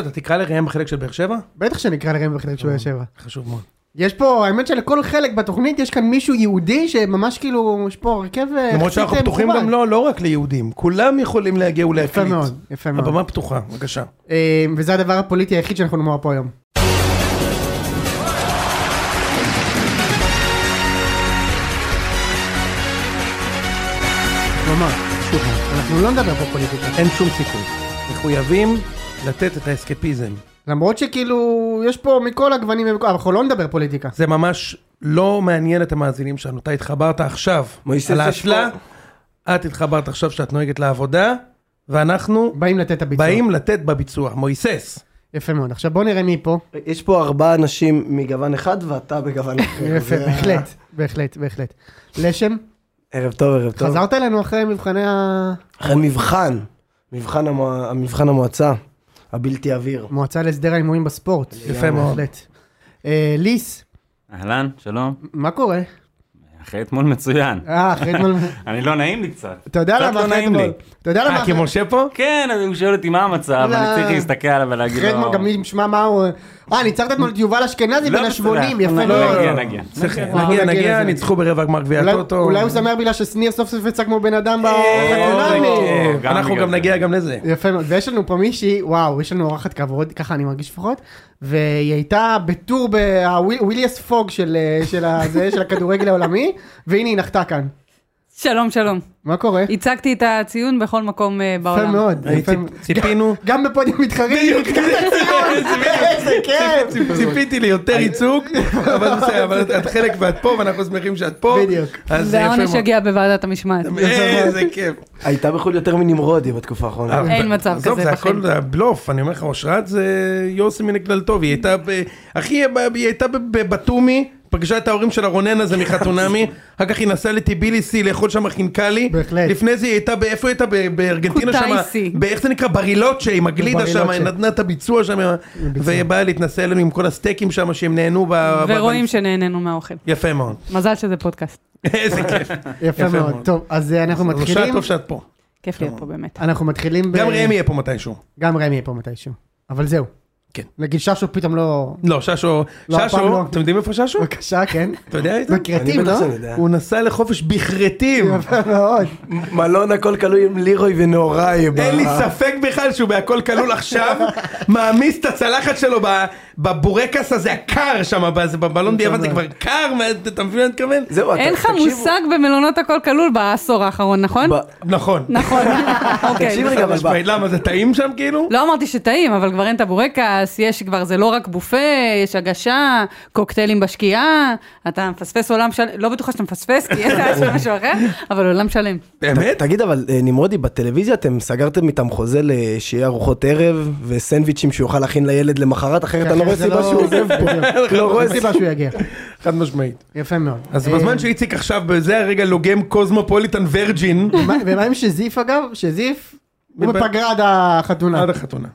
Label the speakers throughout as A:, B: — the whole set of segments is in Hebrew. A: אתה תקרא לראם בחלק של באר שבע?
B: בטח שנקרא לראם בחלק של באר שבע.
A: חשוב מאוד.
B: יש פה, האמת שלכל חלק בתוכנית יש כאן מישהו יהודי שממש כאילו, יש פה הרכב... אה,
A: למרות שאנחנו
B: יחסית, אה,
A: פתוחים
B: מכובד.
A: גם לא, לא רק ליהודים, כולם יכולים להגיע ולהקליט.
B: יפה מאוד, יפה מאוד.
A: הבמה פתוחה, בבקשה.
B: אה, וזה הדבר הפוליטי היחיד שאנחנו נאמר פה היום. ממש, שוב, אנחנו לא נדבר פה פוליטיקה.
A: אין שום סיכוי. מחויבים לתת את האסקפיזם.
B: למרות שכאילו, יש פה מכל הגוונים, ומכל- אבל אנחנו לא נדבר פוליטיקה.
A: זה ממש לא מעניין את המאזינים שלנו. אתה התחברת עכשיו
C: מויסס,
A: על
C: יש
A: האשלה, את התחברת עכשיו שאת נוהגת לעבודה, ואנחנו
B: באים לתת את הביצוע.
A: באים לתת בביצוע. מויסס.
B: יפה מאוד. עכשיו בוא נראה מי פה.
C: יש פה ארבעה אנשים מגוון אחד ואתה בגוון אחר.
B: כן, יפה,
C: זה ה-
B: בהחלט, בהחלט, בהחלט. לשם,
C: ערב טוב, ערב טוב.
B: חזרת אלינו אחרי מבחני
C: אחרי מבחן, מבחן המוע- המבחן המועצה, הבלתי עביר.
B: המועצה להסדר ההימורים בספורט.
A: יפה מאוד.
B: בהחלט. אה, ליס,
D: אהלן, שלום.
B: מה קורה?
D: אחרי אתמול מצוין.
B: אה, אחרי אתמול...
D: אני לא נעים לי קצת.
B: אתה יודע
D: קצת
B: למה
D: לא
B: אחרי
D: נעים לי.
B: אתמול? אתה יודע למה
A: אה, כי
B: אחרי
A: משה פה?
D: כן, אז הוא שואל אותי מה המצב,
B: לא.
D: אני צריך להסתכל עליו ולהגיד
B: אחרי
D: לו...
B: אתמול? גם מי ישמע מה הוא... אה, ניצרת אתמול את יובל אשכנזי
D: לא
B: בין ה-80,
D: בסדר.
B: יפה
D: לא, נגיע,
B: מאוד.
D: נגיע.
A: צריך-
B: וואו,
A: נגיע,
B: נגיע
A: נגיע,
B: לזה.
A: ניצחו ברבע גמר גביע
B: אולי-
A: הטוטו.
B: אולי הוא שמח בגלל ששניר סוף סוף יצא כמו בן אדם
D: אה,
B: בחתונמי.
D: אוקיי.
A: אה,
D: גם
A: אנחנו
D: בגלל
A: גם
D: זה.
A: נגיע גם לזה.
B: יפה מאוד, ויש לנו פה מישהי, וואו, יש לנו אורחת כבוד, ככה אני מרגיש לפחות, והיא הייתה בטור בוויליאס פוג של, אה, של, ה- זה, של הכדורגל העולמי, והנה היא נחתה כאן.
E: שלום, שלום.
B: מה קורה?
E: הצגתי את הציון בכל מקום אה,
B: יפה
E: בעולם.
B: מאוד,
A: אני
B: יפה
A: ציפ-
B: מאוד.
A: ציפינו,
B: גם בפודיום מתחרים, איזה כיף.
A: ציפיתי ליותר ייצוג, אבל בסדר, אבל את- את חלק ואת פה, ואנחנו שמחים שאת פה.
B: בדיוק.
A: אז
E: זה
C: אה,
A: יפה
E: העונש
A: מאוד.
E: יגיע בוועדת המשמעת.
A: איזה כיף.
C: הייתה בחו"ל יותר מנמרודי בתקופה האחרונה.
A: אה.
E: אין מצב
A: עזוב,
E: כזה
A: זה
E: בחיים.
A: הכל זה בלוף, אני אומר לך, אושרת זה יוסי מן הכלל טוב, היא הייתה, ב- אחי, היא ב- היא הייתה בבתומי, פגשה את ההורים שלה רונן הזה מחתונמי, אחר כך היא נסעה לטיביליסי לאכול שם חינקלי,
B: בהחלט.
A: לפני זה היא הייתה, ב- איפה היא הייתה? ב- בארגנטינה שם,
E: קוטאיסי.
A: באיך זה נקרא? ברילוצ'ה, עם הגלידה שם,
B: ברילוצ'ה.
A: היא נתנה את הביצוע שם, והיא באה להתנסה אלינו עם כל הסטייקים שם, שהם נהנו
C: אה,
A: ב...
E: ורואים
A: ב-
E: שנהנינו מהאוכל.
A: יפה מאוד,
E: מזל שזה פודקאסט.
A: איזה כיף,
B: יפה
A: יפה
B: מאוד.
A: מאוד.
B: טוב, אז אה, אנחנו
A: אושרת
B: מתחילים,
A: טוב שאת פה,
E: כיף להיות פה באמת.
C: אה,
B: אנחנו מתחילים, ב-
A: גם ראם יהיה פה מתישהו,
B: גם רמי יהיה פה מתישהו, אבל זהו.
A: כן.
B: נגיד ששו פתאום לא...
A: לא, ששו,
B: לא, הפעם
A: ששו,
B: לא.
A: אתם יודעים איפה ששו?
B: בבקשה, כן.
A: אתה יודע איזה?
B: בקרטים,
C: אני בטח
B: לא?
C: שאני יודע.
A: הוא נסע לחופש בכרתים.
B: יפה מאוד.
C: מלון הכל כלוי עם לירוי ונהוראי. ב-
A: אין לי ספק בכלל שהוא בהכל כלול עכשיו, מעמיס את הצלחת שלו ב- בבורקס הזה הקר שם, בזה- בבלון דיאבן זה כבר קר, מה- אתה מבין מה אני מתכוון?
C: זהו, אתה-
E: אין לך
C: תקשיבו,
E: מושג במלונות הכל כלול בעשור האחרון, נכון?
C: ב-
A: נכון.
E: נכון. אוקיי.
C: תקשיב רגע,
A: חד
C: אבל ב-
A: משמעית. למה זה טעים שם כאילו?
E: לא אמרתי שטעים, אבל כבר אין את הבורקס, יש כבר, זה לא רק בופה, יש הגשה, קוקטיילים בשקיעה, אתה מפספס עולם שלם, לא בטוחה שאתה מפספס, כי יש שם משהו אחר, אבל עולם שלם.
A: באמת?
C: תגיד אבל אה, נמרודי בטלוויזיה אתם סגרתם איתם חוזה לשיהיה ארוחות ערב וסנדוויצ'ים שיוכל להכין לילד למחרת אחרת אני לא רואה
B: כן, זה
C: סיבה שהוא עוזב פה.
B: בדיוק.
C: לא רואה
B: אין סיבה שהוא יגיע.
A: חד משמעית.
B: יפה מאוד.
A: אז
B: אה,
A: בזמן שאיציק עכשיו בזה הרגע לוגם קוזמופוליטן ורג'ין,
B: מה- ומה עם שזיף אגב? שזיף הוא
A: מב-
B: בפגרה עד החתונה.
A: עד החתונה.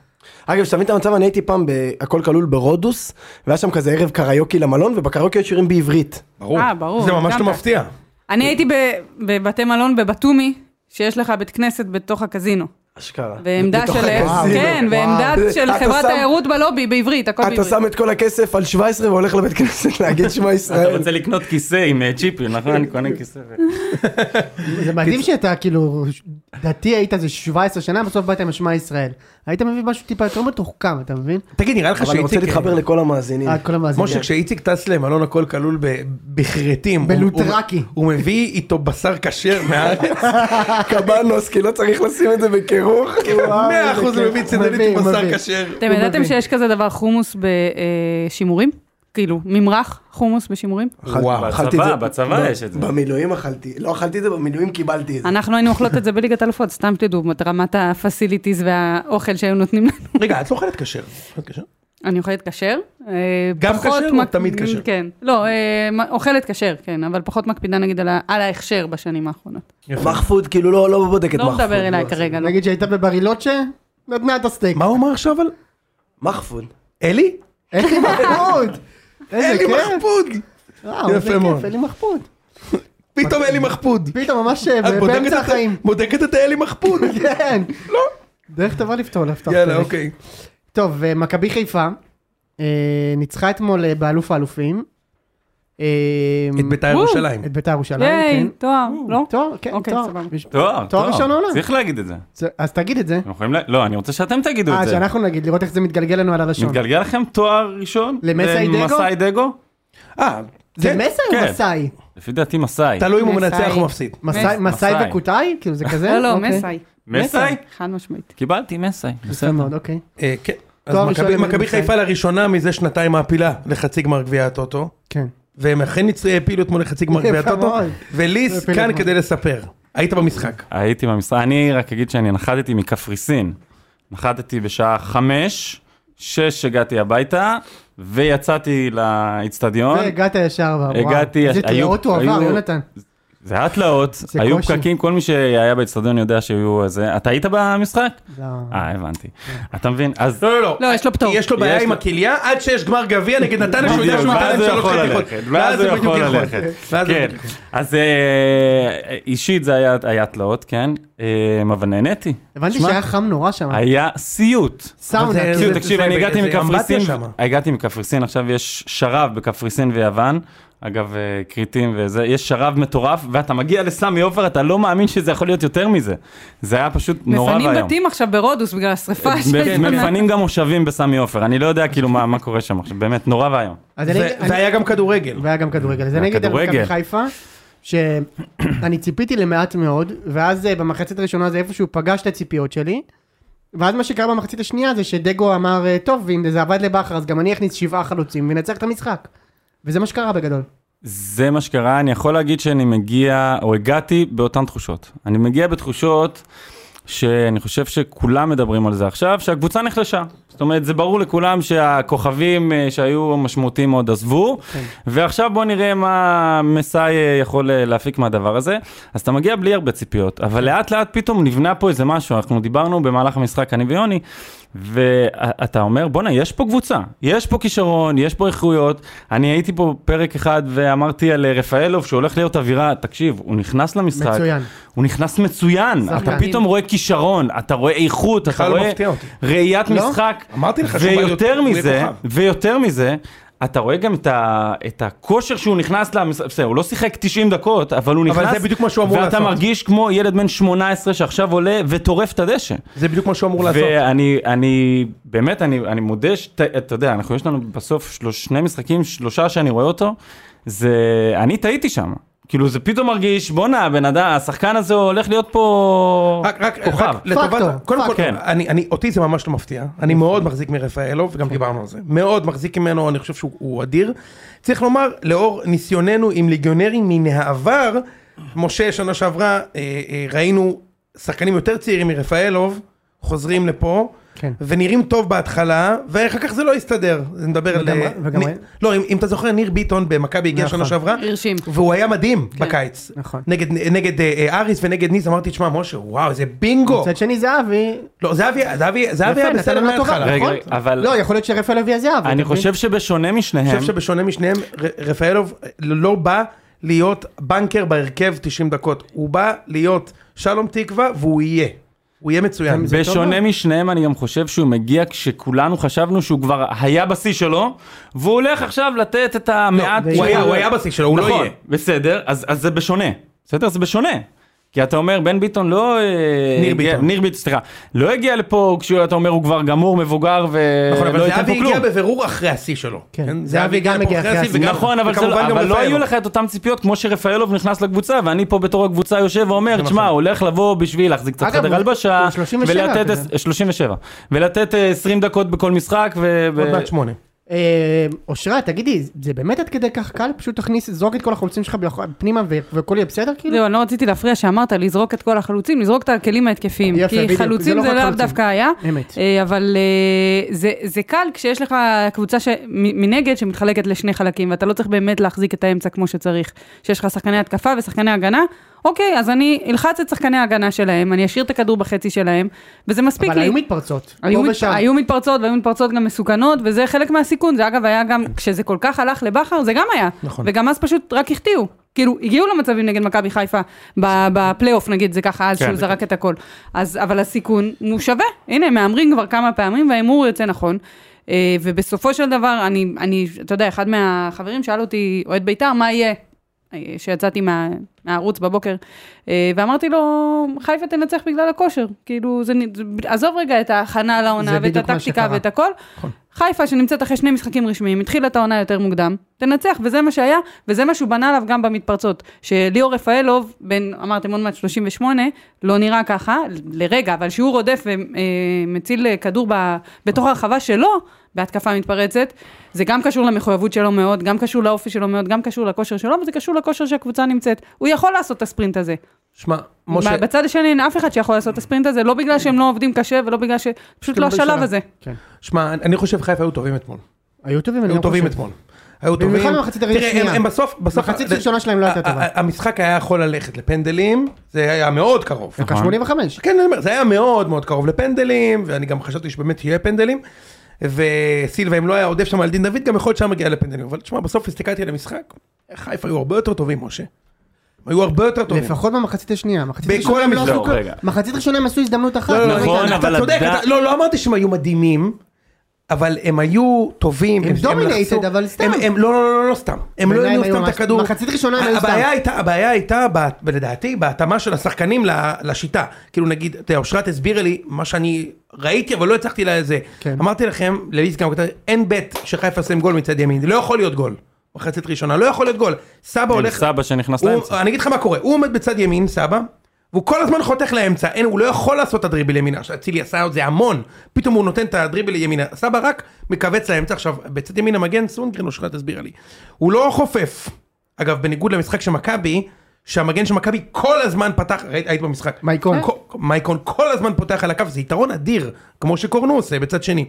C: אגב, שתבין את המצב, אני הייתי פעם בהכל כלול ברודוס, והיה שם כזה ערב קריוקי למלון, ובקריוקי יש שירים בעברית.
A: ברור.
E: אה, ברור,
A: זה ממש לא
E: הקדמת.
A: מפתיע.
E: אני הייתי ב- בבתי מלון בבתומי, שיש לך בית כנסת בתוך הקזינו.
C: אשכרה.
E: ועמדה
C: בתוך
E: של...
C: הקזינו.
E: כן,
C: וואו.
E: ועמדה של
C: אתה
E: חברת
C: שם-
E: תיירות בלובי, בעברית, הכל
C: אתה
E: בעברית.
C: שם את כל הכסף על 17 והולך לבית כנסת להגיד שמע
D: אתה
C: ישראל.
D: רוצה לקנות כיסא עם אה, צ'יפים, נכון? אני קונה כיסא. ו-
B: זה מדהים שאתה כאילו ש- דתי היית איזה 17 שנה בסוף באת עם אשמע ישראל. היית מביא משהו טיפה יותר מתוחכם אתה מבין?
A: תגיד, נראה לך
C: אבל אני רוצה
A: שאיציק...
C: להתחבר לכל המאזינים.
B: אה, כל המאזינים.
A: משה, כשאיציק טס למלון הכל כלול ב- בכרתים, הוא-
B: בלוטרקי.
A: הוא- הוא מביא איתו בשר כשר מהארץ,
C: קבנוס, כי לא צריך לשים את זה בקירוך.
B: וואו,
A: מאה
B: איזה
A: אחוז
B: כיף.
A: מביא צידנית
B: מביא,
A: עם בשר
B: מביא.
A: כשר.
E: אתם
B: הוא
E: ידעתם
B: מבין.
E: שיש כזה דבר חומוס בשימורים? כאילו, ממרח חומוס בשימורים?
A: וואו.
C: אכלתי את זה-
D: בצבא, בצבא יש את זה.
C: במילואים אכלתי, לא אכלתי את זה, במילואים קיבלתי את זה.
E: אנחנו היינו אוכלות את זה בליגת אלופות, סתם תדעו, את רמת הפסיליטיז והאוכל שהיו נותנים לנו.
A: רגע, את לא אוכלת כשר. אוכלת כשר?
E: אני אוכלת כשר. אה,
A: גם
E: פחות
A: כשר או
E: מק-
A: תמיד כשר?
E: כן. לא, אה, מ- אוכלת כשר, כן, אבל פחות מקפידה נגיד על ה- על ההכשר בשנים האחרונות.
C: מחפוד, כאילו לא לא בודק את
E: לא
C: מחפוד.
E: מדבר אליי כרגע, לא.
B: נגיד שהייתה בברילוצ'ה? נתנה את הסטייק.
A: מה הוא אמר עכשיו אבל?
C: מחפוד.
A: אלי?
B: אין לי מחפוד. איזה
A: אלי
B: כיף.
A: מחפוד!
B: וואו, איזה
A: יפה מאוד.
B: כיף, אין לי מחפוד.
A: פתאום אלי מחפוד.
B: פתאום ממש
A: את
B: אה,
A: בודקת
B: באמצע
A: את-
B: החיים.
A: בודקת את האלי מחפוד.
B: כן. דרך טובה לפתור לפתוח.
A: יאללה,
B: פרק.
A: אוקיי.
B: טוב, אה, מכבי חיפה אה, ניצחה אתמול אה, באלוף האלופים. אה,
A: את בית"ר
E: וואו.
A: ירושלים.
B: את בית"ר ירושלים,
E: ייי,
B: כן.
E: תואר, לא?
B: תואר, כן,
E: אוקיי,
B: תואר.
E: סבבה.
B: יש-
F: תואר,
B: תואר ראשון העולם.
F: צריך להגיד את זה.
B: זה- אז תגיד את זה.
F: אתם יכולים ל... לא, אני רוצה שאתם תגידו
B: אה,
F: את זה.
B: שאנחנו נגיד, לראות איך זה מתגלגל לנו על הלשון.
F: מתגלגל לכם תואר ראשון?
B: למסאי דגו?
F: למסאי דגו?
A: אה,
B: זה
A: כן.
B: מסר
F: כן.
B: או מסאי?
F: לפי דעתי מסאי.
A: תלוי אם הוא
E: מסאי.
A: מנצח או מפסיד.
B: מסאי-
E: מס-
B: מסאי
F: מסאי.
B: וקוטאי? כאילו זה כזה?
E: לא, לא,
B: אוקיי.
E: מסאי.
F: מסאי?
E: חד משמעית.
F: קיבלתי מסאי.
B: יפה מאוד, אוקיי.
A: אה, כן. אז
B: תואר
A: מכבי-
B: ראשון כן.
A: מכבי
B: למנצח.
A: חיפה לראשונה מזה שנתיים מעפילה לחצי גמר גביע הטוטו.
B: כן.
A: והם אכן ניצ- הפילו אתמול לחצי גמר
B: יפה
A: גביע הטוטו.
B: מאוד.
A: וליס
B: הפילו
A: כאן
B: אתמול.
A: כדי לספר. היית במשחק.
F: הייתי במשרד, אני רק אגיד שאני נחתתי מקפריסין. נחתתי בשעה חמש, שש הגעתי הביתה, ויצאתי לאיצטדיון.
B: והגעת ישר, וואו.
F: נכון. הגעתי,
B: איזה
F: היו-
B: תלאות הוא עבר,
F: היו-
B: יונתן.
F: זה היה תלאות,
B: זה
F: היו
B: קושי.
F: פקקים, כל מי שהיה באיצטדיון יודע שהיו איזה... אתה היית במשחק?
B: לא.
F: אה, הבנתי. אתה מבין? אז...
A: לא, לא,
E: לא, יש לו פטור.
A: כי יש לו בעיה
F: יש
A: עם
F: לו-
A: הכליה עד שיש גמר גביע נגד נתניה שהוא יודע
F: בדיוק,
A: שהוא נתן להם
F: ואז הוא
A: שלוש
F: יכול
A: חתיכות.
F: ללכת, ואז הוא יכול ללכת.
A: ואז הוא
F: כן,
A: בדיוק יכול.
F: אז אה, אישית זה היה- היה תלאות, כן, אה, אבל נהניתי.
B: הבנתי
F: שמע,
B: שהיה חם נורא שם.
F: היה סיוט.
B: סאונה.
A: זה-
F: תקשיב,
B: כאילו,
F: תקשיב,
A: זה-
F: אני
A: זה-
F: הגעתי
A: זה אמבטיה
F: מקפריסין,
A: שמה.
F: הגעתי מקפריסין, עכשיו יש שרב בקפריסין ויוון, אגב, אה, כרתים וזה, יש שרב מטורף, ואתה מגיע לסמי עופר, אתה לא מאמין שזה יכול להיות יותר מזה. זה היה פשוט נורא ואיום.
E: מפנים בתים עכשיו ברודוס בגלל השרפה
F: מפ- מפנים גם מושבים בסמי עופר, אני לא יודע כאילו מה מה קורה שם עכשיו, באמת, נורא ואיום.
B: אז אני-
A: זה-
B: אני-
A: זה היה גם כדורגל.
B: והיה גם כדורגל. אז
F: היה
B: אני אגיד על מכבי
F: כדורגל.
B: חיפה, שאני ציפיתי למעט מאוד, ואז אה, במחצית הראשונה זה איפשהו פגש את הציפיות שלי, ואז מה שקרה במחצית השנייה זה שדגו אמר, אה, טוב, ואם זה עבד לבכר, אז גם אני אכניס שבעה חלוצים וננצח את המשחק. וזה מה שקרה בגדול.
F: זה מה שקרה, אני יכול להגיד שאני מגיע, או הגעתי באותן תחושות. אני מגיע בתחושות שאני חושב שכולם מדברים על זה עכשיו, שהקבוצה נחלשה. זאת אומרת, זה ברור לכולם שהכוכבים אה, שהיו משמעותיים מאוד עזבו, ועכשיו בואו נראה מה מסאי אה, יכול אה, להפיק מהדבר הזה. אז אתה מגיע בלי הרבה ציפיות, אבל לאט לאט פתאום נבנה פה איזה משהו, אנחנו דיברנו במהלך המשחק, אני ויוני, ואתה אומר, בואנה, יש פה קבוצה, יש פה כישרון, יש פה איכויות. אני הייתי פה פרק אחד ואמרתי על אה, רפאלוב שהולך להיות אווירה, תקשיב, הוא נכנס למשחק,
B: מצוין.
F: הוא נכנס מצוין, אתה
E: מדהים.
F: פתאום רואה כישרון, אתה רואה איכות, אתה
A: בכלל לא
F: רואה
A: מפתיע אותי.
F: ראיית
B: לא?
F: משחק,
A: אמרתי לך שהוא
F: ויותר
A: בעיות-
F: מזה,
A: הוא יהיה כוכב.
F: ויותר מזה, אתה רואה גם את, ה, את הכושר שהוא נכנס למשחק, בסדר, הוא לא שיחק 90 דקות, אבל הוא
A: אבל
F: נכנס,
A: זה בדיוק מה שהוא אמור לעשות.
F: ואתה מרגיש כמו ילד בן 18 שעכשיו עולה וטורף את הדשא.
A: זה בדיוק מה שהוא אמור לעשות.
F: ואני אני באמת אני אני מודה שאתה אתה יודע אנחנו יש לנו בסוף שלוש, שני משחקים שלושה שאני רואה אותו זה אני טעיתי שם כאילו זה פתאום מרגיש בואנה הבן אדם השחקן הזה הולך להיות פה
A: רק,
B: אוקיי.
A: רק,
F: כוכב.
A: רק לטובת,
B: פקטור,
A: קודם כל, כן,
F: פקטור.
A: אני, אני, אותי זה ממש לא מפתיע, אני מאוד מחזיק מרפאלוב, וגם דיברנו על זה, מאוד מחזיק ממנו, אני חושב שהוא הוא אדיר. צריך לומר, לאור ניסיוננו עם ליגיונרים מן העבר, משה שנה שעברה, אה, אה, ראינו שחקנים יותר צעירים מרפאלוב, חוזרים לפה,
B: כן.
A: ונראים טוב בהתחלה, ואחר כך זה לא הסתדר, נדבר על...
B: וגם-
A: אה,
B: וגם-
A: ניר- לא, אם, אם אתה זוכר, ניר ביטון במכבי הגיע
B: נכון.
A: שנה שעברה,
E: הרשים.
A: והוא היה מדהים בקיץ.
B: נכון.
A: נגד, נגד אה, אה, אריס ונגד ניס, אמרתי, תשמע, משה, וואו, זה בינגו.
B: מצד שני זהבי,
A: לא, זהבי, זהבי, זהבי
B: יפה,
A: היה
B: נתן
A: בסדר
B: עונה טובה.
A: מההתחלה.
F: רגע,
A: נכון?
F: רגע, אבל
B: לא, יכול להיות שרפאל אבי הזהב.
F: אני חושב שבשונה
A: אני
F: משניהם
A: חושב שבשונה משניהם, ר- רפאלוב לא בא להיות בנקר בהרכב 90 דקות. הוא בא להיות שלום תקווה, והוא יהיה. הוא יהיה מצוין.
B: זה טוב
F: בשונה
B: מאוד.
F: משניהם אני גם חושב שהוא מגיע כשכולנו חשבנו שהוא כבר היה בשיא שלו והוא הולך עכשיו לתת את המעט
A: הוא היה- הוא היה בשיא שלו, הוא לא
F: נכון,
A: יהיה.
F: בסדר, אז אז זה בשונה. בסדר? זה בשונה. כי אתה אומר, בן ביטון לא... אה,
A: ניר
F: הגיע-
A: ביטון.
F: ניר ביטון, סליחה. לא הגיע לפה כשאתה אומר הוא כבר גמור, מבוגר
A: נכון,
F: ולא
A: אבל
F: ייתן אה, לא פה
A: זהבי
F: כלום.
A: הגיע בבירור אחרי השיא שלו.
B: כן.
A: כן,
B: זהבי גם הגיע אחרי השיא.
A: וגם-
F: נכון, אבל, זה,
A: וכמובן
F: לא-
A: גם
F: אבל לא
A: רפאלוב.
F: היו לך את אותן ציפיות כמו שרפאלוב נכנס לקבוצה, ואני פה בתור הקבוצה יושב ואומר, תשמע, הוא הולך לבוא בשביל להחזיק קצת
B: אגב,
F: חדר
B: הוא-
F: הלבשה,
B: הוא 37
F: ולתת
B: כזה.
F: 37, ולתת אה, 20 דקות בכל משחק, ו...
A: עוד
F: ו-
A: מעט שמונה.
B: אה, אושרת, תגידי, זה באמת עד כדי כך קל? פשוט תכניס, זרוק את כל החולצים שלך ביח- פנימה ו- והכל יהיה בסדר כאילו?
E: זהו, אני לא רציתי להפריע שאמרת לזרוק את כל החלוצים, לזרוק את הכלים ההתקפיים.
B: יפה,
E: כי
B: בדיוק, זה לא
E: חלוצים זה
B: רק
E: לאו
B: חלוצים.
E: דווקא היה.
B: אמת.
E: אה, אבל אה, זה- זה קל כשיש לך קבוצה ש- מ- מנגד שמתחלקת לשני חלקים, ואתה לא צריך באמת להחזיק את האמצע כמו שצריך. שיש לך שחקני התקפה ושחקני הגנה, אוקיי, אז אני אלחץ את שחקני ההגנה שלהם, אני אשאיר את הכדור בחצי שלהם, וזה מספיק
B: אבל
E: לי.
B: היו מתפרצות,
E: היו,
B: פה
E: מת,
B: ושם.
E: היו מתפרצות והיו מתפרצות גם מסוכנות וזה חלק מהסיכון זה אגב היה גם כשזה כל כך הלך לבכר זה גם היה
A: נכון.
E: וגם אז פשוט רק החטיאו כאילו, הגיעו למצבים נגד מכבי חיפה ב- בפלייאוף, נגיד זה ככה, אז
D: כן.
E: שהוא זרק את הכל. אז, אבל הסיכון הוא שווה. הנה, הם מהמרים כבר כמה פעמים, וההימור יוצא נכון. אה, ובסופו של דבר, אני, אני, אתה יודע, אחד מהחברים שאל אותי, אוהד בית"ר, מה יהיה? אה, שיצאתי מה, מהערוץ בבוקר, אה, ואמרתי לו, חיפה תנצח בגלל הכושר. כאילו, זה, נ- זה, עזוב רגע את ההכנה לעונה,
B: זה
E: ואת
B: בדיוק מה
E: הטקטיקה,
B: שקרה.
E: ואת הכל. חיפה שנמצאת אחרי שני משחקים רשמיים, התחילה את העונה יותר מוקדם, תנצח, וזה מה שהיה, וזה מה שהוא בנה עליו גם במתפרצות. שליאור רפאלוב, בן, אמרתם עוד מעט 38, לא נראה ככה, ל- לרגע, אבל שהוא רודף ומציל כדור ב, בתוך הרחבה שלו, בהתקפה מתפרצת, זה גם קשור למחויבות שלו מאוד, גם קשור לאופי שלו מאוד, גם קשור לכושר שלו, וזה קשור לכושר שהקבוצה נמצאת. הוא יכול לעשות את הספרינט הזה.
A: שמע, משה,
E: ב- בצד השני אין אף אחד שיכול לעשות את הספרינט הזה, לא בגלל שהם לא עובדים קשה ולא בגלל ש... פשוט לא השלב הזה.
B: כן.
A: שמע, אני חושב חיפה היו טובים אתמול.
B: היו טובים, אני
A: היו
B: לא חושב.
A: טובים אתמול. היו טובים.
B: במיוחד במחצית הראשונה.
A: תראה, הם- הם בסוף, בסוף...
B: מחצית ראשונה שלהם לא הייתה טובה.
A: ה- ה- המשחק היה יכול ללכת לפנדלים, זה היה מאוד קרוב.
D: נכון.
B: דקה 85.
A: כן, אני אומר, זה היה מאוד מאוד קרוב לפנדלים, ואני גם חשבתי שבאמת יהיה פנדלים. וסילבה, אם לא היה עודף שם על דין דוד, גם יכול להיות שהיה מגיע לפנדלים. אבל תשמע, בסוף הסתכלתי על המשחק, חיפה היו הרבה יותר טובים, משה. הם היו הרבה יותר טובים.
B: לפחות במחצית השנייה. מחצית
A: בכל
B: ראשונה הם לא
A: המשחק.
B: עשו
D: לא,
B: כל-
D: רגע.
B: מחצית ראשונה הם עשו הזדמנות אחת.
A: לא, לא,
B: רגע,
A: לא,
D: נכון,
A: רגע,
D: אבל
A: אתה צודק,
D: עדיין-
A: אתה- לא, לא אמרתי שהם היו מדהימים, אבל הם היו טובים.
B: הם dominated,
A: לחצו-
B: אבל סתם.
A: הם- הם- לא, לא, לא, לא, לא סתם. הם לא
B: בעיניי
A: הניעו
B: הם היו
A: סתם את
B: ממש-
A: הכדור.
B: מחצית ראשונה הם היו
A: הבעיה
B: סתם.
A: הייתה, הבעיה הייתה, ב- לדעתי, בהתאמה של השחקנים ל- לשיטה. כאילו נגיד, אתה יודע, אושרת הסבירה לי מה שאני ראיתי, אבל לא הצלחתי לזה.
B: כן.
A: אמרתי לכם, לליז גם כתב, אין בית שחיפה ישים גול מצד ימין, לא יכול להיות גול. מחצית ראשונה, לא יכול להיות גול. סבא
D: עם
A: הולך...
D: כן, סבא שנכנס
A: הוא-
D: לאמצע.
A: אני אגיד לך מה קורה, הוא עומד בצד ימין, סבא, והוא כל הזמן חותך לאמצע, אין, הוא לא יכול לעשות את הדריבל ימינה, עכשיו, אצילי עשה את זה המון, פתאום הוא נותן את הדריבל ימינה, סבא רק מכווץ לאמצע, עכשיו, בצד ימין המגן סונגרן, או שלך תסבירה לי, הוא לא חופף, אגב, בניגוד למשחק של מכבי, שהמגן של מכבי כל הזמן פתח, ראית, היית במשחק,
B: מייקון.
A: כל- מייקון כל הזמן פותח על הקו, זה יתרון אדיר, כמו שקורנו עושה בצד שני.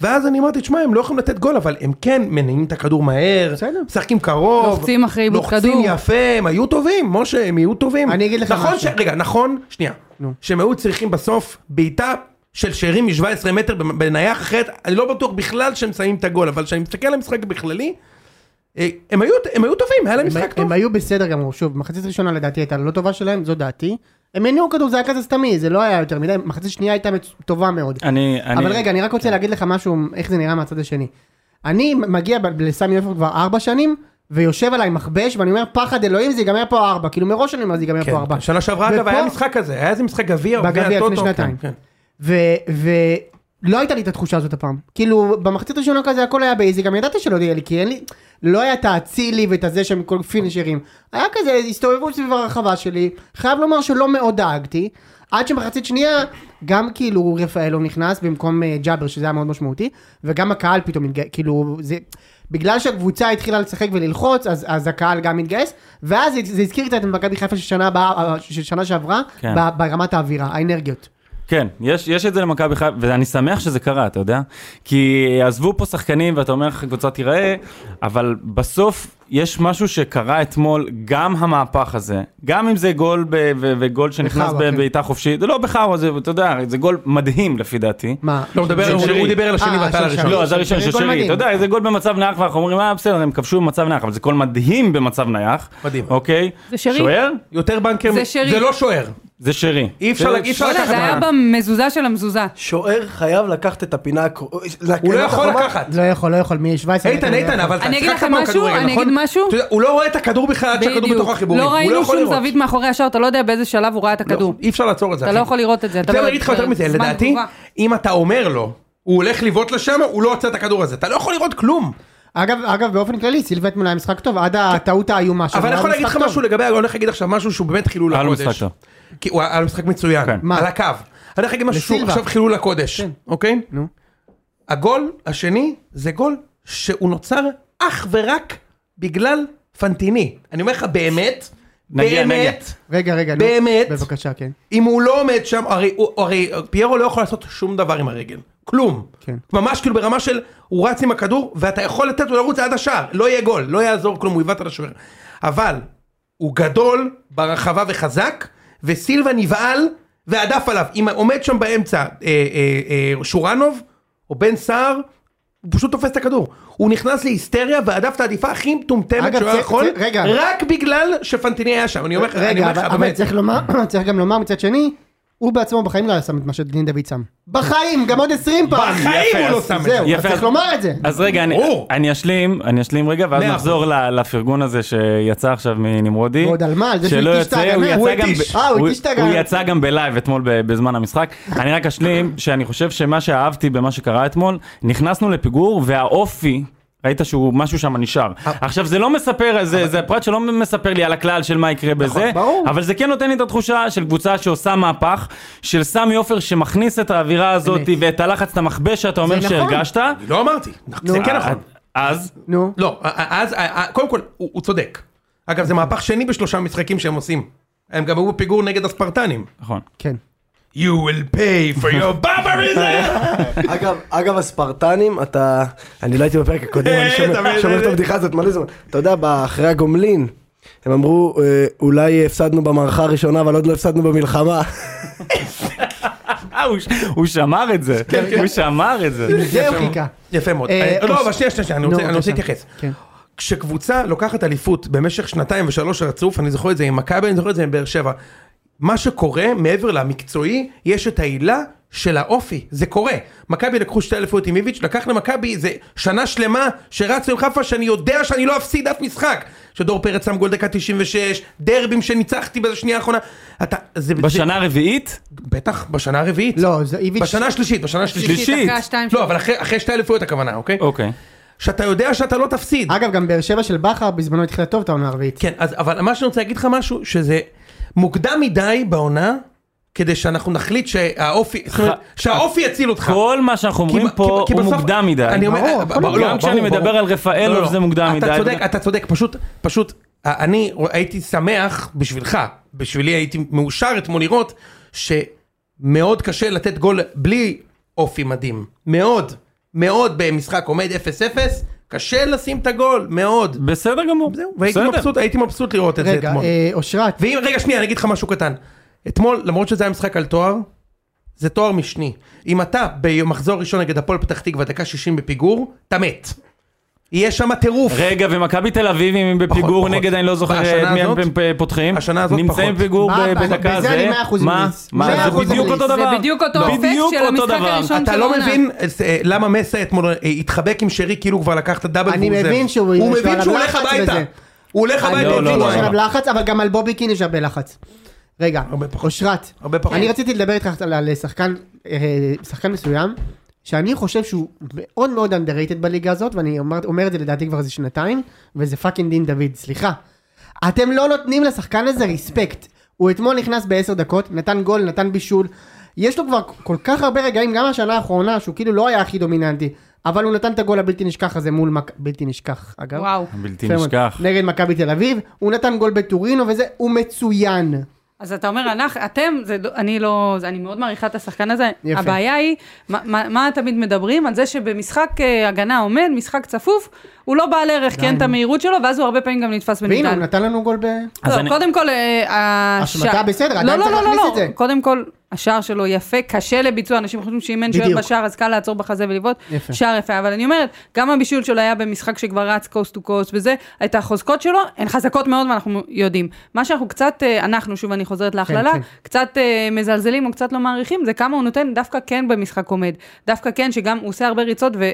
A: ואז אני אמרתי, תשמע, הם לא יכולים לתת גול, אבל הם כן מניעים את הכדור מהר,
B: בסדר.
A: משחקים קרוב,
E: לוחצים אחרי איבוד
A: לוחצים
E: כדור.
A: יפה. יפה, הם היו טובים, משה, הם יהיו טובים.
B: אני אגיד לך
A: נכון ש...
B: משהו.
A: רגע, נכון, שנייה. שהם היו צריכים בסוף בעיטה של שאירים מ-17 מטר בנייח אחרת, אני לא בטוח בכלל שהם שמים את הגול, אבל כשאני מסתכל על המשחק בכללי, אה, הם היו, הם היו טובים, היה להם משחק
B: הם
A: טוב.
B: היו בסדר גמור, שוב, מחצית ראשונה לדעתי הייתה לא טובה שלהם, זו דעתי. הם הניעו כדור, זה היה כזה סתמי, זה לא היה יותר מדי, מחצית שנייה הייתה מצ- טובה מאוד.
D: אני, אני... כן.
B: אבל רגע, אני רק רוצה להגיד לך משהו, איך זה נראה מהצד השני. אני מגיע ב- לסמי עופר כבר ארבע שנים, ויושב עליי מכבש, ואני אומר, פחד אלוהים זה ייגמר פה ארבע, כאילו מראש אני אומר, זה ייגמר
A: כן,
B: פה ארבע.
A: שנה שעברה אגב
B: ופה-
A: היה משחק כזה, היה איזה משחק גביע, או גביע
B: בגביע לפני
A: הטוטו, כן,
B: שנתיים.
A: כן.
B: ולא לא הייתה לי את התחושה הזאת הפעם. כאילו, במחצית הראשונה כזה הכל היה באיזי, גם ידעתי שלא יהיה לי, כי אין לי, לא היה את האצילי ואת הזה שהם כל פינישרים. היה כזה הסתובבות סביב הרחבה שלי, חייב לומר שלא מאוד דאגתי, עד שמחצית שנייה, גם כאילו רפאלו נכנס במקום אה, ג'אבר, שזה היה מאוד משמעותי, וגם הקהל פתאום, התגי- כאילו, זה... בגלל שהקבוצה התחילה לשחק וללחוץ, אז, אז הקהל גם התגייס, ואז זה, זה הזכיר קצת את מכבי חיפה של שנה, הבאה- אה, של שנה שעברה,
D: כן.
B: ב- ברמת האווירה, האנרגיות.
D: כן, יש, יש את זה למכבי חיפה, ואני שמח שזה קרה, אתה יודע? כי עזבו פה שחקנים ואתה אומר איך הקבוצה תיראה, אבל בסוף יש משהו שקרה אתמול, גם המהפך הזה, גם אם זה גול ב, ו, וגול שנכנס
B: בחאווה, כן.
D: בבעיטה חופשית, זה לא בחאווה, זה, אתה יודע, זה גול מדהים לפי דעתי.
B: מה?
A: לא, הוא מדבר- הוא-
D: שרי.
A: הוא דיבר על השני
B: אה,
A: ואתה על
B: של
A: הראשון.
B: שרי.
D: לא, אז הראשון של
B: גול
D: שרי,
B: מדהים.
D: אתה יודע, זה גול במצב נייח, ואנחנו אומרים, אה, בסדר, הם כבשו במצב נייח, אבל זה גול מדהים במצב נייח.
A: מדהים.
D: אוקיי?
E: זה שרי.
D: שוער?
A: יותר בנקר,
E: זה שרי.
A: זה לא שוער.
D: זה שרי.
A: אי אפשר
D: זה-
A: להגיד- אי אפשר
E: וואלה,
A: לקחת
E: זה היה
A: מה-
E: במזוזה של המזוזה.
C: שוער חייב לקחת את הפינה הקרובה.
A: הוא לא יכול לקחת.
B: לא יכול, לא יכול, מי 17
A: איתן,
B: מטר, לא
A: איתן,
B: יכול.
A: אבל אתה
E: אני אגיד
A: שיחקת
E: לכם
A: פעם
E: משהו,
A: כדורגל,
E: אני
A: נכון?
E: אגיד משהו.
A: אתה יודע, הוא לא רואה את הכדור בכלל עד שהכדור בתוך החיבורים.
E: לא
A: הוא יכול
E: ראינו שום
A: לראות.
E: זווית מאחורי השאר, אתה לא יודע באיזה שלב הוא ראה את הכדור.
A: אי אפשר לעצור את זה,
E: אתה
A: אחי.
E: לא יכול לראות את זה, אתה
A: זה
E: לא-
A: אני אגיד לך יותר מזה,
E: זמן
A: לדעתי,
E: תגובה.
A: אם אתה אומר לו, הוא הולך לבעוט לשם, הוא לא עוצר את הכדור הזה. אתה לא יכול לראות כלום.
B: אגב, אגב, באופן כללי, סילבט אתמול היה משחק טוב, עד הטעות האיומה שלו.
A: אבל אני
B: היה
A: יכול להגיד לך
B: משחק
A: משהו
B: טוב.
A: לגבי, אני הולך להגיד עכשיו משהו שהוא לא באמת חילול
D: היה לו
A: הקודש.
D: משחק טוב.
A: כי הוא היה לו משחק מצוין,
D: כן.
B: מה?
A: על הקו. אני הולך להגיד משהו שהוא
B: לסילבה.
A: עכשיו חילול הקודש, אוקיי?
B: נו.
A: הגול השני זה גול שהוא נוצר אך ורק בגלל פנטיני. אני אומר לך, באמת,
D: נגיע, נגיע.
A: באמת,
B: רגע, רגע, נו.
A: באמת?
B: בבקשה, כן.
A: אם הוא לא עומד שם, הרי, הוא, הרי פיירו לא יכול לעשות שום דבר עם הרגל. כלום.
B: כן.
A: ממש כאילו ברמה של, הוא רץ עם הכדור, ואתה יכול לתת לו לרוץ עד השער. לא יהיה גול, לא יעזור כלום, הוא עיוות על השוער. אבל, הוא גדול, ברחבה וחזק, וסילבה נבהל, והדף עליו. אם עומד שם באמצע אה, אה, אה, שורנוב, או בן סער, הוא פשוט תופס את הכדור. הוא נכנס להיסטריה והדף את העדיפה הכי מטומטמת
B: אגב,
A: שהוא
B: צ-
A: היה יכול,
B: צ- רגע.
A: רק בגלל שפנטיני היה שם, אני אומר לך, אני
B: רגע,
A: אומר לך,
B: אבל אבל
A: באמת.
B: צריך לומר- צריך גם לומר מצד שני, הוא בעצמו בחיים לא היה שם את מה שדין דוד שם. בחיים, גם עוד 20 פעם.
A: בחיים הוא לא
B: אז
A: שם את זה.
B: זהו, אז
D: יפה.
B: צריך לומר את זה.
D: אז רגע, אני,
A: ברור.
D: אני אשלים, אני אשלים רגע, ואז
A: מאה אחוז.
D: נחזור ל- לפרגון הזה שיצא עכשיו מנמרודי.
B: ועוד על מה? על זה שהוא
D: שלא
B: התיש את
D: יוצא,
B: ההגנה?
D: הוא
B: הוא
D: יצא גם
B: התיש.
D: ב-
B: אה, הוא
D: הוא-
B: התיש את
D: הוא
B: ההגנה.
D: יצא גם בלייב אתמול ב- בזמן המשחק. אני רק אשלים שאני חושב שמה שאהבתי במה שקרה אתמול, נכנסנו לפיגור והאופי... ראית שהוא משהו שם נשאר. עכשיו זה לא מספר, זה, זה הפרט שלא מספר לי על הכלל של מה יקרה בזה,
B: נכון, ברור.
D: אבל זה כן נותן לי את התחושה של קבוצה שעושה מהפך, של סמי עופר שמכניס את האווירה הזאת
B: אמת.
D: ואת הלחץ, את המכבש שאתה אומר
B: נכון.
D: שהרגשת,
A: אני לא אמרתי, זה
B: אה,
A: כן נכון.
D: אז,
B: נו.
A: לא, אז, אה, אה, קודם כל, הוא הוא צודק. אגב, זה מהפך שני בשלושה משחקים שהם עושים. הם גם היו בפיגור נגד הספרטנים.
D: נכון.
B: כן.
A: You will pay for your barbarism!
C: אגב, אגב הספרטנים, אתה... אני לא הייתי בפרק הקודם, אני
B: אה,
C: שומע-
A: אתה
C: שומע את
A: מבין?
C: הבדיחה הזאת מלא זמן. אתה יודע, אחרי הגומלין, הם אמרו, אה, אולי הפסדנו במערכה הראשונה, אבל עוד לא הפסדנו במלחמה.
D: אה, הוא ש- הוא שמר את זה,
A: כן.
D: הוא שמר את זה.
B: זה הוא חיכה.
A: יפה מאוד.
B: אה,
A: אה, לא,
B: אוש-
A: אבל שנייה, שנייה, שנייה, אני
B: נו,
A: רוצה- אני רוצה
B: בבקשה.
A: להתייחס.
B: כן.
A: כשקבוצה לוקחת אליפות במשך שנתיים ושלוש רצוף, אני זוכר את זה עם מכבי, אני זוכר את זה עם באר שבע. מה שקורה מעבר למקצועי, יש את העילה של האופי, זה קורה. מכבי לקחו שתי אליפויות עם איביץ', לקח למכבי איזה שנה שלמה שרצו עם חיפה שאני יודע שאני לא אפסיד אף משחק. שדור פרץ שם גול דקה 96, דרבים שניצחתי בשנייה האחרונה. אתה, זה,
D: בשנה הרביעית,
A: זה, בטח, בשנה הרביעית.
B: לא, זה איביץ'.
A: בשנה השלישית, בשנה השלישית.
D: שלישית.
E: דקה, שתיים,
A: לא,
E: שלוש.
A: אבל אחרי, אחרי שתי אליפויות הכוונה, אוקיי?
D: אוקיי.
A: שאתה יודע שאתה לא תפסיד.
B: אגב, גם באר שבע של בכר בזמנו התחילה טוב את העונה הרביעית.
A: כן, אז אבל מה שאני רוצה להגיד לך משהו, שזה מוקדם מדי בעונה, כדי שאנחנו נחליט שהאופי, זאת אומרת, שהאופי יציל אותך.
D: כל מה שאנחנו אומרים
A: כי-
D: פה
A: כי
D: הוא
A: בסוף-
D: מוקדם מדי.
A: אני אומר,
B: ברור,
A: אה,
B: הכל
A: ברור,
D: גם
A: ברור,
D: כשאני
A: ברור.
D: מדבר על רפאלוב
A: לא, לא.
D: זה מוקדם מדי.
A: אתה צודק, אתה צודק, פשוט, פשוט, אה, אני רוא- הייתי שמח בשבילך, בשבילי הייתי מאושר אתמול לראות, שמאוד קשה לתת גול בלי אופי מדהים. מאוד, מאוד במשחק עומד 0-0, קשה לשים את הגול, מאוד.
D: בסדר גמור.
A: זהו, והייתי
D: בסדר.
A: מבסוט, הייתי מבסוט לראות את זה
B: רגע,
A: אתמול.
B: אה, אושרת,
A: ואם, רגע, שנייה, אני אגיד לך משהו קטן. אתמול, למרות שזה היה משחק על תואר, זה תואר משני. אם אתה במחזור ראשון נגד הפועל פתח תקווה, דקה 60 בפיגור, אתה מת. יהיה שם טירוף.
D: רגע, ומכבי תל אביב, אם הם בפיגור
A: פחות.
D: נגד, אני לא זוכר
A: בשנה
D: את מי הם
A: נכון, הזאת-
D: פ- פותחים.
A: השנה הזאת
D: נמצאים
A: פחות.
D: בפיגור
B: מה,
D: ב-
B: אבל
D: בדקה
B: בזה
D: זה.
B: אני מאה אחוז
D: מה?
B: מליץ. מאה
D: מה? זה
B: אחוז
D: בדיוק
B: מליץ.
D: אותו
E: זה
D: דבר.
E: בדיוק אותו אפקט
D: בדיוק
E: של
D: אותו
E: המשחק
D: דבר.
E: הראשון.
A: אתה
E: של
A: לא
E: העונה.
A: מבין אה, אה, למה מסע אתמול אה, התחבק עם שרי כאילו הוא כבר לקח את הדאבל.
B: אני
A: והוא זה.
B: מבין שהוא-
A: הוא
B: יש לו
A: מבין
B: עליו
A: שהוא הולך
B: לחץ
A: הביתה.
B: וזה.
A: הוא הולך
B: אני
A: הביתה
D: לא,
A: עוד
D: לא,
B: מבין
D: לא,
B: יש
A: שבועיים.
B: עליו לחץ, אבל גם על בובי קין יש הרבה לחץ. רגע,
A: הרבה פחות.
B: אושרת,
A: הרבה פחות.
B: אני רציתי לדבר איתך על- על שחקן אה, שחקן מסוים, שאני חושב שהוא מאוד מאוד underrated בליגה הזאת, ואני אומר- אומר את זה לדעתי כבר איזה שנתיים, וזה פאקינג דין דוד, סליחה. אתם לא נותנים לשחקן הזה ריספקט. הוא אתמול נכנס בעשר דקות, נתן גול, נתן בישול. יש לו כבר כל כך הרבה רגעים, גם השנה האחרונה, שהוא כאילו לא היה הכי דומיננטי, אבל הוא נתן את הגול הבלתי נשכח הזה מול מק... בלתי נשכח, אגב.
E: וואו.
D: בלתי
A: כן,
B: יפה מאוד.
D: נשכח.
B: נגד מכבי תל אביב, הוא נתן גול בטורינו וזה, הוא מצוין.
E: אז אתה אומר, אנחנו, אתם, זה, לא- אני לא, זה- אני מאוד מעריכה את השחקן הזה.
B: יפה.
E: יפה. הבעיה היא, מה, מה, מה תמיד מדברים? על זה שבמשחק אה, הגנה עומד, משחק צפוף, הוא לא בעל ערך, כי אין את המהירות שלו, ואז הוא הרבה פעמים גם נתפס
B: והנה, הוא
E: בנדל.
B: נתן לנו גול ב...
D: אז
E: לא,
D: אני-
E: קודם כל, אה, הש-
B: השמטה בסדר,
E: לא,
B: עדיין
E: לא,
B: צריך
E: לא, לא,
B: להכניס את
E: לא,
B: זה.
E: קודם כל, השער שלו יפה, קשה לביצוע, אנשים חושבים שאם אין שוער
B: בדיוק.
E: בשער אז קל לעצור בחזה ולבעוט,
B: יפה.
E: שער יפה, אבל אני אומרת, גם הבישול שלו היה במשחק שכבר רץ קוסט טו קוסט וזה, את החוזקות שלו, הן חזקות מאוד ואנחנו יודעים. מה שאנחנו קצת, אה, אנחנו, שוב אני חוזרת להכללה,
B: כן.
E: קצת אה, מזלזלים או קצת לא מעריכים, זה כמה הוא נותן דווקא כן במשחק עומד, דווקא כן שגם הוא עושה הרבה ריצות ו...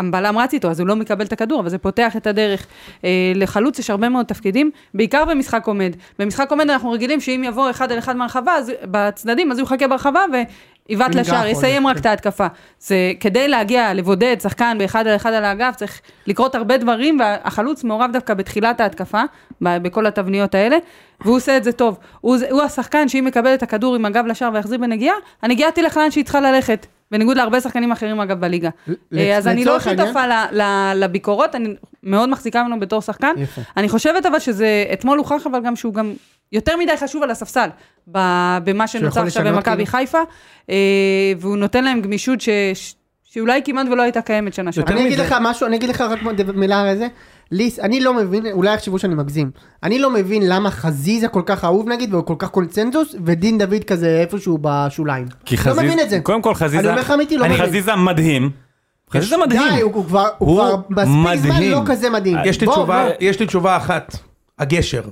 E: אמבלם רץ איתו, אז הוא לא מקבל את הכדור, אבל זה פותח את הדרך. אה, לחלוץ יש הרבה מאוד תפקידים, בעיקר במשחק עומד. במשחק עומד אנחנו רגילים שאם יבוא אחד על אחד מהרחבה, אז בצדדים, אז הוא יחכה ברחבה ויבעט
B: ינגח
E: לשער,
B: עוד,
E: יסיים רק
B: כן.
E: את ההתקפה. זה כדי להגיע, לבודד שחקן באחד על אחד על האגף, צריך לקרות הרבה דברים, והחלוץ מעורב דווקא בתחילת ההתקפה, ב- בכל התבניות האלה, והוא עושה את זה טוב. הוא, זה- הוא השחקן שאם יקבל את הכדור עם הגב לשער ויחזיר בנגיעה, הנגיעה תלך לאן שהיא צריכה ללכת. בניגוד להרבה שחקנים אחרים אגב בליגה.
B: ל-
E: אה, אז אני לא
B: לצורך העניין-
E: שותפה ל- ל- לביקורות, אני מאוד מחזיקה ממנו בתור שחקן.
B: יפה.
E: אני חושבת אבל שזה, אתמול הוכח אבל גם שהוא גם יותר מדי חשוב על הספסל, ב- במה שנוצר
B: יכול
E: עכשיו
B: לשנות,
E: במכבי
B: כאילו.
E: חיפה, אה, והוא נותן להם גמישות ש... ש- שאולי כמעט ולא הייתה קיימת שנה שעברה.
B: אני אגיד לך משהו, אני אגיד לך רק מילה על זה. ליס, אני לא מבין, אולי יחשבו שאני מגזים. אני לא מבין למה חזיזה כל כך אהוב נגיד, והוא כל כך קונצנזוס, ודין דוד כזה איפשהו בשוליים.
D: כי
B: לא
D: חזיז,
B: מבין את זה.
D: קודם כל חזיזה,
B: אני אומר לך אמיתי, לא
D: אני
B: מבין.
D: חזיזה מדהים,
F: זה
B: די,
F: מדהים.
B: הוא הוא כבר, הוא
F: הוא
B: כבר מספיק זמן
F: מדהים.
B: לא כזה מדהים.
D: אה,
A: יש לי
B: בוא,
A: תשובה,
B: בוא.
A: יש לי תשובה אחת, הגשר.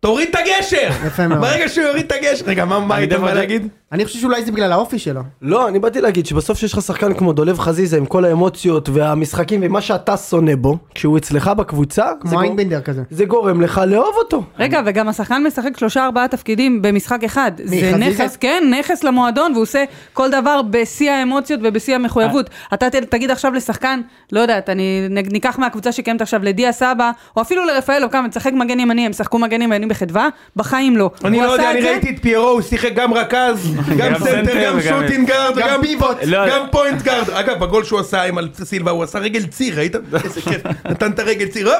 A: תוריד את הגשר!
B: יפה מאוד.
A: ברגע שהוא יוריד את הגשר, רגע, מה- מה היית בא להגיד?
B: אני חושב שאולי זה בגלל האופי שלו.
C: לא, אני באתי להגיד שבסוף שיש לך שחקן כמו דולב חזיזה עם כל האמוציות והמשחקים ומה שאתה שונא בו, כשהוא אצלך בקבוצה, זה
B: כמו
C: גור-
B: איינבינדר כזה.
C: זה גורם לך לאהוב אותו.
E: רגע, וגם השחקן משחק שלושה ארבעה תפקידים במשחק אחד.
B: מי,
E: זה
B: חזיזה?
E: נכס, כן, נכס למועדון, והוא עושה כל דבר בשיא האמוציות ובשיא המחויבות. אתה ת- תגיד עכשיו לשחקן, לא יודעת, אני נג- ניקח מהקבוצה שקיימת עכשיו לדיה סבא, או אפילו לרפאלו, כמה, תשחק מגן ימני, הם שחקו מגן ימני בחדווה, בחיים לא.
A: אני
E: הוא
A: לא
E: עשה
A: יודע,
E: את
A: אני
E: זה-
A: ראיתי את פיירו, הוא שיחק גם רכז, גם
F: גם
A: סנטר,
F: סנטר
A: גם
F: וגם-
A: שוטינג גארד,
B: גם
A: וגם
B: פיבוט.
F: לא,
A: גם פוינט גארד. אגב, בגול שהוא עשה עם אלפסה סילבה, הוא עשה רגל ציר, ראית? איזה כיף. נתן את הרגל ציר, הופ!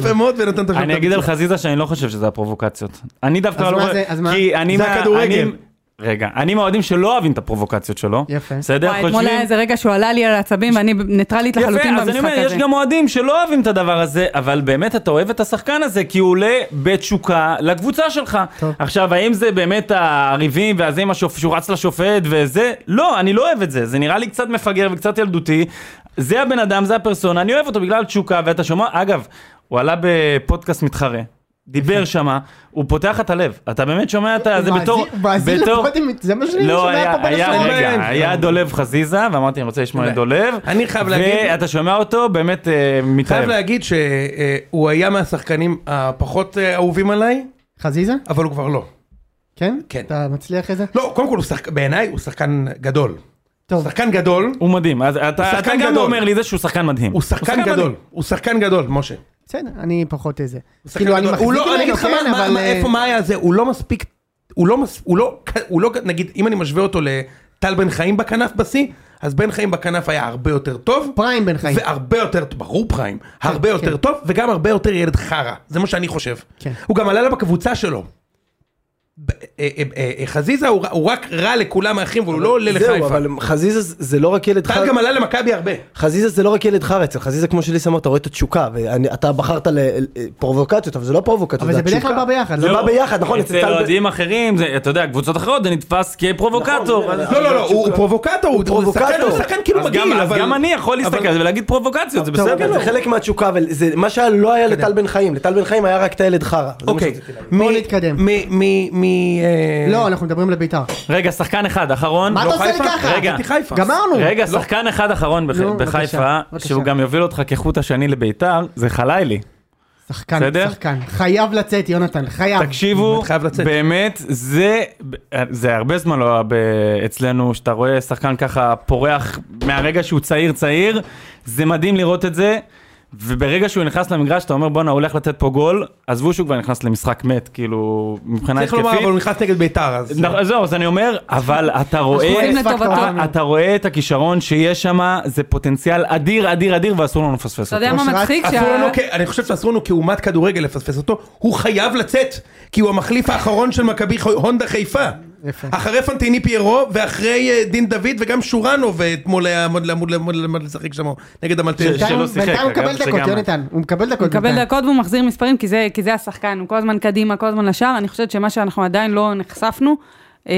A: יפה מאוד, ונתן את השופט.
F: אני אגיד על חזיזה שאני לא חושב שזה הפרובוקציות. אני דווקא
B: אז
F: לא...
B: מה
F: רואה-
B: זה- אז מה?
F: כי אני
A: זה
F: מה-
A: הכדורגל.
F: אני- רגע, אני מהאוהדים שלא אוהבים את הפרובוקציות שלו.
B: יפה.
F: בסדר?
E: וואי, אתמול היה איזה רגע שהוא עלה לי על העצבים, ואני ניטרלית לחלוטין
F: יפה, אז אני
E: במשחק
F: אומר, יש
E: הזה.
F: גם אוהדים שלא אוהבים את הדבר הזה, אבל באמת אתה אוהב את השחקן הזה, כי הוא עולה בתשוקה לקבוצה שלך.
B: טוב.
F: עכשיו, האם זה באמת הריבים, והזה עם השופט, שהוא רץ לשופט וזה? לא, אני לא אוהב את זה, זה נראה לי קצת מפגר וקצת ילדותי. זה הבן אדם, זה הפרסונה, אני אוהב אותו בגלל תשוקה, ואתה שומע, אגב, הוא עלה בפודקאסט מתחרה. דיבר שמה, הוא פותח את הלב, אתה באמת שומע את ה... זה
B: הוא
F: בתור...
B: מאזין- הוא מאזין
F: בתור-
B: לפודים, זה מה שאני
F: לא,
B: שומע
F: היה,
B: פה בין
F: היה,
B: השאלה.
A: אין.
F: רגע, היה דולב חזיזה, ואמרתי, אני רוצה לשמוע את דולב.
A: אני חייב להגיד-
F: ואתה שומע אותו, באמת אה,
A: חייב
F: מתאהב.
A: להגיד שהוא אה, היה מהשחקנים הפחות אה, אהובים עליי,
B: חזיזה?
A: אבל הוא כבר לא.
B: כן?
A: כן.
B: אתה מצליח את זה?
A: לא, קודם כל, הוא שחק- בעיניי הוא שחקן גדול.
B: טוב,
A: שחקן גדול,
F: הוא מדהים, אז אתה,
A: שחקן
F: אתה גם
A: גדול.
F: אומר לי זה שהוא שחקן מדהים.
A: הוא שחקן גדול. הוא שחקן גדול, משה.
B: בסדר, אני פחות איזה.
A: הוא שחקן
B: כאילו, אני
A: גדול.
B: מחזיק
A: הוא לא- אני אגיד
B: ממנו,
A: לך מה-
B: כן,
A: מה-
B: אבל...
A: מה- איפה,
B: אה,
A: מה היה זה, הוא לא מספיק, הוא לא, מס- הוא לא, הוא לא, נגיד, אם אני משווה אותו לטל בן חיים בכנף בשיא, אז בן חיים בכנף היה הרבה יותר טוב.
B: פריים בן חיים.
A: והרבה יותר, ברור פריים, הרבה יותר
B: כן.
A: טוב, וגם הרבה יותר ילד חרא, זה מה שאני חושב.
B: כן.
A: הוא גם עלה לה בקבוצה שלו. ב- אה, אה, אה, חזיזה הוא ר- הוא רק רע לכולם האחרים, והוא לא עולה
C: זהו,
A: לחיפה.
C: אבל חזיזה זה- זה לא רק ילד
A: טל
C: חרא,
A: גם עלה למכבי הרבה.
C: חזיזה זה לא רק ילד חרא, אצל חזיזה כמו שליס אמר, אתה רואה את התשוקה, ואתה בחרת לפרובוקציות, אבל זה לא פרובוקציות,
B: אבל
C: זה
B: זה בדרך
C: התשוקה.
B: כלל בא ביחד.
C: זה
B: לא?
C: בא ביחד, נכון, אצל
F: אצל
C: טל בן-
F: אוהדים אחרים, זה- אתה יודע, קבוצות אחרות, זה נתפס כפרובוקטור. אז-
A: לא, לא, לא, הוא הוא פרובוקטור, הוא הוא
C: פרובוקטור.
A: שחקן, הוא שחקן כאילו
F: אז גם-
A: מגעיל,
F: אז
A: אבל... לא.
F: גם אני יכול להסתכל על זה ולהגיד פרובוקציות, זה
C: טוב, אבל
F: בסדר.
C: זה חלק מהתשוקה, אבל זה מה שהיה לא היה לטל בן חיים, לטל בן חיים היה רק את הילד חרא. זה מה
A: כן. אוקיי,
C: שרציתי להגיד.
A: מ-
B: בואו
F: כן.
B: נתקדם.
A: מ... מ... מ... אה,
B: לא, אנחנו מדברים לבית"ר.
F: רגע, שחקן אחד, אחרון.
B: מה
F: לא
B: אתה עושה לי
A: חיפה? לא.
B: ככה?
F: רגע.
A: אמרתי חיפה.
B: גמרנו.
F: רגע, שחקן אחד אחרון בח-
B: נו,
F: בחיפה,
B: בבקשה, בבקשה.
F: שהוא גם יוביל אותך כחוט השני לביתר, זה חלילי.
B: שחקן,
F: בסדר?
B: שחקן. חייב לצאת, יונתן, חייב.
A: אה.
F: תקשיבו,
A: באמת חייב לצאת.
F: באמת, זה, זה הרבה זמן לא היה ב- אצלנו, שאתה רואה שחקן ככה פורח מהרגע שהוא צעיר צעיר, זה מדהים לראות את זה, וברגע שהוא נכנס למגרש, אתה אומר בואנה, הוא הולך לתת פה גול, עזבו שהוא כבר נכנס למשחק מת, כאילו, מבחינה
A: צריך לומר, אבל הוא
F: התקפית.
A: נכנס נגד ביתר, אז...
F: נכון, זהו, אז אני אומר, אבל אתה רואה...
E: קוראים
B: אקס פקטור
E: לטובתו.
B: לנו.
F: אתה רואה את הכישרון שיש שם, זה פוטנציאל אדיר, אדיר, אדיר, ואסור לנו לפספס אותו.
E: אתה יודע מה
B: אושרת,
E: מצחיק?
A: אסור
E: שה-
B: נכון.
A: לנו, כ- אני חושב שאסור לנו כאומת כדורגל לפספס אותו, הוא חייב לצאת, כי הוא המחליף האחרון של מכבי ח- הונדה חיפה.
B: יפה.
A: אחרי פנטיני פיירו, ואחרי אה, דין דוד, וגם שורנו, ואתמול היה אמור- אמור- אמור- אמור לשחק שם נגד המלטז.
F: ש- שלא
B: בינתיים-
F: שיחק,
B: בינתיים הוא
F: אגב,
B: מקבל
F: זה
B: דקות,
F: גם-
B: יונתן. הוא מקבל דקות.
E: הוא מקבל
B: בינתיים.
E: דקות והוא מחזיר מספרים, כי זה, כי זה השחקן, הוא כל הזמן קדימה, כל הזמן לשער. אני חושבת שמה שאנחנו עדיין לא נחשפנו, אה,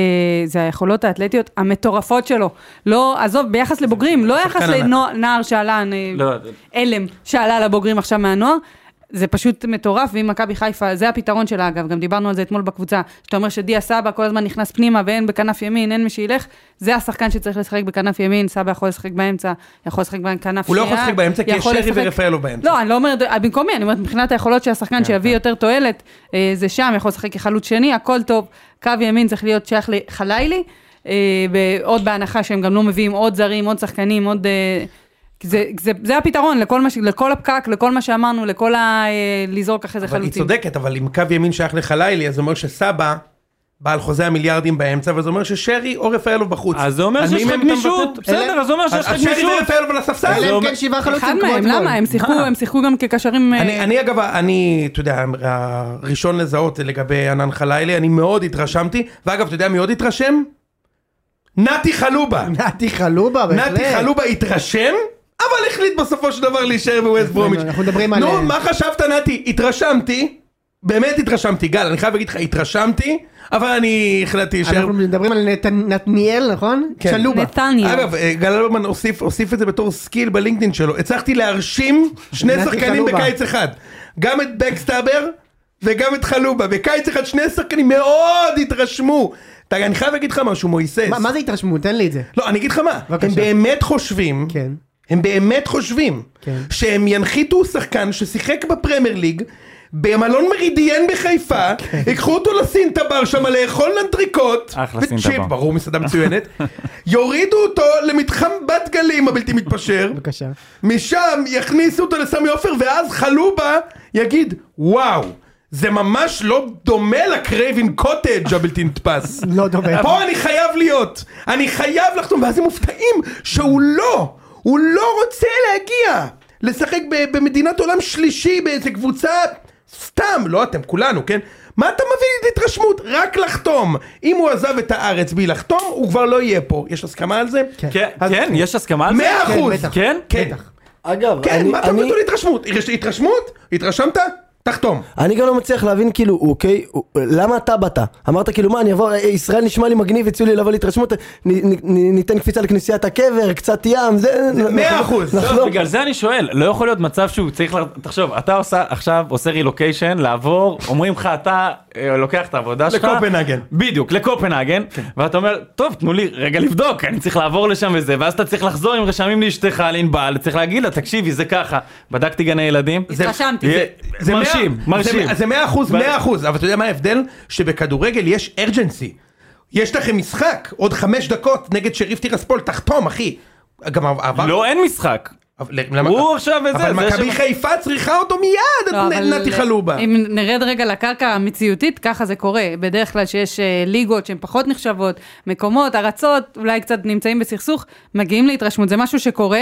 E: זה היכולות האתלטיות המטורפות שלו. לא, עזוב, ביחס לבוגרים, לא יחס
A: ענק.
E: לנער שעלה, אה,
F: לא,
E: אלם שעלה לבוגרים עכשיו מהנוער. זה פשוט מטורף, ואם מכבי חיפה, זה הפתרון שלה אגב, גם דיברנו על זה אתמול בקבוצה, שאתה אומר שדיה סבא כל הזמן נכנס פנימה ואין בכנף ימין, אין מי שילך, זה השחקן שצריך לשחק בכנף ימין, סבא יכול לשחק באמצע, יכול לשחק בכנף שנייה.
A: הוא לא יכול לשחק באמצע, כי יש
E: יכול
A: שרי
E: לשחק-
A: ורפאלו באמצע. כן,
E: לא, אני לא אומרת, במקומי, אני אומרת, מבחינת היכולות של השחקן שיביא יותר תועלת, אה, זה שם, יכול לשחק כחלוץ שני, הכל טוב. קו ימין צריך להיות שייך לחלילי, אה, ב- עוד בהנחה שהם גם לא מביאים עוד זרים, עוד שחקנים, עוד... אה, זה, זה, זה הפתרון לכל, מה, ש- לכל הפקק, לכל מה שאמרנו, לכל ה... אה, לזרוק אחרי זה
A: אבל היא
E: חלוצים.
A: צודקת, אבל אם קו ימין שייך לחלילי, אז זה אומר שסבא בעל חוזה המיליארדים באמצע, וזה אומר ששרי או רפאלו בחוץ.
F: אז זה אומר
A: אז
F: שיש
A: מי
F: לך
A: מהם אתה
F: גמישות,
A: מוותר?
F: בסדר, אז זה אומר שיש לך
A: אז שרי
F: גמישות.
A: ורפאלו על הספסל.
B: אלא
F: זה
B: אם
F: אומר-
B: כן שבעה
E: אחד
B: חלוצים כמו
E: מהם,
B: אתמול.
E: למה? הם שיחקו, הם שיחקו גם כקשרים... אה,
A: אה. אני, אני אגב, אני, אתה יודע, הראשון לזהות לגבי ענן חלילי, אני מאוד התרשמתי, ואגב, אתה יודע מי עוד התרשם? נתי חלובה.
B: נתי חלובה, בהחלט.
A: נתי חלובה התרשם, אבל החליט בסופו של דבר להישאר בווסט ברומית.
B: אנחנו מדברים על-
A: נו, מה חשבת נתי? התרשמתי, באמת התרשמתי, גל, אני חייב להגיד לך, התרשמתי, אבל אני החלטתי להישאר.
B: אנחנו מדברים על נת- נתניאל, נכון?
A: כן.
B: שלובה.
E: נתניה.
A: אגב, אה, גל אלברמן הוסיף, הוסיף את זה בתור סקיל בלינקדאין שלו. הצלחתי להרשים שני
B: נתי
A: שחקנים
B: חלובה.
A: בקיץ אחד. גם את בקסטאבר וגם את חלובה. בקיץ אחד שני שחקנים מאוד התרשמו. אתה- אני חייב להגיד לך משהו, מויסס.
B: מה מה זה התרשמות? תן לי את זה.
A: לא, אני אגיד לך מה.
B: בבקשה.
A: הם באמת חושבים,
B: כן.
A: הם באמת חושבים,
B: כן.
A: שהם ינחיתו שחקן ששיחק בפרמייר ליג. במלון מרידיאן בחיפה,
B: כן.
A: ייקחו אותו לסינטבר שם לאכול אנטריקוט,
D: אחלה
A: וצ'יפ,
D: סינטבר.
A: ברור מסעדה מצוינת, יורידו אותו למתחם בת גלים הבלתי מתפשר,
B: בבקשה.
A: משם יכניסו אותו לסמי עופר ואז חלובה יגיד וואו, זה ממש לא דומה לקרייבין קוטג' הבלתי נתפס.
B: לא דומה.
A: פה אני חייב להיות, אני חייב לחתום, ואז הם מופתעים שהוא לא, הוא לא רוצה להגיע לשחק ב- במדינת עולם שלישי באיזה קבוצה, סתם, לא אתם, כולנו, כן? מה אתה מביא לי את התרשמות? רק לחתום. אם הוא עזב את הארץ בלי לחתום, הוא כבר לא יהיה פה. יש הסכמה על זה?
B: כן.
D: כן,
A: אז-
D: כן, יש הסכמה על זה?
A: מאה אחוז.
B: בטח.
D: כן?
A: כן,
B: בטח.
C: אגב,
A: כן,
C: אני-
A: מה אתה
C: אני-
A: מביא לי התרשמות? יש- התרשמות? התרשמת? תחתום.
C: אני גם לא מצליח להבין כאילו, אוקיי, הוא- למה אתה באת? אמרת כאילו, מה, אני אבוא, אה, ישראל נשמע לי מגניב, הציעו לי לבוא להתרשמות, נ- נ- נ- ניתן קפיצה לכנסיית הקבר, קצת ים, זה... נ-
A: מאה
C: נחזור-
A: אחוז.
D: לא,
C: נחזור.
D: בגלל זה אני שואל, לא יכול להיות מצב שהוא צריך, ל- תחשוב, אתה עושה עכשיו עושה רילוקיישן, לעבור, אומרים לך אתה אה, לוקח את העבודה שלך,
A: לקופנהגן.
D: בדיוק, לקופנהגן, ואתה אומר, טוב, תנו לי רגע לבדוק, אני צריך לעבור לשם וזה, ואז אתה צריך לחזור עם רשמים לאשתך, לענבל, צריך להגיד לה, תקשיבי, זה ככה, בדקתי גני ילדים,
E: התרשמתי.
D: זה-
A: זה מאה-
D: מרשים,
A: זה-
D: מרשים.
A: זה מאה אחוז,
D: ב-
A: מאה אחוז, אבל אתה יודע מה ההבדל? שבכדורגל יש ארג'נסי. יש לכם משחק, עוד חמש דקות נגד שריף טירספול, תחתום אחי. גם עבר...
D: לא, אין משחק.
A: אבל- למה-
D: הוא עכשיו וזה,
A: אבל
D: זה
A: מכבי
D: ש-
A: חיפה צריכה אותו מיד,
E: לא,
A: את נ-
E: אבל
A: נתי חלובה.
E: אם נרד רגע לקרקע המציאותית, ככה זה קורה. בדרך כלל שיש אה, ליגות שהן פחות נחשבות, מקומות, ארצות, אולי קצת נמצאים בסכסוך, מגיעים להתרשמות. זה משהו שקורה,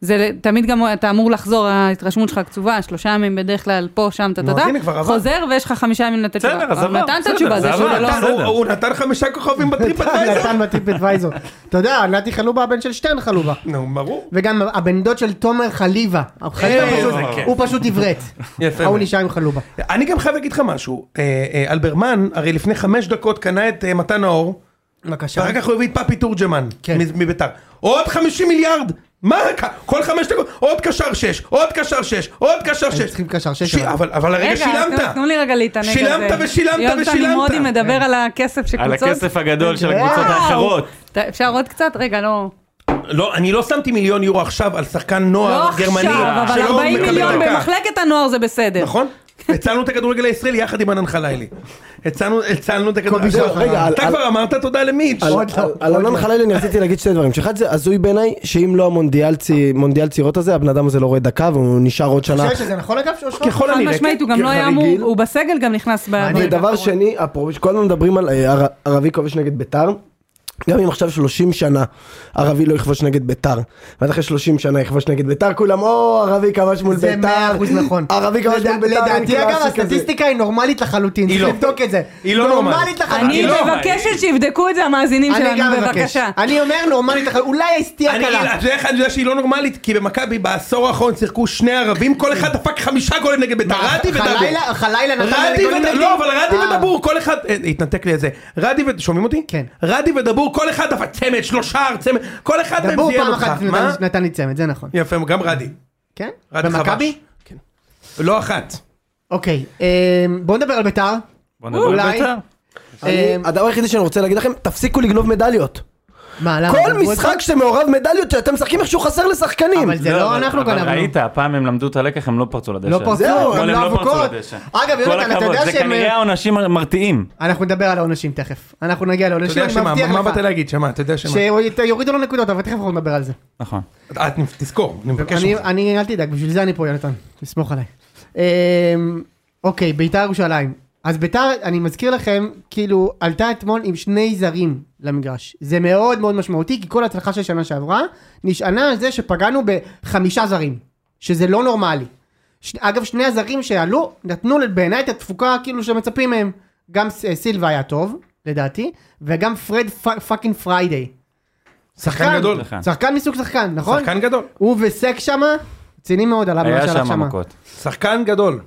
E: זה ל- תמיד גם אתה אמור לחזור, ההתרשמות שלך קצובה, שלושה ימים בדרך כלל, פה, שם, טה טה
A: נו,
E: טה,
A: אז הנה, כבר עבר.
E: חוזר ויש לך חמישה ימים לתת
D: בסדר,
E: תשובה.
D: אז
E: אבל
D: עבר,
E: נתנת
D: בסדר,
E: תשובה,
D: זה
E: זה
D: עבר.
E: שזה לא...
A: נתן- הוא-
D: בסדר.
A: הוא נתן חמישה כוכבים בטריפ אדוויזר.
B: נתן בטיפ אדוויזור. אתה יודע, נתי חלובה הבן של שטרן חלובה.
A: נו, ברור.
B: וגם הבן דוד של תומר חליבה. חליבה
A: איזה
B: פשוט-
A: אה, כיף.
B: הוא פשוט עברת.
A: יפה
B: ההוא
A: מאוד.
B: נשאר עם חלובה.
A: אני גם חייב להגיד לך משהו. אה, אה, אלברמן, הרי לפני חמש דקות קנה את אה, מתן האור,
B: בבקשה.
A: ואחר כך הוא הביא את פאפי תורג'מן,
B: כן.
A: מ- מביתר. עוד 50 מיליארד! מה, ק- כל חמש דקות, עוד קשר שש, עוד קשר שש, עוד קשר שש.
B: צריכים קשר שש,
A: ש-
B: אבל-
A: אבל אבל הרגע
E: רגע, תנו-
A: שילמת.
E: תנו לי רגע להתענג על זה.
A: שילמת ושילמת ושילמת. כן.
E: יונתן נמרודי מדבר על הכסף
D: על
E: שקבוצות.
D: הכסף הגדול של הקבוצות
B: וואו.
D: האחרות.
E: אתה- אפשר עוד קצת? רגע, לא.
A: לא, אני לא שמתי מיליון יורו עכשיו על שחקן
E: לא
A: נוער גרמני.
E: עכשיו, אבל
A: שלא
E: 40
A: מקבל
E: מיליון
A: דקה.
E: במחלקת הנוער זה בסדר.
A: נכון? הצלנו את הכדורגל הישראלי יחד עם ענן חלילי. הצלנו הצלנו את הכדורגל.
B: זהו,
A: זהו,
C: רגע,
A: אתה
C: על-
A: כבר אמרת תודה למיץ'.
C: על-
B: עוד לא,
C: על- על
B: עוד
C: אלון
A: אוקיי.
B: לא.
C: חלילי אני רציתי להגיד שני דברים, שאחד זה הזוי בעיניי, שאם לא המונדיאל צי- מונדיאל צעירות הזה, הבן אדם הזה לא רואה דקה והוא נשאר עוד
B: אתה
C: שנה.
B: חושב שזה נכון אגב? שאושרת?
A: ככל
E: חד
A: הנראה.
E: משמעית,
A: כן.
E: הוא גם לא היה
C: כרגיל.
E: אמור, הוא בסגל גם נכנס ב... ברגע
C: ודבר
E: האחרון.
C: שני, אפרופו, שכל הזמן מדברים על אה, ער- ערבי כובש נגד ביתר. גם אם עכשיו 30 שנה ערבי לא יכבוש נגד ביתר, ואז אחרי 30 שנה יכבוש נגד ביתר, כולם או ערבי כבש מול
B: זה
C: ביתר,
B: מאה אחוז נכון.
C: ערבי כבש
B: לדע-
C: מול ביתר, אין
B: לדעתי אגב
C: קלאסי כזה.
B: הסטטיסטיקה היא נורמלית לחלוטין,
A: היא
B: צריך
A: לא.
B: לבדוק את זה.
A: היא לא נורמלית.
E: אני
B: לחלוטין.
A: לא.
E: מבקשת שיבדקו את זה המאזינים
B: אני גם
E: שלנו,
B: מבקש.
E: בבקשה.
B: אני אומר נורמלית לחלוטין, אולי סטייה
A: אני
B: קלה.
A: אתה יודע איך אני יודע שהיא לא נורמלית? כי במכבי בעשור האחרון שיחקו שני ערבים, כל אחד דפק חמישה גולים נגד בית"ר, רדי ודבור.
B: חלילה, חלילה נתן
A: רדי
B: לגולים
A: ודבור,
B: נגדי.
A: לא, אבל רדי
B: אה,
A: ודבור, כל אחד, אה, התנתק לי את זה, רדי ו... שומעים אותי?
B: כן.
A: רדי ודבור, כל אחד דפק צמד, שלושה, צמד, כל אחד מהם
B: דבור
A: זיין
B: פעם
A: אותך.
B: אחת
A: מה?
B: נתן- נתן לי צמד, זה נכון.
A: יפה, גם רדי.
B: כן?
A: רדי חבש.
B: במכבי?
A: כן. לא אחת.
B: אוקיי, אמ, בואו נדבר על ביתר.
D: בוא נדבר על
B: אולי.
D: בית"ר.
C: אני-
B: אמ,
C: הדבר היחידי שאני רוצה להגיד לכם, תפסיקו לגנוב מדליות.
B: מה, למה?
C: כל
B: גנבו אותך?
C: משחק שמעורב מדליות, שאתם משחקים איכשהו חסר לשחקנים.
B: אבל זה לא
D: אבל-
B: אנחנו
D: אבל
B: גנבנו.
D: ראית, הפעם הם למדו את הלקח, הם לא פרצו לדשא.
B: לא פרצו,
C: זהו,
D: אבל
B: גם
D: הם
B: לא
D: לא פרצו
B: אבוקות.
D: לדשא.
B: אגב,
D: כל
B: יונתן, אתה
D: הכבוד,
B: יודע
D: זה
B: שהם...
D: כנראה העונשים המרתיעים.
B: אנחנו נדבר על העונשים תכף. אנחנו נגיע
A: אתה
B: לעונשים,
A: יודע
B: אני
A: שמה,
B: מבטיח
A: מה באת
B: לך.
A: להגיד, שמה, אתה יודע שמה.
B: שיורידו לו נקודות, אבל תכף אנחנו נדבר על זה.
D: נכון.
A: את תזכור, אני מבקש
B: אני-
A: ממך.
B: אני, אל תדאג, בשביל זה אני פה, יונתן. תסמוך עליי. אמ, אוקיי, ביתר ירושלים. אז ביתר, אני מזכיר לכם, כאילו, עלתה אתמול עם שני זרים למגרש. זה מאוד מאוד משמעותי, כי כל ההצלחה של שנה שעברה נשענה על זה שפגענו בחמישה זרים, שזה לא נורמלי. ש... אגב, שני הזרים שעלו, נתנו בעיניי את התפוקה כאילו שמצפים מהם. גם ס- סילבה היה טוב, לדעתי, וגם פרד פ- פאקינג פריידיי.
A: שחקן גדול.
D: שחקן.
B: שחקן מסוג שחקן, נכון?
A: שחקן גדול.
B: הוא וסק שמה, רציני מאוד עליו מה
D: היה
B: שהלך
D: שם
B: שמה.
D: מכות.
A: שחקן גדול.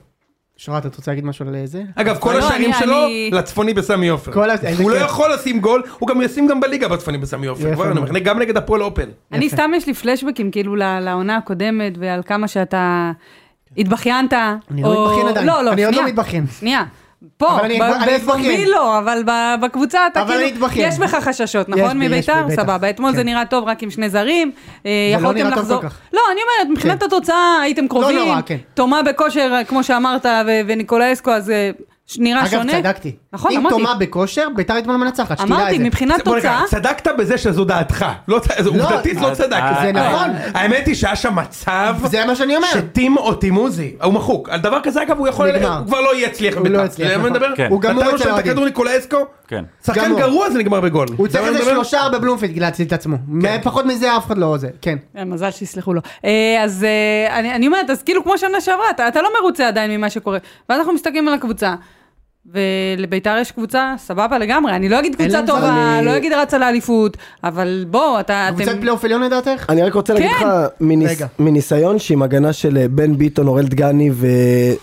B: אושרת, את רוצה להגיד משהו על אה, זה?
A: אגב, כל
E: לא,
A: השערים
E: אני-
A: שלו,
E: אני-
A: לצפוני בסמי עופר.
B: כל ה- איזה
A: הוא לא
B: כיף.
A: יכול לשים גול, הוא גם ישים גם בליגה בצפוני בסמי עופר.
B: יפה
A: כבר אני
B: מאוד.
A: אומר, גם נגד הפועל אופל.
E: אני סתם יש לי פלשבקים כאילו ל- לעונה הקודמת ועל כמה שאתה התבכיינת.
B: אני לא
E: או-
B: מתבכיין עדיין.
E: לא, לא,
B: אני עוד לא
E: שנייה.
B: מתבכיין.
E: שנייה. פה,
B: אבל אני
E: ב-
B: אתבכ- אני אתבכיין.
E: בפומבי לא, אבל ב- בקבוצה אתה
B: אבל אני
E: כאילו,
B: אתבכיין.
E: יש בך חששות,
B: יש
E: נכון?
B: בי, יש
E: מביתר,
B: בי, בטח.
E: סבבה. אתמול זה
B: כן.
E: נראה טוב רק עם שני זרים. אה,
B: זה לא
E: יכולתם
B: נראה טוב
E: לחזור-
B: כל כך.
E: לא, אני אומרת, מבחינת
B: כן.
E: התוצאה הייתם קרובים.
B: נורא, כן.
E: תומה בכושר, כמו שאמרת, ו- וניקולאסקו, אז אה, ש- נראה
B: אגב,
E: שונה.
B: צדקתי.
E: נכון,
B: אם
E: אמרתי.
B: תומה בכושר, ביתר אתמול מנצחת, שתדע את זה.
E: אמרתי, מבחינת
A: בוא רגע,
E: תוצאה,
A: צדקת בזה שזו דעתך. לא צ- זה
B: לא,
A: עובדתית לא
D: אז-
A: צדק.
D: אה,
B: זה
A: אבל
B: נכון.
A: האמת היא שהיה שם מצב...
B: זה מה שאני אומר.
A: שטים או טימוזי, הוא מחוק. על דבר כזה אגב הוא יכול,
B: נגמר.
A: הוא כבר לא יהיה אצליח
B: הוא לא יצליח, נכון.
D: כן.
A: הוא
D: הוא
B: גמור
A: נתנו שם
B: אצל
A: את
B: האוהדים.
A: הכדור ניקולאסקו.
D: כן.
A: שחקן
B: גמור.
A: גרוע זה נגמר בגול.
B: הוא
A: אתה
B: צריך
A: יודע מה
B: איזה
A: אני מדבר?
B: שלושה הרבה בלומפילד להציל את
A: כן.
B: עצמו. פחות מזה אף אחד לא זה. כן.
E: אה, מזל שיסלחו לו. אה, אז אה, אני, אני אומרת, אז כאילו כמו שנה שעברה, אתה, אתה לא מרוצה עדיין ממה שקורה. ואז אנחנו מסתכלים על הקבוצה. ולביתר יש קבוצה סבבה לגמרי, אני לא אגיד קבוצה
B: להם
E: טובה,
C: זמן.
E: לא אגיד רצה לאליפות, אבל בואו, אתה, אתם...
B: קבוצת פלייאוף עליון לדעתך?
C: אני רק רוצה להגיד
E: כן.
C: לך מניס-
B: רגע.
C: מניסיון שעם הגנה של אה, בן ביטון, אורל דגני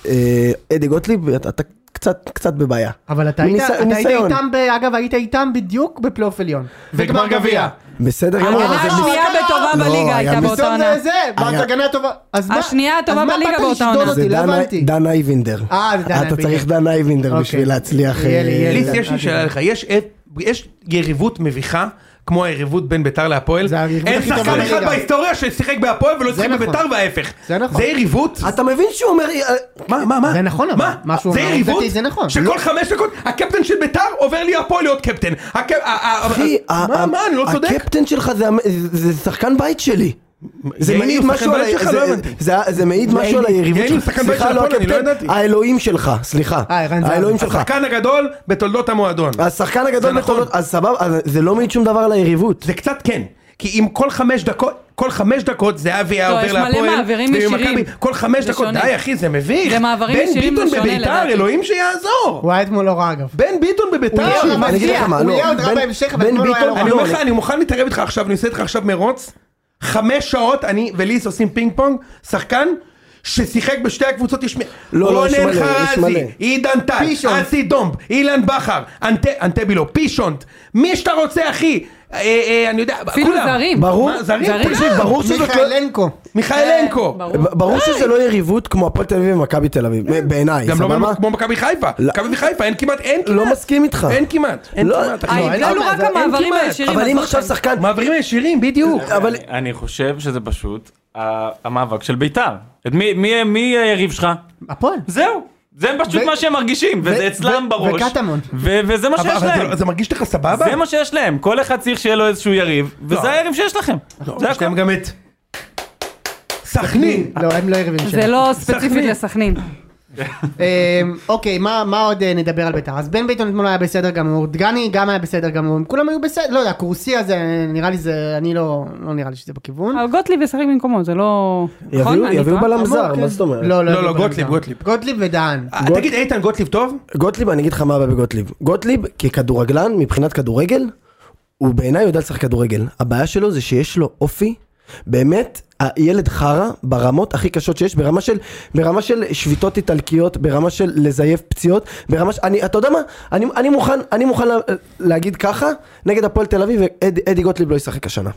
C: ואדי גוטליב, אתה אתה קצת קצת בבעיה.
B: אבל אתה היית
C: מניס-
B: אתה היית
C: ניסיון.
B: איתם, ב- אגב, היית איתם בדיוק בפלייאוף עליון.
A: וגמר גביע.
C: בסדר גמור,
E: ההגנה
C: אבל זה
E: השנייה
B: לא,
E: בטובה
C: לא, היה
E: בליגה הייתה
C: בסוף
E: באותה
B: בסוף
E: עונה.
B: זה זה,
C: היה-
B: בהגנה הטובה. אז מה-
E: השנייה
B: אז
E: הטובה
B: מה
E: בליגה
B: באת
E: באותה
B: לשדוד
E: עונה.
C: זה
B: אותי? לא
C: דן-
B: הבנתי.
C: דן אייבינדר.
B: אה, זה דן
C: אתה
B: אייבינדר.
C: צריך דן אייבינדר
B: אוקיי.
C: בשביל להצליח.
B: יהיה
C: אה,
B: לי, יהיה לי.
A: ליס, יש לי שאלה לך, יש את- יש יריבות מביכה? כמו היריבות בין ביתר להפועל,
B: זה היריבות
A: אין
B: הכי טובה
A: שחקן אחד
B: בליגה.
A: בהיסטוריה ששיחק בהפועל ולא
B: זה
A: שיחק
B: נכון.
A: בביתר וההפך.
B: זה נכון.
A: זה יריבות?
C: אתה מבין שהוא אומר...
A: מה, מה, מה?
B: זה נכון, אבל, מה שהוא
A: זה
B: אומר,
A: יריבות?
B: עובדתית זה נכון.
A: שכל חמש דקות הקפטן של ביתר עובר לי הפועל להיות קפטן. הק- ה- ה-
C: אחי,
A: ה-
C: ה-
A: מה,
C: ה-
A: מה, אני לא צודק?
C: הקפטן שלך זה המ- זה זה שחקן בית שלי. זה
A: יעני,
C: מעיד
A: הוא
C: משהו
A: שחקן
C: על
A: בית
C: ה-
A: שלך,
C: זה-
A: לא הבנתי.
C: זה- זה מעיד משהו על היריבות
A: יעני, הוא שחקן בית
C: סליחה,
A: של
C: לא
A: הפועל, אני לא
C: הקפטן,
A: ידעתי.
C: האלוהים שלך, סליחה. אה.
B: אה, ערן זהבי.
C: האלוהים שלך.
A: השחקן הגדול בתולדות המועדון.
C: השחקן
A: זה
C: הגדול
A: נכון.
C: בתולדות, אז סבבה, אז זה לא מעיד שום דבר על היריבות.
A: זה קצת כן. כי אם כל חמש דקות, כל חמש דקות זהבי היה
E: לא,
A: עובר
E: יש מלא
A: להפועל.
E: מעברים
A: וממכבי-
E: ישירים.
A: כל חמש
E: זה
A: דקות,
E: שונה.
A: די אחי, זה מביך.
E: זה מעברים ישירים,
A: בן
E: זה
A: ביטון
E: שונה
A: בביתר,
E: לדעתי.
A: אלוהים שיעזור.
B: הוא היה אתמול לא רע אגב.
A: בן ביטון בביתר.
B: הוא
C: תקשיב,
B: לא,
C: אני אגיד לך
B: מגיע.
C: מה,
B: הוא
C: לא,
B: יהיה עוד רע
C: בן-
B: בהמשך, אבל
C: בן
B: אתמול לא היה
C: ביטון-
B: לו רע.
A: אני אומר לך,
C: לא,
A: אני מוכן להתערב איתך עכשיו, אני עושה איתך עכשיו מרוץ. חמש שעות, אני וליס עושים פינג פונג, שחקן. ששיחק בשתי הקבוצות, יש מ-
C: לא, לא, יש
A: רונן
C: מלא, יש
A: חרזי,
C: מלא.
A: עידן טל,
B: פישונט.
A: אסי דומב, אילן בכר, אנט- אנטבי לא, פישונט, מי שאתה רוצה אחי, אה, אה, אני יודע,
E: אפילו זרים.
A: ברור,
C: מה,
A: זרים,
E: זרים?
A: תקשיב,
E: אה,
A: ברור שזאת לא,
B: מיכאלנקו.
A: מיכאלנקו.
E: ברור.
C: ב- ברור שזה לא יריבות כמו הפועל תל אביב ומכבי תל אביב, בעיניי,
A: גם לא
C: סבבה?
A: כמו מכבי חיפה.
C: לא.
A: מכבי חיפה אין כמעט, אין כמעט.
C: לא מסכים איתך.
A: אין כמעט. אין
C: לא,
A: כמעט. אחי.
C: לא,
E: ההבדל הוא
A: אין
E: אה, רק
A: כמעט.
E: המעברים
A: אין
E: הישירים.
C: אבל אם
E: עזוב
C: עכשיו
E: אותם.
C: שחקן,
A: מעברים הישירים, בדיוק.
C: אבל
D: אני- אני חושב שזה פשוט ה- המאבק של ביתר. את מי- מי מי היריב שלך?
B: הפועל.
D: זהו. זה פשוט
B: ו-
D: מה שהם מרגישים, וזה
B: ו-
D: אצלם
B: ו-
D: בראש.
B: וקטמון.
D: ו- וזה מה
A: אבל-
D: שיש
A: אבל זה
D: להם.
A: לא- זה מרגיש לך סבבה?
D: זה מה שיש להם, כל אחד צריך שיהיה לו איזשהו יריב,
A: לא.
D: וזה היריב שיש לכם. זה
A: יש
D: הכל.
A: להם לא, גם את... סכנין.
B: לא, הם לא יריבים
E: זה
B: שלנו.
E: לא ספציפית
A: סכנין.
E: לסכנין.
B: אמ, אוקיי, מה מה עוד אה, נדבר על בית"ר? אז בן ביטון אתמול היה בסדר גמור, דגני גם היה בסדר גמור, כולם היו בסדר, לא יודע, קורסי הזה, נראה לי זה, אני לא, לא נראה לי שזה בכיוון.
E: אבל גוטליב ישחק במקומו, זה לא... נכון?
C: יביאו
E: אני
C: יביאו
E: טועה?
C: בלם זר,
B: אמור,
C: מה
B: כן.
C: זאת אומרת?
B: לא,
A: לא, לא,
B: לא,
A: גוטליב, גוטליב.
B: גוטליב ודהן.
A: אה, תגיד, איתן גוטליב טוב?
C: גוטליב, אני אגיד לך מה הבעיה בגוטליב. גוטליב, ככדורגלן, מבחינת כדורגל, הוא בעיניי יודע לשחק כדורגל. הבעיה שלו זה שיש לו אופי, באמת, הילד חרא ברמות הכי קשות שיש, ברמה של, ברמה של שביתות איטלקיות, ברמה של לזייף פציעות, ברמה של... אני, אתה יודע מה? אני, אני מוכן, אני מוכן לה, להגיד ככה, נגד הפועל תל אביב, אד, אדי גוטליב לא ישחק השנה.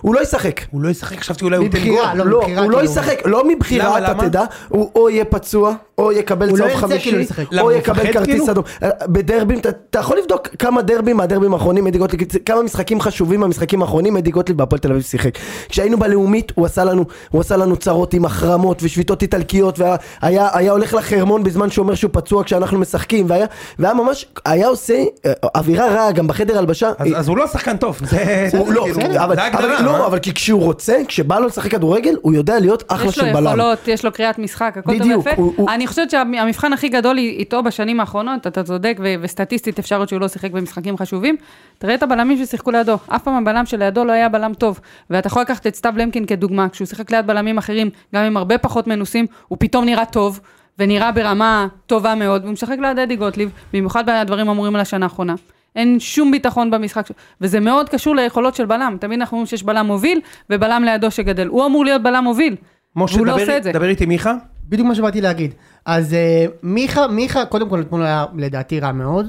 C: הוא לא ישחק.
A: הוא לא ישחק, חשבתי אולי הוא ייתן גול.
B: מבחירה, לא,
C: לא,
B: מבחירה
C: הוא לא
B: כאילו.
C: ישחק, לא מבחירה,
A: למה,
C: אתה
A: למה?
C: תדע, הוא או יהיה פצוע, או יקבל
B: הוא לא
C: צהוב
B: ירצה
C: חמישי,
B: כאילו לשחק.
A: למה,
C: או
A: הוא
C: יקבל
A: מפחד
C: כרטיס
A: כאילו?
C: אדום. אה, בדרבים, אתה- אתה יכול לבדוק כמה דרבים מהדרבים האחרונים, אדי גוטליב, כמה משחקים חשובים מהמשחקים האחרונים, אדי גוטליב בהפועל תל אביב שיחק. כשהיינו בלאומית, הוא עשה לנו, הוא עשה לנו צרות עם החרמות ושביתות איטלקיות, והיה היה- היה הולך לחרמון בזמן שהוא אומר שהוא פצוע כשאנחנו משחקים, והיה והיה ממש, היה עושה אה, אווירה רעה גם בחדר הלבשה.
A: אז- אז הוא לא שחקן טוב. זה-
E: כן,
C: הוא- לא,
A: כאילו,
C: אבל-
A: זה הגדרה.
C: אבל
A: מה?
C: לא, אבל כי כשהוא רוצה, כשבא לו לשחק כדורגל, הוא יודע להיות אחלה
E: יש לו
C: של בלם.
E: יכולות, יש לו קריאת משחק, הכל טוב
C: בדיוק,
E: ויפה.
C: הוא- הוא-
E: אני חושבת שהמבחן הכי גדול איתו בשנים האחרונות, אתה צודק, ו- וסטטיסטית אפשר להיות שהוא לא שיחק במשחקים חשובים. תראה את הבלמים ששיחקו לידו, אף פעם הבלם שלידו לא היה בלם טוב. ואתה יכול לקחת את סתיו למקין כדוגמה, כשהוא שיחק ליד בלמים אחרים, גם עם הרבה פחות מנוסים, הוא פתאום נראה טוב. ונראה ברמה טובה מאוד, והוא משחק ליד אדי גוטליב, במיוחד בדברים אמורים על השנה האחרונה. אין שום ביטחון במשחק, שלו. וזה מאוד קשור ליכולות של בלם. תמיד אנחנו אומרים שיש בלם מוביל, ובלם לידו שגדל. הוא אמור להיות בלם מוביל.
A: משה,
E: והוא לא
A: דבר-
E: עושה את זה.
A: דבר איתי מיכה.
B: בדיוק מה שבאתי להגיד. אז אה, מיכה, מיכה, קודם כל אתמול היה לדעתי רע מאוד.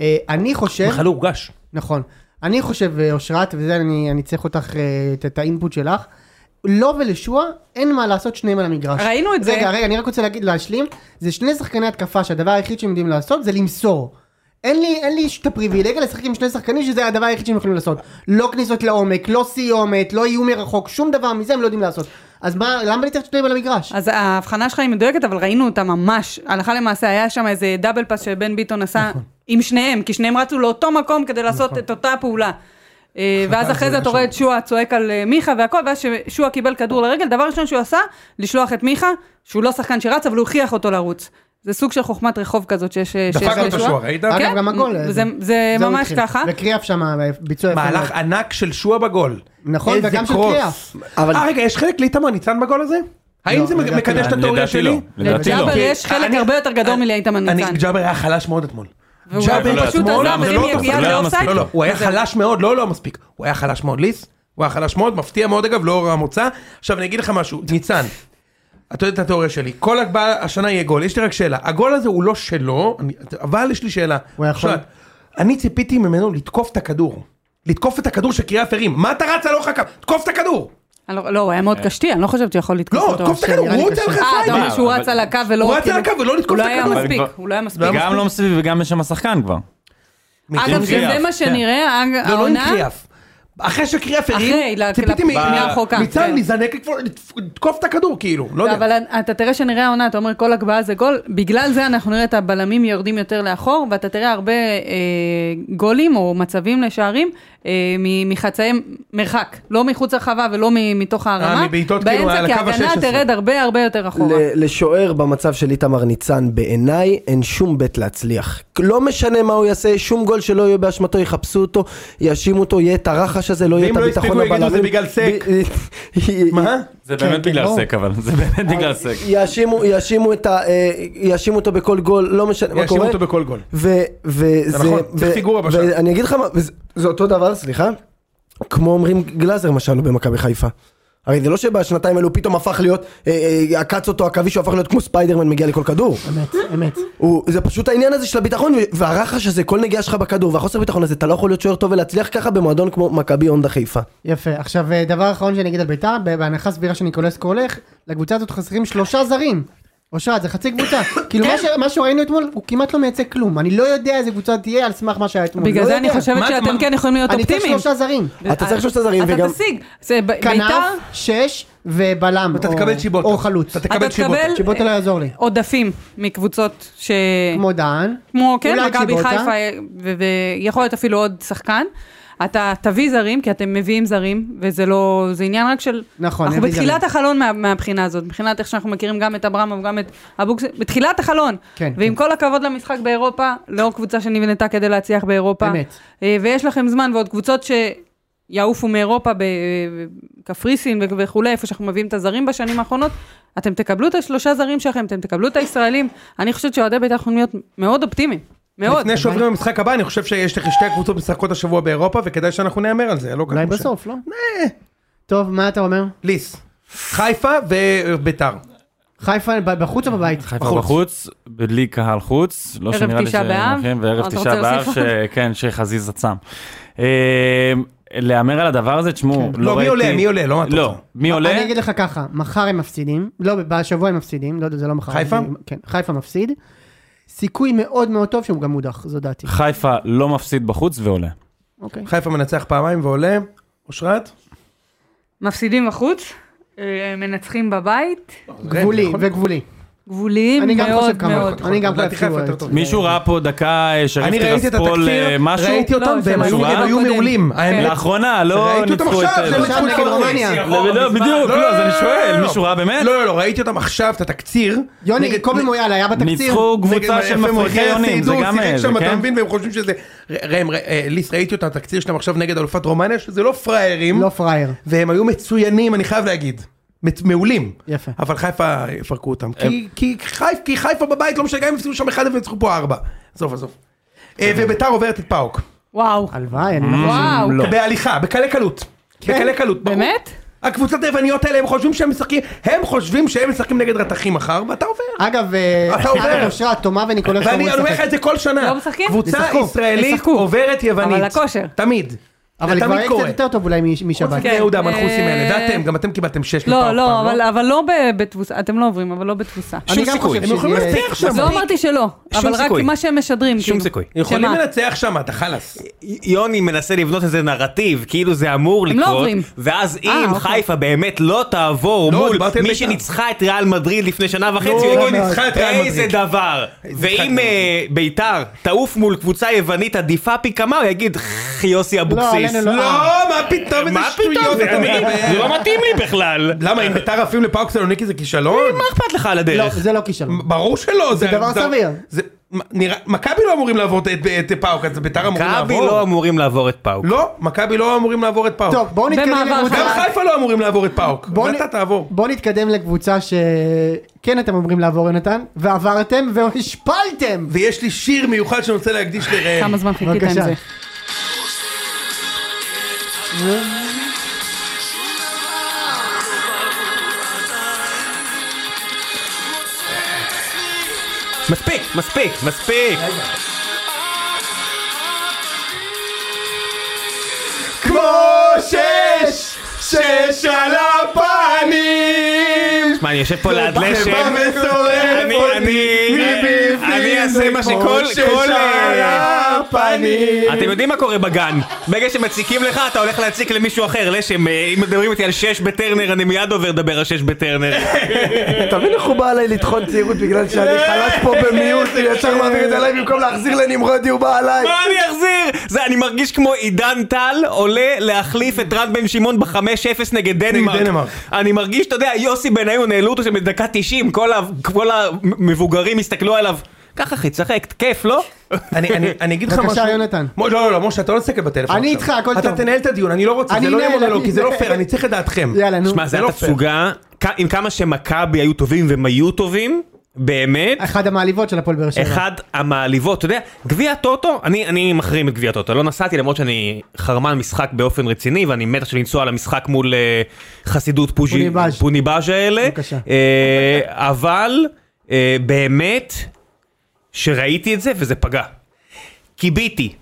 B: אה, אני חושב,
A: בכלל לא הורגש.
B: נכון, אני חושב, אה, אושרת, וזה אני, אני צריך אותך, אה, את- את האינפוט שלך. לא ולשועה, אין מה לעשות שניהם על המגרש.
E: ראינו את זה.
B: רגע, רגע, אני רק רוצה להגיד, להשלים, זה שני שחקני התקפה שהדבר היחיד שהם יודעים לעשות זה למסור. אין לי, אין לי את הפריבילגיה לשחק עם שני שחקנים שזה הדבר היחיד שהם יכולים לעשות. לא כניסות לעומק, לא סיומת, לא איום מרחוק, שום דבר מזה הם לא יודעים לעשות. אז מה, למה אני צריך את שניהם על המגרש?
E: אז ההבחנה שלך היא מדויקת, אבל ראינו אותה ממש. הלכה למעשה, היה שם איזה דאבל פאס שבן ביטון עשה
B: נכון.
E: עם שניהם, כי שניהם רצו לאותו מקום כדי לעשות את אותה הפעולה. אה, ואז אחרי זה אתה רואה את שועה צועק על אה, מיכה והכל, ואז ששועה קיבל כדור לרגל, דבר ראשון שהוא עשה, לשלוח את מיכה, שהוא לא שחקן שרץ, אבל הוא הכריח אותו לרוץ. זה סוג של חוכמת רחוב כזאת שיש אה, שיש
A: דפק לו את
E: לשועה.
A: השועה, ראית?
B: אגב,
E: כן,
B: גם הגול.
E: זה-
B: זה-
E: זה
B: הוא
E: אה, ממש
B: התחיל.
E: ככה.
B: וקריאף שם, ביצוע יפה מאוד.
A: מהלך ענק של שועה בגול.
B: נכון,
A: איזה
B: וגם של
A: קרוס.
B: קריאף.
C: אבל-
A: אה, רגע, יש חלק לאיתמר ניצן בגול הזה? האם
B: לא,
A: זה
B: לדעתי
A: מקדש את
D: לדעתי
A: התיאוריה
D: לא.
A: שלי? אה,
D: לדעתי לא.
E: ג'אבר יש חלק
A: אני-
E: הרבה יותר גדול
A: אני-
E: מלאיתמר
A: אני-
E: ניצן.
A: ג'אבר היה חלש מאוד אתמול.
E: והוא
A: ג'אבר
E: פשוט
A: אתמול,
E: עזב,
A: זה
E: הרים
A: לא
E: יד
A: אותו
D: לא היה
E: לאופסייד.
A: לא, לא, הוא היה חלש מאוד, לא, לא מספיק. הוא היה חלש מאוד, ליס. הוא היה חלש מאוד, מפתיע מאוד אגב, לאור המוצא. עכשיו אני אגיד לך משהו, ניצן, אתה יודע את התיאוריה שלי, כל הגבל השנה יהיה גול, יש לי רק שאלה. הגול הזה הוא לא שלו, אני, אבל יש לי שאלה.
B: הוא יכול.
A: עכשיו, אני ציפיתי ממנו לתקוף את הכדור. לתקוף את הכדור שקריאף הרים. מה אתה רץ על אורך הקו? תקוף את הכדור!
E: אני לא, לא, הוא היה מאוד
D: אה.
E: קשתי, אני לא חושבת שיכול לתקוף
A: לא,
E: אותו.
A: תקוף את הכדור,
B: נראה לי
A: הוא רוצה
B: קשה.
A: לך
E: אה, אתה
A: סייבר.
E: אומר שהוא
D: אבל-
E: רץ על הקו ולא...
A: הוא רץ
E: כאילו-
A: על הקו ולא לתקוף
E: הוא לא
A: את
E: היה
A: הכדור.
E: מספיק,
D: אבל-
E: הוא לא היה מספיק.
D: גם לא מסביב וגם בשם השחקן כבר.
E: אגב, שזה
D: כן.
E: מה שנראה, אג-
A: לא, לא עם
E: העונה...
A: קריאף. אחרי שקריאף
E: אחרי,
A: הרים,
E: ל-
A: ציפיתי
E: ל-
A: מ-
E: לרחוקה,
A: ניצן
E: כן.
A: להיזנק, לתקוף- לתקוף את הכדור, כאילו, לא יודע.
E: אבל אתה תראה שנראה העונה, אתה אומר כל הגבהה זה גול, בגלל זה אנחנו נראה את הבלמים יורדים יותר לאחור, ואתה תראה הרבה אה, גולים או מצבים לשערים אה, מ- מחצאי מרחק, לא מחוץ לרחבה ולא מ- מתוך הרמה.
A: מבעיטות כאילו על הקו
E: באמצע
A: ה-16.
E: כהגנה תרד הרבה הרבה יותר אחורה.
C: ל- לשוער במצב של איתמר ניצן בעיניי אין שום בית להצליח. לא משנה מה הוא יעשה, שום גול שלא יהיה באשמתו, יחפשו אותו, יאשימו אותו, יהיה את הרחש הזה, לא יהיה
A: ואם
C: את
A: לא
C: הביטחון
A: יספיקו, יגידו,
C: הבלמים.
A: "זה בגלל סק".
C: ב-
A: מה?
D: זה
B: כן,
D: באמת
B: כן,
D: בגלל
B: ברור.
D: סק אבל, זה באמת בגלל סק.
C: יאשימו, יאשימו את ה... אה, יאשימו אותו בכל גול, לא משנה מה קורה.
A: יאשימו אותו בכל גול.
C: ו- וזה...
A: זה נכון, צריך
C: ו-
A: פיגורה בשער.
C: ואני אגיד לך מה, וזה- זה אותו דבר, סליחה, כמו אומרים גלאזר למשל במכבי חיפה. הרי זה לא שבשנתיים האלו הוא פתאום הפך להיות, אה, אה, עקץ אותו עכביש, הוא הפך להיות כמו ספיידרמן מגיע לכל כדור.
B: אמת, אמת.
C: הוא, זה פשוט העניין הזה של הביטחון ו- והרחש הזה, כל נגיעה שלך בכדור והחוסר ביטחון הזה, אתה לא יכול להיות שוער טוב ולהצליח ככה במועדון כמו מכבי הונדה חיפה.
B: יפה. עכשיו, אה, דבר אחרון שאני אגיד על ביתר, ב- בהנחה סבירה שניקולסקו הולך, לקבוצה הזאת חסרים שלושה זרים. אושרת, זה חצי קבוצה.
E: כן.
B: כאילו, מה ש- מה שראינו אתמול, הוא כמעט לא מייצג כלום. אני לא יודע איזה קבוצה תהיה על סמך מה שהיה אתמול.
E: בגלל
B: לא
E: זה
B: יודע.
E: אני חושבת
A: מה-
E: שאתם
A: מה-
E: כן יכולים להיות
B: אני צריך
E: אופטימיים.
B: שלושה זרים.
C: אתה צריך שלושה זרים
E: אתה
C: וגם...
E: תשיג, זה ב- ביתר,
B: כנף, שש, ובלם.
A: אתה
B: או-
A: תקבל שיבוטה.
B: או חלוץ.
A: אתה
E: אתה
A: תקבל שיבוטה.
E: תקבל-
B: שיבוטה לא יעזור לי.
E: עודפים מקבוצות ש...
B: כמו דהן.
E: כמו, כן,
B: אולי
E: מכבי
B: צ'יבוטה.
E: חיפה, ו- ויכול להיות אפילו עוד שחקן. אתה תביא זרים, כי אתם מביאים זרים, וזה לא, זה עניין רק של...
B: נכון,
E: אנחנו
B: נביא
E: בתחילת
B: זרים.
E: החלון מה, מהבחינה הזאת, מבחינת איך שאנחנו מכירים גם את אברמוב, גם את אבוקסיס, בתחילת החלון.
B: כן,
E: ועם
B: כן.
E: כל הכבוד למשחק באירופה, לא קבוצה שנבנתה כדי להצליח באירופה.
B: אמת.
E: אה, ויש לכם זמן, ועוד קבוצות שיעופו מאירופה, בקפריסין ו- וכולי, איפה שאנחנו מביאים את הזרים בשנים האחרונות, אתם תקבלו את השלושה זרים שלכם, אתם תקבלו את הישראלים. אני חושבת שאוהדי בית"ר יכולים להיות מאוד אופטימיים. מאוד.
A: לפני שעוברים למשחק הבא, אני חושב שיש לך שתי קבוצות משחקות השבוע באירופה, וכדאי שאנחנו נהמר על זה, לא
B: אולי
A: ככה.
B: בסוף, לא? טוב, מה אתה אומר?
A: ליס, חיפה וביתר.
B: חיפה ב- בחוץ או בבית?
D: חיפה בחוץ, בלי קהל חוץ, לא
E: ערב
D: שנראה לי
E: תשעה באב?
D: שמחים,
E: אתה
D: וערב
E: רוצה
D: תשעה באב,
E: להוסיף
D: ש- כן, שחזיזה צם. אה, להמר על הדבר הזה, תשמעו, לא
A: לא, מי
D: ראיתי...
A: עולה? מי עולה? לא, מה אתה
D: לא,
A: רוצה?
D: מי עולה?
B: אני אגיד לך ככה, מחר הם מפסידים, לא, בשבוע הם מפסידים, לא, זה לא מחר.
A: חיפה?
B: אני- כן, חיפה מפסיד. סיכוי מאוד מאוד טוב שהוא גם מודח, זו דעתי.
A: אה,
D: חיפה לא מפסיד בחוץ ועולה.
B: אוקיי.
A: חיפה מנצח פעמיים ועולה. אושרת?
E: מפסידים בחוץ, אה, מנצחים בבית,
B: גבולי
A: אוקיי, נכון.
B: וגבולי.
E: גבוליים
B: אני גם חושב
E: מאוד
B: כמוך.
E: מאוד.
B: אני גם
A: לדעתי
B: חושב
A: חיפה
B: שהוא-
A: יותר טוב.
D: מישהו ראה פה דקה אה,
A: אני
D: שריף
A: ראיתי את
D: טרספול אה,
A: התקציר,
D: משהו?
A: ראיתי אותם
E: לא, זה
A: והם היו-
E: משהו
A: הם
E: רע.
A: היו
E: קודם.
A: מעולים. האמת,
D: לאחרונה לא
A: ראיתי אותם
D: ניצחו את...
A: עכשיו,
D: אה,
A: זה
B: עכשיו נגד רומניה.
D: לא, לא, בדיוק, לא, אז אני שואל, מישהו ראה באמת?
A: לא, לא, לא, ראיתי אותם עכשיו, את התקציר.
B: יוני,
A: נגד-
B: קובי מויאל היה בתקציר.
D: ניצחו
A: נגד-
D: קבוצה של
A: יפה,
D: מפריחי
A: מוריחי
D: יונים, זה
A: הסידור,
D: גם
A: שיחק
D: איזה,
A: שם, אתה
D: כן?
A: מבין, והם חושבים שזה... ראם, ר- אה, ליס, ראיתי אותם, התקציר שלהם עכשיו נגד אלופת רומניה, שזה לא פראיירים,
B: לא פראייר.
A: והם היו מצוינים, אני חייב להגיד. מצ- מעולים.
B: יפה.
A: אבל חיפה יפרקו אותם. כי- כי חיפה- כי חיפה בבית, לא משנה, גם אם יפסידו שם אחד, הם יצחו פה ארבע. עזוב, עזוב. אה,
D: כן.
A: וביתר עוברת את פאוק.
E: וואו.
B: הלוואי, אני...
E: וואו.
D: לא.
B: כן?
A: בהליכה, בקלי קלות. בקלי קלות. ברור.
E: באמת?
A: הקבוצות היווניות האלה, הם חושבים שהם משחקים, הם חושבים שהם משחקים נגד רתכים מחר, ואתה עובר.
B: אגב, אה,
A: אתה עובר.
B: אגב, אושרת, תומה וניקולס
A: ואני
B: אמורים
A: אומר לך
B: לשחק.
A: את זה כל שנה.
E: לא משחקים?
A: קבוצה
B: ישחקו,
A: ישראלית
E: ישחקו.
A: עוברת יוונית.
E: אבל הכושר. כן.
A: תמיד.
B: אבל
A: זה
B: כבר
A: תמיד
B: יהיה קצת
A: קורה.
B: יותר טוב אולי מ-
A: חוץ
B: משבת.
A: מבני יהודה, המנחוסים
E: אה,
A: האלה, ואתם, גם אתם קיבלתם שש
E: לא,
A: לפעם,
E: לא,
A: פעם,
E: אבל- אבל לא ב- בתבוסה, אתם לא עוברים, אבל לא בתבוסה.
B: אני גם
D: סיכוי.
B: חושב
A: הם יכולים
B: שזה יהיה-
A: לנצח שם.
E: לא אמרתי שלא,
F: שום
E: אבל רק
F: סיכוי.
E: מה שהם משדרים,
F: שום
E: כאילו.
F: סיכוי.
A: יכולים
E: שמה?
A: לנצח שם, אתה חלאס.
F: יוני מנסה לבנות איזה נרטיב, כאילו זה אמור
E: הם לא
F: לקרות,
E: עוברים.
F: ואז
E: אה,
F: אם
E: אוקיי.
F: חיפה באמת לא תעבור
A: לא,
F: מול
A: דיברתי על
F: מי
A: בית"ר.
F: שניצחה את ריאל מדריד לפני שנה וחצי,
A: לא,
F: הוא יגיד,
A: ניצחה את ריאל
F: איזה
A: מדריד."
F: דבר.
A: משחק
F: ואם
A: מדהים.
F: אה, ביתר תעוף מול קבוצה יבנית עדיפה פי כמה, הוא יגיד, "ח, יוסי אבוקסיס.
B: עלינו לא.
A: לא, מה פתאום, איזה
F: מה פתאום,
A: שטויות
F: זה
A: אתה
F: אני- זה
A: מדבר.
F: לא מתאים לי בכלל.
A: למה, אם ביתר עפים לפאוק סלוניקי זה כישלון?
F: מה אכפת לך על
B: לא,
F: הדרך?
B: זה לא כישלון.
A: ברור שלא. זה
B: דבר
A: זה-
B: סביר.
A: זה- מה, נראה- מכבי לא אמורים לעבור את- את את פאוק, אז ביתר אמורים
F: מכבי
A: לעבור.
F: לא אמורים לעבור את פאוק.
A: לא, מכבי לא אמורים לעבור את פאוק.
B: טוב, בואו נתקדם
E: במעבר
A: גם
E: חלק.
B: לקבוצה...
A: חיפה לא אמורים לעבור את פאוק.
B: בוא נ-
A: ואתה תעבור.
B: בואו נתקדם לקבוצה שכן אתם אמורים לעבור יונתן, ועברתם והשפלתם!
A: ויש לי שיר מיוחד שאני רוצה להקדיש לראם.
E: כמה זמן חיכית עם
B: בבקשה.
E: זה.
F: מספיק, מספיק, מספיק.
A: כמו שש, שש על הפנים.
F: מה, אני יושב פה ליד
A: לא, בא
F: לשם.
A: וסובב
F: אני-
A: אותי
F: אני-
A: מבפנים.
F: אני אעשה מה שכל...
A: כמו
F: כל,
A: שש על
F: אה,
A: הפנים.
F: אתם יודעים מה קורה בגן? ברגע שמציקים לך, אתה הולך להציק למישהו אחר. לשם, אה, אם מדברים איתי על שש בטרנר, אני מיד עובר לדבר על שש בטרנר.
C: אתה מבין איך הוא בא עליי לטחון צעירות בגלל שאני חלש פה במיעוט, וישר מעביר את זה עליי במקום להחזיר לנמרודי, הוא בא עליי.
F: מה אני אחזיר? זה, אני מרגיש כמו עידן טל עולה להחליף את רן בן שמעון ב-5-0 נגד
A: נגד דנמרק.
F: דנמרק. אני מרגיש, אתה יודע, יוסי בניון העלו אותו שם בדקה 90, כל ה- כל המבוגרים הסתכלו עליו. ככה אחי, תשחק, כיף, לא?
A: אני- אני אני אגיד לך משהו.
B: בבקשה, יונתן.
A: משה, לא, לא, לא, משה, אתה לא תסתכל בטלפון
B: אני
A: עכשיו.
B: איתך, הכל טוב.
A: אתה תנהל את הדיון, אני לא רוצה,
B: אני
A: זה לא יהיה
B: אנהל,
A: מונולוג,
B: אני-
A: כי זה לא פייר, אני צריך את דעתכם.
B: יאללה, נו.
F: שמע, זה
A: לא
F: הייתה
A: פייר.
F: תפוגה, כ- עם כמה שמכבי היו טובים והם היו טובים, באמת,
B: אחד המעליבות של הפועל באר שבע.
F: אחד המעליבות, אתה יודע, גביע טוטו, אני, אני מחרים את גביע טוטו, לא נסעתי למרות שאני חרמן משחק באופן רציני ואני מת עכשיו לנסוע למשחק מול אה, חסידות פוז'י,
B: פוניבז'.
F: פוניבז' האלה,
B: בבקשה.
F: אה, אבל אה, באמת שראיתי את זה וזה פגע. קיביתי,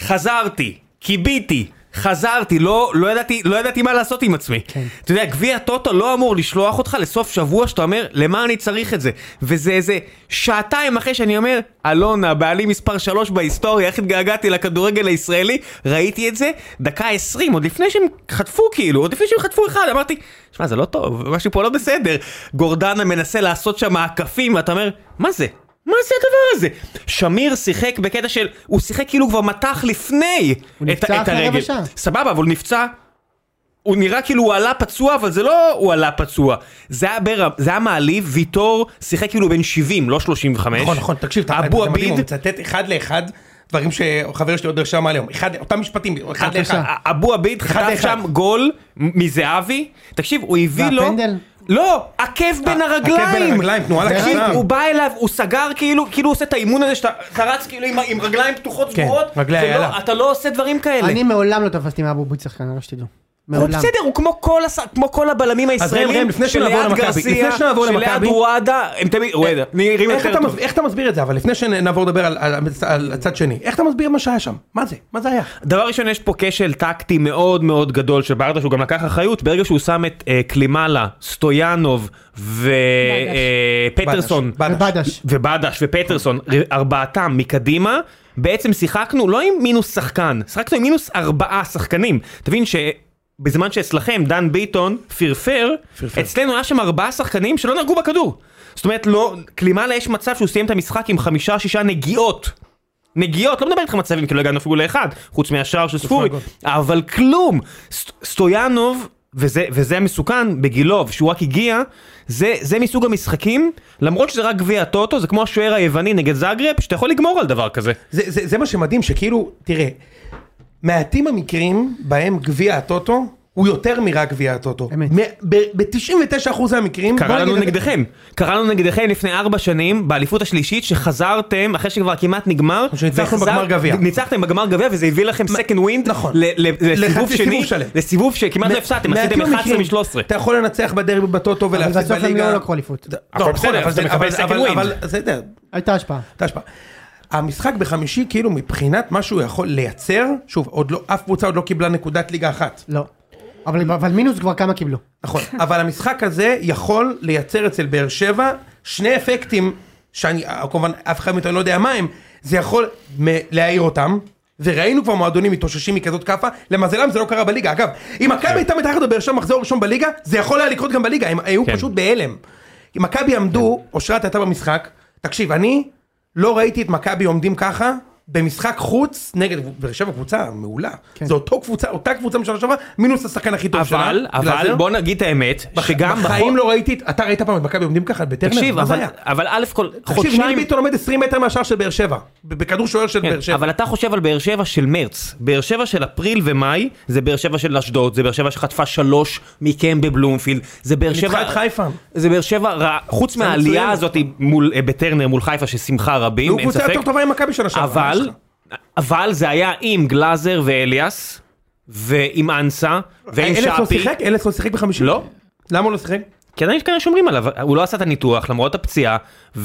F: חזרתי, קיביתי. חזרתי, לא, לא, ידעתי, לא ידעתי מה לעשות עם עצמי. כן. אתה יודע, גביע טוטו לא אמור לשלוח אותך לסוף שבוע שאתה אומר, למה אני צריך את זה? וזה איזה שעתיים אחרי שאני אומר, אלונה, בעלי מספר 3 בהיסטוריה, איך התגעגעתי לכדורגל הישראלי, ראיתי את זה, דקה 20, עוד לפני שהם חטפו כאילו, עוד לפני שהם חטפו אחד, אמרתי, שמע, זה לא טוב, משהו פה לא בסדר. גורדנה מנסה לעשות שם מעקפים, ואתה אומר, מה זה? מה זה הדבר הזה? שמיר שיחק בקטע של... הוא שיחק כאילו הוא כבר מתח לפני
B: הוא
F: את,
B: נפצע
F: את
B: אחרי רבע
F: הרגל.
B: שעה.
F: סבבה, אבל הוא נפצע. הוא נראה כאילו הוא עלה פצוע, אבל זה לא הוא עלה פצוע. זה היה, בר... זה היה מעליב, ויטור שיחק כאילו בן 70, לא 35.
A: נכון, נכון, תקשיב, אתה-
F: אבו
A: זה מדהים, הוא
F: עביד,
A: מצטט אחד לאחד דברים שחבר שלי עוד רשם עליהם, אחד- אותם משפטים, אחד לאחד.
F: אבו עביד
A: אחד
F: חטף
A: לאחד.
F: שם גול מ- מזהבי. תקשיב, הוא הביא לו...
B: והפנדל?
F: לא, עקב בין הרגליים.
A: אה, עקב בין הרגליים, תנועה
F: תקשיב,
A: לקשרם.
F: הוא בא אליו, הוא סגר כאילו, כאילו הוא עושה את האימון הזה שאתה אתה רץ כאילו עם, עם רגליים פתוחות
A: כן,
F: סגורות,
A: רגלי
F: זה לא-
A: איילה.
F: אתה לא עושה דברים כאלה.
B: אני מעולם לא תפסתי מאבוביץ שחקן, רק שתדעו.
F: הוא
B: מעולם.
F: בסדר, הוא כמו כל, הס... כמו כל הבלמים
A: ראם, ראם,
F: הישראלים,
A: לפני שנעבור
F: שליד
A: למכבי,
F: גרסיה,
A: לפני שנעבור
F: שליד
A: למכבי-
F: רואדה, הם תמיד, רואדה, נראים
A: איך
F: יותר
A: אתה
F: טוב.
A: מס- איך אתה מסביר את זה אבל לפני שנעבור לדבר על- על על הצד שני איך אתה מסביר מה שהיה שם מה זה מה זה היה
F: דבר ראשון, יש פה כשל טקטי מאוד מאוד גדול של ברדה, שהוא גם לקח אחריות, ברגע שהוא שם את אה, קלימאלה, סטויאנוב ופטרסון.
A: בדש.
B: ובדש.
F: ובדש ופטרסון, ר- ארבעתם מקדימה, בעצם שיחקנו לא עם מינוס שחקן, שיחקנו עם מינוס ארבעה שחקנים. תבין שבזמן שאצלכם דן ביטון פרפר,
A: פרפר.
F: אצלנו היה שם ארבעה שחקנים שלא נגעו בכדור. זאת אומרת, לא, קלימאלה יש מצב שהוא סיים את המשחק עם חמישה-שישה נגיעות. נגיעות, לא מדבר איתך מצבים, כי לא הגענו אפילו לאחד, חוץ מהשער של ספורי,
A: מהגול.
F: אבל כלום. סט- סטויאנוב, וזה, וזה המסוכן בגילוב, שהוא רק הגיע, זה, זה מסוג המשחקים, למרות שזה רק גביע הטוטו, זה כמו השוער היווני נגד זאגרפ, שאתה יכול לגמור על דבר כזה.
A: זה, זה, זה מה שמדהים, שכאילו, תראה, מעטים המקרים בהם גביע הטוטו הוא יותר מרק גביע הטוטו.
B: אמת.
A: ב-99% מהמקרים,
F: קרה
A: בוא
F: לנו
A: נגיד-
F: נגדכם, קרה לנו נגדכם לפני ארבע שנים באליפות השלישית שחזרתם אחרי שכבר כמעט נגמר,
A: שניצחנו
F: וחזר-
A: בגמר גביע.
F: ניצחתם בגמר גביע וזה הביא לכם סקנד ווינד,
A: נכון.
F: לסיבוב
A: לחצי
F: שני,
A: סיבוב שלם.
F: לסיבוב שכמעט לא הפסדתם, עשיתם
A: מעטים
F: 11
A: המקרים.
F: מ-13.
A: אתה יכול לנצח בדרבי בטוטו
B: אבל
A: ולהפסיד
B: בסוף הם
A: בליגה.
B: לא לקחו אליפות.
A: לא,
F: הכל
A: בסדר,
F: בסדר,
A: אבל
F: אז אתה
A: זה-
F: מקבל
A: אבל-
F: second
A: אבל-
F: win.
A: אבל זה זה-
B: הייתה השפעה.
A: אתה השפעה. המשחק בחמישי, כאילו מבחינת מה שהוא יכול לייצר, שוב, עוד לא, אף קבוצה עוד לא קיבלה נקודת ליגה אחת.
B: לא. אבל אבל מינוס כבר כמה קיבלו.
A: נכון, אבל המשחק הזה יכול לייצר אצל באר שבע שני אפקטים, שאני אה, כמובן אף אחד מאיתנו לא יודע מה הם, זה יכול מ- להעיר אותם, וראינו כבר מועדונים מתאוששים מכזאת כאפה, למזלם זה לא קרה בליגה, אגב,
F: כן.
A: אם מכבי הייתה מתחת לבאר שבע מחזור ראשון בליגה, זה יכול היה לקרות גם בליגה, הם היו
F: כן.
A: פשוט בהלם. אם מכבי עמדו, אושרת הייתה במשחק, תקשיב, אני לא ראיתי את מכבי עומדים ככה. במשחק חוץ נגד באר שבע קבוצה מעולה,
B: כן.
A: זו אותו קבוצה, אותה קבוצה משנה שעברה, מינוס השחקן הכי טוב שלה.
F: אבל,
A: בגלל
F: אבל
A: זה-
F: בוא נגיד את האמת, שגם
A: בחיים
F: בחוק-
A: לא ראיתי, את- אתה ראית פעם את מכבי עומדים ככה בטרנר?
F: תקשיב,
A: מה זה
F: אבל-
A: היה?
F: אבל א' כל,
A: תקשיב, ניר
F: חודשיים,
A: ביטון עומד 20 מטר מהשער של באר שבע, ב- בכדור שוער של
F: כן,
A: באר שבע.
F: אבל אתה חושב על באר שבע של מרץ, באר שבע של אפריל ומאי, זה באר שבע של אשדוד, זה באר שבע שחטפה שלוש מכם בבלומפילד, זה באר
A: ניצחה
F: שבע...
A: את חיפה.
F: זה באר שבע, רע- חוץ
A: זה
F: מהעלייה
A: מצוין.
F: הזאת מול, אה, בטרנר מול חיפה ששמחה רבים,
A: והוא
F: אין
A: קבוצה
F: ספק,
A: יותר טובה עם מכבי שנה שעברה.
F: אבל, אבל זה היה עם גלאזר ואליאס, ועם אנסה, ועם
A: אלס לא
F: שפי,
A: שיחק? אלס לא שיחק בחמישי?
F: לא.
A: למה הוא לא שיחק?
F: כי עדיין יש כאלה שומרים עליו, הוא לא עשה את הניתוח למרות הפציעה,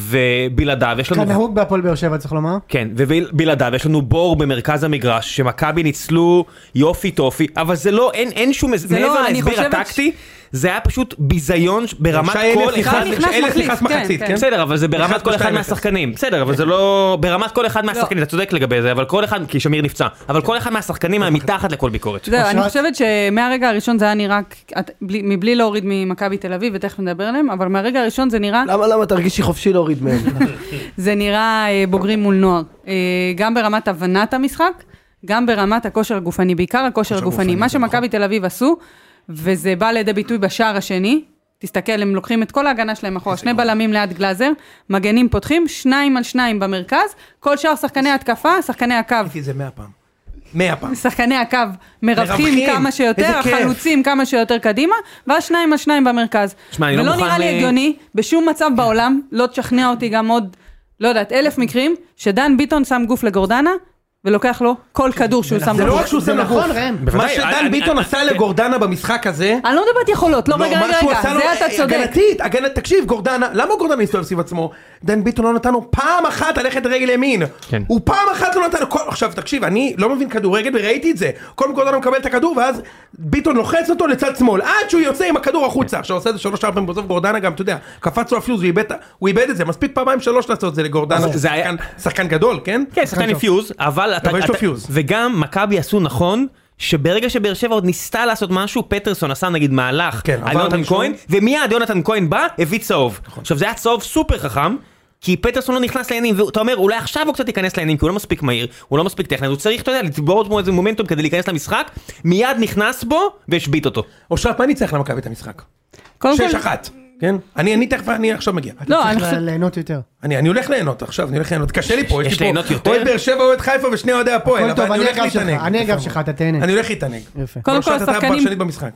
F: ובלעדיו יש לנו
B: כנהוג בהפועל באר שבע צריך לומר.
F: כן, ובלעדיו יש לנו בור במרכז המגרש, שמכבי ניצלו יופי טופי, אבל זה לא, אין, אין שום, זה
E: לא,
F: מעבר
E: אני
F: להסבר
E: חושבת
F: הטקטי, זה היה פשוט ביזיון ש- ברמת
A: שי
F: כל
A: אלס נכנס-
F: אחד,
E: אחד נכנס
A: אלס
E: מחליף,
A: נכנס
E: כן,
A: מחצית,
E: כן.
A: כן?
F: בסדר, אבל זה ברמת
A: נכנס
F: כל אחד
A: בשתיים
F: מהשחקנים, בסדר, אבל זה לא, ברמת כל אחד מהשחקנים, אתה צודק לגבי זה, אבל כל אחד, כי שמיר נפצע, אבל כל אחד מהשחקנים היה מתחת לכל ביקורת.
E: זהו, אני
B: אושרת?
E: חושבת שמהרגע הראשון זה היה נראה, כ- את- בלי- מבלי להוריד ממכבי תל אביב, ותכף נדבר עליהם, אבל מהרגע הראשון זה נראה,
C: למה, למה תרגישי חופשי להוריד מהם?
E: זה נראה אה, בוגרים מול נוער. אה, גם ברמת הבנת המשחק, גם ברמת הכושר הגופני, בעיקר הכושר הגופני. נכון. מה שמכבי תל אביב עשו, וזה בא לידי ביטוי בשער השני, תסתכל, הם לוקחים את כל ההגנה שלהם אחורה, שני בלמים ליד גלאזר, מגנים פותחים, שניים על שניים במרכז, כל שאר שחקני התקפה, שחקני הקו.
A: ראיתי את זה 100 פעם. 100 פעם.
E: שחקני הקו מרווחים
A: מרווחים,
E: כמה שיותר,
A: איזה כיף.
E: החלוצים כמה שיותר קדימה, ואז שניים על שניים במרכז.
F: שמע, אני לא
E: ולא
F: מוכן
E: נראה
F: ל-
E: לי הגיוני, בשום מצב בעולם, לא תשכנע אותי גם עוד, לא יודעת, אלף מקרים, שדן ביטון שם גוף לגורדנה, ולוקח לו כל כדור שהוא שם
A: זה לא
E: לגוף.
A: רק שהוא
B: זה
A: שם
B: נכון,
A: לגוף.
B: ראם.
A: מה
F: בוודאי, אני-
A: שדן ביטון
F: אני- כן.
A: עשה לגורדנה במשחק הזה,
E: אני לא מדברת יכולות, לא,
A: לא,
E: רגע,
A: מה
E: רגע,
A: שהוא
E: רגע,
A: עשה לו,
E: זה אתה
A: אה,
E: צודק.
A: הגנתית, הגנת, תקשיב, גורדנה, למה גורדנה הסתובב סביב עצמו? דן ביטון לא נתן לו פעם אחת ללכת רגל ימין.
F: כן.
A: הוא פעם אחת לא נתן לו, כל- עכשיו תקשיב, אני לא מבין כדורגל וראיתי את זה. קודם גורדנה מקבל את הכדור ואז ביטון לוחץ אותו לצד שמאל, עד שהוא יוצא עם הכדור החוצה. עכשיו עושה את זה שלוש ארבע פעמים, בסוף גורדנה גם, אתה יודע, קפץ לו הפיוז, הוא איבד את ה- הוא איבד את זה, מספיק פעמיים שלוש לעשות את זה לגורדנה,
F: זה
A: שהוא
F: היה-
A: שחקן- שחקן גדול, כן?
F: כן, שחקן עם
B: טוב.
F: פיוז, אבל אתה...
A: אבל יש לו
F: אתה-
A: פיוז.
F: וגם מכבי עשו נכון. שברגע שבאר שבע עוד ניסתה לעשות משהו, פטרסון עשה נגיד מהלך
A: כן,
F: על
A: עבר נכון.
F: יונתן
A: מישהו.
F: כהן, ומיד יונתן כהן בא, הביא צהוב. עכשיו זה היה צהוב סופר חכם, כי פטרסון לא נכנס לעניינים, ואתה אומר אולי עכשיו הוא קצת ייכנס לעניינים, כי הוא לא מספיק מהיר, הוא לא מספיק טכני, אז הוא צריך, אתה יודע, לצבור כמו איזה מומנטום כדי להיכנס למשחק, מיד נכנס בו והשבית אותו.
A: אושרת, מה ניצח למכבי את המשחק?
E: קודם
F: אוקיי.
E: כל-
A: שש אחת, כן? אני אני תכף, אני עכשיו מגיע.
E: לא, אני
B: צריך
E: חושבת...
B: ליהנות יותר.
A: אני, אני הולך ליהנות עכשיו, אני הולך ליהנות, קשה לי פה,
F: יש
A: יש לי
F: ליהנות
A: פה
F: יותר?
A: אוהד באר שבע, אוהד חיפה ושני אוהדי הפועל,
B: הכל
A: אבל
B: טוב,
A: אני
B: אני
A: הולך
B: הגב שלך,
A: להתענג.
B: אני הגב שלך, אתה תהנה.
A: אני הולך להתענג.
B: יפה.
E: קודם כל
A: עכשיו אתה
E: השחקנים,
A: הפרשנית במשחק.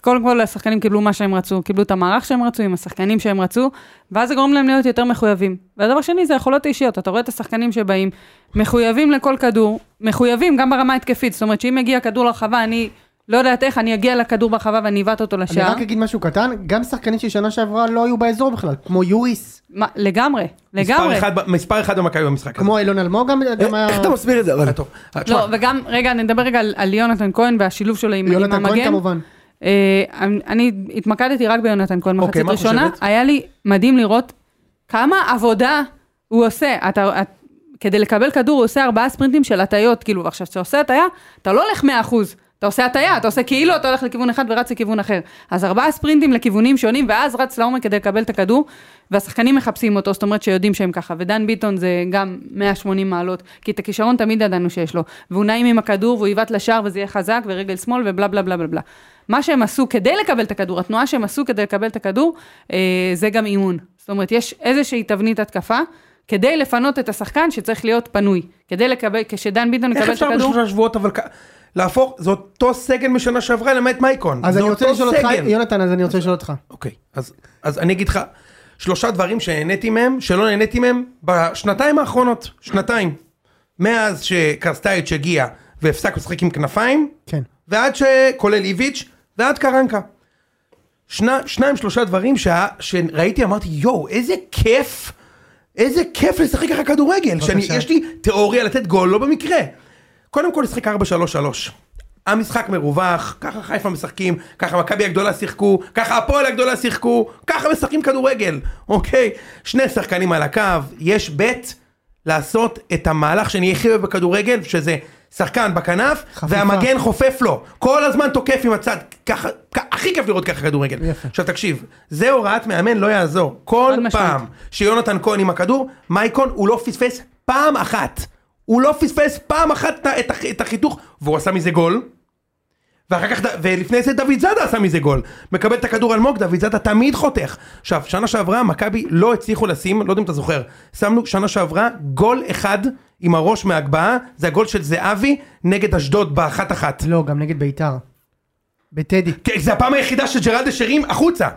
E: קודם כל השחקנים קיבלו מה שהם רצו, קיבלו את המערך שהם רצו עם השחקנים שהם רצו, ואז זה גורם להם להיות יותר מחויבים. והדבר שני זה היכולות האישיות, אתה רואה את השחקנים שבאים, מחויבים לכל כדור, מחויבים גם ברמה התקפית, זאת אומרת שאם מגיע כדור לרחבה, אני לא יודעת איך, אני אגיע לכדור ברחבה ואני אבעט אותו
B: אני
E: לשער.
B: רק אגיד משהו קטן, גם שחקנים ששנה שעברה לא היו באזור בכלל, כמו יוריס,
E: מה, לגמרי,
A: מספר
E: לגמרי.
A: אחד ב- מספר אחד במכבי במשחק הזה.
B: כמו אילון אלמוג גם, גם
A: אה,
C: איך אתה מסביר את זה? אבל...
A: טוב, אה, תשמע,
E: לא, וגם, רגע, נדבר רגע על, על יונתן כהן והשילוב שלו עם, עם
B: יונתן
E: המגן.
B: כהן כמובן.
E: אה, אני- אני התמקדתי רק ביונתן כהן, מחצית
A: אוקיי, מה
E: ראשונה,
A: חושבת?
E: היה לי מדהים לראות כמה עבודה הוא עושה. אתה, את, כדי לקבל כדור הוא עושה ארבעה ספרינטים של הטיות, כאילו, ועכשיו כשאתה עושה הטיה, אתה לא הולך 100%. אתה עושה הטיה, אתה עושה כאילו אתה הולך לכיוון אחד ורץ לכיוון אחר. אז ארבעה ספרינטים לכיוונים שונים, ואז רץ לעומק כדי לקבל את הכדור, והשחקנים מחפשים אותו, זאת אומרת שיודעים שהם ככה. ודן ביטון זה גם 180 מעלות, כי את הכישרון תמיד ידענו שיש לו. והוא נעים עם הכדור, והוא יבעט לשער וזה יהיה חזק, ורגל שמאל ובלה בלה בלה בלה בלה. מה שהם עשו כדי לקבל את הכדור, התנועה שהם עשו כדי לקבל את הכדור, אה, זה גם אימון. זאת אומרת, יש איזושהי תבנית התקפה, כדי לפנות את השחקן שצריך להיות פנוי. כדי לקבל, כשדן ביטון
A: איך
E: יקבל את
A: אפשר
E: הכדור,
A: בשלושה שבועות אבל... כ- להפוך, זה אותו סגל משנה שעברה למעט מייקון.
B: אז
A: זה
B: אני רוצה
A: אותו
B: לשאול אותך,
A: סגל.
B: יונתן, אז אני רוצה לשאול אותך.
A: אוקיי, אז, אז אני אגיד לך, שלושה דברים שנהניתי מהם, שלא נהניתי מהם בשנתיים האחרונות, שנתיים. מאז שקרסטייץ' הגיע והפסק לשחק עם כנפיים,
B: כן.
A: ועד ש... כולל איביץ', ועד קרנקה. שני, שניים שלושה דברים שה, שראיתי אמרתי יואו איזה כיף איזה כיף לשחק ככה כדורגל שאני יש לי תיאוריה לתת גול לא במקרה. קודם כל לשחק 4-3-3. המשחק מרווח ככה חיפה משחקים ככה מכבי הגדולה שיחקו ככה הפועל הגדולה שיחקו ככה משחקים כדורגל אוקיי שני שחקנים על הקו יש בית לעשות את המהלך שאני הכי אוהב בכדורגל שזה שחקן בכנף
B: חפיפה.
A: והמגן כן חופף לו, כל הזמן תוקף עם הצד, ככה, כ- הכי כיף לראות ככה כדורגל.
B: יפה.
A: עכשיו תקשיב, זה הוראת מאמן לא יעזור. כל
E: חד משמעית.
A: פעם שיונתן כהן עם הכדור, מייקון הוא לא פספס פעם אחת. הוא לא פספס פעם אחת את ה- את, הח- את החיתוך, והוא עשה מזה גול. ואחר כך, ד- ולפני זה דוד זאדה עשה מזה גול. מקבל את הכדור אלמוג, דוד זאדה תמיד חותך. עכשיו, שנה שעברה מכבי לא הצליחו לשים, לא יודע אם אתה זוכר, שמנו שנה שעברה גול אחד עם הראש מהגבהה, זה הגול של זהבי נגד אשדוד באחת אחת.
B: לא, גם נגד ביתר. בטדי.
A: כן, זה הפעם היחידה שג'רלד השרים החוצה.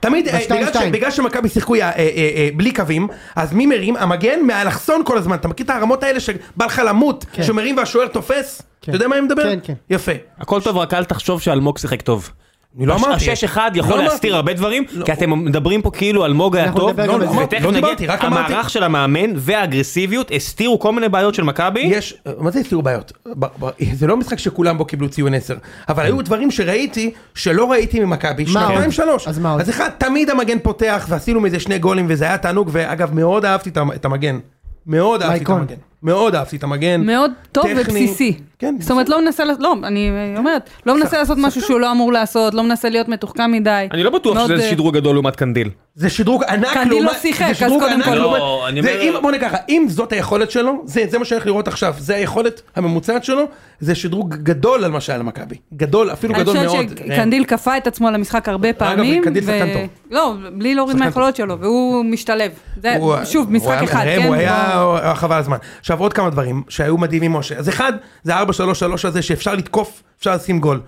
A: תמיד, אה,
B: בשתיים,
A: בגלל, ש,
B: שתיים.
A: בגלל שמכבי שיחקו אה, אה, אה, בלי קווים, אז מי מרים? המגן מהאלכסון כל הזמן. אתה מכיר את הרמות האלה שבא לך למות,
B: כן.
A: שמרים והשוער תופס?
B: כן.
A: אתה יודע מה אני מדבר?
B: כן, כן.
A: יפה.
F: הכל טוב, רק אל תחשוב שאלמוג שיחק טוב.
A: אני לא
F: הש-
A: אמרתי.
F: השש אחד יכול
A: לא
F: להסתיר
A: אמרתי.
F: הרבה דברים, כי אתם מדברים פה כאילו אלמוג היה
B: אנחנו
F: טוב,
B: נדבר גם על זה.
A: לא
F: ותכף
A: דיברתי,
F: נגיד,
A: רק אמרתי-
F: המערך של המאמן והאגרסיביות הסתירו כל מיני בעיות של מכבי.
A: יש, מה זה הסתירו בעיות? ב- ב- זה לא משחק שכולם בו קיבלו ציון 10, אבל היו דברים שראיתי שלא ראיתי ממכבי,
B: כן. עוד?
A: שנתיים שלוש.
B: אז מה עוד?
A: אז אחד, תמיד המגן פותח, ועשינו מזה שני גולים, וזה היה תענוג, ואגב, מאוד אהבתי את המ- את המגן. מאוד אהבתי את
B: מייקון.
A: המגן. מאוד אהבתי את המגן.
E: מאוד טוב
A: טכני.
E: ובסיסי.
A: כן,
E: זאת אומרת, לא מנסה, לעשות- לא, אני אה, אומרת, לא מנסה לעשות משהו שהוא לא אמור לעשות, לא מנסה להיות מתוחכם מדי.
F: אני לא בטוח
E: מאוד,
F: שזה
E: אה,
F: שדרוג גדול לעומת קנדיל.
A: זה שדרוג ענק
E: קנדיל לא שיחק,
A: זה
E: אז
A: שדרוג
E: קודם
A: ענק
E: כל. לא,
A: לעומת-
F: אני
A: זה
F: אומר-
A: אם- בוא נגיד ככה, אם זאת היכולת שלו, זה זה מה שאני הולך לראות עכשיו, זה היכולת הממוצעת שלו, זה שדרוג גדול על מה שהיה למכבי. גדול, אפילו
E: אני
A: גדול
E: חושבת
A: מאוד.
E: שקנדיל כפה את עצמו על המשחק הרבה פעמים.
A: קנדיל שחקן
E: ו-
A: טוב.
E: לא, בלי להוריד
A: שחקן
E: מהיכולות שלו, והוא משתלב. זה,
A: הוא-
E: שוב,
A: כן. הוא
E: משחק
A: היה
E: אחד,
A: מהמם,
E: כן?
A: הוא
E: הוא-
A: היה אה, חבל הזמן. עכשיו עוד כמה דברים שהיו מדהימים משה. אז אחד, זה 433 הזה שאפשר לתקוף, אפשר לשים גול.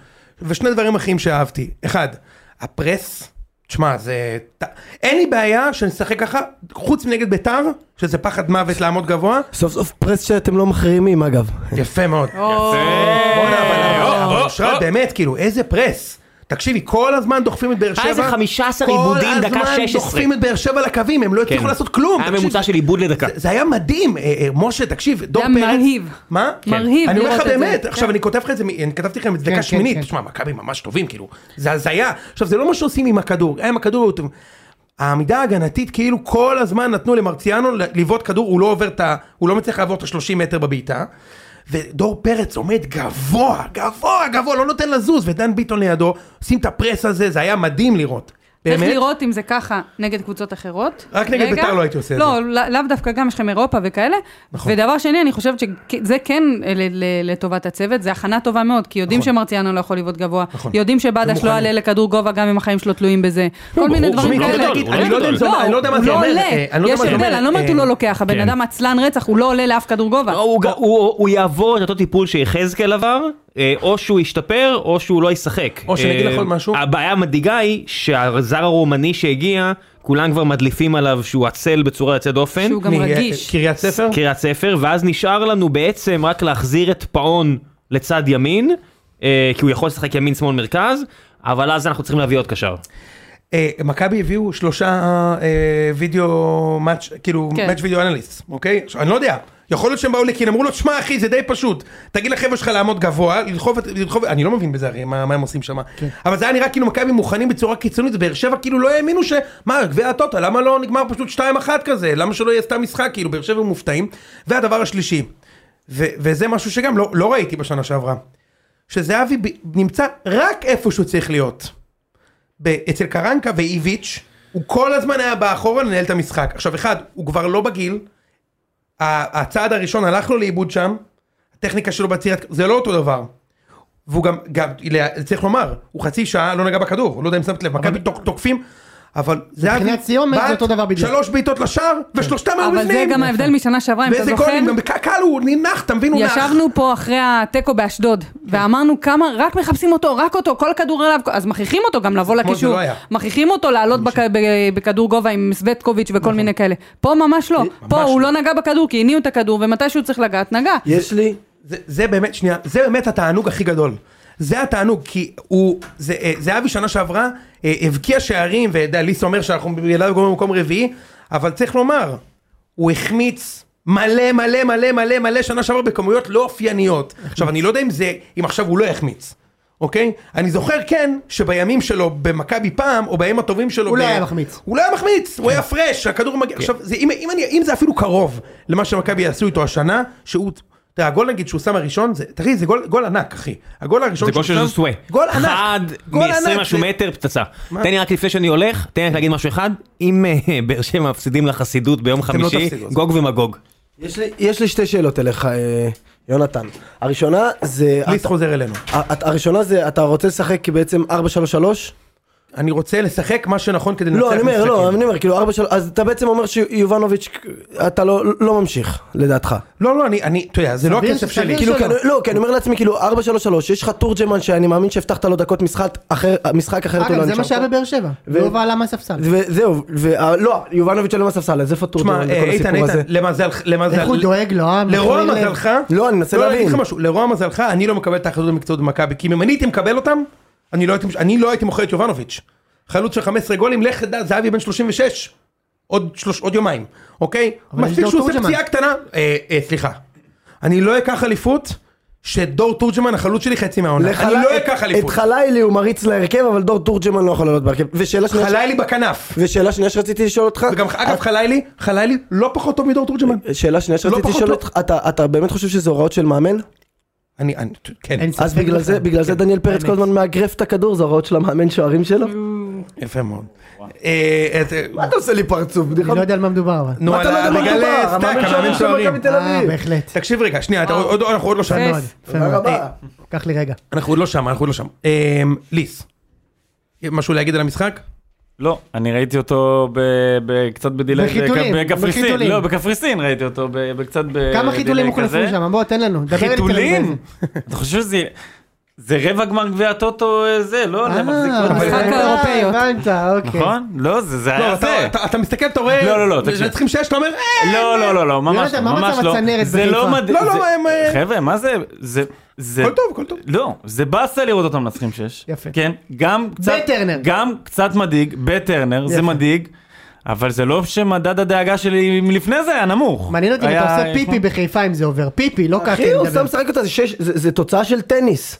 A: ושני דברים אחרים שאהבתי. אחד, הפרס, תשמע, זה... ת- אין לי בעיה שנשחק ככה, חוץ מנגד ביתר, שזה פחד מוות לעמוד גבוה.
C: סוף סוף פרס שאתם לא מחרימים אגב.
A: יפה מאוד.
E: או,
A: בואנה, אבל- אבל אושרת, באמת, כאילו, איזה פרס. תקשיבי, כל הזמן דוחפים את באר שבע.
F: היה איזה 15
A: כל
F: עיבודים, דקה
A: הזמן
F: 16.
A: דוחפים את באר שבע לקווים, הם לא הצליחו לעשות כלום.
F: היה
A: תקשיב,
F: ממוצע של עיבוד לדקה.
A: זה- זה היה מדהים, אה, אה, משה, תקשיב, דור פרץ.
E: מרהיב.
A: מה?
E: מרהיב
A: אני אומר
E: לראות
A: לך
E: את זה,
A: באמת,
E: כן.
A: עכשיו אני כותב לך את זה, מ- אני כתבתי לכם את זה
B: כן,
A: דקה
B: כן,
A: שמינית,
B: כן.
A: תשמע, מכבי ממש טובים, כאילו, זה הזיה. עכשיו, זה לא מה שעושים עם הכדור, היה עם הכדור, הוא טוב. העמידה ההגנתית, כאילו כל הזמן נתנו למרציאנו ל- לבעוט כדור, הוא לא עובר את ה... הוא לא מצליח לעבור את ה-30 מטר בבעיטה. ודור פרץ עומד גבוה, גבוה, גבוה, לא נותן לזוז, ודן ביטון לידו, עושים את הפרס הזה, זה היה מדהים לראות.
E: צריך
A: באמת,
E: לראות אם זה ככה נגד קבוצות אחרות.
A: רק נגד
E: רגע.
A: בית"ר לא הייתי עושה את
E: לא, לא- לאו דווקא, גם יש לכם אירופה וכאלה. נכון. ודבר שני, אני חושבת שזה כן אה, ל- ל- לטובת הצוות, זה הכנה טובה מאוד, כי יודעים שמרציאנו לא יכול לבעוט גובה,
A: נכון.
E: יודעים שבדש לא
A: ומוכנים. לא,
E: יעלה לכדור גובה גם אם החיים שלו תלויים בזה. כל מיני
F: ברור,
E: דברים
F: שמי,
E: כאלה.
F: גדול, הוא
A: אני
F: לא
A: לא יודע אם זה
E: לא,
A: אומר, אני לא יודע מה זה
E: הוא
A: אומר.
E: לא עולה,
A: אה, אני לא יודע
E: יש
A: מה זה
E: הבדל,
A: אומר,
E: אני לא אומרת
A: אה,
E: הוא לא לוקח, הבן אדם עצלן רצח, הוא לא עולה לאף כדור גובה.
F: כן. הוא ג- הוא- הוא יעבור את אותו טיפול שיחזקאל עבר, אה, או שהוא ישתפר, או שהוא לא ישחק.
A: או שאני אגיד לך
F: אה,
A: עוד משהו?
F: הבעיה המדאיגה היא שהזר הרומני שהגיע, כולם כבר מדליפים עליו שהוא עצל בצורה יוצאת דופן.
E: שהוא גם
A: מי, אה,
E: רגיש.
A: קריית ספר?
F: קריית ספר, ואז נשאר לנו בעצם רק להחזיר את פאון לצד ימין, אה, כי הוא יכול לשחק ימין, שמאל, מרכז, אבל אז אנחנו צריכים להביא עוד קשר.
A: אה, מכבי הביאו שלושה אה, וידאו מאץ', כאילו
E: כן.
A: מאץ' וידאו אנליסט, אוקיי? עכשיו אני לא יודע, יכול להיות שהם באו לקין, אמרו לו, תשמע אחי זה די פשוט, תגיד לחבר'ה שלך לעמוד גבוה, לדחוף, את- לדחוף, אני לא מבין בזה הרי, מה, מה הם עושים שם, אבל זה היה נראה כאילו מכבי מוכנים בצורה קיצונית, ובאר שבע כאילו לא האמינו ש... מה, גביע הטוטו, למה לא נגמר פשוט 2-1 כזה, למה שלא יהיה סתם משחק, כאילו באר שבע מופתעים, והדבר השלישי, ו- וזה משהו שגם לא, לא ראיתי בשנה שעברה, שזהבי ב- נמצא רק איפה שהוא צריך להיות. ב- אצל קרנקה ואיביץ', הוא כל הזמן היה בא אחורה לנהל את המשחק. עכשיו, אחד, הוא כבר לא בגיל, ה- הצעד הראשון הלך לו לאיבוד שם, הטכניקה שלו בצירת, זה לא אותו דבר. והוא גם, גם, צריך לומר, הוא חצי שעה לא נגע בכדור, הוא לא יודע אם שמת לב, מכבי תוק- תוקפים, אבל זהבי
B: מבחינת סיומת זה
A: בעט
B: אותו דבר בדיוק. כן.
A: שלוש בעיטות לשער ושלושתם היו
E: אבל
A: בפנים.
E: זה גם ההבדל משנה שעברה, אם אתה
A: ואיזה
E: זוכר.
A: גולים, גם בקק"ל הוא נינח, אתה מבין, הוא נח. כן.
E: ישבנו פה אחרי התיקו באשדוד, ואמרנו כמה, רק מחפשים אותו, רק אותו, כל כדור אליו, אז מכריחים אותו גם לבוא
A: כמו זה
E: לקישור,
A: לא היה.
E: מכריחים אותו לעלות בכ- ב- בכדור גובה עם סווטקוביץ'
A: נכון.
E: וכל מיני כאלה. פה ממש לא, פה הוא לא נגע בכדור, כי הניעו את הכדור, ומתי שהוא צריך לגעת, נגע.
C: יש לי...
A: זה, זה באמת, שנייה, זה באמת התענוג הכי גדול. זה התענוג, כי הוא, זה, אה, זהבי שנה שעברה, אה, הבקיע שערים, וליס אומר שאנחנו בלעדיו גומרים במקום רביעי, אבל צריך לומר, הוא החמיץ מלא מלא מלא מלא מלא שנה שעברה בכמויות לא אופייניות. עכשיו, אני לא יודע אם זה, אם עכשיו הוא לא יחמיץ. אוקיי? אני זוכר כן, שבימים שלו במכבי פעם, או בימים הטובים שלו...
B: הוא לא
A: ב-
B: היה מחמיץ.
A: הוא לא היה מחמיץ, הוא היה
F: כן.
A: פרש, הכדור מגיע. עכשיו, זה, אם, אם, אני, אם זה אפילו קרוב למה שמכבי יעשו איתו השנה, שהוא... אתה יודע, הגול נגיד שהוא שם הראשון, זה, תראי, זה גול, גול ענק, אחי. הגול הראשון
F: זה גול
A: שהוא
F: של
A: שם-
F: זוסווה.
A: גול ענק.
F: אחד
A: גול
F: מ-20
A: ענק,
F: משהו
A: זה-
F: מטר פצצה.
A: מה?
F: תן לי רק לפני שאני הולך, תן לי רק להגיד משהו אחד. אם אה, באר שבע מפסידים לחסידות ביום
A: לא
F: חמישי,
A: תפסידו, אז-
F: גוג ומגוג.
C: יש לי, יש לי שתי שאלות אליך, אה, יונתן. הראשונה זה...
A: ליס
C: אתה-
A: חוזר אלינו.
C: ה- ה- הראשונה זה, אתה רוצה לשחק בעצם 4-3-3?
A: אני רוצה לשחק מה שנכון כדי לנצח
C: לא, אני אומר,
A: משחקים.
C: לא, אני אומר, כאילו 4-3, אז אתה בעצם אומר שיובנוביץ', אתה לא לא ממשיך, לדעתך.
A: לא, לא, אני, אני, אתה יודע, זה לא
B: סביר-
A: הכסף שלי.
B: סביר
A: כאילו,
C: כאילו,
B: שלא.
C: כי אני- לא, כי אני אומר לעצמי, כאילו 4-3-3, יש לך תורג'מן שאני מאמין שהבטחת לו דקות משחק אחר, משחק אחרת הוא לא
B: אגב, זה
C: נשאר
B: מה שהיה
C: פה.
B: בבאר שבע.
C: ו-
B: והוא עלה מהספסל.
C: וזהו, ולא, לא, יובנוביץ' עולה מהספסל, אז איפה
A: תשמע,
C: תורג'מן
A: אה,
C: בכל
A: איתן,
C: הסיפור
A: איתן,
C: הזה?
A: למזל, למזל,
B: איך הוא דואג לו, אה?
A: לרוע
B: מחמיא לב.
A: מזלך,
C: לא, אני מנסה
A: אני אגיד לך
C: להבין.
A: משהו, לרוע מזלך, אני לא מקבל את ההחלטות המקצועיות במכבי, כי אם אני הייתי מקבל אותם, אני לא הייתי, אני לא הייתי מוכר את יובנוביץ'. חלוץ של 15 גולים, לך תדע, זהבי בן 36. עוד, שלוש, עוד יומיים, אוקיי?
B: אבל יש
A: מספיק
B: דור
A: שהוא עושה
B: תורג'מן.
A: פציעה קטנה, אה, אה, סליחה. אני לא אקח אליפות שדור תורג'מן החלוץ שלי חצי מהעונה. אני
C: לחלה-
A: לא אקח
C: את
A: אליפות.
C: חלילי הוא מריץ להרכב, אבל דור תורג'מן לא יכול לעלות בהרכב. ושאלה שנייה ש-
A: חלילי בכנף.
C: ושאלה שנייה שרציתי לשאול אותך, אה,
A: וגם אגב חלילי, חלילי לא פחות טוב מדור תורג'מן.
C: שאלה שנייה שרציתי
A: פחות
C: לשאול
A: לא.
C: אותך, אתה- אתה באמת חושב שזה הוראות של מאמן?
A: אני, אני, כן.
B: אין ספק
C: אז בגלל
B: בכלל.
C: זה, בגלל זה דניאל פרץ כל הזמן מאגרף את הכדור, זה הוראות של המאמן שוערים שלו?
A: יפה מאוד. אה, את-
C: מה אתה עושה לי פרצוף? בדיחה?
B: אני לא יודע על מה מדובר, אבל.
A: נו,
C: מה אתה לא יודע
A: על
C: מה מדובר?
A: מגלה סטאק,
C: המאמן
A: המאמן
C: שוערים של
A: שוערים.
C: מכבי תל
B: אה,
C: אביב.
B: בהחלט.
A: תקשיב רגע, שנייה, אתה עוד- עוד- אנחנו עוד לא שם.
B: יפה מאוד,
E: פס.
B: יפה
C: תודה
B: מאוד.
C: רבה.
B: קח לי רגע.
A: אנחנו עוד לא שם, אנחנו עוד לא שם. אמ, ליס, משהו להגיד על המשחק?
D: לא, אני ראיתי אותו ב, ב, קצת בדיליי,
B: בחיתולים,
D: בכ- בקפריסין,
B: בחיתולים.
D: לא, בקפריסין ראיתי אותו ב, ב, קצת בדיליי
B: כמה חיתולים הוחלפו
D: אה, כזה.
B: שם? בוא, תן לנו. דבר איתי על
D: חיתולים?
B: זה.
D: אתה חושב שזה, זה רבע גמר גביע הטוטו אה, זה, לא,
B: אה,
D: זה מחזיק לא
B: אבל
D: מחזיק.
E: משחק
B: הבנת,
E: האירופאיות.
B: הבנת, אוקיי.
D: נכון? לא, זה זה
F: אה,
A: לא,
D: היה
A: אתה-
D: זה.
A: אתה- אתה מסתכל, אתה רואה...
D: לא, לא, לא,
A: זה-
D: תקשיב.
A: זה צריכים שש, אתה אומר... "אה,
D: לא, לא, לא, לא, ממש
B: יונתן,
D: לא,
B: מה
D: ממש
B: מצב
D: לא.
B: הצנרת
D: זה לא
B: בחיפה?
D: מדהים.
A: לא, לא, הם, אה,
D: חבר'ה, מה זה? זה... זה...
A: הכל טוב, הכל טוב.
D: לא, זה באסה לראות אותם מנצחים שש.
B: יפה.
D: כן, גם קצת...
B: בטרנר.
D: גם קצת מדאיג, בטרנר, זה מדאיג, אבל זה לא שמדד הדאגה שלי מלפני זה היה נמוך.
B: מעניין אותי אם אתה
D: היה- נכון.
B: עושה פיפי בחיפה אם זה עובר. פיפי, לא ככה.
C: אחי, הוא סתם משחק אותה, זה שש- זה זה תוצאה של טניס.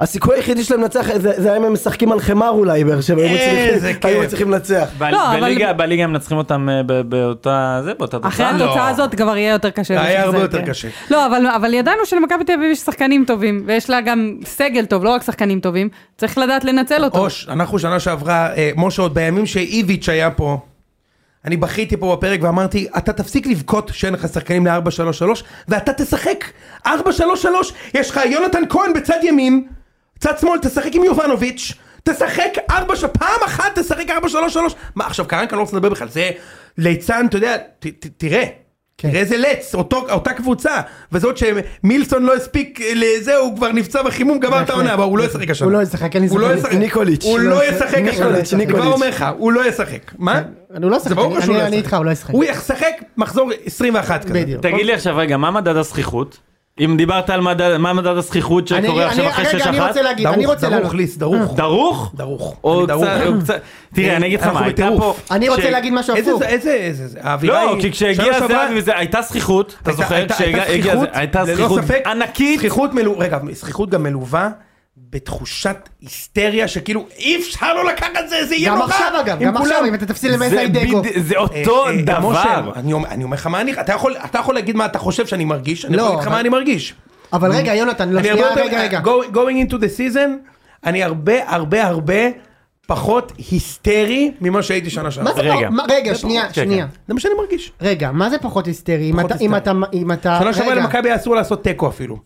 C: הסיכוי היחידי שלהם לנצח, זה זה היה אם הם משחקים על חמר אולי באר שבע,
A: אה,
C: היו מצליחים-
A: איזה
C: היו
A: כיף.
C: מצליחים לנצח.
D: ב-
E: לא, אבל-
D: בליגה- בליגה הם מנצחים אותם אה, ב- באותה... זה, באותה
E: אחרי
D: תוצאה.
E: התוצאה הזאת כבר יהיה יותר קשה.
A: לא. היה הרבה
E: זה,
A: יותר
E: כן.
A: קשה.
E: לא, אבל, אבל ידענו שלמכבי תל אביב יש שחקנים טובים, ויש לה גם סגל טוב, לא רק שחקנים טובים, צריך לדעת לנצל אותו.
A: אוש, אנחנו שנה שעברה, אה, משה, עוד בימים שאיביץ' היה פה, אני בכיתי פה בפרק ואמרתי, אתה תפסיק לבכות שאין לך שחקנים ל-4-3-3, ואתה תשחק. 4-3-3, יש לך יונתן כהן בצד ימין, צד שמאל, תשחק עם יובנוביץ', תשחק 4, ש- פעם אחת תשחק 4-3-3. מה, עכשיו קרנקה לא רוצה לדבר בכלל, זה ליצן, אתה יודע, ת, ת, תראה.
B: כן.
A: תראה איזה לץ, אותו, אותה קבוצה, וזאת שמילסון לא הספיק אה, לזה, הוא כבר נפצע בחימום, גמר את העונה, אבל הוא לא ישחק השנה.
B: הוא לא ישחק, אין לי
A: הוא לא
B: ספק.
A: ישחק.
C: ניקוליץ'.
A: הוא לא ישחק.
C: ניקוליץ',
A: אני כבר
C: ניקוליץ'.
A: אומר לך, הוא לא ישחק. מה?
B: אני לא אשחק,
A: זה ברור
B: אני-
A: שהוא לא
B: אני- אני
A: ישחק.
B: איתך, הוא לא ישחק.
A: הוא ישחק מחזור 21 כזה.
B: בדיוק.
D: תגיד לי עכשיו, רגע, מה מדד הזכיחות? אם דיברת על מדד- מה מדד הזכיחות
B: אני-
D: שקורה עכשיו
B: אני-
D: אחרי
B: רגע,
D: שש
B: אני
D: אחת?
B: רוצה להגיד, אני
A: דרוך,
B: רוצה לעלות.
A: דרוך, ליס, דרוך.
D: דרוך?
A: דרוך.
D: או
A: אני
D: קצת,
A: דרוך.
D: או קצת, תראה, אני אגיד לך
A: אנחנו
D: מה, הייתה
A: בטירוף.
D: פה...
B: אני
D: ש-
B: רוצה להגיד משהו
A: איזה
B: הפוך.
A: זה, איזה, איזה, זה, האווירה
D: לא, כי
A: שנה
D: כשהגיע
A: שעברה-
D: זהבי וזה, הייתה זכיחות, אתה
A: הייתה-
D: זוכר?
A: הייתה-
D: כשהגיע-
A: הייתה
D: הגיע זה-
A: זכיחות,
D: הייתה
A: ללא
D: זכיחות
A: ספק,
D: ענקית.
A: זכיחות מלווה, רגע, זכיחות גם מלווה בתחושת היסטריה שכאילו אי אפשר לא לקחת זה, זה יהיה
B: גם
A: נורא.
B: עכשיו אגב,
A: עם
B: גם עכשיו,
A: כולם.
B: אם אתה תפסיד
D: זה
B: למסי דגו.
D: בד- זה
A: אה,
D: אותו
A: אה, משה,
D: דבר.
A: אני אומר- אני אומר לך מה אני, אתה יכול- אתה יכול להגיד מה אתה חושב שאני מרגיש, אני
B: לא,
A: יכול להגיד לך
B: אבל-
A: מה אני מרגיש.
B: אבל רגע, יונתן, לא,
A: אני הרבה
B: שנייה,
A: יותר,
B: רגע, רגע.
A: going- going into the season, אני הרבה הרבה הרבה פחות היסטרי ממה שהייתי שנה
B: מה
A: שעברה.
B: זה
D: רגע.
B: פה? מה- רגע,
A: זה
B: שנייה,
A: פחות-
B: שנייה.
A: זה מה שאני מרגיש.
B: רגע, מה זה פחות היסטרי? אם
A: פחות
B: אתה- אם
A: היסטרי.
B: אתה... אם אתה...
A: שנה שעברה
B: אה, רגע,
A: למכבי היה אסור לעשות תיקו אפילו.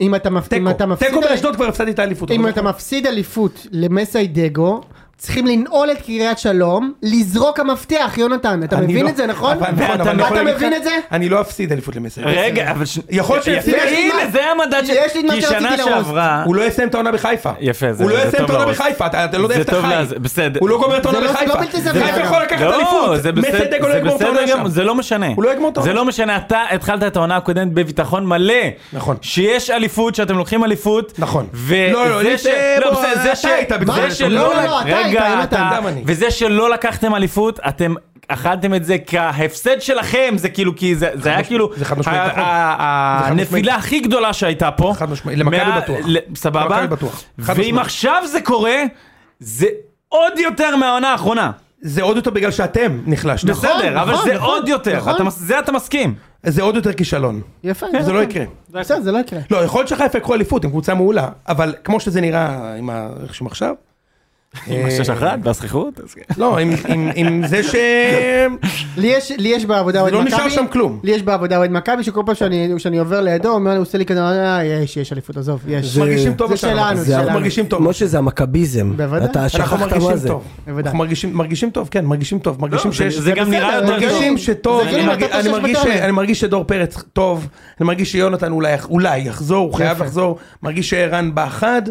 B: אם אתה מפ- אם
A: תיקו.
B: אתה מפסיד...
A: תיקו באשדוד כבר הפסדתי את האליפות.
B: אם
A: אבל-
B: אתה מפסיד אליפות למסי דגו, צריכים לנעול את קריית שלום, לזרוק המפתח, יונתן, אתה
A: אני
B: מבין
A: לא-
B: את זה, נכון?
A: אבל- נכון, אבל אני יכול
B: אתה
A: להגיד
B: מבין
A: לך,
B: את זה?
A: אני לא אפסיד אליפות למסר.
D: רגע, אבל... ש-
A: יכול להיות
D: יפה,
A: שיפסיד.
B: יש לי
D: הנה,
B: מה-
D: זה המדד ש...
B: יש לי את מה
D: כי
B: שרציתי
D: שנה
B: לארוז.
D: שעברה...
A: הוא לא יסיים את העונה בחיפה.
D: יפה, זה-
A: הוא לא
D: זה
A: יסיים את
D: טוב
A: העונה
D: לראש.
A: בחיפה, אתה אתה לא יודע
D: זה
A: איפה אתה
D: טוב
A: חי.
D: לזה, בסדר.
A: הוא לא גומר את העונה
B: זה לא-
A: בחיפה.
B: לא בלתי סביר,
A: חיפה
B: אגב.
A: יכול לקחת
D: לא,
A: אליפות.
D: זה
A: מסי דגו
D: בסדר,
A: לא
D: זה
A: יגמור את
D: בסדר
A: העונה שם.
D: גם, זה לא משנה.
A: הוא לא יגמור את
D: זה
A: העונה.
D: לא משנה, אתה התחלת את העונה הקודמת בביטחון מלא.
A: נכון.
D: שיש אליפות, שאתם לוקחים אליפות.
A: נכון.
D: וזה
A: לא, לא,
D: ש...
A: ליטא,
D: לא,
A: בוא,
D: בסדר,
A: אתה
D: זה ש...
A: היית בגדול.
D: זה
A: מה?
D: שלא...
B: לא, לא, לא, אתה היית,
D: רגע,
B: יונתן.
D: אתה...
A: גם אני.
D: וזה שלא לקחתם אליפות, אתם אכלתם את זה כהפסד שלכם, זה כאילו, כי זה זה היה כאילו...
A: זה חד משמעית,
D: ה-
A: נכון.
D: ה- ה-
A: זה חד משמעית.
D: הנפילה הכי גדולה שהייתה פה.
A: חד משמעית, למכבי
D: מה-
A: בטוח.
D: ל- סבבה?
A: למכבי בטוח. חד
D: ואם
A: משמעית.
D: עכשיו זה קורה, זה עוד יותר מהעונה האחרונה.
A: זה עוד יותר בגלל שאתם נחלשתם.
B: נכון,
D: בסדר, אבל
B: נכון,
D: זה
B: נכון,
D: עוד יותר,
B: נכון.
D: אתה מס- זה אתה מסכים.
A: זה עוד יותר כישלון.
B: יפה.
A: זה לא יקרה.
B: בסדר, זה לא יקרה.
A: לא, יכול להיות שחיפה יקחו אליפות, הם קבוצה מעולה, אבל כמו שזה נראה עם ה- איך שהם עכשיו,
D: עם השש אחת והזכיחות?
A: לא, עם- עם- עם זה ש...
B: לי יש, לי יש בעבודה
A: זה
B: אוהד
A: לא
B: מכבי,
A: נשאר שם כלום.
B: לי יש בעבודה אוהד מכבי שכל פעם שאני, שאני עובר לידו, אומר, הוא עושה לי כזה, "אה, יש, יש אליפות, עזוב, יש.
C: זה-
A: מרגישים טוב
B: זה
A: עכשיו,
B: שלנו,
A: אנחנו
B: זה
A: אנחנו
B: שלנו.
A: מרגישים טוב.
C: משה זה המכביזם.
B: בוודאי.
C: אתה
A: אנחנו
C: שכחת מה
A: מרגישים
C: זה.
A: טוב.
B: בוודאי.
A: אנחנו מרגישים- מרגישים טוב, כן, מרגישים טוב, מרגישים
D: לא, זה-
A: שיש...
D: זה גם
B: בסדר,
D: נראה יותר טוב.
A: מרגישים שטוב,
B: זה כאילו
A: אני מרגיש-
B: נתת
A: אני
B: שש
A: מרגיש ש-
B: בטרנר.
A: אני מרגיש שדור פרץ טוב, אני מרגיש שיונתן אולי אולי יחזור, הוא חייב לחזור, מרגיש שערן בא חד,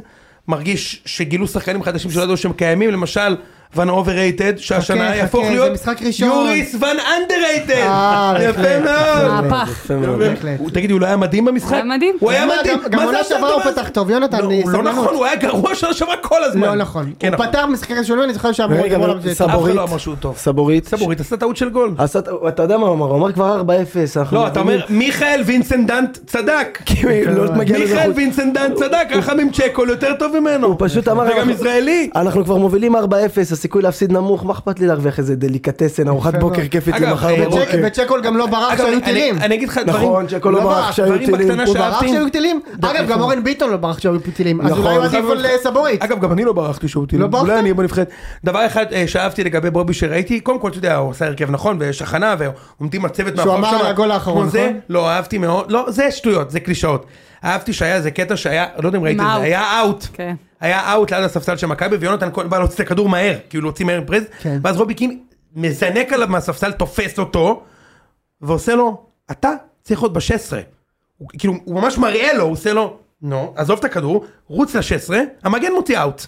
A: מרגיש שגילו שחקנים חדשים שלא ידעו שהם קיימים, למשל ון אוברייטד, שהשנה
B: חכה,
A: יהפוך
B: חכה, זה
A: להיות
B: משחק ראשון.
A: יוריס ון אנדררייטד,
B: אה,
A: יפה
B: בהחלט,
A: מאוד.
E: מהפך.
C: יפה מאוד.
B: בהחלט.
A: הוא- תגידי, הוא לא היה מדהים במשחק?
E: היה מדהים.
A: הוא היה
B: גם-
A: מדהים.
B: גם
A: מה זה
B: עונה
A: השטויות
B: שעברה הוא
A: הזה?
B: פתח טוב, יונתן,
A: לא,
B: אני-
A: הוא לא
B: סבלנות.
A: נכון, הוא היה גרוע שנה שעברה כל הזמן.
B: לא נכון.
A: כן,
B: הוא
A: נכון.
B: פתח משחק ראשוני, אני זוכר שאמרו,
C: רגע,
B: אמרו
C: אבל
B: עליו זה-
A: אף אחד
C: סבורית,
A: לא אמר שהוא טוב.
C: סבורית,
A: סבורית עשה טעות של גול.
C: עשה- אתה יודע מה הוא אמר, הוא אמר כבר 4-0, אנחנו...
A: לא, אתה אומר, מיכאל וינסנדנט צדק.
C: כאילו, לא מגיע לזה
A: מיכאל
C: חוץ.
A: וינסנדנט צדק, החמים צ'קול יותר טוב ממנו.
C: הוא פשוט אמר,
A: וגם
C: אנחנו-
A: ישראלי.
C: אנחנו כבר מובילים 4-0, הסיכוי להפסיד נמוך, מה אכפת לי להרוויח איזה דליקטסן, ארוחת בוקר
B: מאוד.
C: כיפית
A: אגב,
C: למחר
A: אה,
C: בבוקר.
B: וצ'ק- וצ'קול גם לא ברח
A: אגב,
B: כשהיו
A: אני-
B: טילים.
A: אני אגיד לך דברים.
C: נכון, צ'קו לא ברח כשהיו
A: דברים
C: טילים.
A: בקטנה
B: הוא ברח
A: שאהבתי.
B: כשהיו טילים? אגב, גם אורן ביטון לא ברח כשהיו טילים. אז
C: נכון.
B: אולי הוא עדיף על אה, סבורית.
A: אגב, גם אני לא ברחתי שהוא טילים.
B: לא ברחת?
A: אולי אני אהיה בנבחרת. דבר אחד אה, שאהבתי לגבי בובי שראיתי, קודם כל, אתה יודע, הוא עשה הרכב נכון, ויש הכנה, ועומדים הצוות
B: שהוא אמר
A: שמה.
B: על הגול האחרון,
A: כמו זה,
B: נכון?
A: לא, אהבתי מאוד. לא, זה שטויות, זה קלישאות. אהבתי שהיה איזה קטע שהיה, לא יודע אם ראיתם את
E: עם
A: זה,
E: out.
A: היה אאוט.
E: כן.
A: היה אאוט ליד הספסל של מכבי, ויונתן כהן בא להוציא את הכדור מהר, כאילו להוציא מהר פרז,
B: כן.
A: ואז רובי קין מזנק עליו מהספסל, תופס אותו, ועושה לו, אתה צריך להיות ב-16. הוא כאילו, הוא ממש מראה לו, הוא עושה לו, נו, עזוב את הכדור, רוץ ל-16, המגן מוציא אאוט.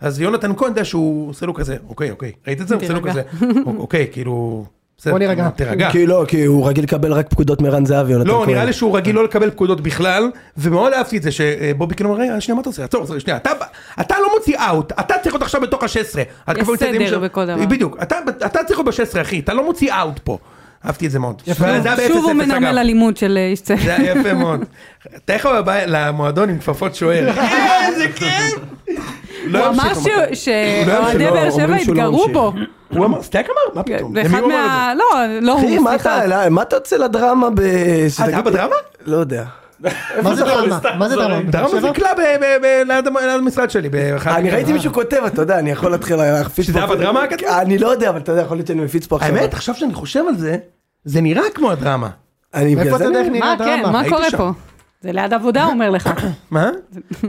A: אז יונתן כהן יודע שהוא עושה לו כזה, אוקיי, אוקיי, ראית את זה? הוא עושה לו כזה,
E: תירגע.
A: אוקיי, כאילו, בסדר,
B: בוא נירגע.
A: תירגע.
C: כי לא, כי הוא רגיל לקבל רק פקודות מרן זהבי, יונתן
A: לא,
C: כהן.
A: נראה לי שהוא רגיל לא לקבל פקודות בכלל, ומאוד אהבתי את זה שבובי כאילו אומר, רגע, שנייה, מה אתה עושה? עצור, עצור, שנייה, אתה, אתה לא מוציא אאוט, אתה צריך להיות עכשיו בתוך ה-16.
E: יש סדר בכל דבר.
A: בדיוק, אתה, אתה צריך להיות ב-16, אחי, אתה לא מוציא אאוט פה. אהבתי את זה מאוד. יפה.
E: שוב הוא מנרמל אלימות של אה, איש צוות.
A: זה היה יפה מאוד. תאר לך בבית- למועדון עם כפפות שוער. איזה כיף! לא
E: הוא אמר
A: ימשיך,
E: ש-
A: אמרת.
E: שאוהדי
C: שלא,
E: באר
C: אומרים
E: שבע
C: שהוא לא
E: התגרו
C: ממשיך.
E: בו.
A: הוא אמר, סטייק אמר? מה פתאום? למי
E: ואחד
A: הוא אמר
E: כן, מה... לא, לא
C: אחי,
E: הוא,
C: מה
E: סליחה.
C: אתה- מה אתה יוצא לדרמה
A: את
C: ב...
A: זה? אה, זה היה בדרמה?
C: לא יודע.
B: מה זה דרמה? מה זה דרמה?
A: דרמה זה קלאב אה, ב- ב- ליד המ- ליד המשרד שלי. באחד-
C: אני ראיתי מישהו כותב, אתה יודע, אני יכול להתחיל להפיץ...
A: שזה
C: פה-
A: היה בדרמה הכתוב?
C: אני לא יודע, אבל אתה יודע, יכול להיות שאני מפיץ פה עכשיו.
A: האמת, עכשיו שאני חושב על זה, זה נראה כמו הדרמה.
C: אני בגלל
B: איפה אתה
C: זה
B: יודע
C: אני-
B: איך נראה
E: מה, כן,
B: דרמה?
E: מה
A: הייתי
E: קורה
A: שם.
E: פה? זה ליד עבודה, הוא אומר לך.
A: מה?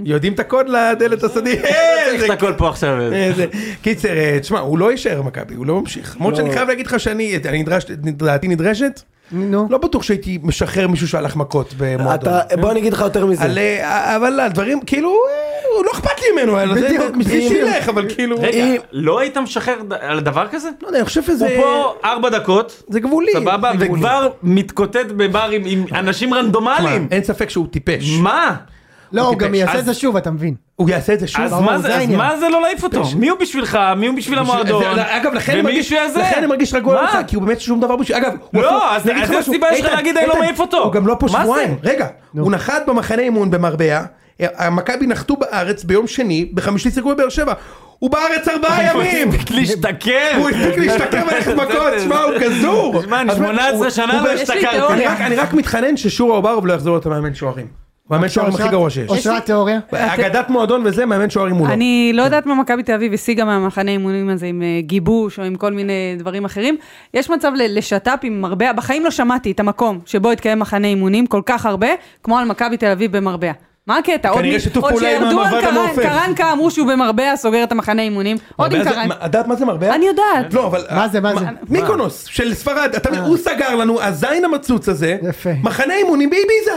A: יודעים את הקוד לדלת הסודי? אה,
D: איך
A: זה-
D: את הכל פה עכשיו?
A: אה, זה- קיצר, אה, תשמע, הוא לא יישאר במכבי, הוא לא ממשיך. למרות שאני חייב להגיד לך שאני, אני נדרש, דעתי נדרשת,
B: נו.
A: לא בטוח שהייתי משחרר מישהו שהלך מכות במועדון.
C: אתה- בוא אני אגיד לך יותר מזה.
A: על, אה, אבל הדברים, כאילו, אה, הוא לא אכפת לי ממנו, אלא זה
B: בדיוק,
A: מי
B: בדיוק.
A: שילך, אבל כאילו,
D: רגע,
A: אה,
D: לא היית משחרר ד- על דבר כזה?
A: לא יודע, אני חושב
D: הוא
A: שזה,
D: פה ארבע דקות,
A: זה גבולי.
D: סבבה,
A: זה גבולי.
D: וכבר מתקוטט בברים עם אנשים רנדומליים.
A: מה, אין ספק שהוא טיפש.
D: מה?
B: לא, הוא גם
A: טיפש.
B: יעשה את
D: אז-
B: זה שוב, אתה מבין.
A: הוא יעשה את לא, זה שוב.
D: אז
A: ברור,
D: מה זה- אז
B: העניין.
D: מה זה לא להעיף אותו? מי הוא בשבילך? מי הוא בשביל המועדון?
A: זה- זה- אגב, לכן אני
D: ומי
A: מרגיש-
D: בשביל הזה?
A: לכן אני מרגיש רגוע
D: מה?
A: עליך, כי הוא באמת שום דבר בשביל... אגב, הוא
D: לא,
A: אפילו-
D: אז-
A: אני אגיד
D: אז
A: לך
D: זה
A: משהו,
D: הסיבה שלך
A: איתן,
D: להגיד, אני לא
A: איתן,
D: מעיף אותו.
A: הוא גם לא פה
D: מה זה?
A: שבועיים. רגע, הוא נחת במחנה אימון במרבה, המכבי נחתו בארץ ביום שני, בחמישי סיכוי בבאר שבע. הוא בארץ ארבעה ימים!
D: הספיק להשתכר.
A: הוא הספיק להשתכר וללכת מכות, שמע, הוא גזור!
D: שמע, אני
A: אבל-
D: 18
A: הוא-
D: שנה לא
A: הוא-
E: יש לי
D: השתכרתי.
E: תיאוריה.
A: אני רק- אני רק מתחנן ששורה אוברוב לא יחזור להיות המאמן שוערים. הוא המאמן שוערים הכי גרוע שיש.
B: אושרת תיאוריה?
A: אגדת מועדון וזה, מאמן שוערים מולו.
E: אני לא יודעת מה מכבי תל אביב השיגה מהמחנה אימונים הזה עם אה, גיבוש או עם כל מיני דברים אחרים. יש מצב ל- לשת"פ עם מרבה, בחיים לא שמעתי את המקום שבו התקיים מחנה אימונים כל כך הרבה, כמו על מכבי תל אביב במרבה. מה הקטע? עוד
A: כנראה
E: מי-
A: שיתוף
E: עוד
A: פעולה עם
E: שירדו על
A: המעמד
E: קרן-
A: המעופף.
E: קרנקה אמרו שהוא במרבה סוגר את המחנה אימונים. עוד עם
A: מרבה זה-
E: קרנקה.
A: מה- את יודעת מה זה מרבה?
E: אני יודעת.
D: כן.
A: לא, אבל...
B: מה זה, מה זה? אה.
A: מיקונוס של ספרד, אתה מבין, הוא סגר לנו, הזין המצוץ הזה,
B: יפה.
A: מחנה אימונים באביזה.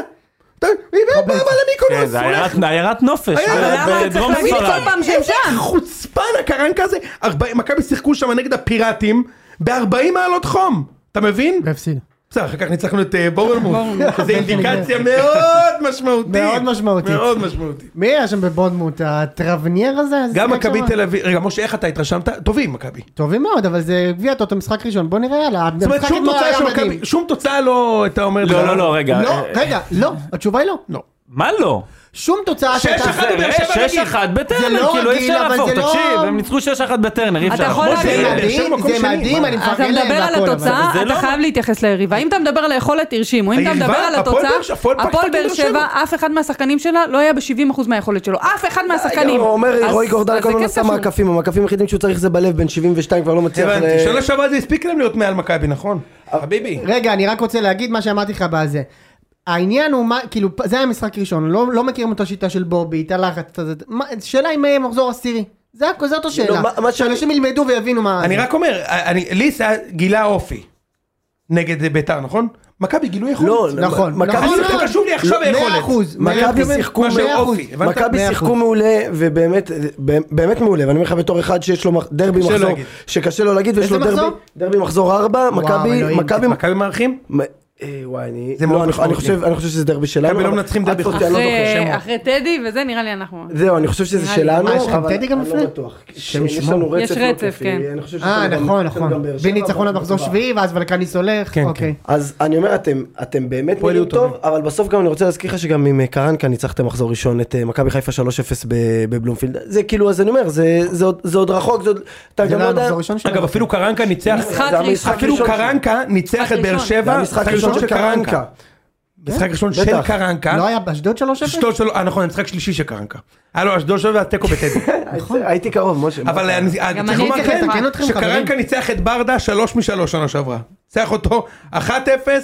A: אתה- איביזה בא
D: כן,
A: למיקונוס,
D: זה
A: הולך.
D: עיירת- עיירת נופש,
C: לא,
A: אבל
D: ב-
A: למה
E: צריך
D: בדרום
E: להגיד כל
D: ספרד.
E: פעם? שהם שם.
A: איזה חוצפן הקרנקה הזה. ארבע- מכבי שיחקו שם נגד הפיראטים ב-40 מעלות חום. אתה מבין?
B: והפסיד.
A: בסדר, אחר כך ניצחנו את אה, בורנמוט. זו אינדיקציה מאוד משמעותית.
B: מאוד משמעותית.
A: מאוד משמעותית.
B: מי היה שם בבונדמוט? הטרבנייר הזה?
A: גם
B: שיחק
A: מכבי
B: שם?
A: תל אביב, רגע משה איך אתה התרשמת? טובים מכבי.
B: טובים מאוד, אבל זה גביע טוטו משחק ראשון, בוא נראה, יאללה.
A: זאת אומרת
B: המשחק
A: שום
B: אתמול
A: תוצאה
B: היה
A: של
B: מדהים.
A: מכבי, שום תוצאה לא, אתה אומר,
D: לא, לא, לא, רגע.
B: לא,
D: אה,
B: רגע, לא, התשובה היא לא.
A: לא.
D: מה לא?
B: שום תוצאה
A: שש
B: שהייתה-
A: אחד לבאר שבע רגיל.
D: 6-1
B: זה
D: בטרנר,
B: לא
D: כאילו אי
B: רגיל,
D: אפשר
B: אבל
D: להפוך,
B: זה לא-
D: תקשיב, הם ניצחו 6-1 בטרנר, אי
E: אתה
D: אפשר
E: יכול
D: להפוך.
E: להגיד-
A: זה
B: זה
A: באר שבע
B: מדהים,
A: מקום
B: זה
A: שני,
B: מדהים,
A: מה?
B: אני
E: אתה
B: מפרגן
E: מדבר
B: להם
E: על
B: והכל, אבל-
E: התוצאה,
D: זה
E: אתה
D: לא-
E: חייב להתייחס ליריבה. אם אתה מדבר על היכולת, הרשימו. אם אתה
A: היריבה,
E: מדבר על
A: הפועל
E: התוצאה,
A: באר שבע, הפועל
E: הפועל
A: פתח
E: באר
A: תקווה באר
E: שבע, אף אחד מהשחקנים שלה לא היה ב-70% מהיכולת שלו. אף אחד מהשחקנים.
C: הוא אומר,
E: אז-
C: רועי גורדן
E: אז
C: כל
E: זה
C: הזמן
E: כן
C: עשה
E: קשור.
C: מעקפים, המעקפים היחידים שהוא צריך זה בלב, בן 72 כבר לא מצליח.
A: הבנתי,
C: ל-
A: שנה שעברה זה הספיק להם להיות מעל מכבי נכון?
C: אה,
A: חביבי.
B: רגע, אני רק רוצה להגיד מה שאמרתי לך בזה. העניין הוא מה, כאילו, פ- זה היה משחק ראשון, לא, לא מכירים את השיטה של בובי, את הלחץ, את זה, מה- שאלה אם אה, מחזור עשירי. זה הכל, זו אותו שאלה.
C: לא, מה- מה שאני-
B: שאנשים ילמדו ויבינו מה...
A: לא, אני
B: זה.
A: רק אומר, אה, אני, ליס היה- גילה אופי נגד ביתר נכון? מכבי גילו
C: לא,
A: יכולת.
B: נכון,
C: מכבי
B: נכון,
A: שיחקו,
B: נכון.
A: חשוב לי עכשיו
B: מאה
A: היכולת.
B: אחוז, מאה
C: מכבי
B: אחוז,
C: שיחקו
B: מאה
A: מאופי,
B: אחוז.
A: הבנת?
C: מכבי
B: מאה
C: שיחקו
B: אחוז.
C: מעולה, ובאמת, אה, באמת מעולה, ואני אומר לך בתור אחד שיש לו מח- דרבי
A: קשה
C: מחזור,
A: להגיד.
C: שקשה לו להגיד, ויש
B: איזה
C: לו דרבי,
B: מחזור?
C: דרבי מחזור 4,
B: וואו,
C: מכבי,
B: אלוהים.
C: מכבי,
A: מכבי מארחים?
C: מ- אה, וואי, אני,
A: זה
C: לא,
A: מאוד
C: אני-
A: משמעותי.
C: אני חושב, אני חושב שזה דרבי שלנו,
A: מכבי לא
C: אבל-
A: מנצחים
C: אל
A: דרבי
C: תפותי,
A: חוץ.
C: אני לא
E: אחרי-
C: זוכר שם.
E: אחרי טדי, וזה נראה לי אנחנו.
C: זהו, אני חושב שזה
E: נראה לי.
C: שלנו,
B: אה, יש לכם
C: אבל
B: טדי גם
C: אני
B: לפני?
C: לא בטוח.
B: שם
C: יש
B: ישמור.
C: לנו
E: יש
C: רצף לא
E: רצף,
C: כיפי,
E: כן.
C: אני חושב שיש
B: אה,
C: לנו גם-
B: נכון,
C: יש לנו גם
B: נכון.
C: באר שבע,
B: בין ניצחון עד
C: אבל-
B: מחזור שביעי, ואז ולקניס הולך,
A: כן,
B: אוקיי.
C: אז אני אומר, אתם, אתם באמת
A: הפועל
C: נראים
A: היו טובים.
C: טוב, אבל בסוף גם אני רוצה להזכיר לך שגם עם אה, קרנקה ניצחתם מחזור ראשון את אה, מכבי חיפה 3-0 ב- בבלומפילד. זה כאילו, אז אני אומר, זה, זה, עוד, זה עוד רחוק, זה עוד... אתה
B: זה
C: גם
B: לא
C: לא יודע...
B: המחזור הראשון שלו. לא
A: אגב אפילו קרנקה ניצח,
E: משחק
C: זה
E: ראשון.
C: המשחק
A: אפילו
C: הראשון
A: קרנקה ניצח
E: משחק
A: את באר
E: ראשון.
A: שבע,
C: זה לא, המשחק הראשון של קרנקה.
A: משחק ראשון של
C: בטח.
A: קרנקה,
B: לא היה באשדוד 3-0?
A: אשדוד שלו, אה, נכון, המשחק שלישי של קרנקה. היה לו אשדוד שלו והתיקו בטדי.
B: נכון.
C: הייתי קרוב, משה. כן,
A: אבל אני
E: גם
A: צריך
E: אני
A: לומר
E: אתייחס,
A: כן,
E: אתקן
B: אתכם,
A: שקרנקה
B: חברים.
A: ניצח את ברדה 3 מ-3 שנה שעברה. ניצח אותו 1-0,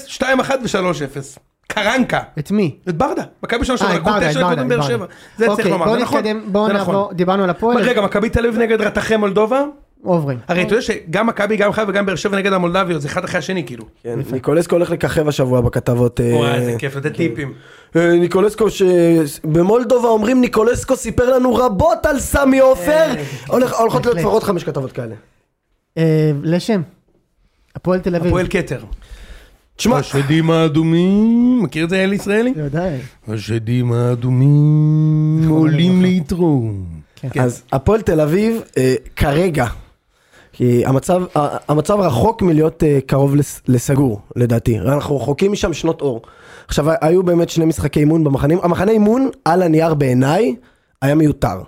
A: 2-1 ו-3-0. קרנקה.
B: את מי?
A: את ברדה. מכבי שנה
B: אה,
A: שעברה.
B: את ברדה,
A: לקחו
B: את
A: תשע נקודות
B: ברדה,
A: מבאר
B: את
A: שבע.
B: ברדה.
A: זה צריך
B: אוקיי,
A: לומר,
B: בואו
A: זה נכון.
B: נתקדם, בואו
A: זה נכון.
B: נעבור, דיברנו על הפועל,
A: רגע, מכבי תל אביב נגד רתחי מולדובה?
B: עוברים.
A: הרי אתה יודע
B: אוקיי.
A: שגם מכבי, גם חיפה וגם באר שבע נגד המולדביות, זה אחד אחרי השני כאילו.
C: כן, ניקולסקו הולך לככב השבוע בכתבות. אה,
A: וואי, איזה כיף לתת טיפים.
C: אה, ניקולסקו, שבמולדובה אומרים ניקולסקו סיפר לנו רבות על סמי עופר. הולך- הולכות להיות
B: אה, בהחלט.
C: לפחות חמש כתבות כאלה.
B: אה, לשם, הפועל תל אביב.
A: הפועל כתר.
C: תשמע,
A: השדים האדומים, מכיר את זה אל ישראלי?
B: אתה יודע,
A: כן. השדים האדומים עולים ליתרום. כן.
C: אז הפועל תל אביב אה, כרגע, כי המצב, ה- המצב רחוק מלהיות אה, קרוב לס- לסגור לדעתי, אנחנו רחוקים משם שנות אור. עכשיו היו באמת שני משחקי אימון במחנים, המחנה אימון על הנייר בעיניי היה מיותר.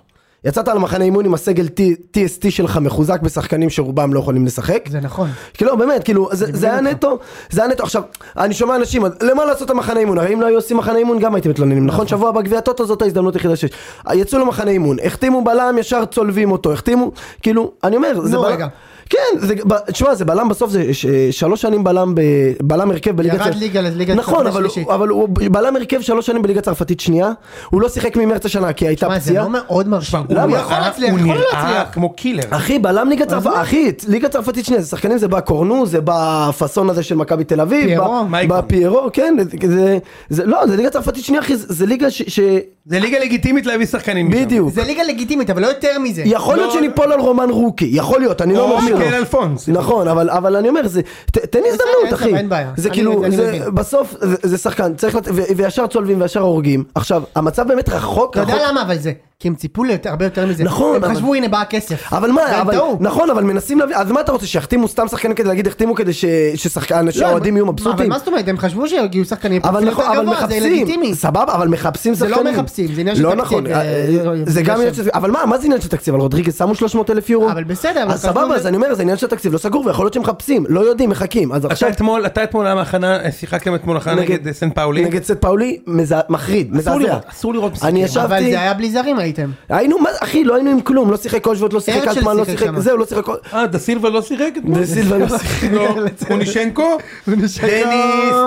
C: יצאת על מחנה אימון עם הסגל T- TST שלך מחוזק בשחקנים שרובם לא יכולים לשחק.
B: זה נכון.
C: כאילו באמת, כאילו, זה, זה היה נטו, זה היה נטו. עכשיו, אני שומע אנשים, אז למה לעשות את המחנה אימון? הרי אם לא היו עושים מחנה אימון גם הייתם מתלוננים, נכון? שבוע בגביע הטוטו זאת ההזדמנות היחידה שיש. יצאו למחנה אימון, החתימו בלם, ישר צולבים אותו, החתימו, כאילו, אני אומר, זה
B: נו,
C: בלם...
B: רגע.
C: כן, זה, ב- תשמע, זה בלם בסוף, זה ש, שלוש שנים בלם, ב, בלם הרכב בליגה...
B: ירד ליגה לליגה
C: נכון, אבל,
B: השלישית.
C: אבל הוא בלם הרכב שלוש שנים בליגה צרפתית שנייה, הוא לא שיחק ממרץ השנה כי הייתה
B: מה, זה
C: פציעה.
B: לא מאוד מרשים.
A: הוא
C: למה?
B: יכול
A: נראה-
B: להצליח,
A: הוא
B: יכול לא
A: נראה
B: להצליח.
A: כמו קילר.
C: אחי, בלם ליגה צרפתית, אחי, ליגה צרפתית שנייה, זה שחקנים, זה בקורנו, זה בפאסון הזה של מכבי תל אביב,
B: פיירו,
C: ב-
A: מייקון.
C: בפיירו, כן, זה, זה, לא, זה ליגה צרפתית שנייה, אחי, זה, זה ליגה ש... ש
A: זה ליגה לגיטימית להביא שחקנים. משם.
C: בדיוק.
B: זה ליגה לגיטימית, אבל לא יותר מזה.
C: יכול להיות
A: לא-
C: שניפול על רומן רוקי, יכול להיות, אני לא
A: או
C: אומר שלא.
A: מיקל אלפונס.
C: נכון, אבל, אבל אני אומר, זה, ת, תן לי
B: בסדר,
C: הזדמנות, אחי.
B: אין בעיה.
C: זה
B: אני-
C: כאילו,
B: אני
C: זה,
B: מבין.
C: בסוף זה, זה שחקן, צריך, לת... ו, וישר צולבים וישר הורגים. עכשיו, המצב באמת רחוק,
B: אתה יודע
C: רחוק.
B: למה אבל זה? כי הם ציפו להרבה יותר מזה.
C: נכון,
B: הם
C: אבל-
B: חשבו הנה בא הכסף.
C: אבל מה,
B: והם
C: אבל,
B: טעו.
C: נכון, אבל מנסים להביא, אז מה אתה רוצה, שיחתימו סתם שחקנים כדי להגיד, יחתימו כדי ש- ששחקן,
B: לא,
C: שהאוהדים יהיו
B: אבל- אבל
C: מבסוטים?
B: מה זאת אומרת, הם חשבו שיגיעו שחקנים
C: אבל
B: פרופיל
C: נכון,
B: יותר
C: אבל
B: גבוה, זה לגיטימי.
C: מחפשים, סבבה, אבל מחפשים
B: זה
C: שחקנים.
B: לא מחפשים, זה עניין של
C: לא
B: תקציב,
C: נכון,
B: אה,
C: אה,
B: לא,
C: זה גם
B: בגלל
C: עניין
B: ש-
C: של תקציב, אבל מה, מה זה עניין של תקציב? על רודריגז שמו 300 אלף יורו.
B: אבל בסדר, אבל
C: אז
B: חשבו
C: סבבה,
B: על
C: אז
B: זה.
C: אני אומר, זה עניין של תקציב לא סגור, ויכול להיות שמחפשים, לא יודעים, מחכים. אז
A: אתה
C: עכשיו...
A: אתמול, אתה אתמול היה מהכנה, שיחקתם אתמול הכנה נגד סן פאולי.
C: נגד סן פאולי, מזע- מחריד, מזעזע.
A: לראות, אסור לראות משחקים.
C: אני
B: אבל
C: ישבתי,
B: זה היה בלי זרים הייתם.
C: היינו, מה- אחי, לא היינו עם כלום, לא שיחק קולשוט, לא שיחק
B: הרצל
C: אלטמן, לא
B: שיחק
C: שיחק,
B: שם.
C: זהו, לא שיחק... כל-
A: אה, דה סילבה לא שיחק אתמול?
C: דה סילבה לא שיחק.
A: לא, אונישנקו? דניס,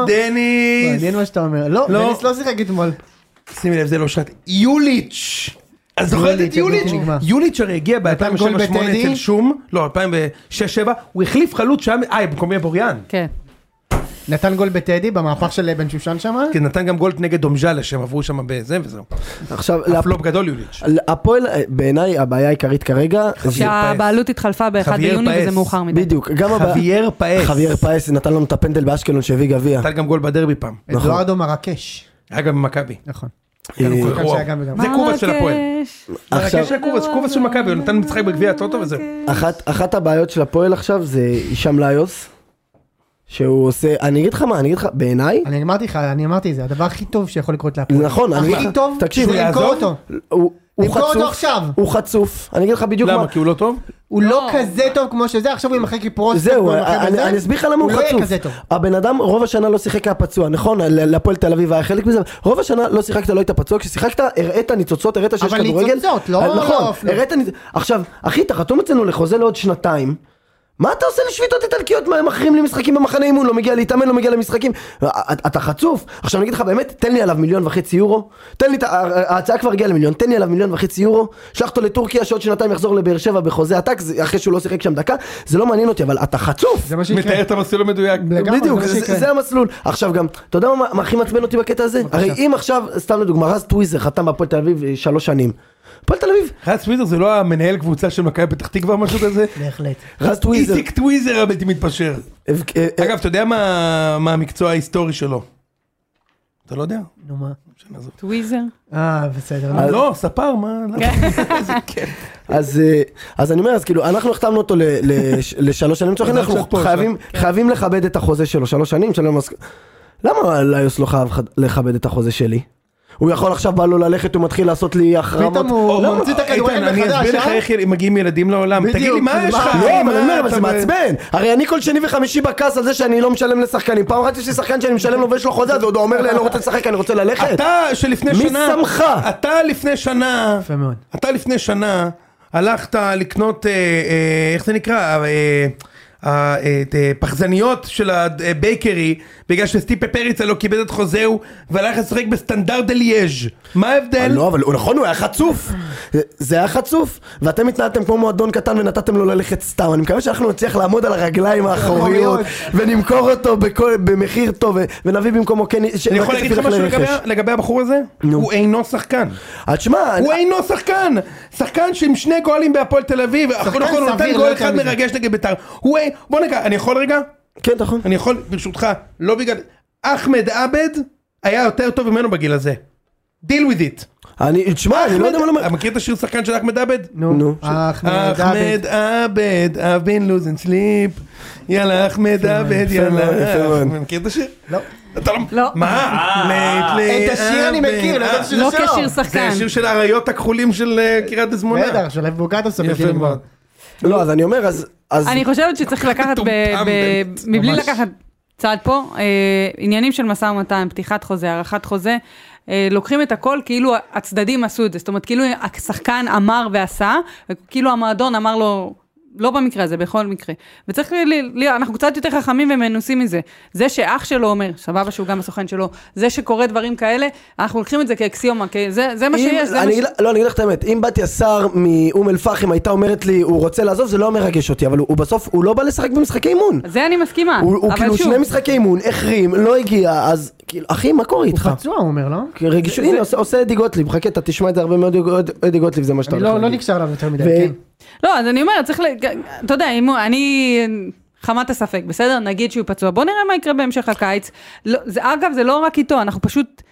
A: דניס.
B: מעניין מה שאתה אומר. לא,
A: לא.
B: דניס לא שיחק אתמול.
A: שימי לב, זה לא שנת יוליץ'. אז זוכרת את
B: יוליץ',
A: יוליץ'?
B: הבלתי נגמר.
A: יוליץ' הרי הגיע
B: נתן גול
A: ב-2007-2008
B: בטדי.
A: אצל שום, לא, 2006-2007, הוא החליף חלוץ שהיה, אה, במקומי בוריאן.
E: כן.
B: נתן גול בטדי במהפך של בן שושן שם.
A: כן, נתן גם גול נגד דומז'לה שהם עברו שם בזה וזהו.
C: עכשיו,
A: הפלופ גדול יוליץ'.
C: לפ- הפועל, אה, בעיניי הבעיה העיקרית כרגע, זה
E: שהבעלות התחלפה ב-1
A: חבייר
E: ביוני
A: פאס.
E: וזה מאוחר מדי.
C: בדיוק, גם הבעיה,
A: חבייר פאס.
C: חבייר פאס נתן לנו את הפנדל באשקלון שהביא גביע,
A: נתן גם גול בדרבי פעם.
C: נכון.
B: אדוארדו מרקש.
A: היה גם במכבי.
B: נכון.
C: אה,
B: שחקן
A: וואו.
B: שהיה גם וגם.
A: זה קובס של הפועל.
E: מרקש.
C: עכשיו-
A: זה קובס, קובס של מכבי, הוא נתן משחק בגביע הטוטו וזהו.
C: אחת, אחת הבעיות של הפועל עכשיו זה הישאם ליוס, שהוא עושה, אני אגיד לך מה, אני אגיד לך, בעיניי,
B: אני אמרתי לך, אני אמרתי את זה, הדבר הכי טוב שיכול לקרות
C: זה
B: להפועל.
C: נכון, אני אגיד
B: הכי
C: לך,
B: טוב,
C: תקשיב,
B: זה למכור
A: יעזוב?
B: אותו.
C: הוא הוא
B: למכור אותו
C: חצוף,
B: עכשיו.
C: הוא חצוף, אני אגיד לך בדיוק מה,
A: למה? כי הוא לא טוב?
B: הוא לא
E: לא.
B: כזה טוב כמו שזה, עכשיו הוא ימחק לי פרוסט.
C: זהו, אני אני אסביר לך למה הוא
B: הוא לא יהיה
C: חצוף.
B: כזה טוב.
C: הבן אדם רוב השנה לא שיחק היה פצוע, נכון, ל- להפועל תל אביב היה חלק מזה, רוב השנה לא שיחקת, לא היית פצוע, כששיחקת הראית ניצוצות, הראית שיש
B: אבל
C: כדורגל.
B: ניצוצות, לא-
C: אה,
B: לא
C: נכון,
B: אפילו.
C: הראית ניצוצות. עכשיו, אחי, אתה חתום אצלנו לחוזה לעוד שנתיים. מה אתה עושה לשביתות איטלקיות? מה הם מכרים לי משחקים במחנה אימון? לא מגיע להתאמן, לא מגיע למשחקים. אה, אתה- אתה חצוף. עכשיו אני אגיד לך באמת, תן לי עליו מיליון וחצי יורו. תן לי, את ה- אה, ההצעה כבר הגיעה למיליון, תן לי עליו מיליון וחצי יורו. שלח אותו לטורקיה שעוד שנתיים יחזור לבאר שבע בחוזה עתק, זה- אחרי שהוא לא שיחק שם דקה. זה לא מעניין אותי, אבל אתה חצוף.
B: זה מה שיקרה.
A: מתאר את המסלול המדויק.
B: לגמרי,
C: בדיוק,
B: זה מה
C: זה,
B: שיקרה.
C: זה המסלול. עכשיו גם, אתה יודע מה, מה הכי מעצבן אותי בקטע הזה? הרי אם עכשיו, סתם לדוגמה, רז טוויזר חתם בהפועל תל אביב אה, שלוש שנים. הפועל תל אביב,
A: חס וויזר זה לא המנהל קבוצה של מכבי פתח תקווה או משהו כזה?
B: בהחלט.
C: רז טוויזר,
A: איציק טוויזר הבלתי מתפשר.
C: הבק- אה, אה,
A: אגב, אתה יודע מה מה המקצוע ההיסטורי שלו? אתה לא יודע?
B: נו מה.
A: שנעזוב.
E: טוויזר.
B: אה, כן. בסדר.
A: לא, ספר, מה? למה? איזה כיף.
C: אז אה, אז אני אומר, אז כאילו, אנחנו החתמנו אותו ל- לש- לשלוש שנים, לצורך העניין,
A: עכשיו
C: אנחנו
A: פה,
C: חייבים-
B: כן.
C: חייבים לכבד את החוזה שלו, שלוש שנים, שלום, אז- למה ליוס לא חייב ח- לכבד את החוזה שלי? הוא יכול עכשיו בא לו ללכת, הוא מתחיל לעשות לי החרמות.
B: פתאום הוא
A: או,
B: ממציא את
A: איתן,
B: הכדורגל
A: אני
B: מחדש,
A: אסביר לך
B: אה?
A: איך יל- מגיעים ילדים לעולם.
B: בדיוק,
A: תגיד לי, מה
B: כאילו,
A: יש לך?
B: מה?
C: לא,
A: מה,
C: אבל אני אומר, אבל
A: אתה
C: זה
A: ב-
C: מעצבן. הרי אני כל שני וחמישי בכעס על זה שאני לא משלם לשחקנים. פעם אחת יש לי שחקן שאני משלם לו ויש לו חוזה, אז הוא עוד אומר לי, אני לא רוצה לשחק, אני רוצה ללכת.
A: אתה שלפני
C: מי
A: שנה...
C: שמך?
A: אתה לפני שנה...
B: יפה מאוד.
A: אתה לפני שנה הלכת לקנות, אה, אה, איך זה נקרא? אה, אה, את אה, פחזניות של הבייקרי בגלל שסטיפה פריצה לא קיבל את חוזהו והלך לשחק בסטנדרט דה ליאז' מה ההבדל?
C: לא, אבל הוא- נכון, הוא היה חצוף. זה- זה היה חצוף. ואתם התנהלתם כמו מועדון קטן ונתתם לו ללכת סתם. אני מקווה שאנחנו נצליח לעמוד על הרגליים האחוריות, ונמכור אותו בכל- במחיר טוב, ו- ונביא במקומו כן...
A: אני יכול להגיד לך משהו לגבי, לגבי הבחור הזה? הוא אינו שחקן.
C: אז שמע,
A: הוא אינו שחקן! שחקן שעם שני גולים בהפועל תל אביב, נכון, הוא נותן
B: סביר,
A: גול
B: לא יותר
A: אחד
B: מזה.
A: מרגש נגד בית"ר. הוא אין... בוא נגע, אני יכול רגע?
C: כן, נכון.
A: אני יכול, ברשותך, לא בגלל... אחמד עבד היה יותר טוב ממנו בגיל הזה. deal with it.
C: אני, תשמע, אני לא יודע מה לומר.
A: אתה מכיר את השיר שחקן של אחמד עבד?
C: נו.
B: נו. אחמד
A: אה, אחמד
B: עבד.
A: עבד, I've been losing sleep, יאללה אחמד עבד,
C: יפה מאוד, יפה
A: יאללה. אה,
C: מאוד.
A: מכיר את השיר?
B: לא.
A: אתה לא...
E: לא.
A: מה? Lately
B: את השיר אני
A: I've
B: מכיר,
A: been- אה,
B: לא ידעתי שזה
E: לא
B: שלו.
E: כשיר
A: זה
E: שחקן.
A: השיר של האריות הכחולים של אה, קריית דזמונה.
B: בטח, של אב בוגטוסון.
A: יפה מאוד.
C: לא, אז אני אומר, אז... אז-
E: אני חושבת שצריך לקחת, ב-
A: מטומטם,
E: ב-
A: באמת,
E: מבלי
A: ממש.
E: לקחת צעד פה, אה, עניינים של משא ומתן, פתיחת חוזה, הארכת חוזה, אה, לוקחים את הכל כאילו הצדדים עשו את זה, זאת אומרת כאילו השחקן אמר ועשה, כאילו המועדון אמר לו... לא במקרה הזה, בכל מקרה. וצריך, ל- ל- ל- אנחנו קצת יותר חכמים ומנוסים מזה. זה שאח שלו אומר, סבבה שהוא גם הסוכן שלו, זה שקורה דברים כאלה, אנחנו לוקחים את זה כאקסיומה, כ- זה זה מה
C: אם-
E: שיש, זה
C: אני
E: מה ש...
C: אגיד לך- לא, אני אגיד לך את האמת, אם בתיה סער מאום אל פחם הייתה אומרת לי, הוא רוצה לעזוב, זה לא היה מרגש אותי, אבל הוא הוא בסוף, הוא לא בא לשחק במשחקי אימון.
E: זה אני מסכימה.
C: הוא הוא
E: אה, אבל
C: כאילו
E: שוב,
C: שני משחקי אימון, החרים, לא הגיע, אז כאילו, אחי, מה קורה
B: הוא
C: איתך?
B: פצוע הוא אומר, לא?
C: רגיש, הנה, עושה- עושה אדי גוטליב, חכה, אתה תשמע את זה הרבה מאוד, אדי גוטליב זה מה שאתה
B: אני
C: הולך
B: לא לא
C: להגיד.
B: נקשר אליו יותר מדי.
C: נכון. ו-
B: כן.
E: לא, אז אני אומרת, צריך ל... אתה יודע, אם הוא... אני... חמת הספק, בסדר? נגיד שהוא פצוע. בוא נראה מה יקרה בהמשך הקיץ. לא, זה, אגב, זה לא רק איתו, אנחנו פשוט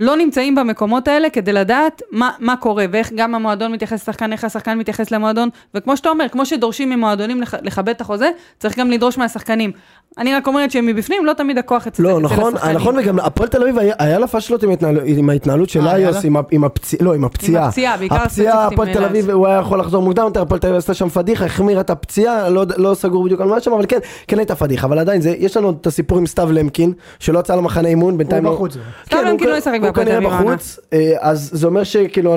E: לא נמצאים במקומות האלה כדי לדעת מה, מה קורה, ואיך גם המועדון מתייחס לשחקן, איך השחקן מתייחס למועדון, וכמו שאתה אומר, כמו שדורשים ממועדונים לח, לכבד את החוזה, צריך גם לדרוש מהשחקנים. אני רק אומרת שמבפנים לא תמיד הכוח אצל
C: לא,
E: אצל
C: נכון,
E: השחקנים.
C: נכון, וגם הפועל תל אביב היה- היה לה פשלות עם ההתנהל- עם ההתנהלות של
B: אה, היה לה?
C: איוס, עם ה- עם הפציעה, לא, עם הפציעה.
E: הפציעה, בעיקר
C: הפציעה,
E: הספציפית עם
C: הפועל תל אביב, הוא היה יכול לחזור מוקדם יותר, הפועל תל אביב עשתה שם פדיחה, החמירה את הפציעה, לא יודע- לא סגור בדיוק על מה שם, אבל כן, כן הייתה פדיחה, אבל עדיין, זה- יש לנו את הסיפור עם סתיו למקין, שלא יצא למחנה אימון, בינתיים... לא-
B: בחוץ.
E: סתיו
C: כן, הוא
E: למקין לא
C: כ-
E: ישחק
C: הוא
E: בהפועל
C: כנראה
E: תל אביב העונה.
C: בחוץ, אה, אז זה אומר שכאילו...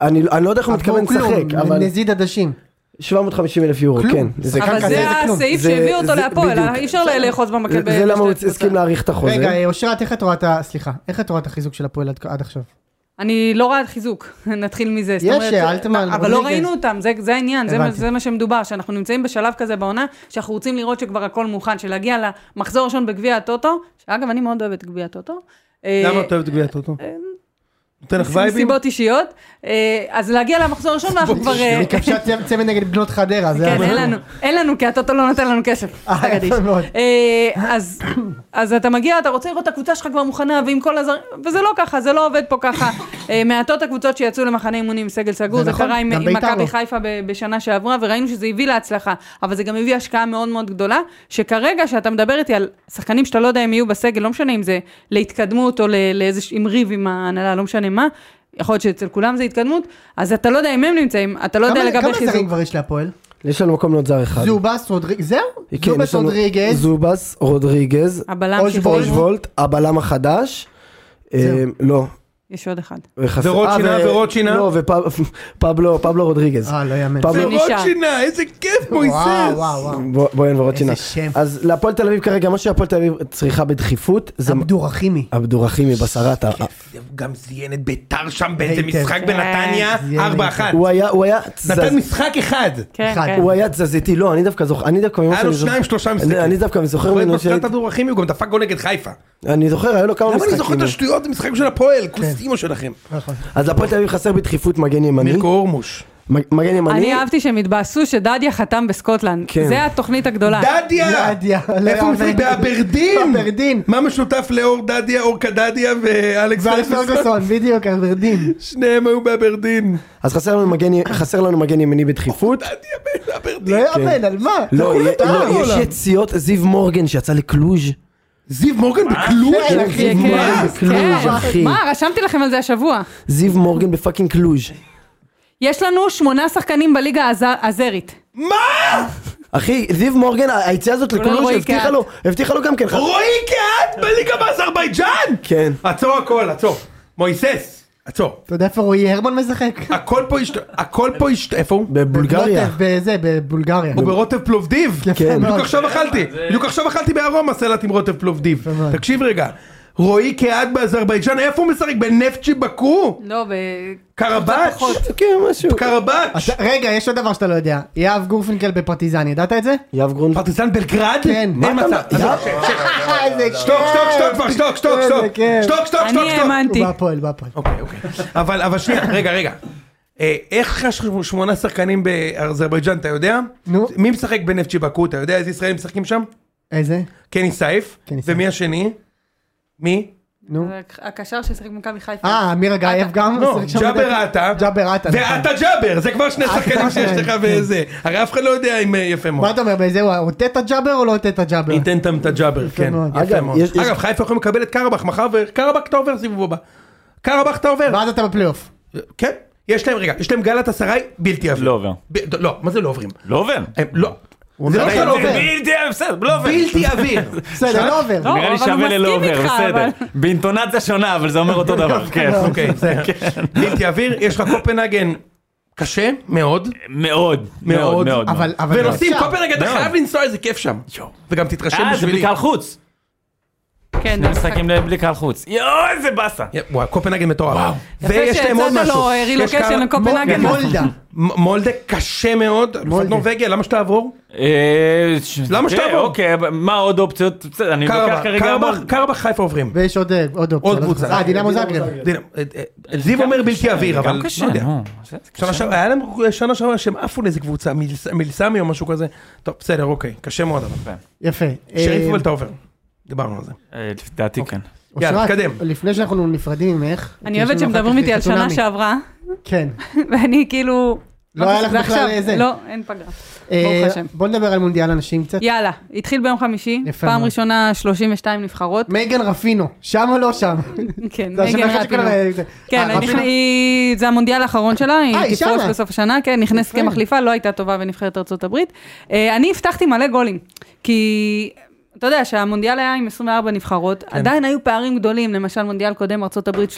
C: אני, אני לא יודע איך הוא מתכוון
B: עבור כלום,
C: לשחק, אבל...
B: נזיד עדשים.
C: 750 אלף יורו,
B: כלום.
C: כן. זה
B: אבל
C: ככה,
E: אבל זה
C: כלום.
E: הסעיף
C: זה-
E: שהביא אותו
C: זה-
E: להפועל, אה?
C: בדיוק.
E: אי אפשר לאחוז במקל.
C: זה-
E: בשתי
C: זה למה הוא
E: קבוצות.
C: הסכים להאריך את החוזה.
B: רגע, אה, אושרת, איך את רואה את ה... סליחה, איך את רואה את החיזוק של הפועל עד- עד עכשיו?
E: אני לא רואה חיזוק, נתחיל מזה. זאת
B: יש,
E: אומרת,
B: אלטמן,
E: אבל לא
B: רודריגז.
E: ראינו אותם, זה, זה העניין, זה, מה-
B: הבנתי.
E: זה מה שמדובר, שאנחנו נמצאים בשלב כזה בעונה, שאנחנו רוצים לראות שכבר הכל מוכן, שלהגיע למחזור הראשון בגביע הטוטו, שאגב, אני מאוד אוהבת את גביע הטוטו. אה,
A: למה אתה אוהב את גביע הטוטו? נותן לך וייבים?
E: מסיבות אישיות. אה, אז להגיע למחזור הראשון, ואנחנו כבר... אה,
B: היא כבשה צמ- צמד נגד בנות חדרה, זה
E: כן,
B: היה-
E: אין לנו, אין לנו, כי הטוטו לא נותן לנו כסף.
B: אה,
E: אתה גדיש.
B: יפה מאוד.
E: אה, אז- אז אתה מגיע, אתה רוצה לראות את הקבוצה שלך כבר מוכנה, ועם כל הזר... וזה לא ככה, זה לא עובד פה ככה. אה, מעטות הקבוצות שיצאו למחנה אימונים עם סגל סגור,
B: זה
E: זה
B: נכון,
E: קרה עם
B: גם
E: עם
B: בית"ר
E: מכבי
B: לא.
E: חיפה ב- בשנה שעברה, וראינו שזה הביא להצלחה, אבל זה גם הביא השקעה מאוד מאוד גדולה, שכרגע, שאתה מדבר איתי על שחקנים שאתה לא יודע אם יהיו בסגל, לא משנה אם זה להתקדמות או ל- לאיזה... עם ריב עם ההנהלה, לא משנה מה. יכול להיות שאצל כולם זה התקדמות, אז אתה לא יודע אם הם נמצאים, אתה לא יודע
B: כמה-
E: לגבי
B: כמה
E: חיזוק.
B: זרים כבר יש להפועל?
C: יש לנו מקום לעוד זר אחד.
B: זובס, רודריגז, זהו?
C: כן,
B: זובס,
C: יש לנו
B: רודריגז,
C: זובס, רודריגז,
E: הבלם
B: אוש
E: שבו,
B: וולט.
C: אושבולט, הבלם החדש.
B: זהו.
C: אה, לא.
E: יש עוד אחד.
C: וחסר-
A: ורוטשינה,
C: אה, ו-
A: ורוטשינה.
C: לא, ופבלו, פבלו רודריגז.
B: אה, לא יאמן.
C: פבלו-
E: זה נשאר.
A: רוטשינה, איזה כיף,
B: וואו,
A: מויסס.
B: וואו, וואו.
C: בוא- בואן ורוטשינה.
B: איזה שם.
C: אז להפועל תל אביב כרגע, מה שהפועל תל אביב צריכה בדחיפות, זה
B: אבדורחימי.
C: הבדורחים מבשרת.
A: אה,
C: ה-
A: גם זיין את ביתר שם באיזה
B: היטב.
A: משחק
E: כן,
A: בנתניה,
B: זיין
A: 4-1.
C: הוא היה, הוא היה
A: נתן
C: תזז...
A: משחק אחד.
E: כן,
B: אחד.
E: כן.
C: הוא היה תזזיתי, לא, אני דווקא זוכר, אני דווקא... ממה
A: היה לו
C: שאני זוכר-
A: שניים, שלושה
C: אני-
A: משחקים.
C: אני דווקא זוכר
A: הוא
C: ממנו
A: היה
C: ש...
A: בפסקת הדורכים, הוא גם דפק גול נגד חיפה.
C: אני זוכר, היו לו כמה
A: למה
C: משחקים.
A: אני זוכר את השטויות במשחק של הפועל? כוס אימא שלכם.
C: אה.
B: נכון.
C: אז הפועל תל אביב חסר בדחיפות מגן ימני.
A: מירקו אורמוש.
C: מג- מגן ימני.
E: אני אהבתי שהם התבאסו שדדיה חתם בסקוטלנד.
C: כן.
E: זה התוכנית הגדולה.
A: דדיה!
B: דדיה, לא
A: איפה הוא משחק?
B: יאמן.
A: באברדין!
B: באברדין.
A: מה משותף לאור דדיה, אורקה דדיה ואלכס
B: ואלף
A: פרגוסון?
B: פרגוסון, בדיוק, אברדין.
C: כן.
A: שניהם היו באברדין.
C: אז חסר לנו מגן י- חסר לנו מגן ימני בדחיפות.
A: דדיה באברדין.
B: לא יאמן, על מה?
C: לא,
A: כולה
C: יה-
A: טעם
C: לא,
A: בעולם.
C: יש יציאות, זיו מורגן שיצא לקלוז'.
A: זיו מורגן בקלוש?
B: כן,
C: זיו
B: אחי,
E: כן,
C: מורגן
E: כן.
C: בקלוז', אחי.
E: מה, רשמתי לכם על זה השבוע.
C: זיו מורגן בפאקינג קלוז'.
E: יש לנו שמונה שחקנים בליגה הז- הזרית.
C: אחי, זיו מורגן, ה- היציאה הזאת לקלוז'
E: רועי
C: הבטיחה
E: קהת.
C: לו, הבטיחה לו גם כן.
A: רועי קהת בליגה באזרבייג'אן?
C: כן.
A: עצור הכל, עצור. מויסס, עצור.
B: אתה יודע איפה רועי הרמן משחק?
A: הכל פה השת... הכל פה השת... איפה הוא?
C: בבולגריה.
B: בלוטב, בזה, בבולגריה.
A: הוא ברוטב פלובדיב.
B: יפה
A: בדיוק
B: מאוד.
A: עכשיו אכלתי. בדיוק עכשיו אכלתי בארומה סלט עם רוטב פלובדיב.
B: מאוד.
A: תקשיב רגע. רועי קהת באזרבייג'אן, איפה הוא משחק? בנפצ'י באקו?
E: לא, ב...
A: קרבאץ'?
C: כן, משהו.
A: קרבאץ'?
B: אתה- רגע, יש עוד דבר שאתה לא יודע. יהב גורפינקל בפרטיזן, ידעת את זה?
C: יהב גרונפלד.
A: פרטיזן בלגרד?
B: כן. מה
A: אין
B: אתה- כן,
A: מצב. עזוב,
B: יאב-
A: שב, שב.
B: איזה
A: שתוק, שטוק, שטוק כבר, שטוק, שטוק,
B: איזה
A: שטוק.
B: כיף.
A: שטוק, שטוק, שטוק,
E: אני
A: שטוק.
E: האמנתי.
B: הוא בהפועל, בהפועל.
A: אוקיי, אוקיי. אבל, אבל שנייה, רגע, רגע. אה, איך יש לך שמונה שחקנים באזרבייג'אן, אתה יודע?
B: נו.
A: מי משחק בנפצ'י באקו, אתה יודע איזה ישראלים משחקים שם?
B: איזה?
A: קני סייף.
B: קני סייף.
A: ומי השני? מי?
B: נו.
E: הקשר ששיחק במכבי חיפה.
B: אה, אמיר אגייב גם?
A: כן. לא,
B: משחק שם
A: ג'אבר
B: בדרך-
A: עטה.
B: ג'אבר עטה. נכון.
A: ועטה ג'אבר, זה כבר שני שחקנים שיש לך וזה. הרי אף אחד לא יודע אם אה, יפה מאוד.
B: מה אתה אומר, באיזה הוא עוטט הג'אבר או לא עוטט הג'אבר?
A: ניתן תם את הג'אבר, כן.
B: מאוד.
A: יפה
C: אגב,
A: מאוד.
C: יש- יש-
A: אגב, חיפה יכולים לקבל את קרבח מחר, וקרבח אתה עובר סיבוב הבא. קרבח אתה עובר.
B: ואז אתה בפלייאוף.
A: כן. יש להם, רגע, יש להם גלת עשרי בלתי עובר.
D: לא עובר.
A: ב- לא, מה זה לא עוברים?
D: לא עובר.
A: הם- לא. זה לא
B: אומר
A: שלא
B: לא
A: עובר.
B: עובר.
D: בלתי, בסדר, לא עובר.
A: בלתי עביר.
B: בסדר, לא עובר.
E: לא,
D: נראה לי
E: אבל הוא
D: שווה ללא
E: מסכים
D: עובר,
E: איתך,
D: בסדר.
E: אבל-
D: באינטונציה שונה, אבל זה כן. אומר אותו דבר, כן.
A: אוקיי, בסדר. בלתי עביר, יש לך קופנהגן קשה מאוד,
D: מאוד,
A: מאוד.
D: מאוד, מאוד.
B: אבל, אבל...
A: ונוסעים
B: אפשר.
A: קופנהגן, אתה
D: מאוד.
A: חייב לנסוע איזה כיף שם. וגם תתרשם
D: אה, זה
A: בשבילי.
D: בלי קהל חוץ.
E: כן,
D: שני משחקים בלי קהל חוץ. יואו, איזה באסה.
A: וואו, קופנהגן מטורף.
E: יפה
A: ויש להם עוד
E: שהצעת
A: משהו.
E: לו אה,
A: יש
E: רילוקיישן
A: כמה-
E: לקופנהגן.
B: מולדה.
A: מ- מולדה קשה מאוד, אלופת נורבגיה, למה שתעבור?
D: אה, ש-
A: למה
D: תראה,
A: שתעבור?
D: אוקיי, אבל מה עוד אופציות? בסדר, אני לוקח
A: קרבח,
D: כרגע...
A: קרבח,
D: המון.
A: קרבח חיפה עוברים.
B: ויש עוד אה, עוד אופציה.
A: עוד
B: לא
A: קבוצה.
B: זוכר. אה, דינמו זאגרב.
A: דין- אה, אה, זיו אומר בלתי עביר, אבל
D: גם
A: לא
D: קשה, אה?
A: יודע.
D: נו. זה- זה
A: שנה
D: קשה.
A: שעברה, היה להם שנה שעברה שהם עפו לאיזה קבוצה, מילס- מילסמי או משהו כזה. טוב, בסדר, אוקיי, קשה מאוד אבל.
B: יפה.
A: שריף
B: אה,
A: אבל אתה עובר. דיברנו על זה.
D: אה, לדעתי כן.
B: אושרת,
A: יאללה, תקדם.
B: לפני שאנחנו נפרדים ממך...
E: אני
B: יש לנו
E: אוהבת שמדברים
B: אחר כך
E: איתי על שנה
B: חתונמי.
E: שעברה,
B: כן.
E: ואני כאילו...
B: לא היה לך
E: זה
B: בכלל
E: עכשיו.
B: זה.
E: לא, אין פגרה.
B: אה,
E: השם.
B: בוא נדבר על מונדיאל הנשים קצת.
E: יאללה, התחיל ביום חמישי,
B: יפה
E: פעם
B: מאוד.
E: ראשונה 32 נבחרות.
B: מייגן רפינו, שם או לא שם?
E: כן,
B: זה השם
E: מייגן
B: היחיד שכולם-
E: רפינו. כן,
B: אה,
E: היא נכנ-
B: רפינו-
E: היא- זה המונדיאל האחרון שלה,
B: אה,
E: היא
B: היא
E: תפרוש
B: שמה.
E: בסוף השנה, כן, נכנסת
B: יפה.
E: כמחליפה, לא הייתה טובה בנבחרת ארצות הברית. אה, אני הבטחתי מלא גולים, כי אתה יודע שהמונדיאל היה עם 24 נבחרות,
B: כן.
E: עדיין היו פערים גדולים, למשל מונדיאל קודם, ארה"ב 13-0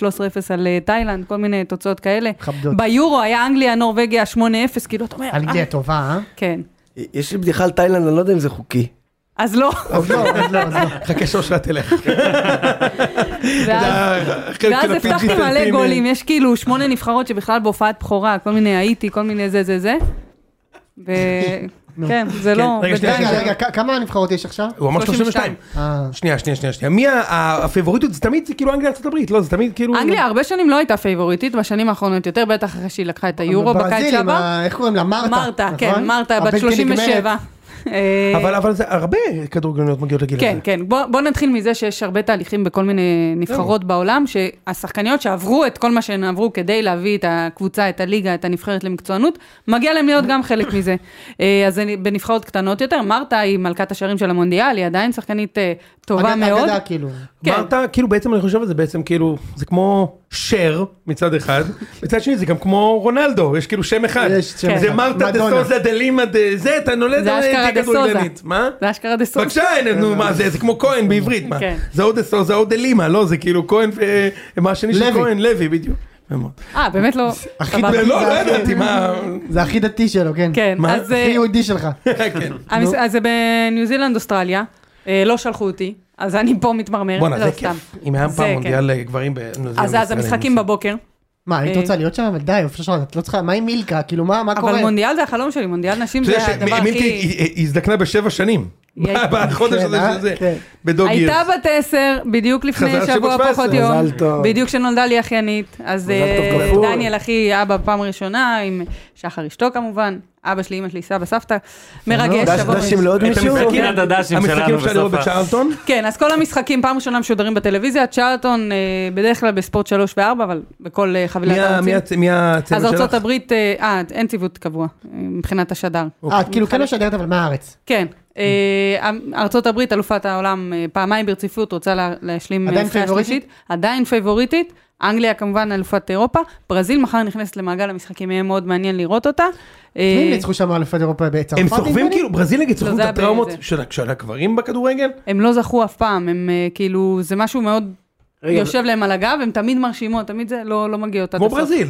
E: על אה, תאילנד, כל מיני תוצאות כאלה.
B: מכבדות.
E: ביורו היה אנגליה, נורבגיה 8-0, כאילו, אתה אומר,
B: אנגליה
E: אה,
B: טובה, אה?
E: כן.
C: יש לי בדיחה על תאילנד, אני לא יודע אם זה חוקי.
E: אז לא,
B: אז לא, אז לא, אז לא.
A: חכה שאושרה תלך.
E: ואז
B: כן,
A: חלק
E: ואז
A: של
E: הבטחתי
A: הפיג'י
E: מלא
A: טלפים,
E: גולים, יש כאילו שמונה נבחרות שבכלל בהופעת בכורה, כל מיני האיטי, כל מיני זה זה זה. ו... כן, זה לא...
A: רגע, שנייה,
B: רגע, רגע, כ- כמה נבחרות יש עכשיו?
A: הוא אמר 32.
E: 32.
B: אה,
A: שנייה, שנייה, שנייה, שנייה. מי ה- ה- הפייבוריטיות? זה תמיד, זה כאילו אנגליה ארצות הברית, לא? זה תמיד כאילו...
E: אנגליה הרבה שנים לא הייתה פייבוריטית, בשנים האחרונות יותר, בטח אחרי שהיא לקחה את היורו בקיץ
B: ברזיל עם
E: שעבר.
B: ה- איך קוראים לה? מרתה.
E: מרתה, כן,
B: נכון?
E: מרתה, בת
B: הבלתי
E: 37.
B: נגמרת.
E: אה,
A: אבל אבל זה הרבה כדורגלניות מגיעות לגיל הזה.
E: כן, כן. בוא, בוא נתחיל מזה שיש הרבה תהליכים בכל מיני נבחרות בעולם, שהשחקניות שעברו את כל מה שהן עברו כדי להביא את הקבוצה, את הליגה, את הנבחרת למקצוענות, מגיע להם להיות גם חלק מזה. אה, אז אני- בנבחרות קטנות יותר, מרתה היא מלכת השערים של המונדיאל, היא עדיין שחקנית אה, טובה
B: אגדה-
E: מאוד.
B: אגדה כאילו.
E: כן.
A: אמרת, כאילו בעצם אני חושב על זה בעצם כאילו, זה כמו שר מצד אחד, מצד שני זה גם כמו רונלדו, יש כאילו שם אחד.
B: יש שם
A: זה
B: אחד.
A: מרתה דה
B: מדונה.
A: סוזה דה לימה דה זה, אתה נולד,
E: זה
A: אה,
E: אשכרה
A: תהיה
E: דה סוזה.
A: כדורגלנית. מה?
E: זה אשכרה דה סוף.
A: בבקשה, הנה, נו מה זה, זה כמו כהן בעברית, מה?
E: כן.
A: זה או דה סוזה או דה לימה, לא, זה כאילו כהן ו... מה השני של
B: לוי.
A: כהן, לוי, בדיוק. מאוד.
E: אה, באמת לא.
B: הכי
E: סבבה.
A: לא,
B: זה
A: לא
B: הכי-
A: ידעתי מה...
B: זה הכי דתי שלו, כן.
E: כן,
A: מה?
E: אז... אה,
B: הכי יהודי שלך.
A: כן.
E: המס... אז זה בניו זילנד, אוסטרליה. אה, לא שלחו אותי, אז אני פה מתמרמרת.
A: בואנה,
E: לא,
A: זה
E: סתם.
A: כיף. אם היה
E: זה
A: פעם
E: כן.
A: מונדיאל אה, גברים בניו זילנד.
E: אז אז
A: ישראל,
E: המשחקים
A: אני-
E: בבוקר.
B: מה, היית
E: אה.
B: רוצה להיות שם? אבל די, אופן שרון, את לא צריכה, מה עם מילקה? כאילו, מה מה קורה?
E: אבל מונדיאל זה החלום שלי, מונדיאל נשים
A: אתה יודע
E: זה
A: ש-
E: הדבר
A: מילקי
E: הכי...
A: היא- היא הזדקנה בשבע שנים.
E: היא הייתה-
A: בחודש
B: כן,
A: הזה
B: אה?
A: שזה,
B: כן.
A: בדוג גיר.
E: הייתה בת עשר, בדיוק לפני
A: חזרה
E: שבוע
A: שבע עשרה.
E: פחות יום.
C: מזל טוב.
E: בדיוק כשנולדה לי אחיינית. אז
C: מזל טוב
E: אה,
C: כפול.
E: דניאל אחי, אבא פעם ראשונה, עם שחר אשתו כמובן, אבא שלי, אמא שלי, סבא, סבתא. מרגש,
C: דש
E: שבוע
C: דשים
E: ראשון.
C: לעוד
A: את
C: מישהו?
A: המשחקים-
D: פינת הדשים שלנו
A: המשחקים אפשר לראות
D: בסוף ה-
A: בצ'ארלטון?
E: כן, אז כל המשחקים פעם ראשונה משודרים בטלוויזיה, צ'ארלטון אה, בדרך כלל בספורט 3 ו-4, אבל בכל אה, חבילת
A: מי ה- מי הצ-
E: הערוצים.
A: מי הצוות
E: אז
A: שלך?
E: ארצות הברית, אה, אה, אין ציוות קבוע אה, מבחינת השדר.
B: אה, את כאילו כן משדרת, אבל מהארץ.
E: כן. אה, ארצות הברית, אלופת העולם, אה, פעמיים ברציפות, רוצה לה- להשלים אה,
B: עדיין
E: זכייה
B: פייבוריטית?
E: שלישית. עדיין פייבוריטית. אנגליה כמובן אלופת אירופה. ברזיל מחר נכנסת למעגל המשחקים, יהיה מאוד מעניין לראות אותה. אה,
B: מי הם ניצחו שם אלופת אירופה נכון, בצרפת?
A: הם סוחבים
B: נדמה לי?
A: כאילו, ברזיל נגיד סוחבים
E: נכון, זה
A: את
E: היה
A: הטראומות
E: בזה.
A: של ה- של הגברים בכדורגל?
E: הם לא זכו אף פעם, הם אה, כאילו, זה משהו מאוד
C: רגע,
E: יושב להם על הגב, הם תמיד מרשימות, תמיד זה לא לא מגיעות עד
A: כמו
E: הסוף.
A: ברזיל.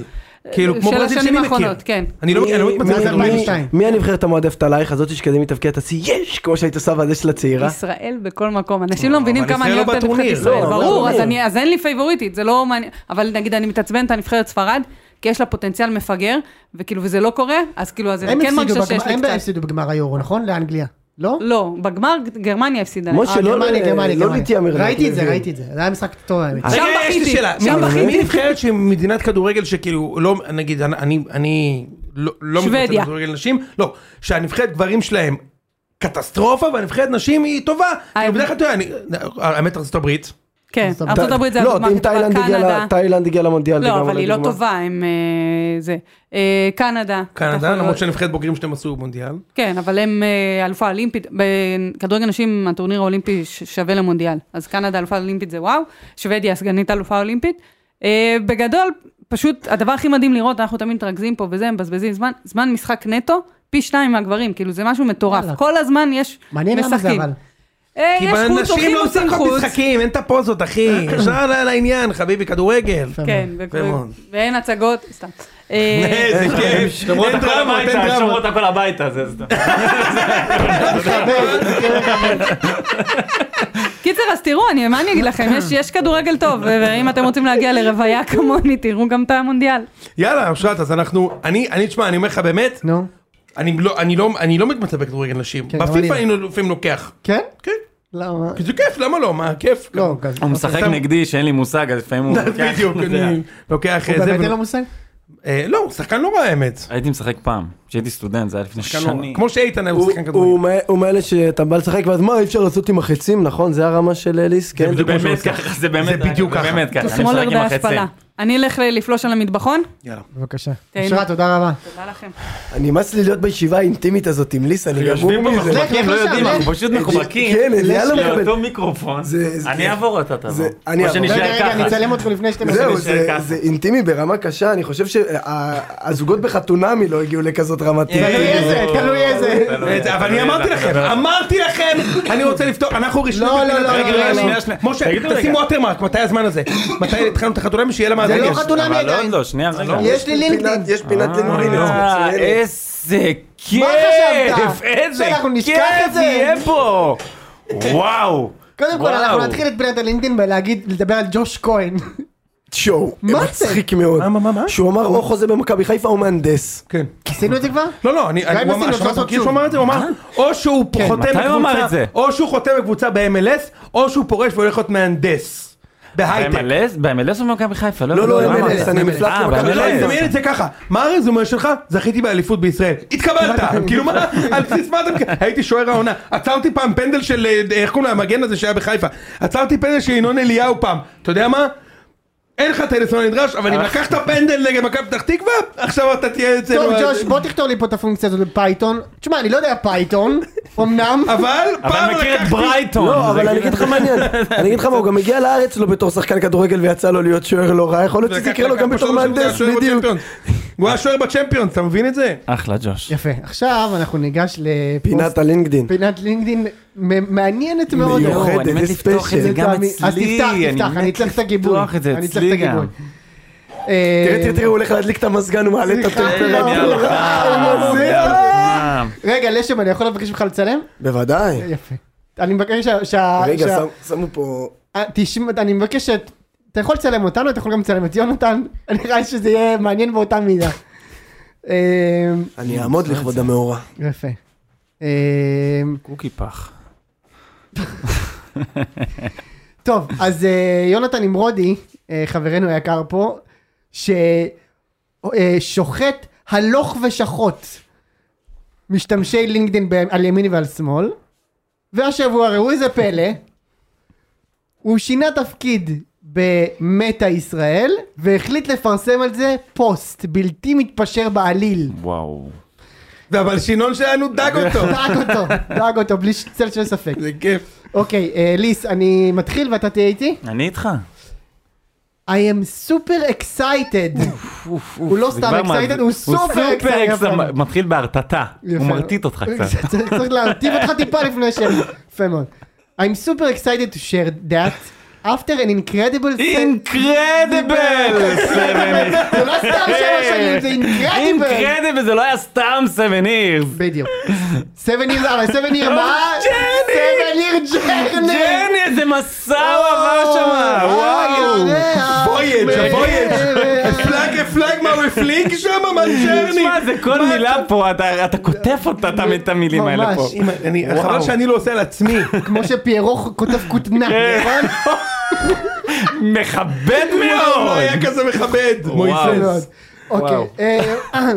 A: כאילו, כמו
E: אה, של
A: ברזיל
E: השנים
A: שאני מכיר.
E: האחרונות, כן.
A: אני לא
C: מי-
A: אני לא מתמצא
C: מי-
A: בזה הרבה.
C: מי-
B: 2002.
C: מי הנבחרת המועדפת עלייך, הזאת שקדימה תבקיע את השיא, יש! כמו שהיית עושה בזה של הצעירה.
E: ישראל בכל מקום, אנשים לא מבינים
A: אבל
E: כמה אני
A: ישראל
E: אוהבת
A: לא
E: את נבחרת
A: בטורניר.
E: ישראל,
C: לא, אבל
E: ברור, אז
C: בטורניר.
E: אני- אז אין לי פייבוריטית, זה לא מעניין, אבל נגיד אני מתעצבנת על נבחרת ספרד, כי יש לה פוטנציאל מפגר, וכאילו וזה לא קורה, אז כאילו אז
B: הם
E: אני כן
B: הפסידו
E: מרגישה שיש
B: בגמר-
E: לי
B: הם
E: קצת.
B: הפסידו בגמר היורו, נכון? לאנגליה. לא?
E: לא, בגמר גרמניה הפסידה.
C: משה,
B: אה,
C: שלא-
B: גרמניה, גרמניה,
C: לא
B: גרמניה.
C: להתיימר,
B: ראיתי את זה,
C: אנחנו
B: ראיתי את זה. זה היה משחק טוב, האמת.
E: שם
A: רגע, יש לי
E: בכיתי,
A: שאלה.
E: שם
A: מי-
E: בכיתי.
A: מי נבחרת שהיא מדינת כדורגל שכאילו, לא, נגיד, אני- אני אני לא- לא
E: שוודיה.
A: בכדורגל נשים, לא, שהנבחרת גברים שלהם קטסטרופה והנבחרת נשים היא טובה.
E: אה,
A: כאילו, בדרך כלל, אתה יודע, אני- האמת ארצות הברית.
E: כן,
B: זאת אומרת,
E: ארצות הברית זה
C: לא,
E: הדוגמה,
C: אם
E: הכי טובה,
C: תאילנד הגיעה
E: קנדה.
C: ל- תאילנד הגיעה למונדיאל. זה
E: לא,
C: גם
E: אבל
C: אולי
E: היא לא
C: דוגמה.
E: טובה, הם אה, זה. אה, קנדה.
A: קנדה,
E: אנחנו לא-
A: למרות שהנבחרת בוגרים שלהם עשו במונדיאל.
E: כן, אבל הם אה, אלופה אולימפית, בכדורגל נשים הטורניר האולימפי ש- שווה למונדיאל, אז קנדה אלופה אולימפית זה וואו, שוודיה סגנית אלופה אולימפית. אה, בגדול, פשוט הדבר הכי מדהים לראות, אנחנו תמיד מתרכזים פה וזה, מבזבזים זמן, זמן משחק נטו, פי שניים מהגברים, כאילו זה משהו מטורף,
B: וואלה.
E: כל הזמן יש
B: מעניין למה זה
E: משחקים.
B: אבל.
E: אה,
A: כי
E: יש חוץ,
A: נשים
E: הולכים
A: לא
E: עושים
A: משחקות
E: חוץ. אה.
A: משחקים, אין את הפוזות, אחי. אפשר לעניין, חביבי, כדורגל.
E: כן, ו-
A: יפה מאוד.
E: ואין הצגות, סתם. אה,
A: איזה כיף.
D: שומרות
A: אין
D: הכל
A: דרמות, אין
D: הביתה,
A: דרמות.
D: שומרות הכל הביתה, זה סתם.
E: קיצר, אז תראו, אני, מה אני אגיד לכם, יש, יש כדורגל טוב, ואם אתם רוצים להגיע לרוויה כמוני, תראו גם את המונדיאל.
A: יאללה, אושרת, אז אנחנו, אני, אני, תשמע, אני אומר לך באמת,
B: נו.
A: אני לא, אני לא, אני לא מתמצא בכדורגל נשים.
B: כן, גם
A: בפיפ"א
B: אני
A: אני לא- לפעמים לוקח.
B: כן?
A: כן.
B: למה?
A: כי זה כיף, למה לא? מה, כיף.
B: לא, כזה.
D: הוא משחק
A: סתם-
D: נגדי שאין לי מושג, אז לפעמים הוא... כן. לוקח,
A: בדיוק,
D: אתה יודע.
A: אני לוקח אה,
B: הוא
A: איזה...
B: באמת אין לו מושג?
A: לא, הוא שחקן לא רע האמת.
D: הייתי משחק פעם, כשהייתי סטודנט, זה היה לפני
A: שחקן לא רע.
D: שנים.
A: כמו שאיתן היה הוא
C: הוא-
A: שחקן
C: הוא
A: כדורגל.
C: מה- הוא מאלה שאתה בא לשחק ואז מה אי אפשר לעשות עם החצים נכון זה הרמה של אליס כן
A: בדיוק.
D: באמת ככה, זה באמת
A: זה בדיוק
D: באמת
E: זה
D: ככה. אני
E: שמאלר
D: משחק עם החצי.
E: בהשפלה. אני אלך ל- לפלוש על המטבחון.
A: יאללה.
B: בבקשה.
E: תהנו.
B: אושרת, תודה רבה.
E: תודה לכם.
C: אני נמאס לי להיות בישיבה האינטימית הזאת עם ליס, אני גמור
D: יושבים פה
C: מזה.
B: לך,
D: מחובקים,
B: לך
D: לא
B: לשם,
D: יודעים,
B: לך.
D: אנחנו פשוט מחובקים.
C: כן, אליאל לא מקבל.
D: לאותו מיקרופון.
C: זה- זה-
D: אני אעבור אתה תעבור.
C: זה- אני
D: או
C: אעבור.
B: רגע,
D: שנשאר
B: רגע,
D: ככה.
B: אני אצלם אתכם לפני שאתם...
C: זהו,
D: נשאר
C: זה-
D: ככה.
C: זה אינטימי ברמה קשה, אני חושב שהזוגות בחתונמי לא הגיעו לכזאת רמת
B: תלוי
C: אינטימיות.
B: איזה, תלוי איזה.
A: אה, אבל אני אמרתי לכם, אמרתי לכם, אני רוצה לפתור, אנחנו ראשונים.
B: לא, לא,
A: מבחינת-
B: לא,
A: רגע,
B: לא,
A: רגע,
B: לא.
A: שנייה, שנייה. משה,
D: תגידו
A: תשים
D: רגע.
A: ווטרמרק, מתי הזמן הזה? מתי התחלנו את החתונמי שיהיה אה, למאזין?
B: זה לא
A: יש.
B: חתונה
D: אבל לא,
B: עדיין.
D: לא, שנייה רגע.
B: יש לי
C: לא
B: לינקדאין.
C: יש פינת לינקדאין, אז
D: אה,
C: מצוין.
D: איזה
B: חשבת?
D: כיף, איזה
B: שאנחנו נשכח את
D: כיף
B: זה?
D: יהיה פה. וואו.
B: קודם כל,
D: וואו.
B: אנחנו נתחיל את פינת הלינקדאין בלהגיד, לדבר על ג'וש כהן.
C: שואו,
B: מה זה?
C: מצחיק מאוד.
A: מה, מה, מה, מה?
C: שהוא אמר או חוזה במכבי חיפה או מהנדס.
A: כן.
B: עשינו את זה כבר?
A: לא, לא, אני... אני- הוא
B: ניסים
A: אמר-
B: לעשות
A: שמעת
B: זאת
A: כאילו
B: שוב.
A: שהוא אמר את זה? הוא אמר, או שהוא פה
B: כן,
A: חותם
D: מתי הוא אמר
A: בקבוצה-
D: את זה?
A: או שהוא חותם בקבוצה ב-MLS, או שהוא פורש והולך להיות מהנדס. בהייטק.
D: במלס? במלס או במכבי חיפה?
C: לא, לא,
D: הבנתי.
C: MLS, אני מפלט
D: אה,
C: למכבי
A: אתה יודע,
D: ב-MLS.
C: חיפה.
A: תדמיין לא, את זה ככה, מה הרזומה שלך? זכיתי באליפות בישראל. התקבלת! כאילו מה, על בסיס מה אתה... הייתי שוער העונה. עצרתי פעם פנדל של, אה, איך קוראים לו, המגן הזה שהיה בחיפה. עצרתי פנדל של ינון אליהו פעם. אתה יודע מה? אין לך את הניסיון הנדרש, אבל אם לקחת פנדל נגד מכבי פתח תקווה, עכשיו אתה תהיה אצלנו.
B: טוב, ג'וש, בוא תכתוב לי פה את הפונקציה הזאת בפייתון. תשמע, אני לא יודע פייתון, אמנם.
A: אבל פעם
D: אבל מכיר את
A: לקחתי...
D: ברייטון.
C: לא,
D: זה
C: אבל אני
D: כאילו-
C: אגיד לך מעניין, אני אגיד לך מה, הוא גם הגיע לארץ לא בתור שחקן כדורגל ויצא לו להיות שוער לא רע, יכול להיות שזה יקרה לו גם בתור מהנדס, בדיוק.
A: הוא היה שוער בצ'מפיונס, אתה מבין את זה?
D: אחלה ג'וש.
B: יפה, עכשיו אנחנו ניגש לפוסט-
C: פינת הלינקדין.
B: פינת לינקדין מ- מעניינת מאוד.
C: מיוחד.
D: יואו, אני מת
C: איזה
D: לפתוח את זה
C: ספיישל.
D: גם
B: אני-
D: אצלי.
B: אז תפתח, תפתח, אני
D: מת
B: צריך את הגיבוי.
D: לפתוח את זה
B: אני צריך את
D: אצלי גם.
B: הגיבוי. אה,
C: תראה, תראה, תראה, הוא הולך להדליק את המזגן, הוא מעלה את
D: אה, יאללה.
C: הטמפרטורה.
D: אה, אה.
B: רגע, לשם, אני יכול לבקש ממך לצלם?
C: בוודאי.
B: יפה. אני מבקש שה- שה...
C: רגע,
B: שה-
C: שם- שמו פה...
B: אה, תשמע, אני מבקש ש... אתה יכול לצלם אותנו, אתה יכול גם לצלם את יונתן. נראה לי שזה יהיה מעניין באותה מידה. אה,
C: אני אעמוד לכבוד המאורע.
B: יפה. אה,
D: קוקי פח.
B: טוב, אז אה, יונתן נמרודי, אה, חברנו היקר פה, ששוחט הלוך ושחוט משתמשי לינקדאין ב- על ימין ועל שמאל, והשבוע ראו איזה פלא, הוא שינה תפקיד במטה ישראל, והחליט לפרסם על זה פוסט בלתי מתפשר בעליל.
D: וואו.
A: והבלשינון שלנו דג אותו.
B: דאג אותו, דאג אותו, בלי ש- צל של ספק.
A: זה כיף.
B: אוקיי, אה, ליס, אני מתחיל ואתה תהיה איתי?
D: אני איתך.
B: I am super excited. הוא לא
D: זה
B: סתם
D: כבר מה-
B: excited, הוא סופר
D: סופר
B: excited.
D: excited. מתחיל בהרטטה.
B: יפה.
D: הוא מרטיט אותך קצת.
B: צריך צריך להרטיב אותך טיפה לפני ש... יפה מאוד. I'm super excited to share that after an incredible...
D: אינקרדיבל!
B: זה לא סתם שלוש שנים, זה incredible.
D: אינקרדיבל זה לא היה סתם סמניר.
B: בדיוק. Seven years, אבל seven year מה?
D: ג'ני!
B: Seven year journey!
D: ג'ני איזה מסע הוא עבר שמה! וואו!
A: וויג', וויג'. פלאג פלאג מה הוא הפליג שם מנג'רני.
D: תשמע זה כל מילה פה אתה אתה קוטף אותה אתה- את המילים האלה פה.
B: ממש.
A: חבל שאני לא עושה על עצמי.
B: כמו שפיירו כותב כותנה,
D: כן.
B: נכון?
D: מכבד
A: לא
D: מאוד!
A: היה כזה מכבד.
B: יפה מאוד.
A: מויסס.
B: אוקיי. אה,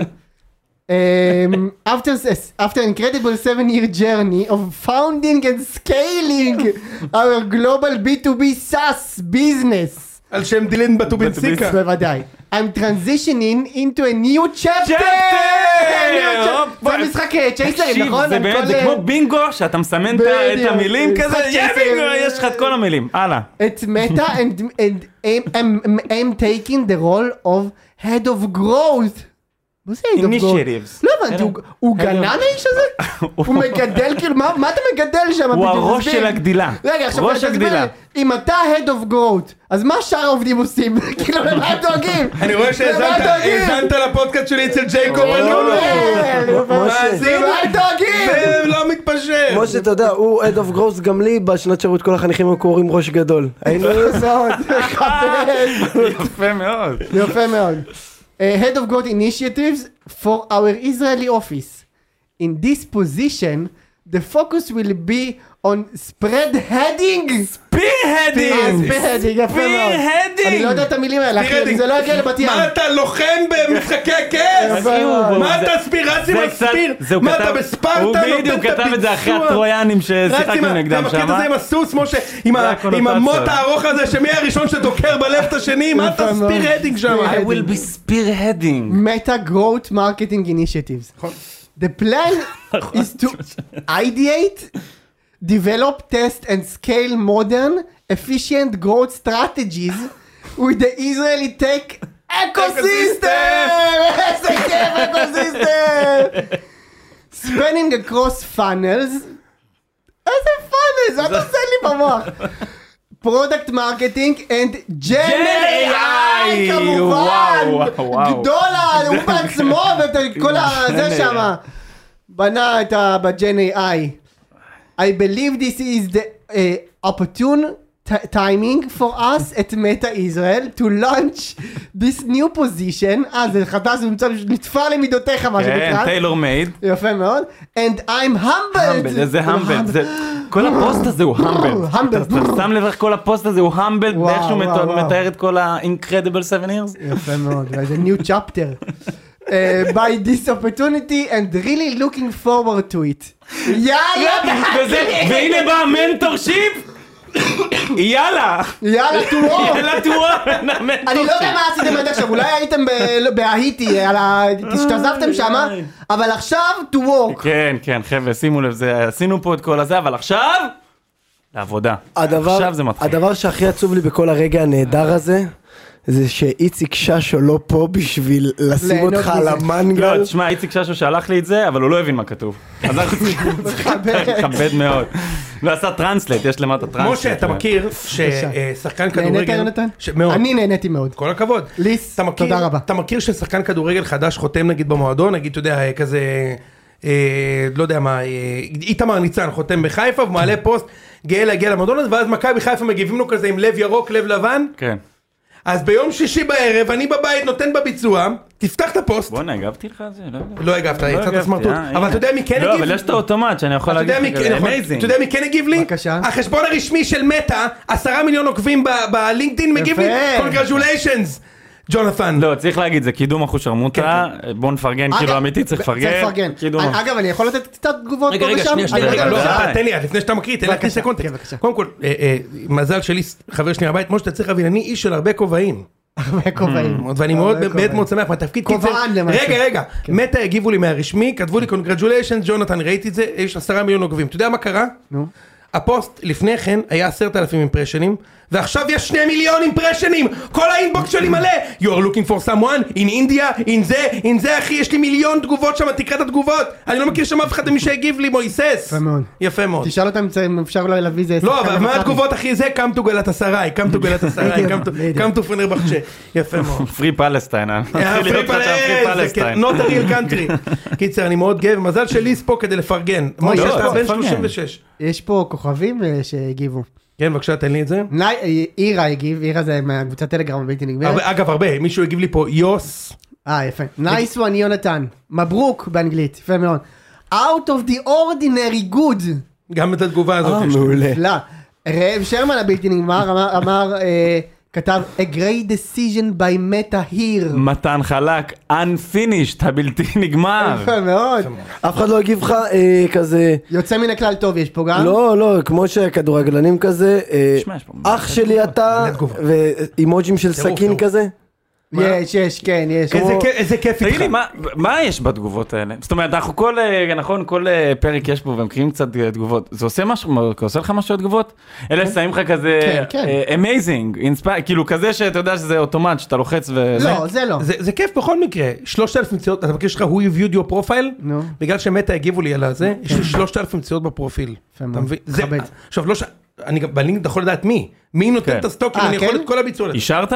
B: אמ, after, s- after an incredible seven year journey of founding and scaling our global B2B SaaS business,
A: על שם דילן בטובינסיקה.
B: בוודאי, I'm transitioning into a new chapter!
D: Chapter!
B: New chap-
D: הופה.
B: זה משחק אה, צ'ייסרים,
D: תקשיב
B: נכון?
D: זה
B: על
D: באמת
B: כל,
D: זה
B: אה,
D: כמו בינגו שאתה מסמן את ה- את
B: בדיוק.
D: המילים
B: משחק
D: כזה יא
B: כסף.
D: בינגו יש לך את כל המילים הלאה.
B: It's meta and, and I'm, I'm, I'm taking the role of head of growth. מה זה head of growth?
D: Initiatives.
B: לא הבנתי, הוא- הוא גנן האיש הזה? הוא מגדל כאילו, מה מה אתה מגדל שם?
D: הוא
B: בדיוק?
D: הראש
B: תסביר.
D: של הגדילה.
B: רגע, עכשיו
D: ראש
B: תסביר
D: הגדילה.
B: לי, אם אתה head of growth, אז מה שאר העובדים עושים? כאילו, למה הם דואגים?
A: אני רואה
B: למה
A: שהאזנת
B: הם דואגים? כן,
A: האזנת לא, לפודקאסט שלי אצל ג'ייקוב אלונו.
D: אה, לא,
A: מאזין.
B: למה הם דואגים?
A: זה לא מתפשר.
C: משה, אתה יודע, הוא Head of Growth גם לי, בשנת שירות כל החניכים היו קוראים ראש גדול. היינו
B: זאת, חבר.
D: יפה מאוד.
B: יפה מאוד. Uh, Head of growth initiatives for our Israeli office. In this position, the focus will be on spread heading.
D: פי-הדינג!
A: Spearheading.
B: Spearheading, יפה מאוד.
A: Spearheading.
B: אני לא יודע את המילים האלה, אחי,
A: Spearheading.
B: אם זה לא יגיע לבת ים.
A: מה אתה לוחם במשחקי כס?
B: יפה מאוד.
A: מה אתה ספירצי
D: זה
A: עם
D: קצת- זה
A: הספיר?
D: הוא
A: מה
D: כתב-
A: אתה בספרטה
D: הוא
A: נותן את הביצוע?
D: בדיוק כתב את זה אחרי הטרויאנים
A: רץ
D: ששיחקנו
A: עם ה-
D: נגדם
A: גם הקטע
D: שם. אה?
A: הזה עם הסוס, משה, עם ה-
D: הקונוטציה.
A: עם המוט הארוך הזה, שמי הראשון שדוקר בלב את השני? מה אתה
B: יפה מאוד.
A: ספיר הדינג שם?
B: Spearheading.
D: I will be spearheading.
B: Meta Growth Marketing Initiatives. The plan is to ideate, develop, test and scale modern, efficient growth strategies with the Israeli tech ecosystem! איזה כיף אקוסיסטם! Spanning across funnels. איזה funnels? מה אתה עושה לי במוח? פרודקט מרקטינג אנד ג'ן AI
D: AI,
B: כמובן,
D: וואו, וואו.
B: גדולה, הוא בעצמו ואת כל הזה שמה, בנה את ה... בג'ן AI. I believe this is the uh, opportune t- timing for us at Meta Israel to launch this new position, אה זה חדש, זה נמצא- נתפר למידותיך מה
D: כן,
B: שנקרא,
D: טיילור מייד.
B: יפה מאוד, and I'm humbled,
D: המבל, איזה המבל. זה- כל הפוסט הזה הוא המבל.
B: המבל.
D: אתה אתה שם לב איך כל הפוסט הזה הוא המבל,
B: וואו,
D: ואיך שהוא
B: וואו,
D: מת-
B: וואו.
D: מתאר את כל ה-incredible 7 years?
B: יפה מאוד, זה new chapter. Uh, by this opportunity and really looking forward to it. יאללה,
D: וזה- והנה בא המנטור שיפ! יאללה!
B: יאללה, תראו.
D: יאללה טורן, המנטור
B: אני לא יודע מה עשיתם עד עכשיו, אולי הייתם ב- לא, בהאיטי, על ה- השתזפתם שמה, אבל עכשיו to walk.
D: כן, כן, חבר'ה, שימו לב, זה- עשינו פה את כל הזה, אבל עכשיו... לעבודה.
C: הדבר,
D: עכשיו זה מתחיל.
C: הדבר שהכי עצוב לי בכל הרגע הנהדר הזה, זה שאיציק ששו לא פה בשביל לשים
B: ליהנות
C: אותך על
B: מזה.
C: המנגל.
D: לא, תשמע, איציק ששו שלח לי את זה, אבל הוא לא הבין מה כתוב. אז אנחנו צריכים לכבד מאוד. לא עשה טרנסלט, יש למטה כן. טרנסלט.
A: משה, אתה מכיר ששחקן
B: נהנית
A: כדורגל...
B: יונתן?
A: ש- מאוד.
B: אני נהניתי מאוד.
A: כל הכבוד.
B: ליס,
A: אתה מכיר-
B: תודה רבה.
A: אתה מכיר ששחקן כדורגל חדש חותם נגיד במועדון, נגיד, אתה יודע, אה, כזה, אה, לא יודע מה, אה, איתמר ניצן חותם בחיפה ומעלה פוסט, גאה להגיע למועדון הזה, ואז מכבי חיפה מגיבים לו כזה עם לב ירוק, לב לבן,
D: כן.
A: אז ביום שישי בערב, אני בבית נותן בביצוע, תפתח את הפוסט.
D: בואנה, הגבתי לך על זה? לא יודע.
A: לא הגבת, יצאת
D: הגבתי,
A: סמרטוט.
D: אה,
A: אבל
D: הנה.
A: אתה יודע מי כן הגיב?
D: לא, אבל יש את האוטומט שאני יכול
A: אתה
D: להגיד
A: יודע מי
D: לך
A: כן-
D: כזה,
A: נכון. אתה
D: אמייזינג.
A: יודע מי כן הגיב לי?
B: בבקשה.
A: החשבון הרשמי של מטא, עשרה מיליון עוקבים ב- בלינקדאין מגיב לי,
B: יפה.
A: קונגרז'וליישנס, ג'ונת'ן.
D: לא, צריך להגיד, זה קידום אחושרמוטה, בוא נפרגן, כאילו
B: אגב,
D: אמיתי צריך
B: ב-
D: לפרגן. כאילו,
B: צריך לפרגן.
D: קידום.
B: אני- אגב, אני יכול לתת קצת תגובות פה ושם? אני
A: רגע,
B: יודע,
A: לא,
B: בבקשה.
A: אתה תן לי, לפני שאתה מקריא, תן לי להכניס
B: בבקשה,
A: לקונטקסט.
B: כן, בבקשה.
A: קודם כל, אה, אה, מזל שלי חבר שלי מהבית, כמו שאתה צריך להבין, אני איש של הרבה כובעים.
B: הרבה כובעים.
A: ואני מאוד
B: הרבה
A: באמת
B: כובעים.
A: מאוד שמח מהתפקיד. כי
B: כובען
A: זה-
B: למעשה.
A: רגע, רגע,
B: כן.
A: מטא הגיבו לי מהרשמי, כתבו לי קונגרדוליישן, ג'ונתן, ראיתי את זה, יש עשרה מיליון עוקבים. אתה יודע מה קרה?
B: נו.
A: הפוסט לפני כן היה עשרת אלפים אימפרשנים, ועכשיו יש שני מיליון אימפרשנים! כל האינבוקס שלי מלא! You are looking for someone, in India, in זה, in זה, אחי, יש לי מיליון תגובות שם, תקרא את התגובות! אני לא מכיר שם אף אחד ממי שהגיב לי, מויסס!
B: יפה מאוד.
A: יפה מאוד.
B: תשאל אותם אם זה- אם אפשר אולי להביא איזה...
A: לא,
B: שחקן
A: אבל מה
B: למכבי.
A: התגובות אחי זה? come to גלת הסריי, come to גלת הסריי,
B: בדיוק, בדיוק.
A: come to פנר בחצ'ה. יפה מאוד.
D: פרי פלסטיין. אה. כאילו, אני מתחיל להיות
A: פרי
D: עכשיו
A: פלסטיין,
D: פרי
A: זה כן,
D: פלסטיין. לא-
A: Not a real country. קיצר, אני מאוד גאה, ומזל שליס פה כדי לפרגן. משה,
B: יש
A: אתה
B: פה,
A: בן
D: לפרגן.
A: 36.
B: יש פה כוכבים אה, שהגיבו.
A: כן, בבקשה, תן לי את זה.
B: ני- אה, אירה הגיב, אירה זה מהקבוצת טלגרם הבלתי נגמרת.
A: הרבה- אגב, הרבה, מישהו הגיב לי פה, יוס.
B: אה, יפה. Nice one, יונתן. מברוק באנגלית, יפה מאוד. Out of the ordinary good.
A: גם את התגובה הזאת.
D: אוקיי,
C: אה,
A: יש לי.
C: מעולה.
B: לא. ראם שרמן הבלתי נגמר אמר- אמר, אה, כתב a great decision by meta here.
D: מתן חלק, unfinished, הבלתי נגמר.
B: יפה מאוד.
C: אף אחד לא הגיב לך אה, כזה,
B: יוצא מן הכלל טוב יש פה
A: אה?
B: גם.
C: לא, לא, כמו שהכדורגלנים כזה, אה,
D: תשמע, יש פה
C: אח שלי אתה,
A: מלא תגובות.
C: ואימוג'ים של
A: טירוף,
C: סכין
A: טירוף.
C: כזה.
B: יש, יש, כן, יש.
A: איזה
B: כמו-
A: כיף- איזה כיף
D: תגיד לי,
A: איתך.
D: מה- מה יש בתגובות האלה? זאת אומרת, אנחנו כל, אה, נכון, כל אה, פרק יש פה ומקריאים קצת אה, תגובות. זה עושה משהו, מה, עושה לך משהו התגובות? אלה ששמים לך כזה,
B: כן, כן.
D: אה, amazing, inspire, כאילו כזה שאתה יודע שזה אוטומט, שאתה לוחץ ו...
B: לא, זה לא.
A: זה זה כיף בכל מקרה, 3,000 מציאות, אתה מכיר שלך who you viewed your profile?
B: נו.
A: בגלל שמטה הגיבו לי על זה, יש לי 3,000 מציאות בפרופיל. אתה
B: מאוד.
A: מבין? זה-
B: מכבד.
A: עכשיו, לא ש... אני גם בלינק אתה יכול לדעת מי, מי נותן
D: כן.
A: את הסטוקים,
B: אה,
A: אני יכול
B: כן?
A: את כל הביצוע.
D: אישרת?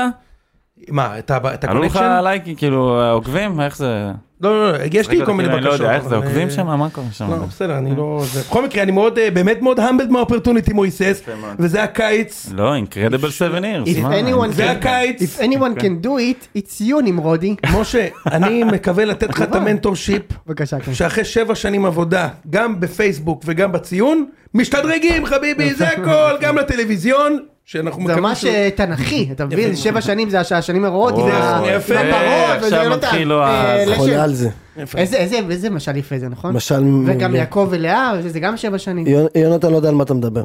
A: מה, את ה- את
D: עלו לך
A: הקונקשן?
D: לייקים, כאילו אה, עוקבים? איך זה?
A: לא, לא, לא, יש לי כל מיני
D: אני
A: בקשות.
D: לא יודע, איך זה,
A: אבל,
D: עוקבים
A: אה,
D: שם? מה קורה שם?
B: אוקיי.
A: לא, בסדר,
B: אה.
A: אני לא... זה- בכל מקרה, אני מאוד, אה, באמת מאוד המבלד מהאופרטוניטי מויסס, וזה הקיץ,
D: לא, אינקרדיבל 7 years.
B: If
D: מה?
B: anyone
A: זה
B: can-
A: הקיץ. כן.
B: If anyone can do it, it's you נמרודי.
A: משה, אני מקווה לתת לך את המנטור שיפ.
B: בבקשה, כן.
A: שאחרי שבע שנים עבודה, גם בפייסבוק וגם בציון, משתדרגים חביבי, זה הכל, גם לטלוויזיון, שאנחנו
B: זה
A: מקווים
B: ממש
A: שהוא...
B: אה, תנכי, אתה מבין? זה שבע שנים זה הש- השנים הרעות, עם ה-
A: יפה,
B: עם
A: יפה,
B: הפרות,
D: עכשיו
B: וזה יונתן.
D: מתחיל לו
B: אה,
D: ה-
B: לשם.
C: חולה על זה.
A: יפה.
B: איזה- איזה איזה משל יפה זה, נכון?
C: משל...
B: וגם יעקב ולאה, זה גם שבע שנים.
C: יונ- יונתן לא יודע על מה אתה מדבר.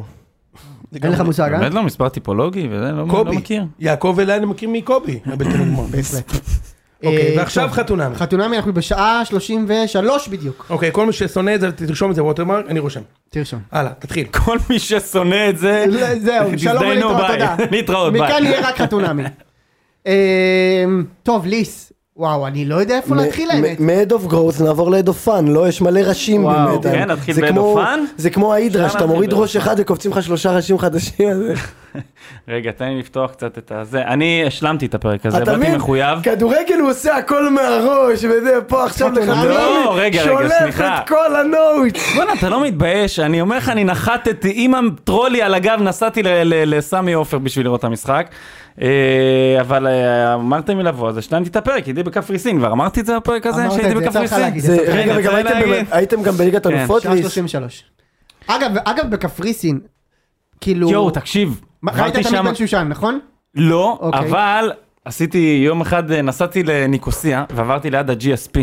A: זה גם-
B: אין לך מושג, אה?
D: באמת לא מספר טיפולוגי וזה, לא לא
A: קובי.
D: מכיר.
A: יעקב אלה אני מכיר מקובי. הבלתי נגמר.
B: בהחלט.
A: אוקיי,
B: אה,
A: ועכשיו
B: טוב.
A: חתונמי.
B: חתונמי אנחנו בשעה 33 בדיוק.
A: אוקיי, כל מי ששונא את זה, תרשום את זה ווטרמרק, אני רושם.
B: תרשום.
A: הלאה, תתחיל.
B: אוקיי.
D: כל מי ששונא את זה,
B: לא, זהו, שלום
D: תזדיינו,
B: ולהתראות,
D: ביי.
B: תודה.
D: להתראות, ביי.
B: מכאן יהיה רק חתונמי. אמ, טוב, ליס. וואו, אני לא יודע איפה להתחיל האמת.
C: מ-Head of Growth נעבור ל-Head of Fun, לא, יש מלא ראשים
D: וואו,
C: באמת.
D: כן,
C: אני-
D: נתחיל
C: זה
D: ב-Head
C: כמו-
D: of Fun?
C: זה כמו ההידרה,
D: אפשר
C: שאתה
D: להתחיל
C: מוריד
D: ב-Head
C: ראש
D: of
C: אחד וקופצים לך שלושה ראשים חדשים. אז-
D: רגע, תן לי לפתוח קצת את הזה. אני השלמתי את הפרק הזה,
C: אתה
D: באתי
C: מבין?
D: מחויב.
B: כן.
C: כדורגל הוא עושה הכל מהראש, וזה פה עכשיו
B: חתונמי?
C: לחתונמי,
D: לא, רגע, רגע,
C: שולף
D: סליחה.
C: את כל הנוט.
D: בואנה, אתה לא מתבייש? אני אומר לך, אני נחתתי עם הטרולי על הגב, נסעתי ל- ל- לסמי עופר בשביל לראות את המשחק. אה, אבל אה, אמרתם לי לבוא, אז השלמתי את הפרק, הייתי בקפריסין כבר. אמרתי את זה בפרק הזה,
B: אמרת
D: שהייתי
B: את זה, יצא לך
D: בקפריסין?
B: להגיד,
C: זה-
B: יצא לך
D: רגע,
C: רגע, וגם
D: צריך
C: הייתם
D: להגיד.
C: ב- הייתם גם בליגת אלופות,
B: שעה
C: ליס?
B: 33. אגב, אגב, בקפריסין, כאילו...
D: יואו, תקשיב.
B: מה, ראית
D: עברתי
B: את
D: שם-
B: עמית בן שושן, נכון?
D: לא,
B: אוקיי.
D: אבל עשיתי יום אחד, אה, נסעתי לניקוסיה ועברתי ליד ה-GSP.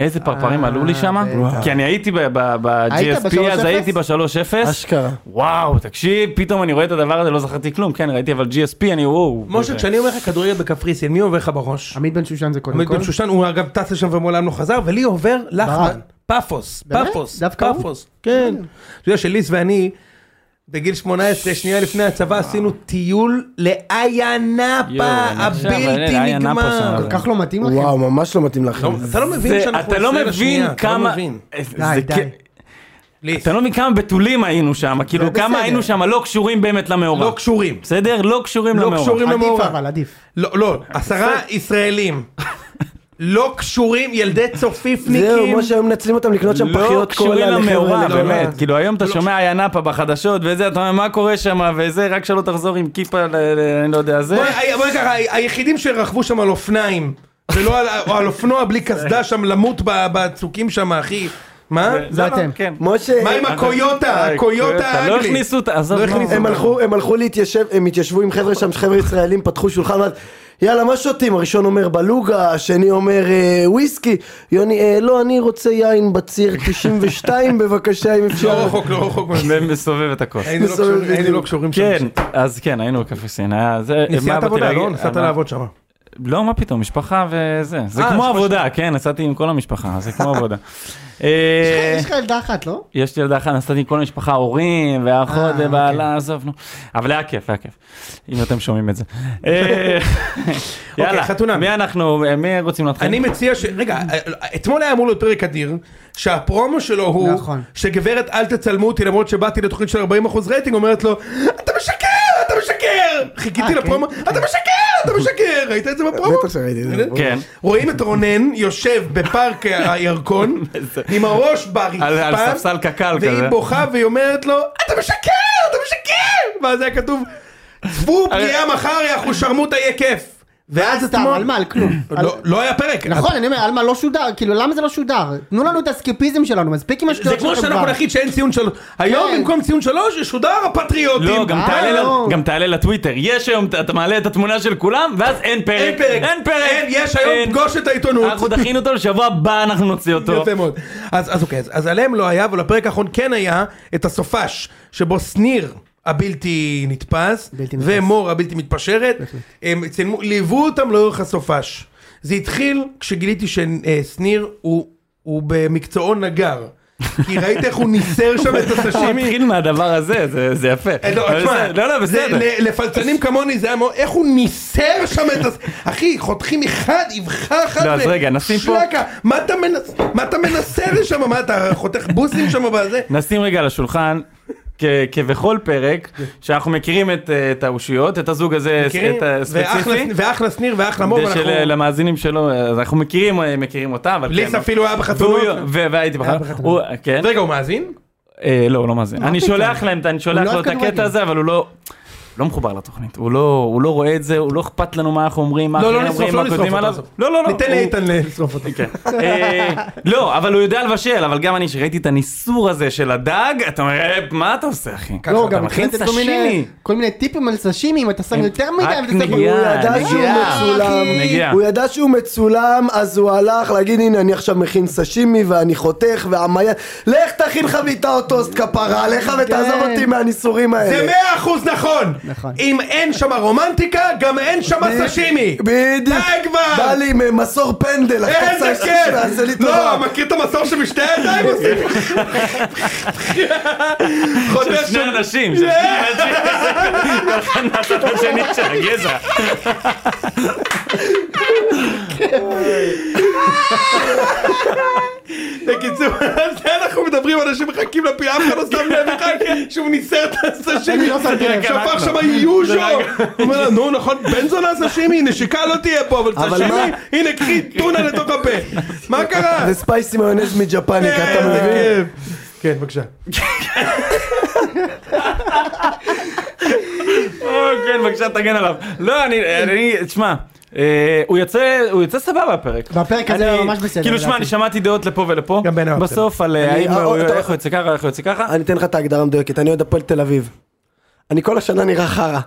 D: איזה פרפרים
B: אה,
D: עלו לי שם,
B: בטח.
D: כי אני הייתי
B: היית
D: ב-GSP,
B: ב-
D: אז
B: 3-0?
D: הייתי ב-3-0.
C: אשכרה.
D: וואו, תקשיב, פתאום אני רואה את הדבר הזה, לא זכרתי כלום, כן, ראיתי אבל GSP, אני וואו.
A: משה,
D: וזה-
A: כשאני אומר לך כדורגל בקפריסין, מי עובר לך בראש?
B: עמית בן שושן זה קודם
A: עמית
B: כל.
A: בן שושן, הוא אגב טס לשם ומעולם לא חזר, ולי עובר לחמן. פאפוס,
B: באמת?
A: פאפוס,
B: דווקא הוא?
A: פאפוס. כן. אתה יודע שליס ואני, בגיל 18, שנייה לפני הצבא, עשינו טיול לאיה
D: יואו,
A: נאפה,
D: אני עכשיו,
A: הבלתי
D: אה, איה נאפה
A: נגמר.
D: שם.
B: כל כך לא מתאים לכם.
C: וואו, ממש לא מתאים לכם.
A: לא, אתה לא מבין
D: זה-
A: שאנחנו
D: אתה לא
A: עשרים
D: מבין
A: לשנייה, אתה לא
D: כמה... אה,
A: מבין.
D: זה
B: די,
D: כ-
B: די.
A: ליס,
D: אתה לא מבין כמה בתולים היינו שם, כאילו
B: בסדר.
D: כמה היינו שם לא קשורים באמת למאורע.
A: לא קשורים.
D: בסדר? לא קשורים
A: לא
D: למאורע.
A: קשורים
B: עדיף
A: למאורע.
B: אבל, עדיף.
A: לא, לא, עשרה ישראלים. לא קשורים, ילדי צופיפניקים.
C: זהו, משה, היום מנצלים אותם לקנות שם
D: לא
C: פחיות קולה.
D: קשורים
C: לחבר'ה
D: למאורע,
A: לא,
C: האלה.
D: באמת. כאילו היום אתה שומע ינאפה בחדשות וזה, אתה אומר מה קורה שם וזה, רק שלא תחזור עם כיפה, ל- ל- אני לא יודע, זה.
A: בוא ה- בוא נגיד ככה, ה- היחידים שרכבו שם על אופניים, ולא על- או על אופנוע בלי קסדה שם, למות ב- בצוקים שם, אחי. מה?
B: זה
D: לא,
B: אתם.
D: כן.
C: משה,
A: מה עם הקויוטה?
D: אה,
A: הקויוטה האנגלי.
D: לא הכניסו אותה, עזוב.
A: לא
D: נו.
A: הכניסו
C: הם הלכו, הם הלכו להתיישב, הם התיישבו עם חבר'ה שם, חבר'ה ישראלים, פתחו שולחן, אמרת, יאללה, מה שותים? הראשון אומר בלוגה, השני אומר אה, וויסקי, יוני, אה, לא, אני רוצה יין בציר 92 בבקשה, אם
A: לא
C: אפשר.
A: רחוק, לא רחוק.
D: מסובב את הכוס.
A: היינו לא
C: מסובב
A: קשורים- היינו לא
C: בדיוק.
A: קשורים שם.
D: כן, אז כן, היינו בקפריסין, היה זה... מה
A: נסיעת
D: באתי
A: עבודה,
D: להגיד?
A: לא? נסעת
D: אה, מה?
A: לעבוד שם.
D: לא, מה פתאום, משפחה וזה. זה
A: אה,
D: כמו
A: משפחה
D: עבודה, כן, נסעתי עם כל המשפחה, זה כמו עבודה. אה,
B: יש לך ילדה אחת, לא?
D: יש לי ילדה אחת, נסעתי עם כל המשפחה, הורים, ואחות,
B: אה,
A: אוקיי.
D: ובעלה, עזוב, נו. אבל היה כיף, היה כיף. אם אתם שומעים את זה. אה, יאללה,
A: אוקיי, חתונה.
D: מי אנחנו, אה, מי רוצים
B: כן.
D: להתחיל?
A: אני מציע ש... רגע, אה, אתמול היה אמור להיות פרק אדיר, שהפרומו שלו הוא,
B: נכון.
A: שגברת אל תצלמו אותי למרות שבאתי לתוכנית של 40% רייטינג, אומרת לו, אתה משקר, אתה משקר! חיכיתי
B: אה,
A: לפרומו, אתה משקר, אתה משקר! ראית את זה בפרומו?
C: בטח שראיתי את זה.
D: כן.
A: רואים את רונן יושב בפארק הירקון, עם הראש ברצפה,
D: על- על ספסל קק"ל כזה.
A: והיא בוכה והיא אומרת לו, אתה משקר, אתה משקר! ואז היה כתוב, צפו פגיעה מחר, יא אחושרמוטה יהיה כיף. ואז
B: סתם,
A: אתמול,
B: על מה, על כלום. על-
A: אה, לא- לא היה פרק.
B: נכון, אני אומר, על מה לא שודר? כאילו, למה זה לא שודר? תנו לנו את הסקיפיזם שלנו, מספיק עם
A: זה
B: השטויות
A: כמו
B: שלכם
A: שאנחנו
B: כבר. כן.
A: נחליט שאין ציון שלוש. היום במקום ציון שלוש ישודר הפטריוטים.
D: לא, גם
B: אה,
D: תעלה
B: לא.
D: ל- גם תעלה לטוויטר. יש היום, אתה מעלה את התמונה של כולם, ואז אין פרק.
A: אין פרק.
D: אין פרק.
A: אין, יש היום
D: אין.
A: פגוש את העיתונות.
D: אנחנו דחינו אותו, לשבוע הבא אנחנו נוציא אותו.
A: יפה מאוד. אז אז אוקיי, אז- אז עליהם לא היה, אבל הפרק האחרון כן היה את הסופש, שבו שניר הבלתי נתפס,
B: בלתי נתפס.
A: ומור הבלתי מתפשרת, הם צילמו, ליוו אותם לאורך הסופש. זה התחיל כשגיליתי ששניר הוא הוא במקצועו נגר. כי ראית איך הוא ניסר שם את
D: הוא
A: הסשימי?
D: התחיל מהדבר הזה, זה- זה יפה.
A: אה, לא,
D: אבל
A: תשמע,
D: זה- לא, לא,
A: זה-
D: בסדר.
A: ל- לפלצנים כמוני זה היה מאוד, איך הוא ניסר שם את הס... אחי, חותכים אחד, אבחה אחת,
D: לא, אז
A: ו-
D: רגע, נשים פה-
A: שלקה. מה אתה מנס- מה אתה מנסה לשם? מה אתה חותך בוסים שם בזה?
D: נשים רגע על השולחן, כ- כבכל פרק, שאנחנו מכירים את, אה, את האושיות, את הזוג הזה,
A: מכירים?
D: את הספציפי.
A: ואחלה- ואחלה שניר ואחלה מור,
D: כדי של- אה,
A: ואנחנו-
D: למאזינים שלו, אז אנחנו מכירים, אה, מכירים אותה, אבל
A: ליס אפילו היה
D: והוא-
A: בחתונות.
D: ו- והייתי בחתונות. הוא- כן.
A: אה, רגע, הוא מאזין?
D: אה, לא, הוא לא מאזין. אני
B: פתאום?
D: שולח להם, את- אני
B: הוא
D: שולח
B: לא
D: לו את
B: אוהב
D: הקטע
B: כדורגל.
D: הזה, אבל הוא לא... לא מחובר לתוכנית, הוא לא, הוא לא רואה את זה, הוא לא אכפת לנו מה אנחנו אומרים, מה
A: לא, לא
D: אחרים
A: נשרוף,
D: אומרים,
A: לא
D: מה
A: נשרוף
D: כותבים
A: אותו,
D: עליו.
A: עזוב.
D: לא, לא, לא.
A: ניתן
D: הוא-
A: לאיתן לשרוף אותו.
D: אה, לא, אבל הוא יודע לבשל, אבל גם אני שראיתי את הניסור הזה של הדג, אתה אומר, "אה, מה אתה עושה אחי?
B: לא, הוא
D: אתה
B: גם
D: מכין
B: החלטת כל מיני-
D: סשימי.
B: כל מיני טיפים על סשימי, אם אתה שם יותר מדי,
D: רק
B: אבל אתה שם...
D: נגיעה,
B: הוא ידע
C: ידע שהוא
D: נגיעה,
C: מצולם,
D: נגיעה.
C: הוא ידע שהוא מצולם, אז הוא הלך להגיד הנה אני עכשיו מכין סשימי ואני חותך ועמיין, לך תכין חביתה או טוסט כפרה עליך ותעזוב
B: כן.
C: אותי מהניסורים
D: אה,
A: זה
C: האלה.
A: מאה אחוז נכון!
B: נכון.
A: אם אין שם רומנטיקה, גם אין שם סשימי!
C: בדיוק,
A: די כבר!
C: בא לי עם, אה, מסור פנדל, אחי,
A: איזה
C: סש- תעשה כן, לי
A: כיף!
C: טובה.
A: לא, מכיר את המסור שבשתי הידיים עושים?
D: של
A: חודש
D: שני אנשים, של שני אנשים, כל אחד מהצד השני של הגזע.
A: בקיצור, על זה אנחנו מדברים, אנשים מחכים לפינה, אף אחד לא שם לב אחד שהוא ניסר את הסשימי,
B: אני לא שמתי לב.
A: שפך שם יוז'ו, הוא אומר לה, נו נכון, בן זונה סשימי, נשיקה לא תהיה פה, אבל
C: אבל
A: סשימי,
C: מה?
A: הנה קחי טונה לתוך הפה, מה קרה?
C: זה ספייסי מיונז
A: כן.
C: מג'פניקה, אתה
A: איזה
C: מבין?
A: כיף. כן, בבקשה.
D: אה, כן, בבקשה תגן עליו. לא, אני, אני, תשמע, אה, הוא יוצא, הוא יצא סבבה הפרק.
B: והפרק הזה
D: אני-
B: היה ממש בסדר,
D: כאילו, שמע,
B: לדעתי.
D: אני שמעתי דעות לפה ולפה.
A: גם בעיניי הוא בסדר.
D: בסוף על אה,
C: אני-
D: האם
C: אה,
D: הוא-
C: אתה-
D: איך הוא יוצא ככה, איך הוא יוצא ככה.
C: אני אתן לך את ההגדרה המדויקת, אני אוהד הפועל תל אביב. אני כל השנה נראה חרא.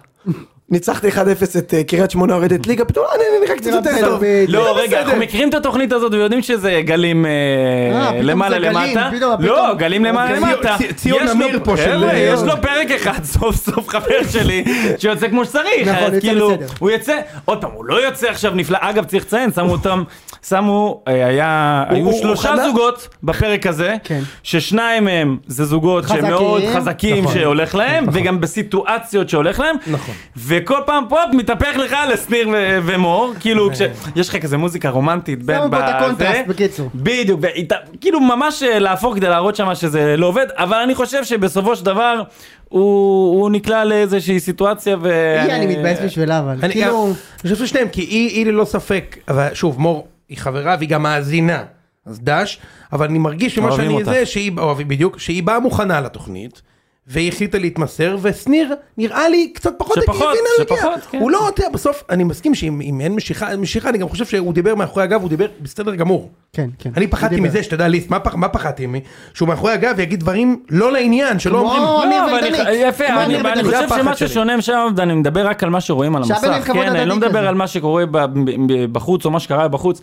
C: ניצחתי 1-0 את אה, קריית שמונה יורדת ליגה, פתאום אה, אני אני נראה קצת
B: נראה
C: יותר
B: בסדר,
C: טוב.
B: בדיוק.
D: לא, רגע,
C: בסדר.
D: אנחנו מכירים את התוכנית הזאת ויודעים שזה גלים אה,
B: אה, פתאום
D: למעלה
B: זה גלים,
D: למטה.
B: פתאום, אוקיי. פתאום.
D: לא, גלים למעלה
A: ציון-
D: למטה.
A: צי- ציון
D: יש לו-
A: אמיר פה של- אה,
D: חבר'ה, יש לו פרק אחד, סוף סוף חבר שלי, שיוצא כמו שצריך.
B: נכון,
D: אז
B: יוצא
D: כאילו,
B: בסדר.
D: הוא יצא, עוד פעם, הוא לא יוצא עכשיו נפלא. אגב, צריך לציין, שמו אותם, שמו, אה, היה, היו
C: הוא- הוא
D: שלושה
C: חנה-
D: זוגות בפרק הזה,
B: כן.
D: ששניים מהם זה זוגות
B: חזקים.
D: שמאוד חזקים
A: נכון.
D: שהולך להם, וגם בסיטואציות שהולך להם.
A: נכון.
D: וכל פעם פופ מתהפך לך לשניר ו- ומור, כאילו כשיש לך כזה מוזיקה רומנטית בין
B: שמו פה את
D: בזה-
B: הקונטרסט, בקיצור.
D: בדיוק, והת- כאילו ממש אה, להפוך כדי להראות שמה שזה לא עובד, אבל אני חושב שבסופו של דבר הוא, הוא נקלע לאיזושהי סיטואציה ו...
B: אי, אני מתבאס בשבילה, אבל
A: אני גם-
B: כאילו...
A: אני חושב ששניהם, כי היא, היא ללא ספק, אבל שוב, מור היא חברה והיא גם מאזינה, אז דש, אבל אני מרגיש שמה
D: אוהבים
A: שאני
D: אותה.
A: זה, שהיא, אוהבים בדיוק, שהיא באה מוכנה לתוכנית. והיא החליטה להתמסר, ושניר נראה לי קצת פחות
D: שפחות,
A: הגיע, הנה,
D: שפחות,
A: הגיע.
D: כן.
A: הוא לא, אתה יודע, בסוף אני מסכים שאם אם אין משיכה, אין משיכה, אני גם חושב שהוא דיבר מאחורי הגב, הוא דיבר בסדר גמור.
B: כן, כן.
A: אני פחדתי
B: דיבר.
A: מזה, שתדע ליסט, מה, פח, מה פחדתי ממי? שהוא מאחורי הגב יגיד דברים לא לעניין, שלא
B: כמו-
A: אומרים...
B: אמיר
D: לא, אבל אני-
B: ודנית.
D: יפה,
B: כמו
D: אני
B: אמיר
D: אני
B: ודנית.
A: זה
D: חושב
A: הפחד
D: שמה
A: שלי.
D: ששונה משם, אני מדבר רק על מה שרואים על
B: שהיה ביניהם
D: המסך,
B: כבוד
D: כן, אני לא
B: הדדי
D: מדבר
B: כזה.
D: על מה שקורה ב- ב- ב- בחוץ או מה שקרה בחוץ.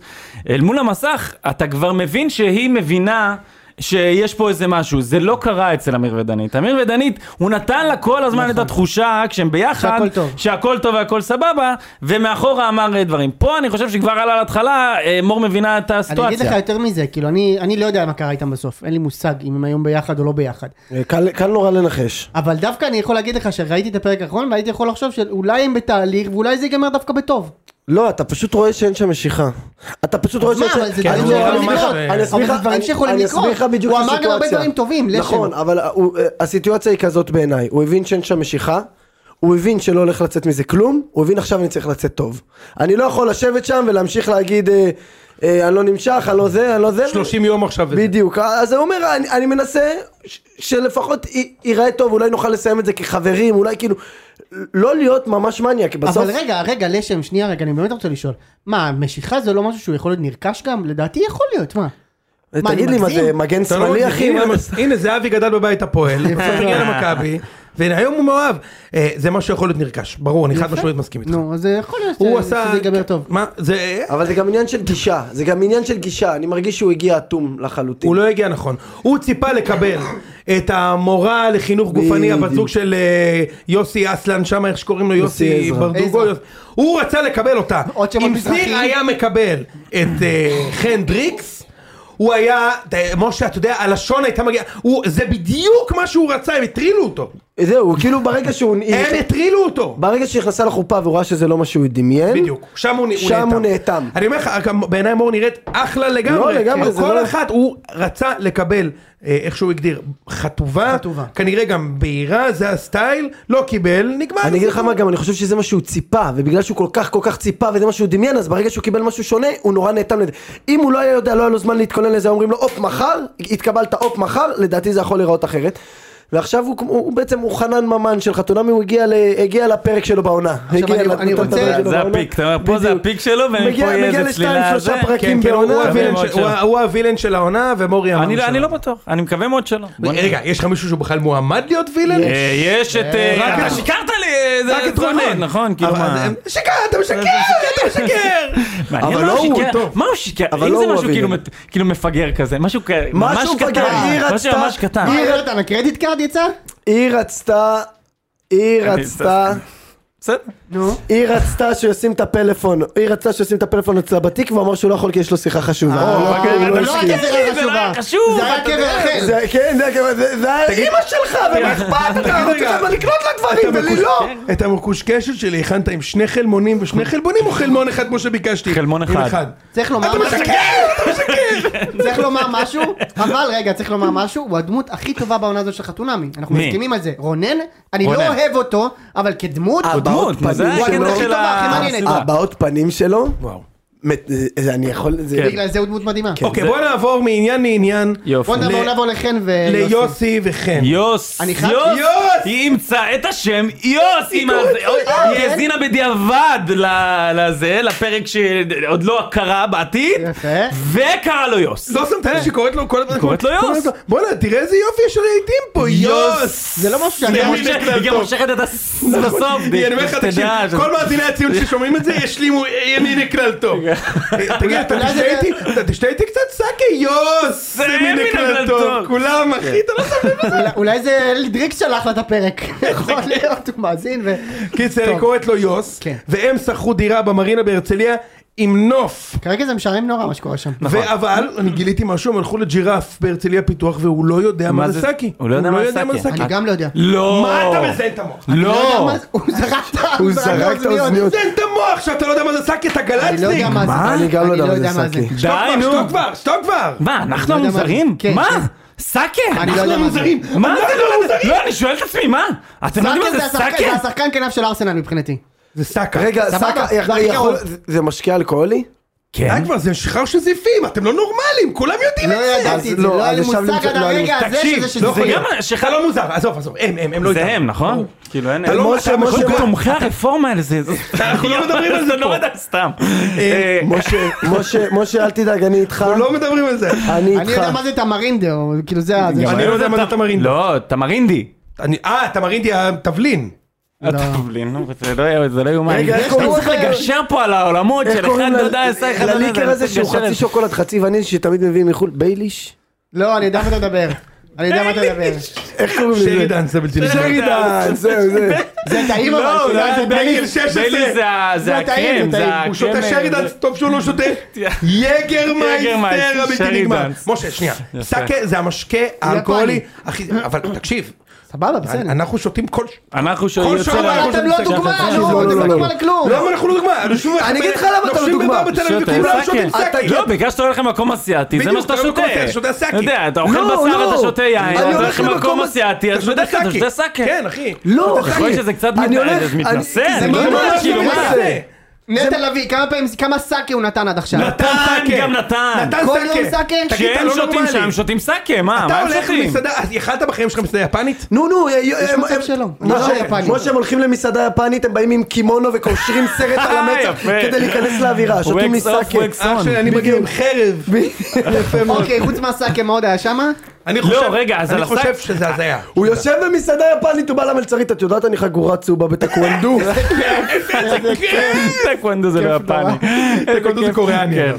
D: אל מול המסך, אתה כבר מבין שהיא מבינה. שיש פה איזה משהו, זה לא קרה אצל אמיר ודנית. אמיר ודנית, הוא נתן לה כל הזמן את התחושה, כשהם ביחד,
B: שהכל טוב.
D: שהכל טוב והכל סבבה, ומאחורה אמר אה, דברים. פה אני חושב שכבר עלה להתחלה, אה, מור מבינה את
B: אני אגיד לך
D: הסיטואציה.
B: יותר מזה, כאילו, אני אני לא יודע מה קרה איתם בסוף, אין לי מושג אם הם היום ביחד או לא ביחד.
C: אה, קל- קל נורא לנחש.
B: אבל דווקא אני יכול להגיד לך שראיתי את הפרק האחרון והייתי יכול לחשוב שאולי הם בתהליך ואולי זה ייגמר דווקא בטוב.
C: לא, אתה פשוט רואה שאין שם משיכה. אתה פשוט רואה
B: אז מה,
C: שאין שם...
B: אבל זה
C: כן,
B: דברים
C: אני-
A: שיכולים
C: אני-
A: לקרות.
C: אני
B: אבל
C: אסביר
B: זה
C: לך-
B: דברים
C: אני-
B: שיכולים
C: אני
B: לקרות.
C: אסביר לך בדיוק
B: הוא
C: את
B: אמר גם הרבה
C: הסיטואציה.
B: דברים טובים, לשם.
C: נכון, אבל הוא- אה, הסיטואציה היא כזאת בעיניי. הוא הבין שאין שם משיכה. הוא הבין שלא הולך לצאת מזה כלום, הוא הבין עכשיו אני צריך לצאת טוב. אני לא יכול לשבת שם ולהמשיך להגיד אה, אה, אני לא נמשך, אני לא זה, אני לא זה.
A: 30 יום עכשיו. וזה.
C: בדיוק, אז הוא אומר, אני, אני מנסה ש- שלפחות י- ייראה טוב, אולי נוכל לסיים את זה כחברים, אולי כאילו, לא להיות ממש מניאק, בסוף...
B: אבל רגע, רגע, לשם, שנייה, רגע, אני באמת רוצה לשאול. מה, משיכה זה לא משהו שהוא יכול להיות נרכש גם? לדעתי יכול להיות, מה? מה,
C: תגיד לי, מה
B: מגזים?
C: זה מגן
A: אתה לא
C: שמאלי,
A: מבין,
C: אחי?
A: הנה,
C: מה-
A: הנה זהבי גדל בבית הפועל, בסוף הגיע למכבי, והיום הוא מאוהב. אה, זה מה שיכול להיות נרכש, ברור, אני חד משמעית מסכים איתך.
B: נו, אז אה, יכול להיות
A: הוא
B: ש-
A: עשה...
B: שזה ייגמר טוב.
A: מה, זה...
C: אבל זה גם עניין של גישה, זה גם עניין של גישה, אני מרגיש שהוא הגיע אטום לחלוטין.
A: הוא לא הגיע נכון. הוא ציפה לקבל את המורה לחינוך גופני,
C: בדיוק.
A: הבת זוג של אה, יוסי אסלן, שם איך שקוראים לו, יוסי
C: עזרא.
A: ברדוגו.
B: עזרא.
A: יוס- הוא רצה לקבל אותה.
B: עוד שם
A: אם
B: מזרחי.
A: שניר היה מקבל את אה, חן דריקס, הוא היה, ת- משה, אתה יודע, הלשון הייתה מגיעה, הוא- זה בדיוק מה שהוא רצה, הם הטרילו אותו.
C: זהו, כאילו ברגע שהוא...
A: הם הטרילו אותו.
C: ברגע שהיא נכנסה לחופה והוא ראה שזה לא מה שהוא דמיין,
A: בדיוק, שם הוא, נ-
C: שם הוא נאטם.
A: אני אומר לך, גם בעיניי מור נראית אחלה לגמרי.
C: לא, לגמרי,
A: כן.
C: זה
A: כל
C: לא-
A: אחת, הוא רצה לקבל, אה, איך שהוא הגדיר, חטובה,
B: חטובה.
A: כנראה גם בהירה, זה הסטייל, לא קיבל, נגמר.
C: אני אגיד לך
A: הסיפור.
C: מה גם, אני חושב שזה מה שהוא ציפה, ובגלל שהוא כל כך כל כך ציפה וזה מה שהוא דמיין, אז ברגע שהוא קיבל משהו שונה, הוא נורא נאטם לזה. אם הוא לא היה יודע, לא היה לו זמן להתכונן לזה, אומרים לו, הופ, מחר, התקבלת, הופ, מחר, לדעתי זה יכול להיראות אחרת. ועכשיו הוא, כמו- הוא בעצם הוא חנן ממן של חתונמי, הוא הגיע, ל, הגיע לפרק שלו בעונה. הגיע
B: אני- אני
C: לתת את
B: רוצה-
C: הפרק שלו
D: זה
C: בעונה.
D: הפיק, אתה אומר, פה זה
C: לא, בדיוק.
D: הפיק שלו, ומפה
C: מגיע-
D: יהיה
C: מגיע
D: איזה
C: לשתיים,
D: צלילה.
C: שלושה
D: זה-
C: פרקים.
A: כן, כאילו
C: בעונה,
A: הוא הווילן
D: מאוד
A: של-
D: שלו.
A: הוא ה- הוא הווילן של העונה ומורי
D: אני
A: ההמן
D: לא-
A: שלו.
D: אני לא בטוח, אני מקווה מאוד שלא. בוא נראה.
A: רגע, יש לך מישהו שהוא בכלל מועמד להיות וילן?
D: אה, יש את... אה,
A: רק
D: אתה
A: את-
D: שיקרת לי! זה-
A: רק את
D: זה
A: רונן.
D: נכון, נכון, כאילו
A: אבל-
D: מה...
A: אז- שיקר, אתה משקר, אתה משקר!
D: מעניין
C: אבל
D: מה
C: לא הוא,
D: שיקר-
C: טוב.
D: מה הוא שיקר?
C: אבל
D: אם
C: לא
D: זה
C: הוא
D: משהו כאילו
C: הווילן.
D: מת- כאילו מפגר כזה, משהו כזה, ממש
C: משהו מפגר, היא
D: קטן, משהו
C: רצתה-
D: ממש קטן.
B: מה ירד על הקרדיט קארד יצא?
C: היא רצתה, היא
D: אני
C: רצתה,
D: בסדר.
B: נו.
C: היא רצתה שהוא ישים את הפלאפון, היא רצתה שהוא ישים את הפלאפון אצלה בתיק והוא אמר שהוא לא יכול כי יש לו שיחה חשובה.
D: אה,
C: הוא לא-
B: אבל
C: הוא לא
B: זה לא
C: הסכים.
B: היה קבר
D: זה לא היה
B: חשובה.
D: חשוב,
B: זה היה
D: אתה
B: קבר אחר.
C: זה- כן, זה היה כמעט- זה- זה היה אימא שלך, ומה אכפת לך, אתה צריך אבל לקנות לה דברים ולי לא.
A: כן. את המקושקשת שלי הכנת עם שני חלמונים ושני חלבונים או חלמון אחד כמו שביקשתי?
D: חלמון
A: עם
D: אחד.
B: צריך לומר...
A: אתה משקר! אתה משקר!
B: צריך לומר משהו, אבל רגע, צריך לומר משהו, הוא הדמות הכי טובה בעונה הזאת של חתונמי. אנחנו
D: מי?
B: מסכימים על זה. רונן, אני
D: רונן.
B: לא אוהב אותו, אבל כדמות,
C: אה,
B: הוא
C: ברור.
D: דמות, מה זה
C: הוא
D: הקטע אה,
C: הדמות הכי
D: של
B: טובה, הכי
D: ה-
B: מעניינת.
D: הסדרה?
C: הבעות פנים שלו,
A: וואו.
C: מת- זה- זה- אני יכול, זה-
B: בגלל זה הוא דמות מדהימה.
A: אוקיי, בוא נעבור מעניין לעניין
D: יופי.
B: בוא נעבור נעבור לחן ויוסי.
A: ליוסי וחן.
D: יוס,
B: אני
D: יוס,
B: חייב-
A: יוס!
D: היא אימצה את השם יוס, עם הזה, אוי, היא האזינה בדיעבד ל- לזה, לפרק שעוד לא קרה בעתיד,
B: יפה.
D: וקרא לו יוס.
A: לא שמת לב שקוראת לו כל הזמן.
D: כן. קוראת לו יוס.
A: קוראת בואנה, תראה איזה יופי יש רהיטים פה, יוס!
B: זה לא משהו שאני...
D: היא גם
A: ימין
D: מושכת-
A: לכלל
D: היא גם
A: טוב.
D: מושכת את הס- את הסוף,
A: אני אומר לך, תקשיב,
D: שתדע, ש-
A: כל מאזיני הציון ששומעים את זה, ישלימו ימיני אה, כלל טוב. תגיד, אתה
B: אולי
A: תשתה
B: זה-
A: איתי- אתה תשתה איתי קצת סאקה, יוס! ימיני כלל טוב. כולם, אחי,
D: כן.
A: אתה לא שם לב לזה.
B: אולי- אולי זה דריק שלח לה את הפרק. יכול להיות, הוא מאזין ו...
A: קיצר,
B: טוב.
A: היא קוראת לו יוס,
B: כן.
A: והם שכרו דירה במרינה בהרצליה עם נוף.
B: כרגע זה משעמם נורא מה שקורה שם.
A: אבל אני גיליתי משהו, הם הלכו לג'ירף בהרצליה פיתוח והוא לא יודע מה זה סאקי.
D: הוא לא יודע מה זה סאקי.
B: אני גם לא יודע.
D: לא.
A: מה אתה מזיין את המוח?
B: אני לא יודע
D: לא.
B: מה זה- הוא זרק את ה-
C: הוא זרק את האוזניות.
A: מזיין את המוח שאתה לא יודע מה זה סאקי, אתה
B: אני לא
A: גלצניק.
B: יודע מה זה.
C: מה? אני גם לא יודע מה זה סאקי.
B: זה.
A: שתוק כבר,
D: די, נו.
A: שתוק כבר, שתוק כבר.
D: מה, אנחנו
B: אני לא יודע מה
D: המוזרים?
B: זה. כן,
D: מה?
B: כן.
D: סאקה?
B: אני לא יודע
A: אנחנו
B: מה זה.
A: מוזרים.
D: מה
A: אנחנו
D: זה לא
A: מוזרים.
D: לא, אני שואל את עצמי, מה? אתם לא
B: סאקה
D: יודעים מה
B: זה
D: זה
B: השחקן- זה
D: סאקה?
B: השחקן כנף של ארסנל מבחינתי.
A: זה סאקה.
C: רגע,
B: סבבה,
C: סאקה,
B: זה
C: יכול-
B: הכי
C: יכול-
B: קרוב.
C: זה- זה משקה אלכוהולי?
A: די כבר, זה שחר שזיפים, אתם לא נורמלים, כולם יודעים
B: לא
A: את זה.
B: ידעתי את זה,
C: לא,
B: לא היה לי
C: אז עכשיו
B: מושג
C: למצוא-
B: עד
C: לא היה לי
B: הרגע הזה
D: תקשיב,
B: שזה שזה
D: זה
B: יכול
D: גם
B: להיות.
A: אתה לא מוזר, עזוב, עזוב, הם, הם, הם לא
D: זה
A: איתנו.
D: הם, נכון? כאילו אין...
A: אתה לא-
C: משה,
A: אתה
C: משה,
A: משוגע.
D: כל תומכי הרפורמה האלה זה...
A: אנחנו לא מדברים על זה
D: לא
A: פה.
D: יודע, סתם.
A: אה,
C: משה, משה, משה, אל תדאג, אני איתך,
A: אנחנו לא מדברים על זה.
C: אני
B: אני יודע
C: איתך.
B: מה זה תמרינדה, או כאילו זה ה... זה-
A: אני לא יודע מה זה תמרינדי.
D: אה, לא, תמרינדי.
A: אני- אה, תמרינדי התבלין.
D: התבלין, נו, זה לא יהיה- זה לא יאומן.
C: רגע, איך
D: אני
C: קוראים
D: צריך
C: ל-
D: לגשר פה על העולמות של אחד לא יודע, עשה אחד לא יודע.
C: לליקר הזה
D: צריך
C: שהוא
D: לגשר.
C: חצי שוקולד חצי וניל שתמיד מביאים מחו"ל, בייליש?
B: לא, אני יודע מה אתה מדבר. אני יודע מה אתה מדבר.
C: איך קוראים לזה?
A: שרידן סבלצ'יני.
C: שרידן, זהו זה.
B: זה טעים אבל.
D: לא,
B: כאילו,
D: זה
B: זה
D: ביילי
B: טעים.
A: 16.
D: ביילי זה ה- זה
B: לא, טעים,
D: הקרם,
B: זה
D: זה
B: טעים.
D: הקרם.
A: הוא שותה שרידן, טוב שהוא לא שותה. יגרמייסטר
D: יגרמייסטר,
A: הבלתי נגמר.
D: שרידן.
A: משה, שנייה. סאקה זה המשקה האלכוהולי הכי... אבל תקשיב,
B: סבבה, בסדר.
A: אנחנו שותים כל...
D: אנחנו
A: כל
D: שואלים...
A: שבוע
B: אבל אתם לא דוגמה, נו, אתם
C: לא,
B: לא
C: לא,
B: דוגמה
C: לא.
B: לכלום.
A: למה אנחנו לא דוגמה? אנשים-
C: אני אגיד לך למה אתה לא
A: נופשים
C: דוגמה.
A: בבר בתל אביב
D: שותה
A: וכולם שותים
D: סאקה.
A: סאקי.
D: לא, בגלל שאתה הולך למקום אסיאתי, זה
A: בדיוק,
D: מה שאתה
A: אתה הולך
D: שותה.
A: למקום אסיאתי, שותה סאקי.
D: אתה יודע, אתה
C: לא,
D: אוכל בשר,
C: לא.
D: אתה שותה יין,
C: אני
D: אתה
C: הולך
D: הולך למקום
C: למקום
D: אסיאתי, אתה שותה סאקי, אתה שותה סאקי.
A: כן, אחי.
C: לא,
D: אתה רואה שזה קצת
C: אני
D: מת-
C: הולך-
D: זה
C: אני-
D: מתנשא,
C: זה
D: אני לא יודע,
C: ממש
D: כאילו, מה?
C: מתנשא.
B: נטע לביא, כמה פעמים, כמה סאקי הוא נתן עד עכשיו?
D: נתן,
A: סאקה.
D: גם נתן.
A: נתן
B: כל
A: סאקה.
B: יום סאקה?
A: תגיד, אתה
D: כשהם
A: לא
D: שותים
A: נורמלי.
D: שם, שותים סאקה, מה?
A: אתה
D: מה הם
A: הולך
D: שותים?
A: למסעדה, אכלת בחיים שלך מסעדה יפנית?
C: נו נו, אה,
B: מצב שלא. נראה יפני.
C: כמו שהם הולכים למסעדה יפנית הם באים עם קימונו וקושרים סרט על המצח
D: יפה.
C: כדי להיכנס לאווירה, שותים
D: Wakes off,
C: מסאקה.
D: wakes
A: אח
D: on.
A: שלי, אני מגיע עם חרב. יפה מאוד.
B: אוקיי, חוץ מהסאקי, מה עוד היה שמה?
A: אני חושב-
D: לא, רגע, אז
A: אני
D: על הסאק-
A: חושב שזה הזיה.
C: הוא יושב במסעדה יפנית, הוא בא למלצרית, את יודעת אני חגורה צהובה בטקוונדו.
A: כן,
D: טקוונדו זה לא יפני.
A: טקוונדו זה קוריאני.
D: כן.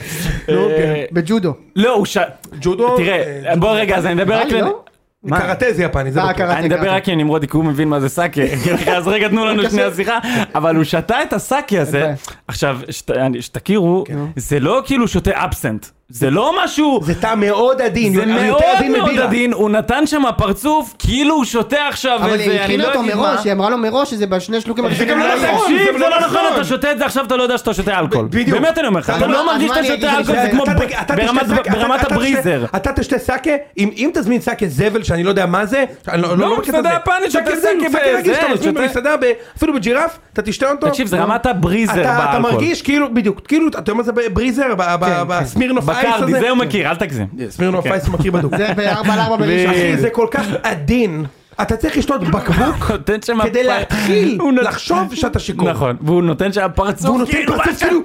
A: נו, כן.
D: אה,
B: בג'ודו.
D: לא, הוא ש...
A: ג'ודו,
D: תראה,
A: אה,
D: בוא רגע, אז אני אדבר
B: אה,
D: רק... ל-
B: לא?
D: מה?
A: קראטה זה יפני, זה לא
B: אה,
A: בטוח.
B: קראטה.
D: אני אדבר רק עם נמרודי, כי הוא מבין מה זה סאקה. אז רגע, תנו לנו שנייה שיחה. אבל הוא שתה את הסאקה הזה.
B: אין
D: עכשיו, שת- אני- שתכירו, זה לא כאילו שותה אבסנט. זה לא משהו...
A: כן. זה טעם מאוד עדין.
D: זה
A: הוא
D: מאוד
A: יותר עדין
D: מאוד
A: מבירה.
D: עדין, הוא נתן שם פרצוף כאילו הוא שותה עכשיו
B: אבל היא
D: איזה, אני
B: הכינה
D: לא
B: אותו
D: יודעת מה.
B: מראש, היא אמרה לו מראש שזה בשני שלוקים
A: גם לא נכון.
D: תקשיב,
A: זה
D: זה
A: לא
D: לא נכון,
A: נכון.
D: אתה שותה את זה עכשיו, אתה לא יודע שאתה שותה אלכוהול.
A: בדיוק.
D: באמת אני אומר לך,
A: אז
D: אתה
A: מה-
D: לא
B: אז
D: מרגיש
B: מה
D: שאתה
B: אני אגיד
D: שותה
B: לך
D: אלכוהול, זה
B: שזה-
D: כמו
A: אתה
D: ב-
A: תגיד- אתה
D: ברמת-
A: תשתה סאקה, אתה-
D: ברמת
A: אתה תשתה-
D: הבריזר.
A: אתה תשתה סאקה, אם אם תזמין סאקה זבל שאני לא יודע מה זה, אני לא- לא
D: מסעדה יפנית, שותה
A: סאקה זבל,
D: סאקה
A: סאקה רגיל
D: בזה,
A: שאתה מזמין
D: שותה-
A: במסעדה, ב- אפילו בג'ירף, אתה תשתה אותו. לא.
D: תקשיב, זה רמת הבריזר
A: אתה- אתה
D: באלכוהול.
A: מרגיש כאילו, בדיוק, כאילו, אתה יודע מה זה בריזר, ב- ב- בסמירנוף אייס הזה?
D: כן, בקרדי, זה הוא מכיר, אל תגזים.
A: סמירנוף אייס הוא מכיר בדוק.
D: אה.
B: זה בארבע על ארבע בראשון.
A: אחי, זה כל כך עדין. אתה צריך לשתות בקבוק
D: נותן שם
A: כדי
D: הפ-
A: להתחיל
D: הוא נות-
A: לחשוב שאתה שיכור.
D: נכון, והוא נותן שם פרצוף.
A: והוא נותן
D: כאילו,
A: פרצוף כאילו,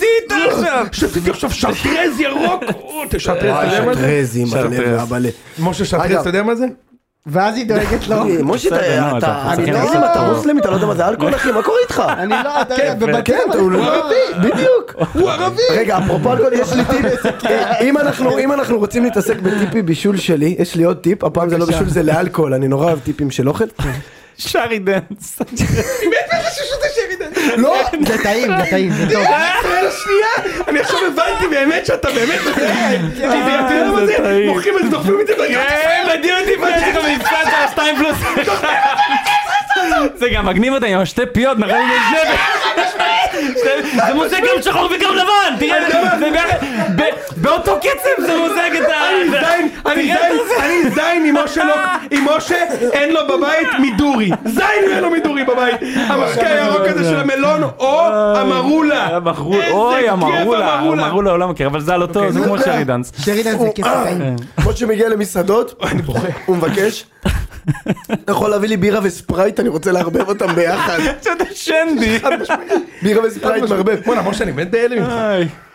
A: "אה, שתיתי עכשיו שרטרז ירוק, או, אתה שרטרז, אתה יודע מה זה?
C: שטרז, אימא לב, אבא לב.
A: משה שרטרז,
C: אגב,
A: אתה יודע מה זה?
B: ואז היא דואגת לו.
C: אה, משה, אתה-
D: בסדר,
C: אתה
D: נו, אתה-
C: אני
D: אתה-
C: לא יודע, אתה מוסלמי, אתה לא יודע מה זה אלכוהול, אחי, מה קורה איתך?
B: אני לא, אתה יודע, בבתי
C: כן,
B: אבל-
C: הוא לא ערבי, בדיוק.
A: הוא ערבי!
C: רגע, אפרופו אלכוהול, יש לי טיפ. אם אנחנו- אם אנחנו רוצים להתעסק בטיפי בישול שלי, יש לי עוד טיפ, הפעם זה לא בישול, זה לאלכוהול, אני נורא אוהב טיפים של אוכל.
D: שרי דנס.
B: לא, זה טעים, זה טעים, זה טוב.
A: ישראל השנייה! אני עכשיו הבנתי באמת שאתה באמת מזהם! אתה יודע מה
D: זה
A: זה?
D: טעים.
A: מוכרים את זה, דוחפים את זה,
D: כן, מדהים אותי מה יש לך מבצע של השתיים פלוס זה גם מגניב אותי עם שתי פיות, נכון? זה מוזג גם שחור וגם לבן, תראה, זה ב- ב- באותו קצב זה מוזג את ה...
A: זין, אני
D: תראה
A: זין,
D: את זה.
A: אני זין עם משה לא, עם משה אין לו בבית מידורי, זין אין לו מידורי בבית, המחקה הירוק הזה של המלון או המרולה,
D: המרול,
A: איזה
D: אוי
A: כיף
D: המרולה, המרולה הוא לא מכיר, אבל זה על אותו, זה כמו שרי דנס.
B: שרידן זה כיף טעים.
C: משה מגיע למסעדות, הוא מבקש, אתה יכול להביא לי בירה וספרייט, אני רוצה לערבב אותם ביחד.
D: שנדי.
C: בירה וספרייט מערבב.
A: בואנה משה אני באמת דאלה ממך,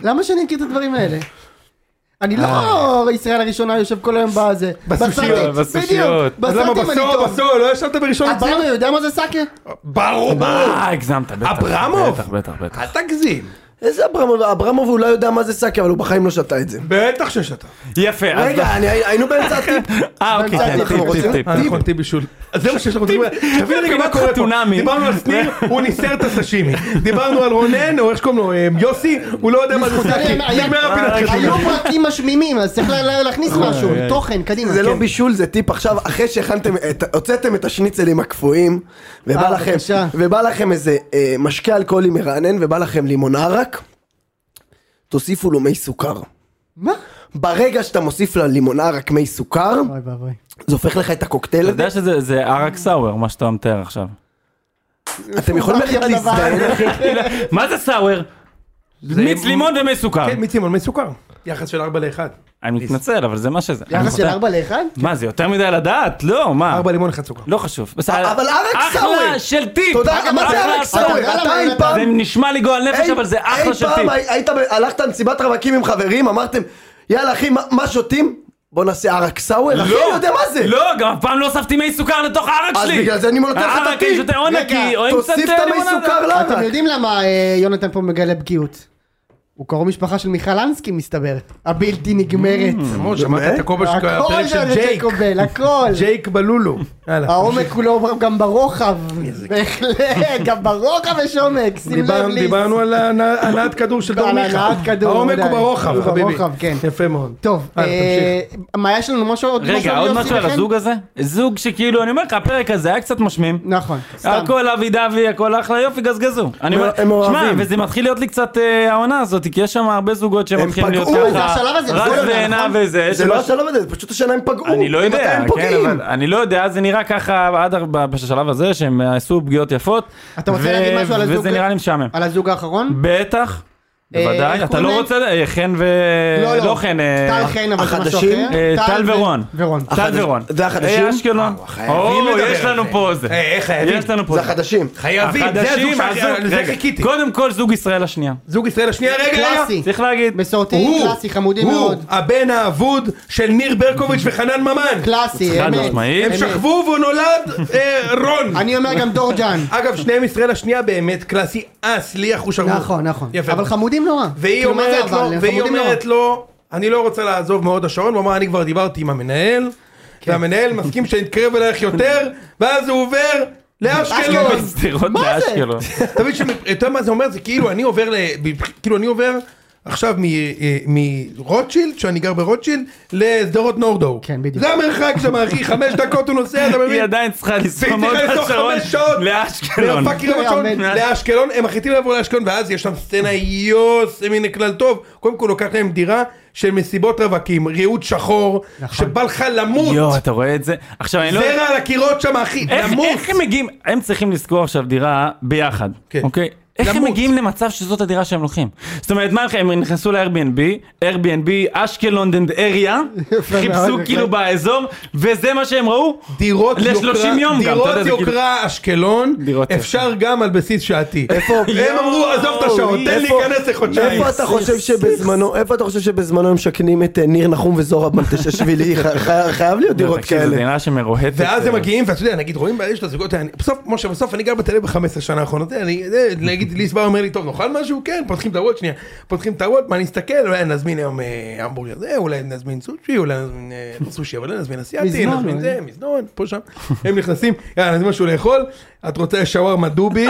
B: למה שאני אכיר את הדברים האלה? אני לא ישראל הראשונה יושב כל היום בזה.
A: בסושיות,
B: בסרטים,
D: בסושיות.
A: אז
B: בדיוק,
A: למה
B: בסרטים אני
A: בסוף,
B: טוב.
A: בסוף, לא ישבת בראשון
B: אברהם,
A: לציון?
B: הוא יודע מה זה סאקה?
A: ברור,
D: אה, הגזמת, בטח.
A: אברמוב?
D: בטח, בטח, בטח.
A: אל תגזים,
C: איזה אברמוב, אברמוב הוא לא יודע מה זה סאקי, אבל הוא בחיים לא שתה את זה.
A: בטח ששתה,
D: יפה, אז- לא-
C: רגע, אני- היינו באמצע הטיפ.
D: אה, אוקיי, כן,
C: אנחנו
D: טיפ, טיפ,
C: רוצים-
D: טיפ.
A: אה, נכון, טיפ בישול. אז זה מה שיש לנו לדבר. תבין רגע מה
D: פינת
A: קורה פה.
D: חתונמי.
A: דיברנו על שניר, הוא ניסר את הסשימי. דיברנו על רונן, או איך קוראים לו, אה, יוסי, הוא לא יודע מה
B: אה,
A: זה סשי.
B: היה-
A: נגמר הפינת
B: היו
A: חתונמי.
B: פרקים משמימים, אז צריך לה- לה- להכניס משהו, תוכן, קדימה.
C: זה לא
B: כן.
C: בישול, זה טיפ עכשיו, אחרי שהכנתם, את- הוצאתם את השניצלים הקפואים, ובא
B: אה,
C: לכם,
B: בבקשה.
C: ובא לכם איזה אה, משקה אלכוהולי מרענן, ובא לכם לימון ערק, תוסיפו לו מי סוכר.
B: מה?
C: ברגע שאתה מוסיף ללימון ערק מי סוכר,
B: אוי ואבוי.
C: זה הופך לך את הקוקטייל
D: אתה
C: הזה.
D: יודע שזה זה ערק סאואר, מה שאתה מתאר עכשיו.
C: אתם יכולים ללכת
B: לא הדבר
C: להזדיין, אחי.
D: מה זה סאואר? מיץ לימון ומי סוכר.
A: כן, מיץ לימון, מיץ סוכר. יחס של 4 ל-1.
D: אני מתנצל, אבל זה מה שזה. אני
B: יחס של
D: מצטער.
B: 4 ל-1?
D: מה, זה יותר מדי לדעת? לא, מה?
A: 4 לימון, 1 סוכר.
D: לא חשוב. בסדר.
C: אבל ערק סאואר.
D: אחלה של טיפ!
C: תודה, מה זה
D: אחלה
C: ערק
D: של טיפ.
C: סאואר? אתה אי פעם
D: זה נשמע לי גועל נפש, אבל זה אחלה של
C: אי פעם
D: טיפ.
C: הי- היית, ב- הלכת למסיבת רווקים עם חברים, אמרתם, יאללה אחי, מה, מה שותים? בוא נעשה ערק סאואר, אחי, אני יודע מה זה.
D: לא, גם אף פעם לא הוספתי מי סוכר לתוך הערק
C: אז
D: שלי.
C: בגלל זה אני נותן לך את
D: הערק
C: הטיפ.
D: יש יותר או
B: רגע,
D: נקי, או עם קצת אה,
C: תוסיף את המי
D: לימונדה.
C: סוכר
A: לא,
C: לערק.
B: אתם יודעים למה אה, יונתן פה מגלה בקיאות? הוא קרוב משפחה של מיכל אנסקי מסתבר, הבלתי נגמרת.
A: למרות, שמעת את הכובע של
B: הכל
A: Mm, הפרק
B: זה
A: של ג'ייק.
B: ג'ייקובל, הכל.
A: ג'ייק בלולו. יאללה.
B: העומק כולו גם ברוחב, בהחלט, גם ברוחב יש עומק, שים לב
A: דיברנו-
B: לי.
A: דיברנו על הנע- הנעת כדור של דור
B: על
A: מיכה.
B: הנעת כדור,
A: העומק הוא
B: ודאי.
A: ברוחב,
B: הוא
A: חביבי.
B: ברוחב, כן.
A: יפה מאוד.
B: טוב,
A: אה,
B: אה, מה יש לנו משהו עוד
D: רגע, עוד
B: להוסיף
D: משהו על
B: לכם?
D: הזוג הזה? זוג שכאילו, אני אומר לך, הפרק הזה היה קצת משמים.
B: נכון, סתם.
D: אה, הכל אבי דבי, הכל אחלה, יופי, גזגזו. אני אומר,
C: הם
D: שמע,
C: אוהבים.
D: וזה מתחיל להיות לי קצת אה, העונה הזאת, כי יש שם הרבה זוגות שמתחילים להיות
C: פגעו,
B: זה
D: ככה,
B: השלב הזה,
D: רז
B: זה לא
D: ועינה
B: נכון?
D: וזה,
C: זה
D: שבש-
C: לא השלב הזה, זה פשוט השנה הם פגעו.
D: אני לא
C: מתי
D: יודע,
C: הם
D: כן,
C: פוגעים?
D: אבל אני לא יודע, זה נראה ככה עד הרבה- בשלב הזה, שהם אה, עשו פגיעות יפות.
B: אתה רוצה
D: ו-
B: להגיד משהו על הזוג?
D: וזה נראה לי משעמם.
B: על הזוג האחרון?
D: בטח,
B: אה,
D: בוודאי,
B: איך
D: אתה
B: קוראים
D: לא
B: להם?
D: רוצה, אה, חן ו... לא חן, אה,
B: טל חן, אבל זה משהו
C: החדשים?
B: אחר.
D: אה, טל
B: ו-
D: ורון.
B: ורון.
D: טל ורון.
C: זה החדשים?
D: אה, אשקלון.
A: חייבים
D: או,
A: לדבר
D: יש
A: על
D: לנו
A: זה.
D: פה זה.
A: אה, איך חייבים?
D: יש לנו פה
C: זה
D: זה.
C: החדשים.
A: חייבים, זה הזוג
D: החדשים,
A: שאני-
D: הזוג,
A: לזה
D: רגע,
A: חיכיתי.
D: קודם כל זוג ישראל השנייה.
A: זוג ישראל השנייה, רגע, רגע.
B: קלאסי.
D: צריך להגיד.
B: מסורתי, קלאסי, חמודי
A: הוא
B: מאוד.
A: הבן האבוד של ניר ברקוביץ' וחנן ממן.
B: קלאסי,
D: חד
B: אמת.
D: משמעית.
A: הם שכבו והוא נולד אה, רון.
B: אני אומר גם דורג'אן.
A: אגב, שניהם ישראל השנייה באמת קלאסי אס, לי אחו שרמוט.
B: נכון, נכון.
A: יפה.
B: אבל חמודים נורא.
A: והיא
B: כאילו, מה זה
A: אומרת
B: אבל?
A: לו,
B: הם
A: והיא
B: חמודים נורא.
A: אומרת לו, אני לא רוצה לעזוב מהוד השרון, הוא אמר, אני כבר דיברתי עם המנהל,
B: כן.
A: והמנהל מסכים שאני אתקרב אלייך יותר, ואז הוא עובר לאשקלון.
B: אשקלון.
D: שדרות
B: מה זה?
D: לאשקלון.
A: אתה מבין שמ- אתה יודע מה זה אומר? זה כאילו אני עובר, ל- ב- כאילו אני עובר עכשיו מ- אה, מרוטשילד, שאני גר ברוטשילד, לשדרות נורדו.
B: כן, בדיוק.
A: זה המרחק שם, אחי, חמש דקות הוא נוסע, אתה מבין?
D: היא עדיין צריכה
A: והיא
D: לנסוע מאוד
A: צריכה לנסוע
D: השרון
A: חמש שעות
D: לאשקלון.
A: לפאקינג רמת
B: לא
A: השרון,
B: יאמן.
A: לאשקלון, הם החליטים לעבור לאשקלון, ואז יש שם סצנה יוס, מן הכלל טוב. קודם כל לוקח להם דירה של מסיבות רווקים, ריהוט שחור,
B: נכון.
A: שבא לך
D: יואו,
A: למות,
D: אתה רואה את זה? עכשיו אני לא...
A: זרע על הקירות שם, אחי,
D: איך
A: למות.
D: איך הם מגיעים? הם צריכים לשכור עכשיו דירה ביחד.
A: כן.
D: אוקיי? איך הם
A: למות.
D: מגיעים למצב שזאת הדירה שהם לוקחים? זאת אומרת, מה הם- הם נכנסו ל-Airbnb, Airbnb, אשקלון and area, חיפשו
B: מאוד,
D: כאילו
B: יפה.
D: באזור, וזה מה שהם ראו?
A: דירות
D: ל- 30 יום גם, אתה
A: דירות
D: יודע, זה כאילו- לא,
A: יוקרה אשקלון,
D: דירות
A: אפשר גם על בסיס שעתי.
C: איפה-
A: הם אמרו, עזוב את השעות, תן לי
C: איפה-
A: להיכנס
D: כן,
A: לחודשיים.
C: איפה אתה חושב שבזמנו, איפה אתה חושב שבזמנו הם משכנים את אה, ניר נחום וזורה בנטששווילי? ח- ח- חייב להיות דירות
D: תקשיב, זו
C: כאלה.
D: דירה שמרוהטת.
A: ואז הם
D: אה,
A: מגיעים, ואתה יודע, נגיד, רואים, יש את הזוגות, אני- בסוף, משה, בסוף אני גר בתל אביב ב-15 שנה האחרונות, אני, זה, נגיד, ליס בא אומר לי, טוב, נאכל משהו? כן, פותחים את הוולט שנייה, פותחים את הוולט, מה נסתכל, אולי נזמין היום אה, המבורגר זה, אולי נזמין סושי, אולי נזמין אה, לא סושי, אבל לא נזמין אסיאתי,
B: מזנון,
A: נזמין
B: אה.
A: זה, מזנון, פה שם, הם נכנסים, יאללה, נזמין משהו לאכול, את רוצה שווארמה דובי,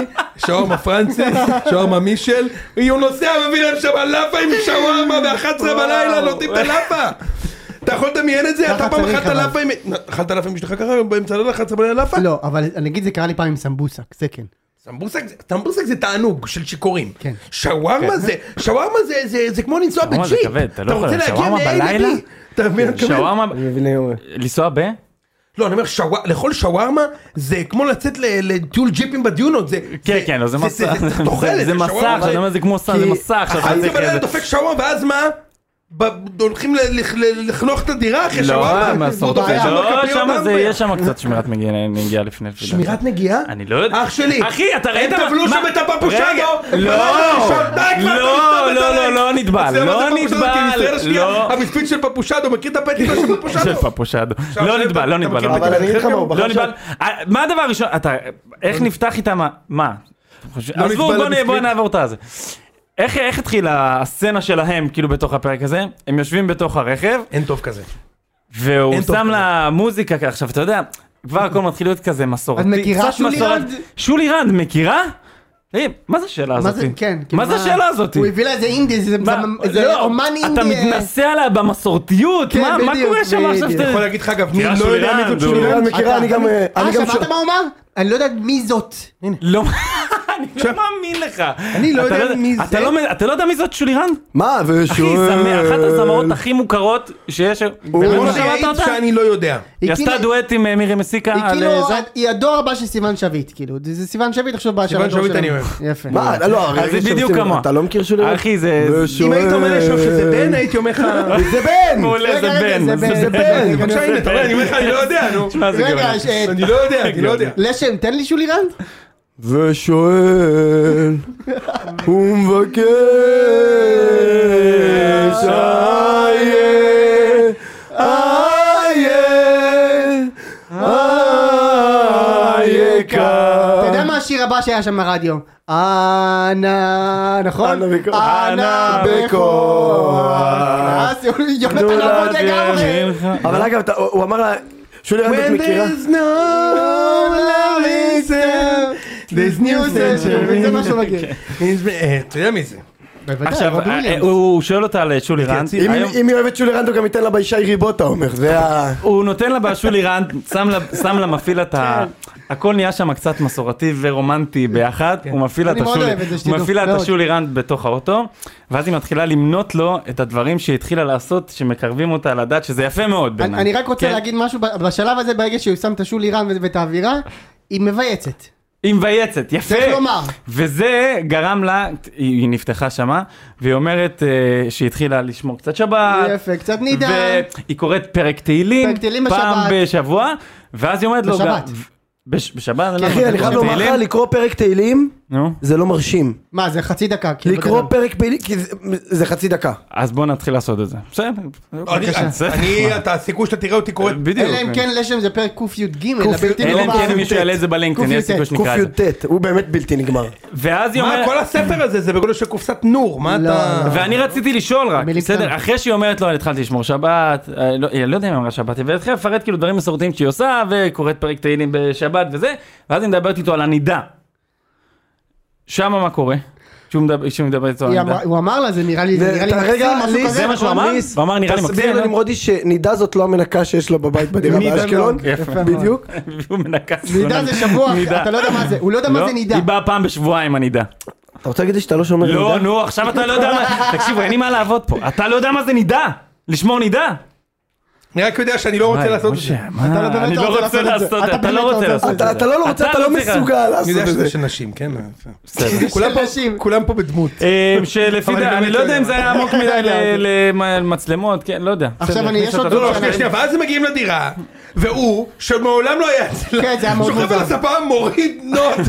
A: שווארמה פרנסיס, שווארמה מישל, הוא נוסע, מביא להם שם לאפה עם שווארמה ב-11 בלילה, נותנים את הלאפה. אתה יכול לדמיין את זה?
B: ככה
A: אתה פעם
B: צריך,
A: אכלת
B: אבל.
A: לאפה עם... אכלת לאפה עם אשתך ככה? באמצע הלילה אכלת בלילה לאפה?
B: לא, אבל נגיד זה קרה לי פעם עם סמבוסק, זה כן.
A: סמבוסק זה- סמבוסק זה תענוג של שיכורים.
B: כן.
A: שווארמה זה... שווארמה זה- זה- זה כמו לנסוע
D: שווארמה זה
A: בג'יפ.
D: כבד, אתה לא יכול,
A: רוצה להגיע
D: שווארמה
A: מ-A
D: בלילה?
A: ל-B. אתה מבין מה אני מתכוון?
D: שווארמה,
C: מבנה-
D: לנסוע ב? כן,
A: לא, אני אומר, שווא- לאכול שווארמה זה כמו לצאת ל- לטיול ג'יפים בדיונות. זה-
D: כן, כן, לא, זה מסע.
A: זה- זה תוחלת.
D: זה מסע,
A: שווארמה
D: עכשיו, אתה אומר, זה כמו סע, זה
C: כי-
D: מסע. עכשיו, אתה
A: אחת
D: צריך
A: בלילה
D: איזה-
A: דופק שווארמה, ואז מה? ב- הולכים ל- לח- ל- לחנוך את הדירה אחרי
D: לא,
A: שווארמה?
D: מה,
A: והוא דופק
D: סורטל.
A: שם
D: לא,
A: בכפיות
D: שם זה,
A: המבה.
D: יש שם קצת שמירת מגיעה מגיעה לפני. לפי דעתי.
A: שמירת נגיעה?
D: אני לא יודע.
A: אח שלי.
D: אחי, אתה ראית
A: הם
D: מה-
A: טבלו
D: מה-
A: שם את
D: רגע,
A: הפפושגו.
D: לא, לא, לא, לא, לא נטבל, לא
A: אוקיי,
D: נטבל, לא.
A: המספיד של פפושדו, מכיר את הפטיפה של
D: של
A: פפושדו?
D: פפושדו.
A: עכשיו,
D: לא
A: אתה-
D: נטבל, לא
A: אתה
D: נטבל.
A: מכיר
D: לא
A: את
C: אבל
D: נטבל.
C: אני אגיד לך מה, הוא
D: לא
C: בחר שם.
D: נטבל. אה, מה הדבר הראשון? אתה, איך נפתח איתם? ה- מה?
A: לא
D: עזבו,
A: נטבל
D: בוא נ-
A: לבפנים.
D: בוא נעבור את הזה. איך איך התחילה הסצנה שלהם, כאילו, בתוך הפרק הזה? הם יושבים בתוך הרכב,
A: אין טוב כזה.
D: והוא
A: אין טוב
D: שם
A: כזה.
D: לה מוזיקה, כ- עכשיו אתה יודע, כבר הכל מתחיל להיות כזה מסורתי.
B: את מכירה
D: קצת
B: שולי
D: מסורת-
B: רנד?
D: שולי רנד, מכירה? אה, מה זה השאלה הזאת?
B: מה זה, כן. כאילו,
D: מה זה השאלה הזאת?
B: הוא הביא לה איזה אינדי, זה-
D: מה-
B: זה- זה
D: לא,
B: אומן אינדי.
D: אתה
B: אה,
D: מתנסה עליה במסורתיות?
B: כן,
D: מה מה
B: בדיוק,
D: קורה שם עכשיו?
B: בדיוק.
D: שאתה-
A: יכול להגיד לך אגב, ניר לא
D: תראה, שולי
A: יודע מי
D: רנד,
A: זאת שולי
D: הוא-
A: רן.
C: את מכירה, אני גם... אה,
B: אה,
C: אני גם
B: שמעת מה הוא אמר? אני לא יודעת מי זאת.
D: לא, אני לא מאמין לך.
A: אני לא
D: אתה
A: יודע מי
D: אתה
A: זה.
D: לא מ- אתה לא יודע מי זאת שולי רנד?
C: מה,
D: אחי,
C: ושואל...
D: זמר- אחת הזמרות הכי מוכרות שיש.
A: כמו
D: באמת שמעת
A: שהעיד
D: אותה?
A: שאני לא יודע.
D: היא
B: היא
D: עשתה
B: כאילו-
D: דואט עם אה, מירי מסיקה
B: היא
D: על אה,
B: כאילו,
D: זה.
B: היא הדור הבא של סיון שביט, כאילו, זה זה סיון שביט עכשיו בשלב
A: סיון שביט אני אוהב.
B: יפה.
C: מה, לא, הרגע
D: אז זה
C: שעושים-
D: בדיוק כמוה.
C: אתה לא מכיר שולי?
D: אחי, זה...
A: אם
C: ושואל-
A: היית אומר לי עכשיו שזה בן, הייתי אומר לך...
C: זה בן!
D: מעולה, זה
B: רגע, רגע,
D: בן.
B: זה בן,
D: זה
B: זה
D: בן.
B: בן.
A: בבקשה, הנה, אתה רואה, אני אומר לך, אני לא יודע, נו.
D: תשמע, זה גאוני.
B: רגע, ש- אה,
A: אני לא יודע, אני לא יודע.
B: לשם, תן לי שולי רנד?
C: ושואל, ומבקש, איה, איה, איה
B: אתה יודע
C: כאן.
B: מה השיר הבא שהיה שם ברדיו? אנה, נכון?
C: אנה בכוח.
B: אנה בכוח. אז יונתן לא
D: לא
B: עבוד לגמרי.
A: אה,
C: אבל אגב, אתה- הוא אמר לה, שולי רנד, את מכירה?
A: no love is there, there's new century.
B: זה מה שהוא מכיר.
A: אה, אתה יודע מי זה?
B: בוודאי,
D: כן. עכשיו,
B: רובי
D: אה,
B: וויליאמס.
D: הוא- הוא שואל אותה על אה, שולי רנד.
C: אם-
D: היום-
C: אם היא אוהבת שולי רנד, הוא גם ייתן לה בישי ריבוטה, הוא אומר. זה ה...
D: הוא נותן לה בשולי רנד, שם לה- שם לה מפעיל את ה...
B: כן.
D: הכל נהיה שם קצת מסורתי ורומנטי ביחד, הוא מפעיל לה את
B: אני מאוד
D: השולי-
B: אוהב את זה,
D: הוא
B: שתדעו,
D: מפעיל לה את
B: מאוד.
D: השולי רנד בתוך האוטו, ואז היא מתחילה למנות לו את הדברים שהיא התחילה לעשות, שמקרבים אותה לדעת שזה יפה מאוד
B: אני-
D: בעיניי.
B: אני רק רוצה
D: כן?
B: להגיד משהו, ב- בשלב הזה, ברגע שהוא שם את השולי רנד ואת האווירה, היא מבייצת.
D: היא מבייצת, יפה.
B: צריך לומר.
D: וזה גרם לה, היא היא נפתחה שמה, והיא אומרת אה, שהיא התחילה לשמור קצת שבת.
B: יפה, קצת נידה.
D: והיא קוראת פרק תהילים,
B: פרק תהילים
D: פעם
B: בשבת.
D: בשבוע, ואז היא אומרת לו...
B: בשבת.
D: גם- בש- בשבת? למה?
C: אחי, כן, אני חייב לומר לך,
D: תהילים?
C: לקרוא פרק תהילים,
D: נו.
C: זה לא מרשים.
B: מה, זה חצי דקה. כאילו,
C: לקרוא
B: בגדול.
C: פרק פעילים, כי זה- זה חצי דקה.
D: אז בואו נתחיל לעשות את זה. בסדר. בסדר.
A: אני, אתה הסיכוי שאתה תראה אותי קורא...
D: בדיוק.
B: אלא אם כן לשם זה פרק קי"ג,
C: ק"י.
B: הבלתי
D: אלא אם
B: נורמלי.
D: כן מישהו יעלה את זה בלינקדאין, יש סיכוי שנקרא את זה.
C: קי"ט, הוא באמת בלתי נגמר.
D: ואז היא
A: מה,
D: אומרת...
A: כל הספר הזה זה בגודל של קופסת נור, מה
B: לא,
A: אתה...
B: לא.
D: ואני רציתי לשאול רק,
B: מילים
D: בסדר,
B: קטנות.
D: אחרי שהיא אומרת לו, אני התחלתי לשמור שבת, אה, לא- היא לא יודע אם היא אמרה שבת, היא התחילה לפרט כאילו דברים מסורתיים שהיא עושה, וקוראת פרק תהילים בשבת וזה, ואז היא מדברת איתו על הנידה. שמה מה קורה? כשהוא מדבר- כשהוא מדבר איתו על
B: היא
D: הנידה.
B: אמרה- הוא אמר לה, זה נראה לי זה נראה לי
C: רגע,
B: מקסים, משהו
C: לי-
B: כזה.
D: זה מה שהוא
B: נכון?
D: אמר? הוא אמר נראה לי
C: תסביר
D: מקסים,
C: לנמרודי שנידה זאת לא המנקה שיש לו בבית בדירה
B: נידה
C: באשקלון.
B: לא. יפה מאוד.
C: בדיוק.
D: והוא מנקה.
B: נידה זה שבוע,
D: נידה.
B: אתה לא יודע מה זה, הוא לא יודע
D: לא,
B: מה זה נידה.
D: היא באה פעם בשבועיים הנידה.
C: אתה רוצה להגיד לי שאתה לא שומר נידה?
D: לא, נו, עכשיו אתה לא יודע מה... תקשיבו, אין לי מה לעבוד פה. אתה לא יודע מה זה נידה. לשמור נידה.
A: אני רק יודע שאני לא רוצה
D: וואי,
A: לעשות את זה.
D: משה, מה?
B: אתה לא באמת
D: אני
B: לא
D: לא
B: רוצה
D: רוצה
B: לעשות את זה.
D: לעשות את
B: אתה
D: זה, אתה
B: באמת
D: לא
B: לא
D: רוצה
B: רוצה
D: לעשות את
C: אתה
D: זה.
C: אתה לא לא רוצה, אתה לא
D: צריך.
C: מסוגל
A: אני
C: לעשות
A: יודע
C: את
A: שזה
C: זה.
A: של נשים, כן?
B: לא.
D: בסדר.
A: כולם פה-
B: נשים.
A: כולם פה בדמות.
D: אה, שלפי
A: אבל
D: דעתי,
A: אני
D: אני
A: באמת
D: לא
A: לא
D: יודע אם
A: יודע.
D: זה היה עמוק מדי למצלמות, כן, לא יודע.
B: עכשיו
D: בסדר,
B: אני-
D: נכניס
B: יש עוד
D: אותה.
A: לא, לא, שנייה, שנייה, ואז הם מגיעים לדירה, והוא, שמעולם לא היה אצלם,
B: כן, זה היה מאוד
A: שוכב
B: מוזר.
A: על הספה, מוריד נוט,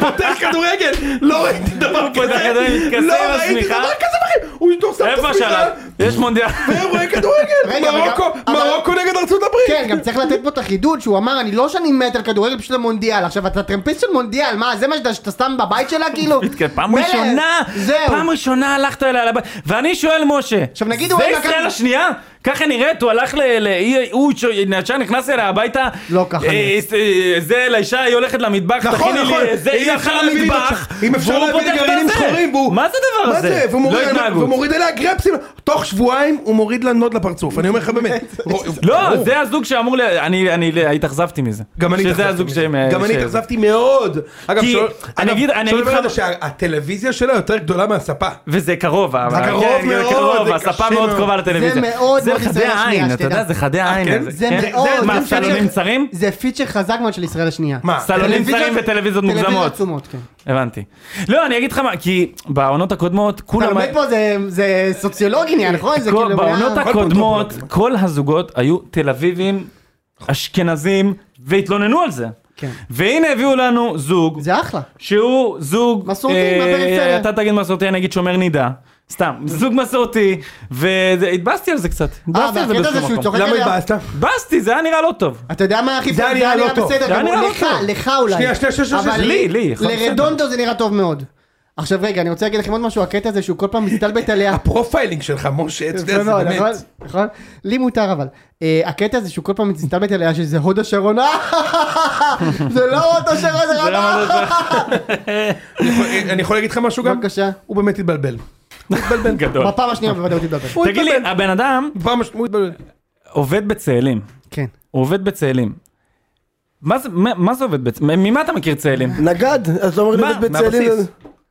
A: פותח כדורגל, לא ראיתי דבר
D: פותח
A: כזה,
D: כדורגל, מתכסה
A: לא
D: על
A: ראיתי
D: השמיכה.
A: דבר כזה בחיים, הוא שם את
D: איפה
A: השמיכה,
D: השלט? יש מונדיאל.
A: והוא כן, רואה כדורגל,
B: רגע, אבל גם-
A: מרוקו,
B: אבל-
A: מרוקו נגד ארצות
B: כן,
A: הברית,
B: גם צריך לתת פה את החידוד שהוא אמר אני לא שאני מת על כדורגל פשוט המונדיאל עכשיו אתה טרמפיסט של מונדיאל מה זה מה שאתה- שאתה שם בבית שלה כאילו
D: כן, פעם
B: מלך,
D: ראשונה,
B: זהו
D: פעם ראשונה הלכת אליה לבית, ואני שואל משה,
B: עכשיו, נגיד הוא
D: זה
B: היה
D: ישראל
B: מכבי-
D: השנייה? ככה נראית, הוא הלך ל... ל- היא- הוא ש- ישר נכנס אליה הביתה,
B: לא, ככה
D: אה,
B: נראית.
D: אה, זה לאישה, היא הולכת למטבח,
A: נכון,
D: תכיני לי,
A: נכון,
D: זה, היא
A: אם
D: הלכה
A: אפשר להביא
D: למטבח,
A: גרעינים- אם אפשר
D: והוא
A: להביא
D: פותח את
A: גרעינים
D: הזה.
A: שחורים, והוא-
D: מה זה הדבר
A: מה
D: הזה?
A: זה, והוא
D: לא
A: מוריד-
D: התנהגות.
A: ומוריד אליה גרפסים, תוך שבועיים הוא מוריד לה נוד לפרצוף, אני אומר לך באמת,
D: לא,
A: ברור.
D: זה הזוג שאמור ל... אני אני- התאכזבתי מזה.
A: גם אני
D: שזה הזוג
A: התאכזבתי
D: שהם... אה,
A: מזה. גם אני
D: ש-
A: התאכזבתי מאוד. אגב,
D: כי
A: שואל-
D: אני
A: אגב,
D: אגיד- אני
A: שואל
D: אגיד לך-
A: בן אדם שהטלוויזיה שלה יותר גדולה מהספה.
D: וזה קרוב, אבל...
A: קרוב
D: כן,
A: מאוד,
D: קרוב,
A: זה
D: הספה
A: קשה
D: מאוד
A: מאוד.
D: קרובה לטלוויזיה.
B: זה מאוד
D: זה
B: מאוד
D: חדי
B: ישראל השנייה,
D: העין, אתה
B: שתדע.
D: יודע, זה חדי העין.
A: כן?
B: זה
D: כן.
B: מאוד,
D: מה,
B: זה
D: סלונים
B: פיצ'ר-
D: צרים?
B: זה פיצ'ר חזק מאוד של ישראל השנייה
A: מה?
D: סלונים
B: טלוויזיות-
D: צרים וטלוויזיות
B: טלוויזיות
D: מוגזמות.
B: עצומות כן
D: הבנתי. לא, אני אגיד לך מה, כי בעונות הקודמות,
B: אתה
D: כולם...
B: לומד פה זה- זה סוציולוגי נהיה נכון? זה
D: כל-
B: כאילו
D: בעונות
B: היה-
D: הקודמות, כל הזוגות היו תל אביבים, אשכנזים, והתלוננו על זה.
B: כן.
D: והנה הביאו לנו זוג,
B: זה אחלה
D: שהוא זוג...
B: מסורתי,
D: אה,
B: מהפריפריה.
D: אתה תגיד מסורתי, אני אגיד שומר נידה. סתם, זוג מסורתי, והתבאסתי על זה קצת.
B: אה,
D: התבאסתי על זה
B: והקטע זה
D: באיזשהו
B: שהוא
D: מקום.
B: צוחק
A: למה
B: עליה
A: התבאסת?
D: התבאסתי, זה היה נראה לא טוב.
B: אתה יודע מה הכי
A: זה היה נראה לא טוב.
B: בסדר
D: זה היה
B: גמור,
D: נראה לא
B: לך,
D: טוב.
B: לך אולי.
A: שנייה, שנייה, שנייה, שנייה,
B: אבל
D: לי, לי, הכל
B: לרדונדו זה נראה טוב מאוד. עכשיו רגע, אני רוצה להגיד לכם עוד משהו, הקטע הזה שהוא כל פעם מסתלבט עליה.
A: הפרופיילינג שלך, משה, אתה יודע, זה
B: יפה מאוד, נכון?
A: באמת.
B: נכון? לי מותר אבל. אה, הקטע הזה שהוא כל פעם מסתלבט עליה שזה הוד השרון, אה, זה לא הוד השרון, זה רמה.
A: אני יכול- אני יכול להגיד לך משהו גם?
B: בבקשה.
A: הוא באמת התבלבל.
D: גדול.
B: בפעם השנייה בוודאות תתבלבל.
A: הוא
D: תגיד לי,
A: התבלבל.
D: הבן אדם
A: פעם הש- הוא התבלבל.
D: עובד בצאלים.
B: כן.
D: הוא עובד בצאלים. מה זה, מה, מה זה עובד בצאלים? ממה אתה מכיר צאלים?
C: נגד, אז לא אומרים
D: מה?
C: את בצלאל.
D: מהבסיס.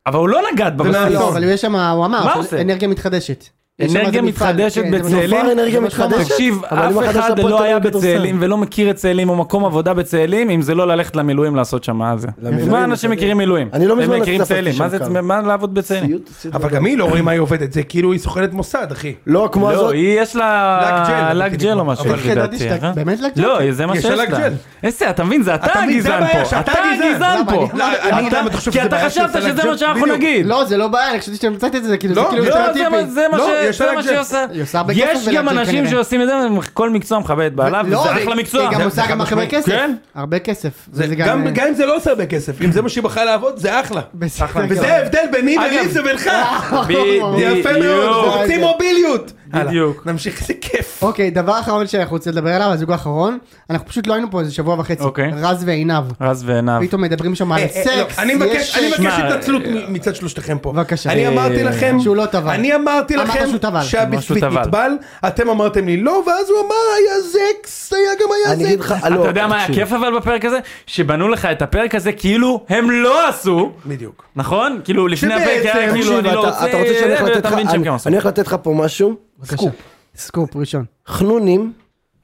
D: אבל הוא לא נגד בבסיס.
B: לא, אבל יש שם, הוא אמר,
D: מה
B: של-
D: הוא עושה?
B: אנרגיה מתחדשת. יש שם איזה
D: אנרגיה
B: מפעל,
D: מתחדשת
B: כן, זה
D: בצאלים.
C: נופר אנרגיה
B: זה מקום
C: מתחדשת.
D: תקשיב,
C: אבל אם
D: אף
C: החדש
D: אחד
C: הפועל
D: לא
C: תל
D: היה
C: אביב
D: בצאלים
C: עושה.
D: ולא מכיר את צאלים או מקום עבודה בצאלים אם זה לא ללכת למילואים לעשות שם מה זה.
C: למילואים,
D: מה אנשים מכירים מילואים?
C: אני לא מזמן
D: הם מכירים
C: נחשפתי
D: צאלים,
C: שם
D: מה זה-
C: כמה.
D: מה לעבוד בצאלים?
C: סיוט, סיוט.
A: אבל גם היא לא רואה מה היא עובדת, זה כאילו היא סוכנת מוסד, אחי.
C: לא, כמו
D: לא,
C: הזאת.
D: היא יש
A: לק ג'ל,
D: לה
A: אבל
D: לק ג'ל או
A: כאילו,
D: משהו
A: אבל
D: לפי
B: כן, ידעתי
D: דעתי.
B: שאתה-
D: אה?
B: באמת לק ג'ל?
D: לא, זה מה
A: יש
D: שיש
A: לה לק
D: לה.
A: ג'ל.
D: איזה, אתה מבין, זה אתה
A: אתה מבין, זה
D: הגזען
A: הבעיה,
D: פה.
A: שאתה
D: אתה
A: הגזען.
D: הגזען
B: למה?
D: פה.
B: אני-
A: לא, אני
D: אתה-
A: למה אתה חושב
D: כי
A: שזה
D: אתה
A: בעיה שיש
D: חשבת
A: לה לק
D: שזה
A: ג'ל?
D: מה שאנחנו
A: בדיוק.
D: נגיד.
B: לא, זה לא בעיה, אני חשבתי שאתם מצאתם את זה, כאילו, זה
A: לא,
B: כאילו
A: לא,
D: לא,
B: יותר
D: זה מה-
B: טיפי.
D: זה מה
A: לא,
D: ש-
A: יש לה
D: זה
A: לק
D: מה
A: ג'ל.
D: שהיא עושה.
B: היא עושה הרבה כסף
D: יש
B: בלק
D: גם
B: ג'ל
D: אנשים
B: כנראה.
D: שעושים את זה, כל מקצוע מכבד את בעליו,
B: לא,
D: וזה
B: והיא-
D: אחלה מקצוע.
B: היא גם עושה גם הרבה
A: משמעית.
B: כסף.
D: כן.
B: הרבה כסף.
A: זה-
B: וזה
A: גם גם אם זה לא עושה הרבה כסף, אם זה מה שהיא בחרה לעבוד, זה אחלה.
B: בסדר.
D: אחלה,
A: וזה ההבדל ביני ולי זה בינך.
D: בדיוק.
A: יפה מאוד,
D: בדיוק.
A: רוצים מוביליות. הלאה,
D: בדיוק.
A: נמשיך, איזה כיף.
B: אוקיי, דבר אחרון שאנחנו רוצים לדבר עליו, הזוג האחרון. אנחנו פשוט לא היינו פה איזה שבוע וחצי.
D: אוקיי.
B: רז ועינב.
D: רז ועיניו.
B: פתאום מדברים שם על
A: אה, אה, לא,
B: סקס.
A: אני מבקש
B: יש- אה,
A: אני מבקש
D: שמע,
A: התנצלות מ- מצד שלושתכם פה.
B: בבקשה.
A: אני
B: אה,
A: אמרתי לכם,
B: שהוא לא טבל.
A: אני אמרתי
B: אמרת
A: לכם
B: שהוא טבל.
A: שהביספית
D: אמר שהוא טבל.
A: נטבל, אתם אמרתם לי לא, ואז הוא אמר היה זקס, היה גם היה
C: אני אגיד
A: זקס.
C: לך, לא,
D: אתה יודע מה היה
C: תקשיב.
D: כיף אבל בפרק הזה? שבנו לך את הפרק הזה כאילו הם לא עשו,
A: בדיוק.
D: נכון? כאילו לפני הפרק היה
A: שבעצם,
D: כאילו
C: תקשיב,
D: אני לא
C: אתה-
D: רוצה,
C: אתה רוצה שאני הולך
D: ואתה
C: לתת לך,
D: מבין שהם
C: אני
D: כן עשו.
C: אני הולך לתת לך פה משהו,
B: בבקשה.
C: סקופ.
B: סקופ ראשון.
C: חנונים,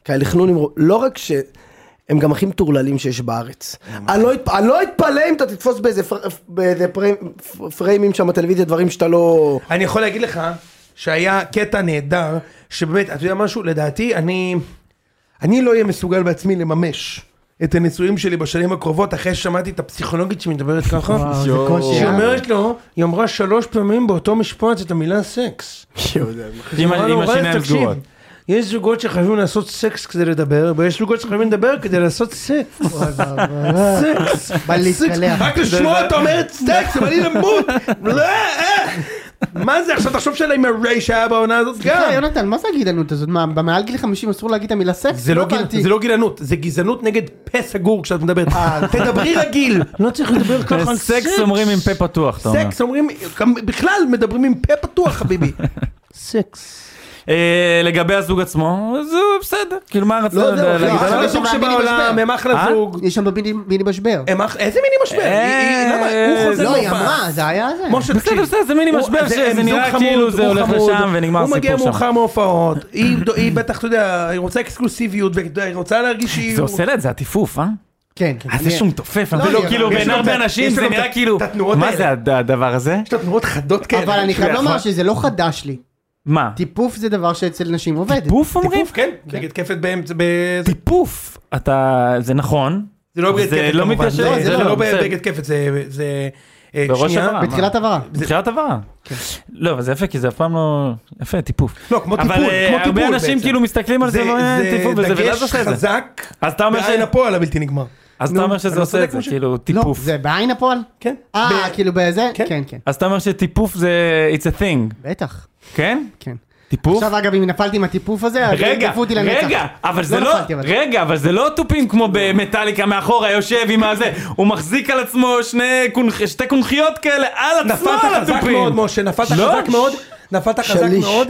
C: כאלה חנונים, לא רק ש... הם גם הכי מטורללים שיש בארץ. אני לא אתפ- אני לא אתפלא אם אתה תתפוס באיזה פר- באיזה פריים- פריימים שם בטלוויזיה דברים שאתה לא...
A: אני יכול להגיד לך שהיה קטע נהדר, שבאמת, אתה יודע משהו, לדעתי, אני, אני לא אהיה מסוגל בעצמי לממש את הנישואים שלי בשנים הקרובות, אחרי ששמעתי את הפסיכולוגית שמדברת ככה.
B: וואו, זה
D: יואו.
B: קושי.
A: שהיא
B: אה?
A: אומרת לו, היא אמרה שלוש פעמים באותו משפט את המילה סקס.
D: עם
A: אמרה
D: ה-
A: לו,
D: עם
A: "רז,
D: השיניים
A: תקשיב,
D: סגורות.
A: יש זוגות שחייבים לעשות סקס כדי לדבר, ויש זוגות שחייבים לדבר כדי לעשות סקס.
B: אוי, ואבוי.
A: סקס.
B: בא להתקלח.
A: רק לשמוע אותה אומרת סקס, אבל היא למות. לא, אה. מה זה עכשיו, תחשוב שלה עם הריי שהיה בעונה הזאת
B: אה,
A: גם.
B: יונתן, מה זה הגילנות הזאת? מה, במעל גיל 50 אסור להגיד את המילה סקס?
A: זה לא, גיל,
B: הבנתי.
A: זה לא גילנות, זה גזענות נגד פה סגור כשאת מדברת. תדברי רגיל, אה. לא צריך לדבר ככה על
D: אה, סקס אומרים עם פה פתוח, אתה אומר.
A: סקס אומרים, גם בכלל מדברים עם פה פתוח חביבי. סקס.
D: אה, לגבי הזוג עצמו, אז הוא בסדר, כאילו מה רצית
C: לא, זהו, אחי,
D: להגיד?
A: לא,
B: אחלה
A: אחלה
B: זוג
A: זוג
B: שבעולם,
A: שבעולם, הם אחלה
D: אה?
A: זוג.
B: יש שם במיני מיני משבר.
A: הם אח- איזה מיני משבר? היא- היא- למה?
D: אה,
A: הוא חוזר
B: לא, היא
A: להופעה.
B: אמרה, זה היה זה.
A: משה,
D: בסדר,
A: תקשיב.
D: בסדר, זה מיני
A: הוא-
D: משבר שזה
A: הם זוג
D: נראה
A: חמוד,
D: כאילו זה
A: הוא
D: הולך
A: חמוד,
D: לשם ונגמר
A: הוא מגיע
D: הסיפור שם.
A: מאוחר מההופעות, היא היא בטח, אתה יודע, היא רוצה אקסקלוסיביות, ואתה יודע, היא רוצה להרגיש שהיא...
D: זה עושה לה את זה עטיפוף, אה?
B: כן, כן.
D: אה, זה
B: אני-
D: שהוא מתופף,
B: לא,
D: אני לא,
B: אני-
D: כאילו
A: יש לו
D: בין
A: גם
D: הרבה
A: את-
D: אנשים
A: יש לו
D: זה
A: גם
D: נראה
A: את-
D: כאילו,
A: את התנועות
D: מה
A: האלה.
D: זה הד- הדבר הזה?
A: יש לה תנועות חדות כאלה.
B: אבל אני חייב
A: שהוא
D: אה?
B: לומר
A: יכול-
B: שזה לא חדש לי.
D: מה?
B: טיפוף זה דבר שאצל נשים עובד.
D: טיפוף אומרים?
A: טיפוף, כן, נגד כיפת באמצע, ב-
D: טיפוף, אתה, זה נכון,
A: זה לא בגד
D: זה
A: כיפת
D: לא
A: כמובן,
D: מתיישב,
A: זה-
B: זה
A: זה
B: לא,
A: לא
D: בסדר.
A: בגד כיפת, זה- זה... אה,
D: בראש
A: שנייה.
D: הבא.
B: בתחילת הבהרה.
D: בתחילת הבהרה. לא, אבל זה יפה, כי זה אף פעם לא... יפה, טיפוף.
A: כן. לא, כמו טיפול,
D: אבל
A: כמו
D: אה,
A: טיפול
D: הרבה אנשים
A: בעצם.
D: כאילו מסתכלים על זה, לא אה, טיפוף וזה, ואז
A: דגש
D: עושה את זה.
A: חזק,
D: אז אתה אומר ש-
A: בעין הפועל הבלתי נגמר.
D: אז אתה אומר
A: אני
D: שזה
A: לא
D: עושה
A: צודק,
D: את זה,
A: משה?
D: כאילו
B: לא,
D: טיפוף.
B: זה בעין הפועל?
A: כן.
B: אה,
A: ב-
B: כאילו בזה?
A: כן.
B: כן, כן.
D: אז אתה אומר שטיפוף זה... it's a thing,
B: בטח,
D: כן?
B: כן.
D: טיפוף?
B: עכשיו אגב, אם נפלתי עם הטיפוף הזה, אז
D: רגע,
B: ירדפו אותי לנצח.
D: רגע, אבל זה לא,
B: נפלתי, אבל-
D: רגע, אבל זה לא תופים כמו במטאליקה מאחורה, יושב עם הזה, הוא מחזיק על עצמו שני קונח- שתי קונכיות כאלה, על עצמו
A: נפלת
D: על
A: נכון, חזק
D: התופים.
A: מאוד, משה, נפלת
D: לא,
A: חזק מאוד. נפלת חזק
C: שליש.
A: מאוד,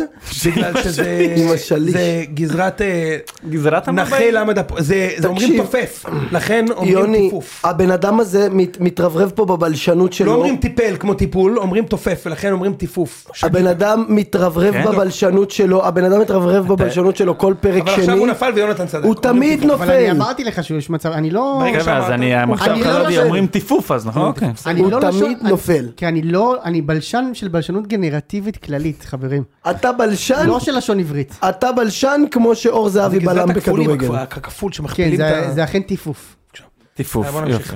A: בגלל
C: עם
A: שזה
C: השליש.
A: זה גזרת אה,
D: גזרת
A: נכה
D: המבעים.
A: למד, הפ- זה זה אומרים
C: תקשיב.
A: תופף, לכן אומרים
C: יוני,
A: טיפוף.
C: הבן אדם הזה מת- מתרברב פה בבלשנות שלו.
A: לא אומרים טיפל כמו טיפול, אומרים תופף, ולכן אומרים טיפוף.
C: הבן אדם מתרברב
D: כן.
C: בבלשנות שלו, הבן אדם מתרברב בבלשנות שלו כל פרק
A: אבל
C: שני,
A: עכשיו הוא נפל ויונתן צדק.
C: הוא תמיד
B: אבל אני
C: נופל,
B: אמרתי לך שיש מצב, אני לא...
A: ברגע
D: רגע, אז
A: שאמרת.
D: אני
A: אני
D: עכשיו
B: לא
D: חשבתי,
B: נופל.
D: אומרים טיפוף אז, נכון? אוקיי.
B: אני
C: הוא
B: לא
C: תמיד
B: לשון- אני-
C: נופל.
B: כי אני לא, אני בלשן של בלשנות גנרטיבית כללית, חברים.
C: אתה בלשן,
B: לא של לשון עברית.
C: אתה בלשן כמו שאור זהבי בלם
A: גזרת הכפולים,
C: בכדורגל.
A: הכפ- הכפול
B: כן,
A: שמכפילים
B: זה-
A: את ה...
B: זה אכן טיפוף.
D: טיפוף,
A: בוא נמשיך.
D: יופי.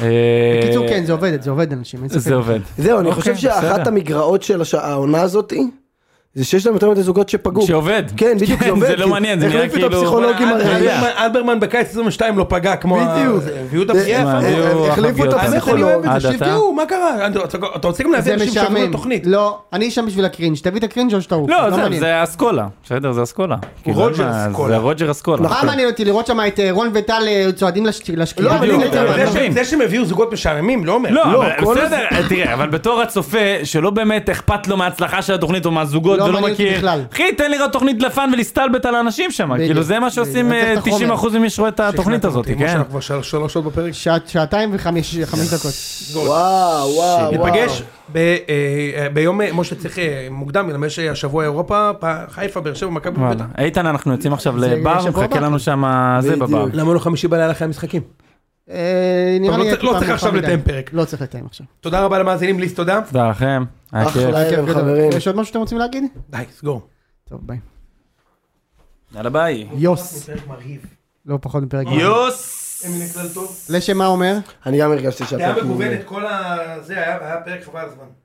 D: אה,
B: בקיצור, כן, זה עובד, זה עובד, אנשים. אין ספק.
D: זה עובד.
C: זהו, אני
D: אוקיי,
C: חושב
D: בסדר.
C: שאחת המגרעות של הש- העונה הזאתי, זה שיש להם יותר מדי זוגות שפגעו.
D: שעובד.
C: כן, בדיוק, זה עובד.
D: זה לא
C: כי
D: מעניין, זה נראה
C: החליפו את
D: כאילו-
C: הפסיכולוגים
D: אתה יודע.
C: הרעים.
A: אלברמן- אלברמן בקיץ 22 לא פגע כמו... ה-
C: בדיוק.
A: זה, הביאו את
C: זה- אה,
A: הפגיעה.
D: מה,
C: הם-
D: הביאו
C: הם החליפו את
D: החביות האלה. אה,
A: האמת, אני אוהב
C: הפסיכולוג.
A: את זה,
D: עד עתה.
A: שיפגעו, מה קרה? אתה- אתה רוצה גם להביא
B: זה
A: אנשים שעברו
B: משעמם.
A: לתוכנית.
B: לא, אני שם בשביל הקרינג', תביא את הקרינג' או שתעוף.
D: לא, זה-
B: מעניין.
D: זה אסכולה, בסדר, זה אסכולה. כאילו,
A: רוג'ר
D: מה,
A: אסכולה.
D: זה רוג'ר אסכולה.
B: מה מעניין אותי לראות שם את אה, רון וטל אה, צועדים לש- לשקיעה?
A: לא, אבל
D: בדיוק,
A: זה-
D: אבל
A: זה
D: אתה
A: ש-
D: מבין.
A: זה שהם הביאו זוגות משעממים לא אומר.
D: לא,
C: לא,
D: אבל
C: כל
D: בסדר, תראה, אבל בתור הצופה, שלא באמת אכפת לו מההצלחה של התוכנית או מהזוגות
B: לא
D: ולא
B: מעניין אותי
D: מכיר,
B: בכלל.
D: אחי, תן לי לראות תוכנית דלפן ולהסתלבט על האנשים שם,
B: בדיוק,
D: כאילו זה מה שעושים
B: בדיוק,
D: אה,
B: לתת את החומר.
D: 90% ממי שרואה את התוכנית
A: שכנעתם
D: הזאת,
A: אותי, משה,
D: כן?
A: אנחנו כבר של- שלוש שעות בפרק.
B: שעת- שעתיים וחמש חמש דקות.
D: אה,
C: וואו, וואו, וואו.
A: ניפגש ב- אה, ביום, אה, משה צריך אה, מוקדם, בגלל יש אה, השבוע אירופה, פ- חיפה, באר שבע, מכבי
D: וואלה.
A: בטח.
D: איתן, אנחנו יוצאים עכשיו לבר,
B: שבוע
D: מחכה
B: הבא.
D: לנו שם אה, זה
C: בדיוק.
D: בבר.
A: למה לא חמישי בלילה אחרי המשחקים?
B: אה, נראה
A: טוב,
B: לי...
A: לא
B: יהיה
A: צריך- לא
B: טיפה
A: צריך
B: מאוחר
A: עכשיו
B: מדי.
A: לתאם פרק.
B: לא צריך לתאם עכשיו.
A: תודה רבה למאזינים, ליס, תודה.
D: תודה לכם, היה כיף.
C: אחלה
A: כן,
C: ערב,
B: כיף גדול.
C: חברים.
B: יש עוד משהו שאתם רוצים להגיד?
A: די, סגור.
B: טוב, ביי.
D: יאללה ביי.
B: יוס. לא פחות מפרק.
D: יוס!
B: לשם מה אומר?
C: אני גם הרגשתי שאתה... כאילו-
A: דעה מגוונת, כל ה... זה היה היה פרק חבל על הזמן.